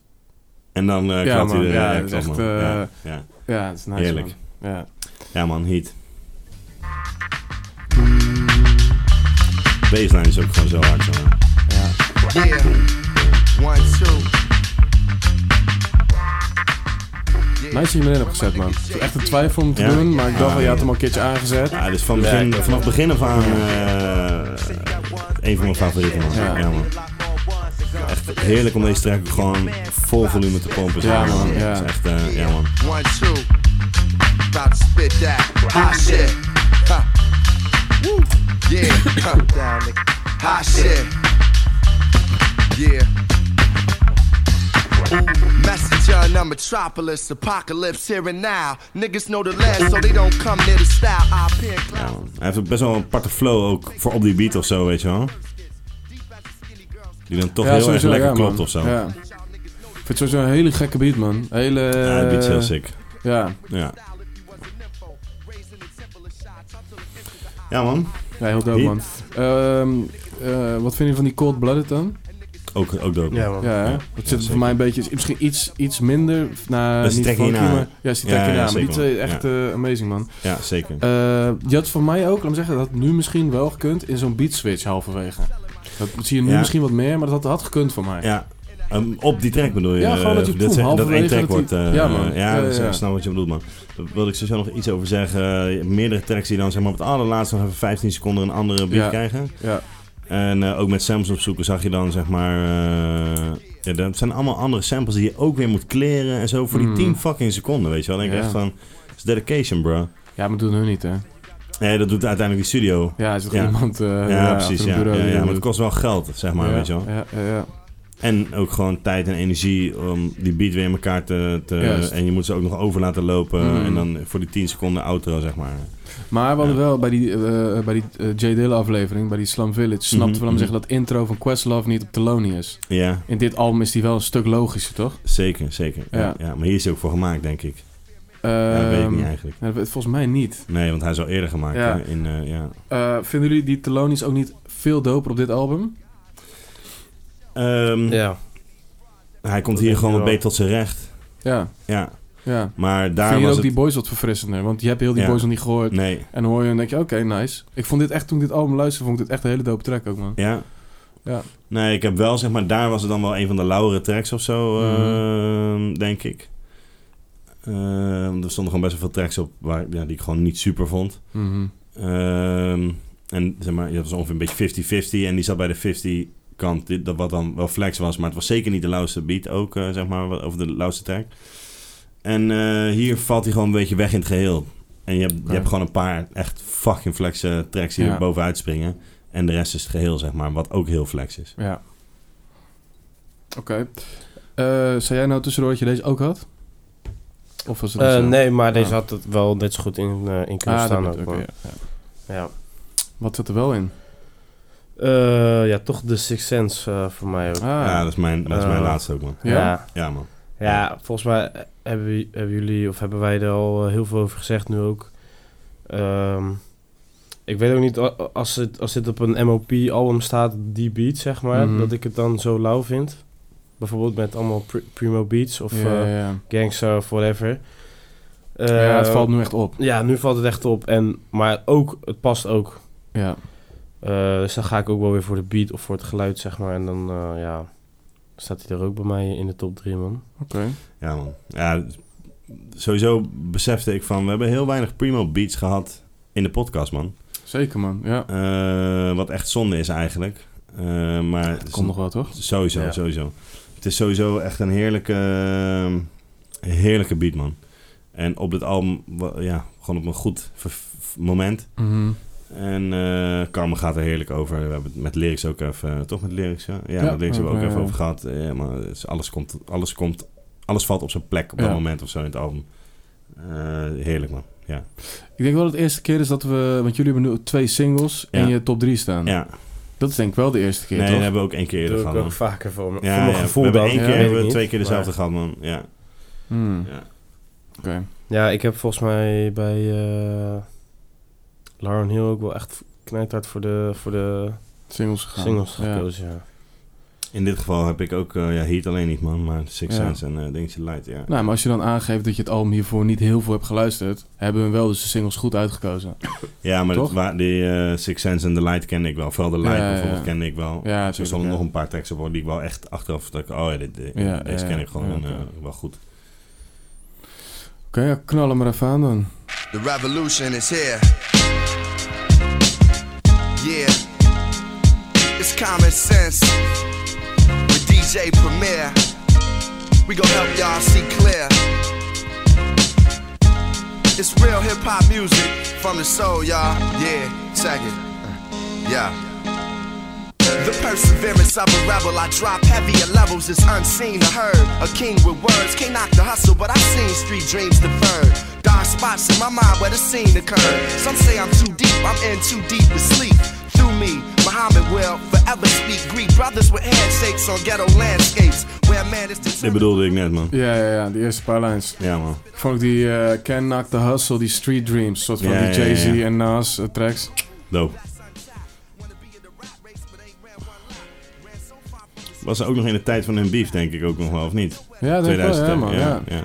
Speaker 1: En dan eh
Speaker 2: Ja,
Speaker 1: klapt hij
Speaker 2: man.
Speaker 1: er...
Speaker 2: Ja,
Speaker 1: hij
Speaker 2: dat is
Speaker 1: klapt,
Speaker 2: echt,
Speaker 1: man.
Speaker 2: eh,
Speaker 1: ja, ja.
Speaker 2: Ja, het is nice,
Speaker 1: Heerlijk.
Speaker 2: man. Ja.
Speaker 1: ja, man, heat.
Speaker 2: Mm.
Speaker 1: Baseline is ook gewoon zo hard, man.
Speaker 3: Yeah. One, two.
Speaker 2: Nice dat je hem erin hebt gezet, man. Het is echt een twijfel om te
Speaker 1: Ja.
Speaker 2: doen, maar ik dacht
Speaker 1: Ja.
Speaker 2: wel, je had hem al een keertje aangezet.
Speaker 1: Ja, dus van begin,
Speaker 2: Ja.
Speaker 1: vanaf begin af aan eh, een van mijn favorieten, man.
Speaker 2: Ja.
Speaker 1: Ja. man. Echt heerlijk om deze track gewoon vol volume te pompen. zeg
Speaker 2: Ja,
Speaker 1: maar,
Speaker 2: man, ja.
Speaker 1: Het is echt, eh, ja, man.
Speaker 3: One, two. About to spit that hot shit. Huh. Woo. Yeah. Huh. Down, nigga. Hot shit. Yeah. Messenger in a metropolis, apocalypse here and now. Niggas know the land, so they don't come near the style. I appear
Speaker 1: Ja, man. Hij heeft best wel een aparte flow ook voor op die beat of zo, weet je wel. Die dan toch heel erg lekker
Speaker 2: ja, man.
Speaker 1: klopt of zo. Ja,
Speaker 2: Ja. Ik vind het sowieso een hele gekke beat, man. Hele...
Speaker 1: die beat is heel
Speaker 2: eh,
Speaker 1: sick.
Speaker 2: Ja,
Speaker 1: Ja. Ja, man.
Speaker 2: ja heel dope,
Speaker 1: Heat.
Speaker 2: man. Ehm, eh, wat vind je van die Cold Blooded dan?
Speaker 1: Ook, ook dope.
Speaker 4: Ja,
Speaker 1: Ja,
Speaker 4: man.
Speaker 2: Ja, hè?
Speaker 1: Ja,
Speaker 2: dat zit
Speaker 1: ja,
Speaker 2: er voor
Speaker 1: zeker.
Speaker 2: mij een beetje, is misschien iets, iets minder naar
Speaker 1: Dat is
Speaker 2: niet
Speaker 1: die track
Speaker 2: funky,
Speaker 1: hierna.
Speaker 2: maar ja, is die
Speaker 1: Ja,
Speaker 2: track hierna,
Speaker 1: ja,
Speaker 2: maar die
Speaker 1: zeker,
Speaker 2: twee
Speaker 1: man.
Speaker 2: echt eh, amazing man.
Speaker 1: zeker.
Speaker 2: Eh je had voor mij ook, laat me zeggen, dat had nu misschien wel gekund in zo'n beat switch halverwege. Dat zie je nu
Speaker 1: Ja.
Speaker 2: misschien wat meer, maar dat had, had gekund voor mij.
Speaker 1: Ja. Ehm, op die track bedoel je?
Speaker 2: Ja, gewoon dat je
Speaker 1: eh,
Speaker 2: poem,
Speaker 1: dat, dat
Speaker 2: halverwege
Speaker 1: één track
Speaker 2: dat
Speaker 1: wordt.
Speaker 2: die-
Speaker 1: eh,
Speaker 2: Ja, man. Ja,
Speaker 1: Ja, dat is-
Speaker 2: ja.
Speaker 1: ik snap wat je bedoelt, man. Daar wilde ik sowieso nog iets over zeggen. Je hebt meerdere tracks die dan zeg maar, op het allerlaatste nog even 15 seconden een andere beat
Speaker 2: Ja.
Speaker 1: krijgen.
Speaker 2: Ja.
Speaker 1: En eh, ook met samples opzoeken zag je dan zeg maar... eh, ja, dat zijn allemaal andere samples die je ook weer moet kleren en zo voor die
Speaker 2: Mm.
Speaker 1: 10 fucking seconden, weet je wel. Dan denk ik
Speaker 2: Ja.
Speaker 1: echt van, dat is dedication, bro.
Speaker 2: Ja, maar dat doen hun niet, hè?
Speaker 1: Nee, dat doet uiteindelijk die studio.
Speaker 2: Ja, er zit
Speaker 1: Ja.
Speaker 2: iemand eh
Speaker 1: Ja,
Speaker 2: ja, achter
Speaker 1: precies,
Speaker 2: een
Speaker 1: ja.
Speaker 2: bureau
Speaker 1: ja,
Speaker 2: die
Speaker 1: ja,
Speaker 2: dat
Speaker 1: maar het
Speaker 2: doet.
Speaker 1: kost wel geld, zeg maar,
Speaker 2: ja,
Speaker 1: weet je wel.
Speaker 2: Ja, ja, ja.
Speaker 1: En ook gewoon tijd en energie om die beat weer in elkaar te... te
Speaker 2: Juist.
Speaker 1: en je moet ze ook nog over laten lopen.
Speaker 2: Mm.
Speaker 1: En dan voor die 10 seconden outro, zeg maar.
Speaker 2: Maar we hadden
Speaker 1: Ja.
Speaker 2: wel bij die, eh, bij die eh, J. Dilla aflevering, bij die Slum Village, snapten
Speaker 1: Mhm,
Speaker 2: we hem
Speaker 1: mhm.
Speaker 2: zeggen dat intro van Questlove niet op Thelonious is.
Speaker 1: Ja,
Speaker 2: In dit album is die wel een stuk logischer, toch?
Speaker 1: zeker, zeker. Ja.
Speaker 2: Ja.
Speaker 1: Ja, maar hier is hij ook voor gemaakt, denk ik. Ja, dat weet ik
Speaker 2: Ehm,
Speaker 1: niet eigenlijk.
Speaker 2: ja, dat- Volgens mij niet.
Speaker 1: Nee, want hij is al eerder gemaakt.
Speaker 2: Ja.
Speaker 1: hè, In, eh, ja.
Speaker 2: Eh, vinden jullie die Thelonious ook niet veel doper op dit album?
Speaker 1: Ehm,
Speaker 4: Ja. Eh,
Speaker 1: Hij komt
Speaker 4: Dat
Speaker 1: hier
Speaker 4: denk
Speaker 1: gewoon
Speaker 4: ik
Speaker 1: wat
Speaker 4: wel.
Speaker 1: beter tot zijn recht.
Speaker 2: Ja,
Speaker 1: Ja,
Speaker 2: ja.
Speaker 1: maar daar
Speaker 2: Vind je
Speaker 1: was
Speaker 2: ook
Speaker 1: het...
Speaker 2: die boys wat verfrissender? Want je hebt heel die
Speaker 1: Ja.
Speaker 2: boys nog niet gehoord.
Speaker 1: Nee,
Speaker 2: En dan hoor je en denk je, oké, nice. Ik vond dit echt, toen ik dit album luisterde, vond ik dit echt een hele dope track ook, man.
Speaker 1: ja.
Speaker 2: Ja.
Speaker 1: Nee, ik heb wel, zeg maar, daar was het dan wel een van de lauwere tracks of zo, ehm, denk ik. Ehm, er stonden gewoon best wel veel tracks op waar, ja, die ik gewoon niet super vond.
Speaker 2: Mhm.
Speaker 1: Ehm, en zeg maar, dat was ongeveer een beetje 50-50. En die zat bij de 50 kant, dit, dat wat dan wel flex was. Maar het was zeker niet de lauwste beat ook, eh, zeg maar, wat- of de lauwste track. En eh, hier valt hij gewoon een beetje weg in het geheel. En je hebt,
Speaker 2: Oké.
Speaker 1: je hebt gewoon een paar echt fucking flex eh, tracks die
Speaker 2: Ja.
Speaker 1: er bovenuit springen. En de rest is het geheel, zeg maar, wat ook heel flex is.
Speaker 2: Ja. Oké. Eh, zou jij nou tussendoor dat je deze ook had? Of was het
Speaker 4: Eh,
Speaker 2: een zo?
Speaker 4: nee, maar deze
Speaker 2: Ah.
Speaker 4: had het wel net zo goed in, eh, in kunnen
Speaker 2: Ah, dat
Speaker 4: staan.
Speaker 2: bedoel
Speaker 4: ook,
Speaker 2: ik,
Speaker 4: hoor.
Speaker 2: oké, ja, ja.
Speaker 4: ja.
Speaker 2: Wat zat er wel in?
Speaker 4: Eh, ja, toch de Six Sense eh, voor mij ook.
Speaker 2: Ah,
Speaker 1: Ja, dat is mijn, dat is mijn
Speaker 4: Eh.
Speaker 1: laatste ook, man.
Speaker 2: ja?
Speaker 4: Ja.
Speaker 1: Ja, man.
Speaker 4: Ja, volgens mij eh, hebben, wi- hebben jullie of hebben wij er al eh, heel veel over gezegd nu ook. Ehm, ik weet ook niet a- a- als, het, als dit op een MOP-album staat, die beat zeg maar,
Speaker 2: Mhm.
Speaker 4: dat ik het dan zo lauw vind. Bijvoorbeeld met allemaal pri- primo beats of
Speaker 2: ja,
Speaker 4: eh,
Speaker 2: ja, ja.
Speaker 4: gangster of whatever.
Speaker 2: ja, het
Speaker 4: Eh,
Speaker 2: valt nu echt op.
Speaker 4: Ja, nu valt het echt op. En, maar ook, het past ook.
Speaker 2: Ja.
Speaker 4: Eh, dus dan ga ik ook wel weer voor de beat of voor het geluid, zeg maar. En dan, eh, ja, staat hij er ook bij mij in de top 3, man.
Speaker 2: Oké.
Speaker 1: Ja, man. Ja, sowieso besefte ik van, we hebben heel weinig primo beats gehad in de podcast, man.
Speaker 2: Zeker, man. Ja.
Speaker 1: Eh, wat echt zonde is eigenlijk. Eh, maar het is
Speaker 2: Komt nog wel, toch?
Speaker 1: sowieso,
Speaker 4: Ja.
Speaker 1: sowieso. Het is sowieso echt een heerlijke, eh, heerlijke beat, man. En op dit album, wa- ja, gewoon op een goed ver- moment. En eh, Karma gaat er heerlijk over. We hebben het met lyrics ook even, eh, toch met lyrics, ja? Ja,
Speaker 2: Ja,
Speaker 1: met lyrics hebben we ook
Speaker 2: eh,
Speaker 1: even over gehad. Eh, maar het is- alles komt, alles komt, alles valt op zijn plek op
Speaker 2: Ja.
Speaker 1: dat moment of zo in het album. Eh, heerlijk, man.
Speaker 2: Ik denk wel dat het eerste keer is dat we... Want jullie hebben nu twee singles
Speaker 1: Ja.
Speaker 2: in je top 3 staan.
Speaker 1: Ja,
Speaker 2: Dat is denk ik wel de eerste keer,
Speaker 1: nee,
Speaker 2: toch?
Speaker 1: dat hebben we ook één keer eerder
Speaker 4: doe
Speaker 1: gehad,
Speaker 4: ik ook
Speaker 1: man.
Speaker 4: vaker voor, m-
Speaker 1: Ja,
Speaker 4: voor mijn
Speaker 1: ja,
Speaker 4: gevoel
Speaker 1: we hebben
Speaker 4: dan. Hm.
Speaker 1: één
Speaker 4: Ja,
Speaker 1: keer,
Speaker 4: weet
Speaker 1: hebben we
Speaker 4: ik
Speaker 1: twee
Speaker 4: niet,
Speaker 1: keer dezelfde
Speaker 4: maar-
Speaker 1: gehad, man. Ja.
Speaker 2: Hmm,
Speaker 1: Ja.
Speaker 2: Oké.
Speaker 4: Ja, ik heb volgens mij bij eh, Lauren Hill ook wel echt knijthard voor de, voor de
Speaker 2: Singles gegaan.
Speaker 4: singles
Speaker 2: Ja.
Speaker 4: gekozen, ja.
Speaker 1: In dit geval heb ik ook, eh, ja, Heat alleen niet, man, maar Six
Speaker 2: Ja.
Speaker 1: Sense en eh Dingetje Light, ja.
Speaker 2: Nou, maar als je dan aangeeft dat je het album hiervoor niet heel veel hebt geluisterd... hebben we hem wel dus de singles goed uitgekozen.
Speaker 1: ja, maar dat,
Speaker 2: toch?
Speaker 1: wa- die eh, Six Sense en The Light kende ik wel. Vooral The Light
Speaker 2: Ja, ja,
Speaker 1: bijvoorbeeld
Speaker 2: ja.
Speaker 1: kende ik wel.
Speaker 2: Ja,
Speaker 1: Zo
Speaker 2: tuurlijk,
Speaker 1: zullen
Speaker 2: ja.
Speaker 1: nog een paar teksten worden die ik wel echt achteraf... Dat ik, oh ja, dit, dit-
Speaker 2: Ja,
Speaker 1: deze
Speaker 2: ja,
Speaker 1: ken
Speaker 2: ja.
Speaker 1: ik gewoon
Speaker 2: Ja, oké.
Speaker 1: eh, wel goed.
Speaker 2: Oké, ja, knal hem maar even aan dan.
Speaker 3: The revolution is here. Yeah. It's common sense. With DJ Premier, we gon' help y'all see clear. It's real hip hop music from the soul, y'all. Yeah, check it. Uh, Yeah. The perseverance of a rebel, I drop heavier levels, it's unseen to heard. A king with words, can't knock the hustle, but I've seen street dreams deferred. Dark spots in my mind where the scene occurred. Some say I'm too deep, I'm in too deep to sleep. Through me, Muhammad will forever speak Greek. Brothers with handshakes on ghetto landscapes, where man is
Speaker 1: Dit
Speaker 3: determined.
Speaker 1: bedoelde ik net, man.
Speaker 2: Ja, ja, ja. Die eerste paar lines.
Speaker 1: Ja, man.
Speaker 2: Ik vond ook die eh Can Knock the Hustle, die Street Dreams. soort van
Speaker 1: Ja,
Speaker 2: die
Speaker 1: ja, ja,
Speaker 2: Jay-Z
Speaker 1: ja.
Speaker 2: en Nas eh, tracks.
Speaker 1: Dope. Was er ook nog in de tijd van hun beef, denk ik ook nog wel, of niet?
Speaker 2: Ja, denk ik wel, ja,
Speaker 1: 2000,
Speaker 2: man. Ja.
Speaker 1: ja.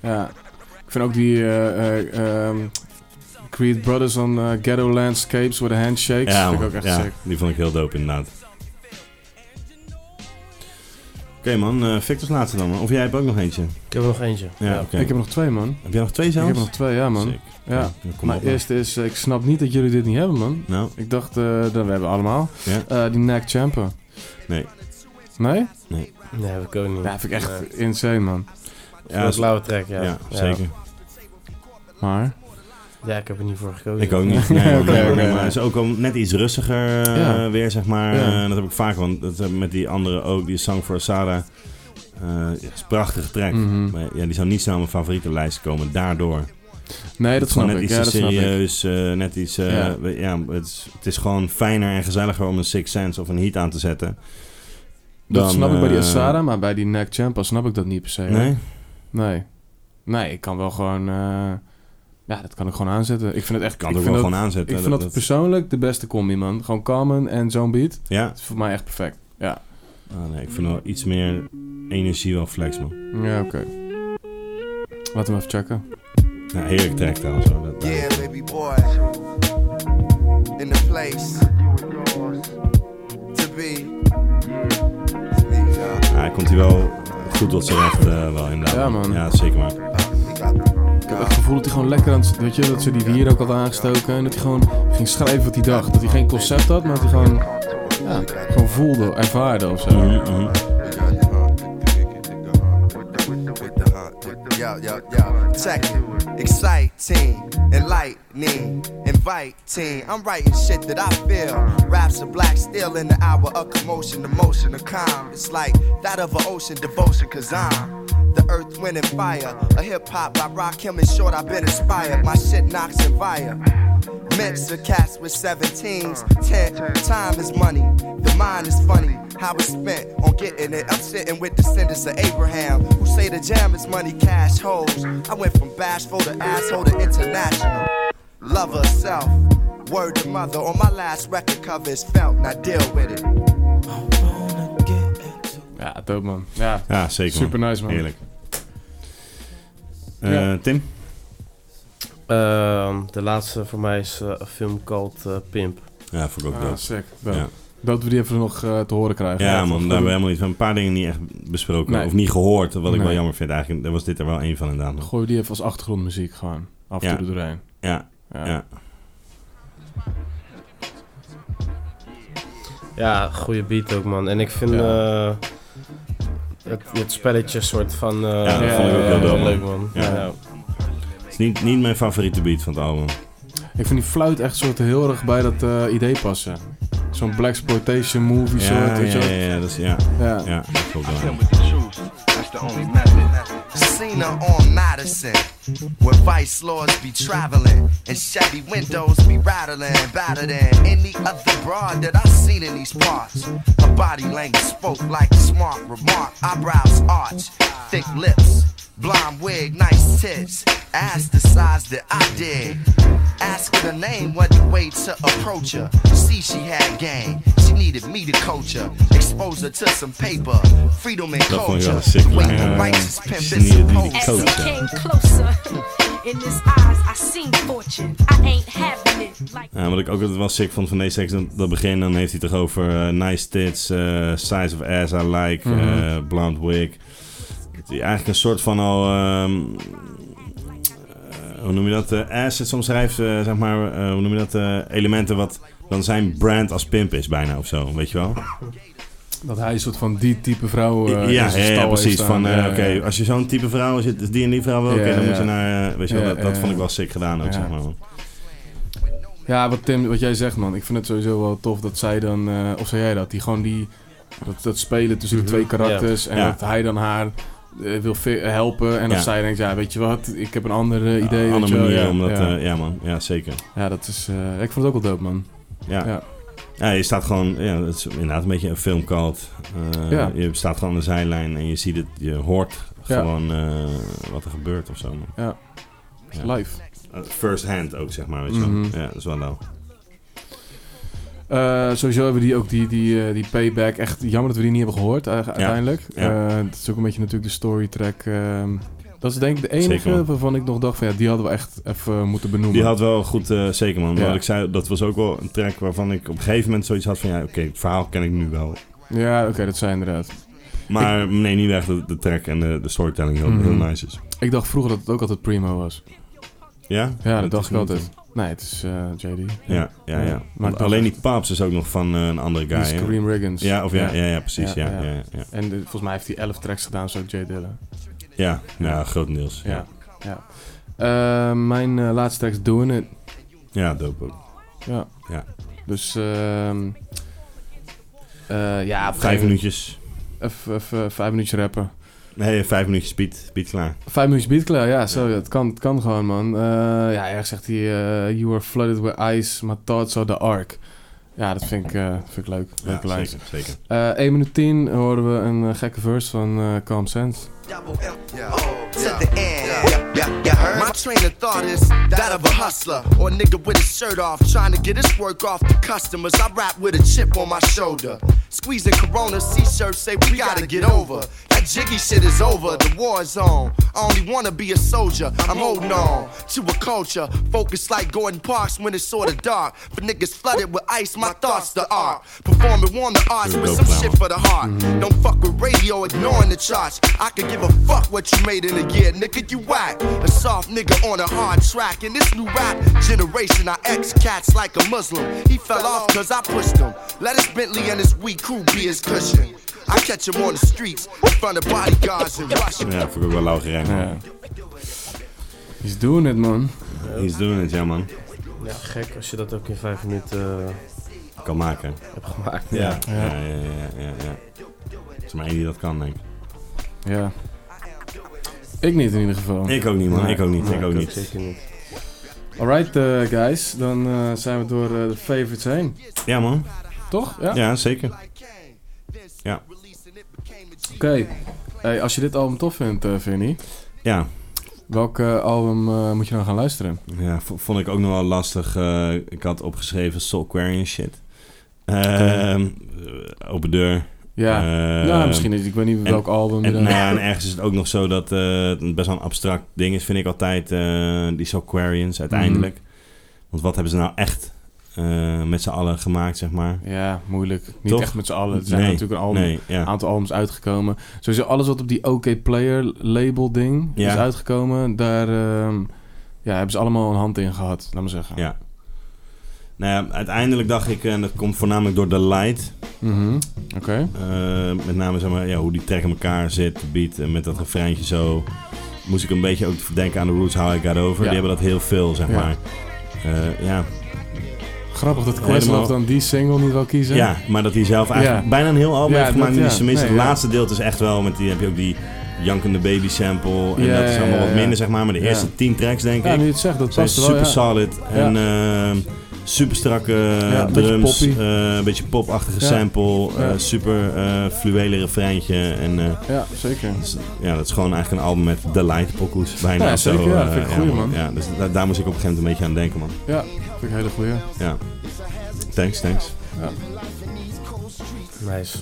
Speaker 2: Ja. Ik vind ook die eh, eh, ehm, Creed Brothers on eh, Ghetto Landscapes with a Handshakes.
Speaker 1: Ja,
Speaker 2: vind ik
Speaker 1: man.
Speaker 2: ook echt
Speaker 1: Ja,
Speaker 2: sick.
Speaker 1: die vond ik heel dope inderdaad. Oké man, eh Victor's laatste dan. man. Of jij hebt ook nog eentje?
Speaker 4: Ik heb er nog eentje.
Speaker 1: Ja, oké.
Speaker 2: Ik heb nog twee, man.
Speaker 1: Heb jij nog twee
Speaker 2: Ik
Speaker 1: zelfs?
Speaker 2: heb nog twee, ja, man.
Speaker 1: Sick.
Speaker 2: Ja.
Speaker 1: dan kom
Speaker 2: Mijn
Speaker 1: op, man.
Speaker 2: eerste is, eh, ik snap niet dat jullie dit niet hebben, man.
Speaker 1: Nou,
Speaker 2: Ik dacht, eh, dat we hebben allemaal.
Speaker 1: Ja.
Speaker 2: Eh, die Neck Champa.
Speaker 1: Nee.
Speaker 2: Nee?
Speaker 4: Nee, heb ik ook niet.
Speaker 2: Ja, vind ik echt
Speaker 4: Nee.
Speaker 2: insane, man.
Speaker 1: ja,
Speaker 4: Een blauwe track, ja.
Speaker 1: ja, zeker.
Speaker 2: Maar
Speaker 4: Ja, ik heb er niet voor gekozen.
Speaker 1: Ik ook niet. Nee, nee,
Speaker 2: Nee, oké,
Speaker 1: nee,
Speaker 2: oké.
Speaker 1: maar het is ook al net iets rustiger eh,
Speaker 2: Ja.
Speaker 1: weer, zeg maar.
Speaker 2: Ja.
Speaker 1: Eh, dat heb ik vaak, want dat, hebben met die andere ook, die Song for Asada. eh is een prachtige track.
Speaker 2: Mhm.
Speaker 1: Maar ja, die zou niet snel op mijn favoriete lijst komen, daardoor.
Speaker 2: Nee, dat snap
Speaker 1: net
Speaker 2: ik.
Speaker 1: iets
Speaker 2: Ja, dat
Speaker 1: te
Speaker 2: snap ik.
Speaker 1: serieus, eh, net iets... eh,
Speaker 2: Ja.
Speaker 1: we- ja. het, is, het is gewoon fijner en gezelliger om een Six Sense of een Heat aan te zetten.
Speaker 2: Dat
Speaker 1: dan,
Speaker 2: snap ik bij die
Speaker 1: eh,
Speaker 2: Asada, maar bij die Neck Champa snap ik dat niet per se. hoor.
Speaker 1: Nee?
Speaker 2: Nee. Nee, ik kan wel gewoon... eh, ja, dat kan ik gewoon aanzetten. Ik vind het echt...
Speaker 1: Ik kan
Speaker 2: ik
Speaker 1: het ook wel
Speaker 2: vind dat-
Speaker 1: gewoon aanzetten.
Speaker 2: Ik vind dat, persoonlijk de beste combi, man. Gewoon Carmen en zo'n beat.
Speaker 1: Ja?
Speaker 2: Dat is voor mij echt perfect. Ja.
Speaker 1: Ah, nee, ik vind wel iets meer energie wel flex, man.
Speaker 2: Ja, oké. Laat hem even checken.
Speaker 1: Ja, heerlijk track trouwens. hoor. Dat-
Speaker 3: Yeah, baby boy. In the place to be. Sneak, y'all.
Speaker 1: Ja, hij komt hier wel goed tot zijn recht, eh, wel inderdaad.
Speaker 2: Ja, man.
Speaker 1: Ja, zeker maar.
Speaker 3: Uh, we got
Speaker 2: Ik heb het gevoel dat hij gewoon lekker aan het... Weet je, dat ze die hier ook had aangestoken. En dat hij gewoon ging schrijven wat hij dacht. Dat hij geen concept had, maar dat hij gewoon... Ja, gewoon voelde, ervaarde of zo.
Speaker 1: Mhm, mhm.
Speaker 3: Yo, yo, yo, check it. Exciting, enlightening, inviting. I'm writing shit that I feel. Raps are black still in the hour of commotion, the motion of calm. It's like that of an ocean devotion, cause I'm the earth, wind, and fire. A hip hop by Rock Him in short, I've been inspired. My shit knocks and fire. Mix of cats with 17s. Ten, time is money. The mind is funny. How it's spent on getting it. I'm sitting with descendants of Abraham who say the jam is money, cash hoes. I went from bashful to asshole to international. Love herself. Word to mother. On my last record cover is felt. Now deal with it.
Speaker 7: wanna get into
Speaker 2: Ja, dope man. Ja,
Speaker 1: Ja, zeker
Speaker 2: super nice man.
Speaker 1: Heerlijk. Eh,
Speaker 2: Ja.
Speaker 1: Tim?
Speaker 4: Ehm, de laatste voor mij is eh, een film called eh, Pimp.
Speaker 1: Ja, vond ik ook
Speaker 2: Ah,
Speaker 1: dood.
Speaker 2: sick. Dope.
Speaker 1: Ja.
Speaker 2: Dat we die even nog eh, te horen krijgen.
Speaker 1: Ja, man, daar
Speaker 2: goed.
Speaker 1: hebben we helemaal niet. We hebben een paar dingen niet echt besproken.
Speaker 2: Nee.
Speaker 1: Of niet gehoord, wat ik wel
Speaker 2: Nee.
Speaker 1: jammer vind eigenlijk. Daar was dit er wel één van inderdaad nog.
Speaker 2: Gooi die even als achtergrondmuziek gewoon. Af en
Speaker 1: Ja.
Speaker 2: toe er doorheen.
Speaker 1: Ja,
Speaker 2: Ja.
Speaker 1: ja.
Speaker 4: Ja, goede beat ook, man. En ik vind eh, het, het spelletje soort van... eh,
Speaker 1: Ja,
Speaker 2: dat vond ik ook heel dope,
Speaker 4: leuk, man.
Speaker 1: Ja.
Speaker 4: Ja.
Speaker 1: Het is niet, niet mijn favoriete beat van het album.
Speaker 2: Ik vind die fluit echt soort heel erg bij dat eh, idee passen. Zo'n black exploitation movie
Speaker 1: Ja,
Speaker 2: soort. Weet je
Speaker 1: ja,
Speaker 2: wel.
Speaker 1: ja, dat is, ja,
Speaker 2: Ja.
Speaker 1: ja, dat klopt wel.
Speaker 3: Cena on Madison, where vice lords be traveling and shabby windows be rattling, better than any other broad that I've seen in these parts. Her body language spoke like smart remark, eyebrows arch, thick lips, blonde wig, nice tits, ass the size that I did. Ask her the name, what the way to approach her. See, she had game. She needed me to coach her. Expose her to some paper. Freedom and
Speaker 1: Dat vond ik
Speaker 3: culture.
Speaker 1: wel een sick
Speaker 3: Wait,
Speaker 1: line.
Speaker 3: the
Speaker 1: Ja,
Speaker 3: righteous
Speaker 1: ja.
Speaker 3: pimp
Speaker 1: She
Speaker 3: is
Speaker 1: needed me to
Speaker 3: supposed
Speaker 1: coach
Speaker 3: to
Speaker 1: her.
Speaker 11: As he came closer, in his eyes I seen fortune. I ain't having it like
Speaker 1: Ja, Eh, wat ik ook altijd wel sick vond van deze tekst, dat, dat begin, dan heeft hij het toch over eh, nice tits, eh, size of ass I like,
Speaker 2: Mhm.
Speaker 1: eh, blonde wig. Dat hij eigenlijk een soort van al, ehm, eh, hoe noem je dat, eh, assets omschrijft, eh, zeg maar, eh, hoe noem je dat, eh, elementen wat dan zijn brand als pimp is bijna of zo, weet je wel?
Speaker 2: Dat hij een soort van die type vrouw. eh, in
Speaker 1: ja,
Speaker 2: zijn
Speaker 1: ja, ja,
Speaker 2: stal heeft
Speaker 1: precies.
Speaker 2: staan.
Speaker 1: Van, eh,
Speaker 2: Ja, ja.
Speaker 1: oké, als je zo'n type vrouw, als je dus die en die vrouw wil, oké,
Speaker 2: Ja,
Speaker 1: dan moet je
Speaker 2: ja.
Speaker 1: naar, eh, weet je wel,
Speaker 2: Ja,
Speaker 1: dat, dat
Speaker 2: ja,
Speaker 1: vond ik
Speaker 2: ja.
Speaker 1: wel sick gedaan ook,
Speaker 2: Ja.
Speaker 1: zeg maar. man.
Speaker 2: Ja, wat Tim, wat jij zegt man. Ik vind het sowieso wel tof dat zij dan, eh, of zei jij dat, die gewoon die, dat, dat spelen tussen de twee karakters. En
Speaker 1: Mhm. Ja.
Speaker 2: dat hij dan haar eh, wil ve- helpen. En dat
Speaker 1: Ja.
Speaker 2: zij denkt, ja weet je wat, ik heb een ander eh, idee. weet
Speaker 1: andere
Speaker 2: je wel.
Speaker 1: manier
Speaker 2: ja,
Speaker 1: om dat, eh,
Speaker 2: ja.
Speaker 1: ja. ja man, ja zeker.
Speaker 2: Ja, dat is, eh, ik vond het ook wel dope man.
Speaker 1: Ja.
Speaker 2: Ja.
Speaker 1: Ja. je staat gewoon, ja, het is inderdaad een beetje een film called. Eh,
Speaker 2: Ja.
Speaker 1: Je staat gewoon aan de zijlijn en je ziet het, je hoort
Speaker 2: Ja.
Speaker 1: gewoon eh, wat er gebeurt of zo. man. Ja.
Speaker 2: Live.
Speaker 1: Eh, First hand ook, zeg maar, weet je wel.
Speaker 2: Mhm.
Speaker 1: Ja, dat is wel nou.
Speaker 2: Eh, sowieso hebben die ook die, die, eh, die payback. Echt jammer dat we die niet hebben gehoord eh, uiteindelijk.
Speaker 1: Ja.
Speaker 2: Eh, dat is ook een beetje natuurlijk de storytrack. ehm dat is denk ik de enige
Speaker 1: Zeker, man.
Speaker 2: waarvan ik nog dacht van ja, die hadden we echt even moeten benoemen.
Speaker 1: Die had wel goed, eh, zeker man.
Speaker 2: Ja.
Speaker 1: Wat ik zei, dat was ook wel een track waarvan ik op een gegeven moment zoiets had van, ja, oké, het verhaal ken ik nu wel.
Speaker 2: Ja, oké, dat zijn inderdaad.
Speaker 1: Maar nee, niet echt dat de track en de, de storytelling heel,
Speaker 2: Mhm.
Speaker 1: heel nice is.
Speaker 2: Ik dacht vroeger dat het ook altijd Primo was.
Speaker 1: Ja?
Speaker 2: Ja, dat,
Speaker 1: is
Speaker 2: dacht ik
Speaker 1: niet-
Speaker 2: altijd. Nee, het is eh, JD.
Speaker 1: Ja, ja,
Speaker 2: Ja.
Speaker 1: ja.
Speaker 2: Maar
Speaker 1: Want
Speaker 2: dat-
Speaker 1: alleen die Paps is ook nog van eh, een andere
Speaker 2: Die is
Speaker 1: guy. hè?
Speaker 2: Kareem Riggins.
Speaker 1: Ja, of ja, ja, ja, precies.
Speaker 2: Ja,
Speaker 1: Ja,
Speaker 2: ja.
Speaker 1: ja, ja. ja.
Speaker 2: En eh, volgens mij heeft hij elf tracks gedaan, zo J Dilla.
Speaker 1: ja nou, grotendeels.
Speaker 2: Ja. ja. Eh, mijn eh, laatste tekst, Doing It.
Speaker 1: Ja, dope ook.
Speaker 2: Ja.
Speaker 1: Ja.
Speaker 2: Dus, ehm eh, ja, op
Speaker 1: Vijf
Speaker 2: een gegeven moment
Speaker 1: minuutjes.
Speaker 2: Even, even vijf minuutjes rappen.
Speaker 1: Nee, vijf minuutjes Piet. Piet klaar.
Speaker 2: Vijf minuutjes beat klaar, ja, zo, ja, het, kan, het kan gewoon, man. Eh, ja, ergens zegt hij, eh, you were flooded with ice, my thoughts are the ark. Ja, dat vind ik, eh, vind ik leuk.
Speaker 1: Ja,
Speaker 2: Leuke lijn.
Speaker 1: zeker, zeker.
Speaker 2: Eh 1 minuut 10 horen we een eh, gekke verse van eh, Calm Sense.
Speaker 3: to the end. Yeah, yeah, yeah, heard? My train of thought is that of a hustler or a nigga with his shirt off, trying to get his work off the customers. I rap with a chip on my shoulder, squeezing Corona C-shirts say we gotta get over. That jiggy shit is over. The war's on. I only wanna be a soldier. I'm holding on to a culture focused like Gordon Parks when it's sorta dark. But niggas flooded with ice. My thoughts the art, performing warm the arts with some shit for the heart. Don't fuck with radio, ignoring the charts. I could give a fuck what you made in a year, nigga. You whack. A soft nigga on a hard track. In this new rap generation, I ex cats like a Muslim. He fell off cause I pushed him. Let his Bentley and his weak crew be his cushion. I catch him on the streets in front of bodyguards in Russia.
Speaker 1: Ja, vond ik ook wel lauw gerijmd.
Speaker 2: Ja. He's doing it, man.
Speaker 1: He's doing it, ja man.
Speaker 4: Ja, gek als je dat ook in vijf minuten eh,
Speaker 1: Kan maken.
Speaker 4: hebt gemaakt.
Speaker 1: Ja. Ja, ja, ja, ja. ja, ja. Er is maar één die dat kan, denk ik.
Speaker 2: Ja. Ik niet in ieder geval.
Speaker 1: Ik ook niet, man.
Speaker 2: Nee.
Speaker 1: Ik ook niet.
Speaker 2: Nee,
Speaker 1: ik ook
Speaker 4: Dat
Speaker 1: niet.
Speaker 4: Zeker niet.
Speaker 2: Alright, eh, guys. Dan eh, zijn we door eh, de favorites heen.
Speaker 1: Ja, man.
Speaker 2: Toch?
Speaker 1: Ja, zeker. Ja.
Speaker 2: Oké. Hey, als je dit album tof vindt, eh Vinny,
Speaker 1: Ja.
Speaker 2: welk eh, album eh, moet je dan gaan luisteren?
Speaker 1: Ja, v- vond ik ook nog wel lastig. Eh, ik had opgeschreven Soulquarian shit. Ehm, eh, open deur.
Speaker 2: Ja,
Speaker 1: Ehm,
Speaker 2: ja misschien niet. Ik weet niet
Speaker 1: en-
Speaker 2: welk album. je
Speaker 1: En,
Speaker 2: dan-
Speaker 1: nou ja, en ergens is het ook nog zo dat eh, het best wel een abstract ding is, vind ik altijd, eh, die Soulquarians uiteindelijk.
Speaker 2: Mm. Mhm.
Speaker 1: Want wat hebben ze nou echt eh, met z'n allen gemaakt, zeg maar?
Speaker 2: Ja, moeilijk. Niet
Speaker 1: Toch?
Speaker 2: echt met z'n allen. Er zijn
Speaker 1: Nee,
Speaker 2: natuurlijk een album,
Speaker 1: Nee, ja.
Speaker 2: aantal albums uitgekomen. Sowieso alles wat op die OK Player label ding
Speaker 1: Ja.
Speaker 2: is uitgekomen, daar ehm, ja, hebben ze allemaal een hand in gehad, laat maar zeggen.
Speaker 1: Ja. Nou ja, uiteindelijk dacht ik, en dat komt voornamelijk door de light.
Speaker 2: Mhm. Oké.
Speaker 1: eh, met name zeg maar, ja, hoe die track in elkaar zit, de beat en met dat refreintje zo. Moest ik een beetje ook denken aan de Roots How I Got Over.
Speaker 2: Ja.
Speaker 1: Die hebben dat heel veel, zeg
Speaker 2: Ja.
Speaker 1: maar. Eh, ja.
Speaker 2: Grappig dat
Speaker 1: Helemaal-
Speaker 2: Questlove dan die single niet wil kiezen.
Speaker 1: ja, maar dat hij zelf eigenlijk
Speaker 2: Ja.
Speaker 1: bijna een heel album
Speaker 2: Ja,
Speaker 1: heeft gemaakt.
Speaker 2: dat-
Speaker 1: met die
Speaker 2: ja.
Speaker 1: Smiths.
Speaker 2: Nee,
Speaker 1: het
Speaker 2: ja.
Speaker 1: laatste deel is echt wel, met die heb je ook die jankende baby sample. En
Speaker 2: Ja,
Speaker 1: dat is
Speaker 2: ja,
Speaker 1: allemaal
Speaker 2: ja,
Speaker 1: wat
Speaker 2: ja.
Speaker 1: minder, zeg maar. Maar de
Speaker 2: Ja.
Speaker 1: eerste tien tracks, denk
Speaker 2: Ja,
Speaker 1: ik,
Speaker 2: nu je het zegt, dat
Speaker 1: zijn
Speaker 2: past wel.
Speaker 1: super
Speaker 2: ja.
Speaker 1: solid. En ehm, super strakke
Speaker 2: Ja, een beetje
Speaker 1: drums.
Speaker 2: poppy.
Speaker 1: eh, een beetje popachtige
Speaker 2: Ja.
Speaker 1: sample. eh,
Speaker 2: Ja.
Speaker 1: super eh fluwele refreintje. En eh,
Speaker 2: Ja, zeker.
Speaker 1: Dus, Ja, dat is gewoon eigenlijk een album met de light pokoes. Bijna
Speaker 2: Ja,
Speaker 1: zo.
Speaker 2: zeker, ja,
Speaker 1: eh,
Speaker 2: vind ik een goeie, man.
Speaker 1: Ja, dus da- daar moest ik op een gegeven moment een beetje aan denken, man.
Speaker 2: Ja, vind ik een hele goeie.
Speaker 1: Ja. Thanks, thanks.
Speaker 4: Nice.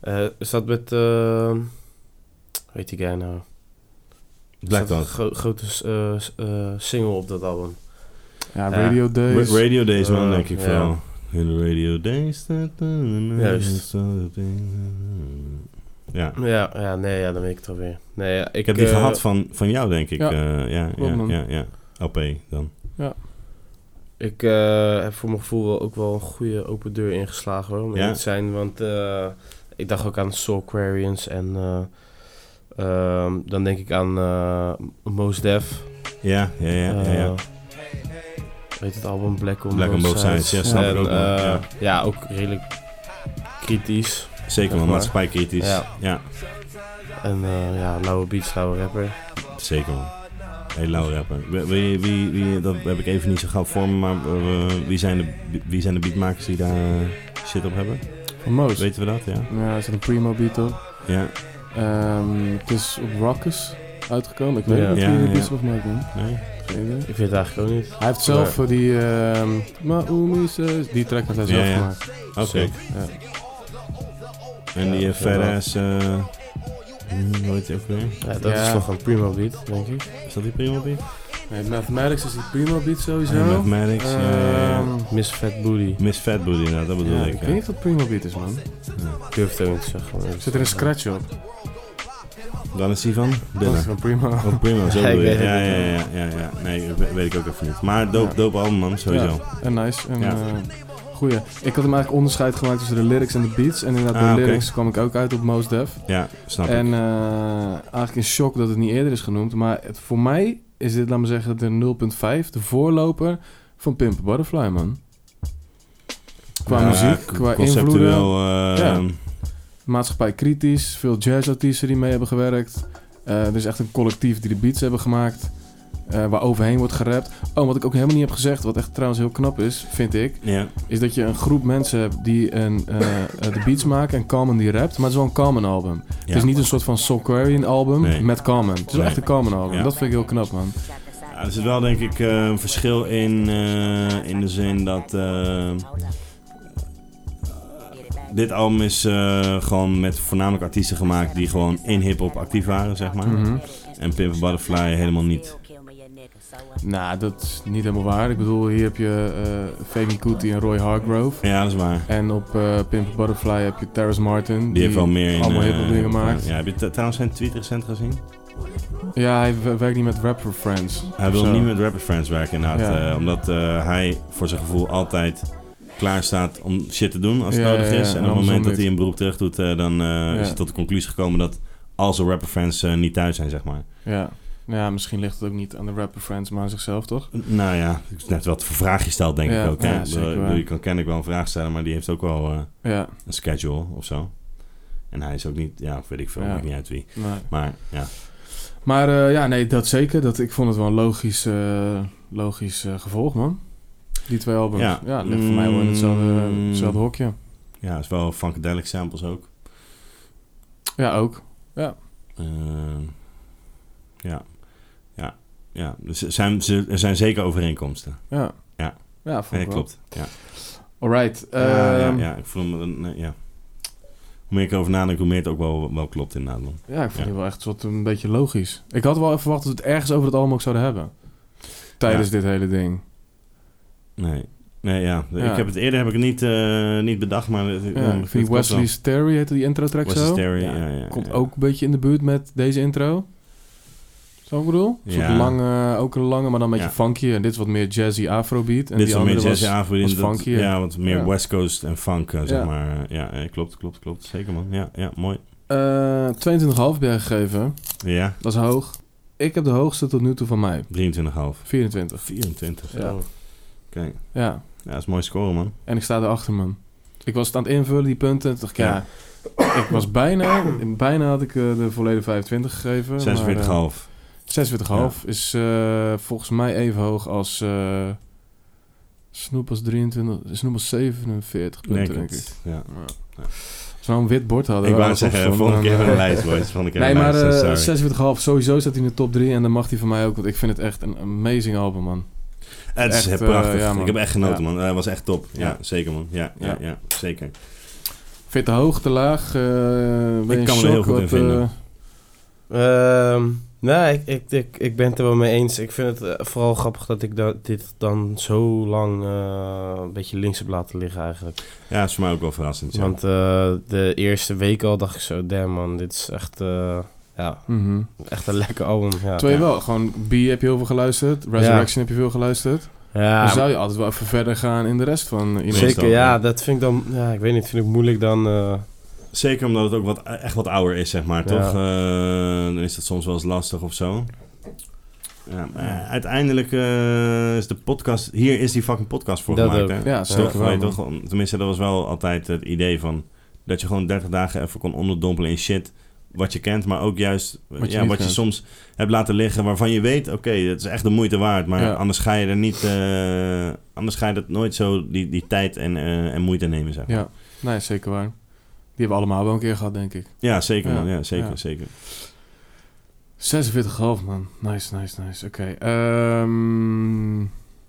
Speaker 4: Eh, is dat met... eh weet die guy nou?
Speaker 1: Black Dog.
Speaker 4: Staat een gro- grote s- eh, s- eh, single op dat album.
Speaker 2: Ja,
Speaker 4: Ja.
Speaker 2: Radio Days.
Speaker 1: Ra- Radio Days, man,
Speaker 4: Eh,
Speaker 1: denk ik
Speaker 4: ja.
Speaker 1: vooral. In de Radio Days. da- da- da- da-
Speaker 4: Juist.
Speaker 1: Ja.
Speaker 4: Ja, ja nee, ja, dan weet ik het alweer. Nee, ja, ik,
Speaker 1: Ik heb die
Speaker 4: eh,
Speaker 1: gehad van, van jou, denk ik.
Speaker 2: ja.
Speaker 1: Ja, ja,
Speaker 2: Klopt,
Speaker 1: ja,
Speaker 2: man.
Speaker 1: ja, ja. LP dan.
Speaker 4: Ik eh, heb voor mijn gevoel wel ook wel een goede open deur ingeslagen hoor. Om
Speaker 1: Ja.
Speaker 4: eerlijk te zijn, want eh, ik dacht ook aan Soulquarians en eh, ehm, dan denk ik aan eh Mos Def.
Speaker 1: Ja, ja, ja. ja, ja.
Speaker 4: Eh, Weet het album Black on,
Speaker 1: Black on Both Sides. Ja, snap
Speaker 4: en,
Speaker 1: ik ook, man.
Speaker 4: eh,
Speaker 1: Ja.
Speaker 4: ja. ook redelijk kritisch.
Speaker 1: Zeker, man.
Speaker 4: maar.
Speaker 1: Maatschappij kritisch.
Speaker 4: Eh, Ja.
Speaker 1: Ja,
Speaker 4: En eh, ja, lauwe beats, lauwe rapper.
Speaker 1: Zeker man. Hey, lauw rapper. Wie, wie, wie, wie- dat heb ik even niet zo gauw voor me, maar eh, wie, zijn de, wie zijn de beatmakers die daar eh, shit op hebben?
Speaker 2: Van Moos.
Speaker 1: Weten we dat, ja?
Speaker 2: Ja, er zit een primo beat op.
Speaker 1: Ja,
Speaker 2: Ehm, het is op Ruckus uitgekomen. Ik weet
Speaker 4: Ja.
Speaker 2: niet of
Speaker 1: Ja,
Speaker 2: hij de
Speaker 1: ja.
Speaker 2: beats op maakt, man.
Speaker 1: nee?
Speaker 2: Geen idee.
Speaker 4: Ik vind het eigenlijk ook niet.
Speaker 2: Hij heeft zelf voor die ehm Maumi says- die track heeft hij zelf
Speaker 1: Ja, ja.
Speaker 2: gemaakt.
Speaker 1: Oké.
Speaker 4: Sick.
Speaker 2: Ja.
Speaker 1: En die
Speaker 4: Ja,
Speaker 1: eh, Ferres, eh, hmm, hoe heet die ook weer?
Speaker 4: Ja, dat
Speaker 2: Ja.
Speaker 4: is toch een primo beat, denk ik.
Speaker 1: Is dat die Primo Beat?
Speaker 2: Nee, Mathematics is die primo beat sowieso.
Speaker 1: Ja, Mathematics, ja, ja, ja.
Speaker 2: Ehm,
Speaker 4: Miss Fat Booty.
Speaker 1: Miss Fat Booty, nou, dat bedoel
Speaker 2: ja,
Speaker 1: ik.
Speaker 2: ik
Speaker 1: ja.
Speaker 2: weet niet wat primo beat is man.
Speaker 4: Ik durf het ook niet te zeggen. maar ik-
Speaker 2: Zit er een scratch op?
Speaker 1: Dan is die van
Speaker 2: Dat is
Speaker 1: Dilla.
Speaker 2: een primo.
Speaker 1: Oh, Primo, zo
Speaker 4: Ja,
Speaker 1: bedoel
Speaker 4: ik
Speaker 1: je.
Speaker 4: weet het
Speaker 1: Ja,
Speaker 4: niet.
Speaker 1: ja, ja, ja, ja. Nee, we- weet ik ook even niet. Maar dope,
Speaker 2: Ja.
Speaker 1: dope album, man, sowieso.
Speaker 2: En nice. En,
Speaker 1: Ja.
Speaker 2: eh, goeie. Ik had hem eigenlijk onderscheid gemaakt tussen de lyrics en de beats. En inderdaad,
Speaker 1: Ah,
Speaker 2: de
Speaker 1: oké.
Speaker 2: lyrics kwam ik ook uit op Most Def.
Speaker 1: Ja, snap ik.
Speaker 2: En eh, eigenlijk in shock dat het niet eerder is genoemd. Maar het, voor mij is dit, laat me zeggen, de 0.5, de voorloper van Pimp a Butterfly, man. Qua
Speaker 1: Ja,
Speaker 2: muziek,
Speaker 1: co-
Speaker 2: qua invloeden,
Speaker 1: Conceptueel. eh,
Speaker 2: Ja. maatschappij kritisch, veel jazzartiesten die mee hebben gewerkt. Eh, er is echt een collectief die de beats hebben gemaakt, eh, waar overheen wordt gerapt. Oh, wat ik ook helemaal niet heb gezegd, wat echt trouwens heel knap is, vind ik,
Speaker 1: eh, ja.
Speaker 2: is dat je een groep mensen hebt die een, eh, eh, de beats maken en Common die rapt, maar het is wel een Common album.
Speaker 1: Ja.
Speaker 2: Het is niet een soort van Soul Quarian album
Speaker 1: Nee.
Speaker 2: met Common. Het is wel
Speaker 1: Nee.
Speaker 2: echt een Common album.
Speaker 1: Ja.
Speaker 2: Dat vind ik heel knap, man.
Speaker 1: Ja, er zit wel denk ik eh, een verschil in, eh, in de zin dat eh, dit album is eh, gewoon met voornamelijk artiesten gemaakt die gewoon in hip-hop actief waren, zeg maar.
Speaker 2: Mhm.
Speaker 1: En Pimp a Butterfly helemaal niet.
Speaker 2: Nou, dat is niet helemaal waar. Ik bedoel, hier heb je eh Femi Kuti en Roy Hargrove.
Speaker 1: Ja, dat is waar.
Speaker 2: En op eh Pimp a Butterfly heb je Terrace Martin.
Speaker 1: Die, heeft wel meer in.
Speaker 2: Allemaal
Speaker 1: eh,
Speaker 2: heel veel dingen maakt.
Speaker 1: Ja, heb je t- trouwens zijn tweet recent gezien?
Speaker 2: Ja, hij we- werkt niet met Rapper Friends.
Speaker 1: Hij
Speaker 2: of
Speaker 1: wil
Speaker 2: zo.
Speaker 1: niet met Rapper Friends werken inderdaad.
Speaker 2: Ja.
Speaker 1: eh, omdat eh, hij voor zijn gevoel altijd klaar staat om shit te doen als het
Speaker 2: Ja,
Speaker 1: nodig
Speaker 2: ja, ja.
Speaker 1: is.
Speaker 2: En
Speaker 1: En op het
Speaker 2: andersom
Speaker 1: moment dat
Speaker 2: niet.
Speaker 1: hij een beroep terug doet, eh, dan eh, is hij tot de conclusie gekomen dat al zijn Rapper Friends eh, niet thuis zijn, zeg maar.
Speaker 2: Ja. Nou ja, misschien ligt het ook niet aan de Rapper Friends, maar aan zichzelf, toch?
Speaker 1: Nou ja, het is net wat voor vraag je stelt, denk
Speaker 2: Ja,
Speaker 1: ik ook. hè.
Speaker 2: ja,
Speaker 1: Ik bedoel,
Speaker 2: zeker
Speaker 1: ik bedoel,
Speaker 2: waar.
Speaker 1: je kan kennelijk wel een vraag stellen, maar die heeft ook wel eh,
Speaker 2: Ja.
Speaker 1: een schedule of zo. En hij is ook niet, ja, weet ik veel,
Speaker 2: Ja.
Speaker 1: maakt niet uit wie.
Speaker 2: Maar,
Speaker 1: Maar ja,
Speaker 2: maar eh, ja, nee, dat zeker. Dat, ik vond het wel een logisch, eh, logisch eh, gevolg, man. Die twee albums.
Speaker 1: Ja.
Speaker 2: Ja, ligt voor mij wel in hetzelfde,
Speaker 1: Mm.
Speaker 2: hetzelfde hokje.
Speaker 1: ja, is wel funkadelic samples ook.
Speaker 2: Ja, ook.
Speaker 1: Eh, ja, ja, ja. Dus er zijn, ze- er zijn zeker overeenkomsten.
Speaker 2: Ja.
Speaker 1: Ja.
Speaker 2: Ja, vond
Speaker 1: Ja,
Speaker 2: ik wel.
Speaker 1: klopt. Ja.
Speaker 2: Alright.
Speaker 1: ja, ja,
Speaker 2: ehm,
Speaker 1: ja, ik voel me, dan, eh, ja. Hoe meer ik erover nadenk, hoe meer het ook wel, wel klopt inderdaad. man.
Speaker 2: Ja, ik vond
Speaker 1: Ja.
Speaker 2: die wel echt wat een beetje logisch. Ik had wel even verwacht dat we het ergens over het album ook zouden hebben. Tijdens dit hele ding.
Speaker 1: Nee. Nee, ja.
Speaker 2: Ja.
Speaker 1: Ik heb het eerder heb ik het niet, eh, niet bedacht, maar... het-
Speaker 2: Ja,
Speaker 1: het
Speaker 2: ik vind
Speaker 1: klopt wel.
Speaker 2: Wesley's Terry heette die intro track
Speaker 1: West
Speaker 2: zo.
Speaker 1: Hysteria,
Speaker 2: Ja.
Speaker 1: ja, ja,
Speaker 2: Komt
Speaker 1: ja.
Speaker 2: ook een beetje in de buurt met deze intro. Zo ik bedoel? Een soort
Speaker 1: Ja.
Speaker 2: lange, ook een lange, maar dan met je
Speaker 1: Ja.
Speaker 2: funky. En dit is wat meer jazzy afrobeat.
Speaker 1: Dit is
Speaker 2: En die
Speaker 1: wel
Speaker 2: andere
Speaker 1: meer jazz
Speaker 2: was,
Speaker 1: avond
Speaker 2: was
Speaker 1: in dat-
Speaker 2: funkier.
Speaker 1: Ja, want meer
Speaker 2: Ja.
Speaker 1: West Coast en funk, eh, zeg
Speaker 2: Ja.
Speaker 1: maar. Eh, Ja, eh, klopt, klopt, klopt. Zeker, man. Ja, ja mooi.
Speaker 2: Eh, 22,5 ben je gegeven.
Speaker 1: Ja,
Speaker 2: Dat is hoog. Ik heb de hoogste tot nu toe van mij.
Speaker 1: 23,5.
Speaker 2: 24.
Speaker 1: 24.
Speaker 2: Ja.
Speaker 1: Oké.
Speaker 2: Ja.
Speaker 1: Oh. Ja, dat is een mooi score, man.
Speaker 2: En ik sta erachter, man. Ik was het aan het invullen, die punten. Toen dacht ik,
Speaker 1: Ja.
Speaker 2: ja. ik was bijna... Bijna had ik eh, de volledige 25 gegeven.
Speaker 1: 46,5.
Speaker 2: maar, eh, 46,5 is eh, volgens mij even hoog als... eh Snoep als 23... Snoep als 47 punten,
Speaker 1: Denk
Speaker 2: eh, denk ik.
Speaker 1: het. Ja.
Speaker 2: Ja. Als we nou een wit bord hadden...
Speaker 1: Ik
Speaker 2: waar
Speaker 1: wou
Speaker 2: alles op
Speaker 1: zeggen,
Speaker 2: stond,
Speaker 1: volgende keer
Speaker 2: dan,
Speaker 1: hebben we een
Speaker 2: eh,
Speaker 1: lijst, boys. Volgende keer
Speaker 2: Nee,
Speaker 1: hebben
Speaker 2: maar
Speaker 1: we een lijst,
Speaker 2: eh
Speaker 1: sorry.
Speaker 2: 46,5 sowieso staat hij in de top 3. En dan mag hij van mij ook, want ik vind het echt een amazing album, man.
Speaker 1: Het is
Speaker 2: echt, eh,
Speaker 1: prachtig.
Speaker 2: ja, man.
Speaker 1: ik heb echt genoten,
Speaker 2: Ja.
Speaker 1: man. Dat was echt top. Ja,
Speaker 2: Ja.
Speaker 1: zeker, man. Ja, ja, ja.
Speaker 2: Ja.
Speaker 1: zeker.
Speaker 2: Vind je het te hoog, te laag? eh ben
Speaker 1: Ik
Speaker 2: je in
Speaker 1: kan me er
Speaker 2: shock?
Speaker 1: heel goed in
Speaker 2: Wat,
Speaker 1: vinden.
Speaker 2: eh,
Speaker 4: Ehm, nou, ik, ik, ik, ik ben het er wel mee eens. Ik vind het eh, vooral grappig dat ik da- dit dan zo lang eh, een beetje links heb laten liggen eigenlijk.
Speaker 1: Ja, is voor mij ook wel verrassend. Ja.
Speaker 4: Want eh, de eerste week al dacht ik zo, damn man, dit is echt, eh, ja,
Speaker 2: mhm.
Speaker 4: echt een lekker album. Ja,
Speaker 2: Terwijl
Speaker 4: ja.
Speaker 2: je wel, gewoon B heb je heel veel geluisterd. Resurrection heb je veel geluisterd. dan zou je altijd wel even verder gaan in de rest van iemand.
Speaker 4: zeker.
Speaker 1: dan, ja.
Speaker 4: Ja, dat vind ik dan, ja, ik weet niet, vind ik moeilijk dan. eh,
Speaker 1: Zeker omdat het ook wat, echt wat ouder is, zeg maar,
Speaker 4: Ja.
Speaker 1: toch? Eh, dan is dat soms wel eens lastig of zo. Ja, maar uiteindelijk eh, is de podcast... Hier is die fucking podcast voor
Speaker 4: Dat
Speaker 1: gemaakt,
Speaker 4: ook.
Speaker 1: hè?
Speaker 2: Ja,
Speaker 1: Is
Speaker 2: zeker
Speaker 1: toch,
Speaker 2: wel,
Speaker 1: weet je
Speaker 2: man.
Speaker 1: toch, gewoon- tenminste, dat was wel altijd het idee van... dat je gewoon 30 dagen even kon onderdompelen in shit... wat je kent, maar ook juist wat
Speaker 2: Wat je
Speaker 1: je, ja,
Speaker 2: niet
Speaker 1: wat je
Speaker 2: kent.
Speaker 1: soms hebt laten liggen... waarvan je weet, oké, het is echt de moeite waard... maar
Speaker 2: Ja.
Speaker 1: anders ga je er niet... eh, anders ga je dat nooit zo die, die tijd en, eh, en moeite nemen, zeg maar.
Speaker 2: Ja, nee, zeker waar. Die hebben we allemaal wel een keer gehad, denk ik.
Speaker 1: Ja, zeker,
Speaker 2: Ja.
Speaker 1: man. Ja, zeker,
Speaker 2: Ja.
Speaker 1: zeker.
Speaker 2: 46,5 man. Nice, nice, nice. Oké. ehm,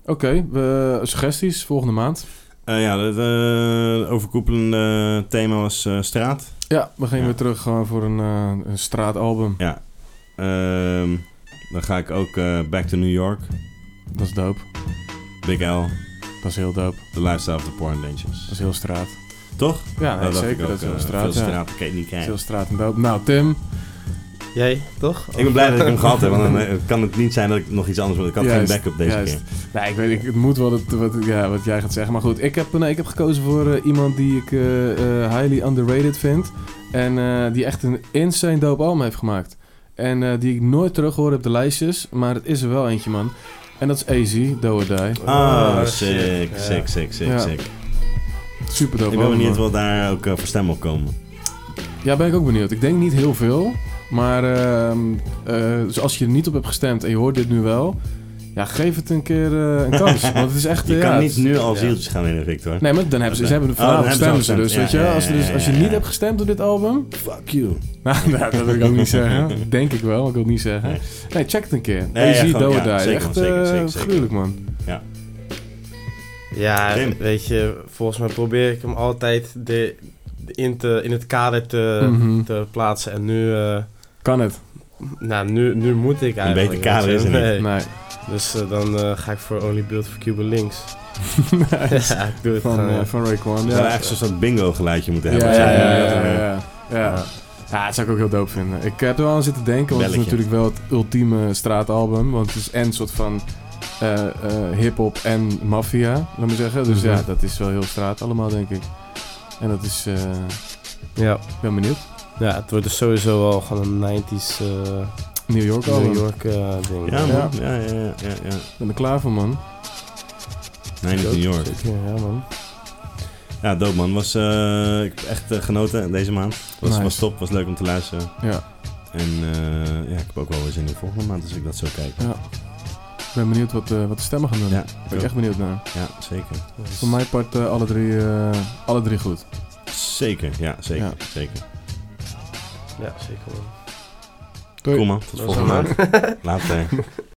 Speaker 2: Oké, we- suggesties volgende maand.
Speaker 1: Eh, ja, het eh, overkoepelende thema was eh, straat.
Speaker 2: Ja, we gaan
Speaker 1: Ja.
Speaker 2: weer terug gewoon voor een, eh, een straatalbum.
Speaker 1: Ja. Ehm, dan ga ik ook eh, Back to New York,
Speaker 2: Dat is dope.
Speaker 1: Big L,
Speaker 2: Dat is heel dope.
Speaker 1: The Lifestyle of the Porn Dangers.
Speaker 2: Dat is heel straat.
Speaker 1: Toch?
Speaker 2: Ja,
Speaker 1: Dat
Speaker 2: nee,
Speaker 1: dacht ik
Speaker 2: zeker.
Speaker 1: ook,
Speaker 2: Dat is heel
Speaker 1: eh,
Speaker 2: straat.
Speaker 1: Veel
Speaker 2: ja.
Speaker 1: straat, ik kan je niet
Speaker 2: Dat is
Speaker 1: kijken.
Speaker 2: heel straat en dope. Nou, Tim.
Speaker 4: jij, toch?
Speaker 1: Ik ben blij dat ik hem gehad heb, want dan eh, kan het niet zijn dat ik nog iets anders wil. Ik had
Speaker 2: Juist,
Speaker 1: geen backup deze
Speaker 2: juist.
Speaker 1: keer.
Speaker 2: Nee, ik weet, ik, het moet wel dat, wat, ja, wat jij gaat zeggen. Maar goed, ik heb, nee, ik heb gekozen voor eh, iemand die ik eh, eh, highly underrated vind. En eh, die echt een insane dope album heeft gemaakt. En eh, die ik nooit terug hoor op de lijstjes. Maar het is er wel eentje, man. En dat is Easy, Do or Die.
Speaker 1: Ah,
Speaker 4: Oh,
Speaker 1: sick,
Speaker 4: sick,
Speaker 1: sick, sick, sick,
Speaker 2: Ja.
Speaker 1: sick.
Speaker 2: Super dope.
Speaker 1: Ik ben
Speaker 2: album,
Speaker 1: benieuwd
Speaker 2: man.
Speaker 1: wat daar ook eh, voor stem op komen.
Speaker 2: Ja, ben ik ook benieuwd. Ik denk niet heel veel. Maar ehm, eh, dus als je er niet op hebt gestemd en je hoort dit nu wel... Ja, geef het een keer eh, een kans. Want het is echt...
Speaker 1: Je
Speaker 2: eh,
Speaker 1: kan
Speaker 2: ja,
Speaker 1: niet
Speaker 2: het-
Speaker 1: nu al
Speaker 4: ja.
Speaker 1: zieltjes gaan winnen, Victor.
Speaker 2: Nee, maar dan hebben ze, ze hebben
Speaker 1: Oh,
Speaker 2: vanavond
Speaker 1: dan hebben
Speaker 2: stemmen
Speaker 1: ze
Speaker 2: ze dus,
Speaker 1: al
Speaker 2: weet je
Speaker 1: gestemd.
Speaker 2: wel.
Speaker 1: Ja,
Speaker 2: Als, je
Speaker 1: ja,
Speaker 2: dus,
Speaker 1: ja,
Speaker 2: als je
Speaker 1: ja,
Speaker 2: niet
Speaker 1: ja.
Speaker 2: hebt gestemd op dit album...
Speaker 1: Fuck you.
Speaker 2: Nou, nou, dat wil ik ook niet zeggen. Denk ik wel, ik wil het niet zeggen.
Speaker 1: Nee.
Speaker 2: Nee, check het een keer.
Speaker 1: Nee,
Speaker 2: Nee,
Speaker 1: ja,
Speaker 2: Easy,
Speaker 1: gewoon,
Speaker 2: Do
Speaker 1: ja,
Speaker 2: or Die.
Speaker 1: zeker,
Speaker 2: Echt
Speaker 1: zeker,
Speaker 2: eh,
Speaker 1: zeker, zeker.
Speaker 2: gruwelijk, man.
Speaker 4: Ja,
Speaker 1: Tim.
Speaker 4: weet je, volgens mij probeer ik hem altijd de, de in, te, in het kader te,
Speaker 1: Eh,
Speaker 2: Mhm.
Speaker 4: te plaatsen. En nu, eh,
Speaker 2: Kan het?
Speaker 4: nou, nu, nu moet ik eigenlijk.
Speaker 1: beter kader
Speaker 4: weet je.
Speaker 1: is er niet.
Speaker 4: Nee.
Speaker 2: Nee.
Speaker 4: Dus eh, dan eh, ga ik voor Only Build for Cuba Links. ja, ik doe het
Speaker 2: Van,
Speaker 4: gewoon.
Speaker 2: eh,
Speaker 4: ja.
Speaker 2: van Raekwon.
Speaker 1: We zouden
Speaker 2: Ja.
Speaker 1: echt zo'n soort bingo geluidje moeten
Speaker 2: Ja,
Speaker 1: hebben.
Speaker 2: ja,
Speaker 1: Zouden we
Speaker 2: ja,
Speaker 1: dat
Speaker 2: ja,
Speaker 1: doen?
Speaker 2: ja. ja. Ja, dat zou ik ook heel dope vinden. Ik heb er wel aan zitten denken, want het is
Speaker 1: Belletje.
Speaker 2: natuurlijk wel het ultieme straatalbum. Want het is en een soort van eh, eh, hip-hop en maffia, laat maar zeggen. Dus
Speaker 4: Mhm.
Speaker 2: ja, dat is wel heel straat allemaal, denk ik. En dat is, eh,
Speaker 4: ja.
Speaker 2: ik ben benieuwd.
Speaker 4: ja, het wordt dus sowieso wel gewoon een 90s eh,
Speaker 2: New York album.
Speaker 4: New York eh, ding.
Speaker 1: Ja,
Speaker 2: Ja.
Speaker 1: man. Ja, ja, ja. ja, ja.
Speaker 2: Ik ben er klaar voor, man.
Speaker 1: Nee, niet New York.
Speaker 4: Zeker, ja, man.
Speaker 1: Ja, dope man. Was, eh, ik heb echt eh, genoten deze maand. Was,
Speaker 2: Nice.
Speaker 1: was top, was leuk om te luisteren.
Speaker 2: Ja.
Speaker 1: En eh, ja, ik heb ook wel weer zin in de volgende maand als ik dat zo kijk.
Speaker 2: Ik ben benieuwd wat, eh, wat de stemmen gaan doen.
Speaker 1: Ja,
Speaker 2: Daar
Speaker 1: ik
Speaker 2: ben ik
Speaker 1: ook.
Speaker 2: echt benieuwd naar.
Speaker 1: ja zeker.
Speaker 2: Voor mijn part eh, alle, drie, eh, alle drie goed.
Speaker 1: Zeker, ja, zeker, zeker.
Speaker 4: Ja, zeker, man.
Speaker 2: Doei.
Speaker 1: Cool man, tot
Speaker 4: Dat is
Speaker 1: volgende
Speaker 4: allemaal.
Speaker 1: maand. Later.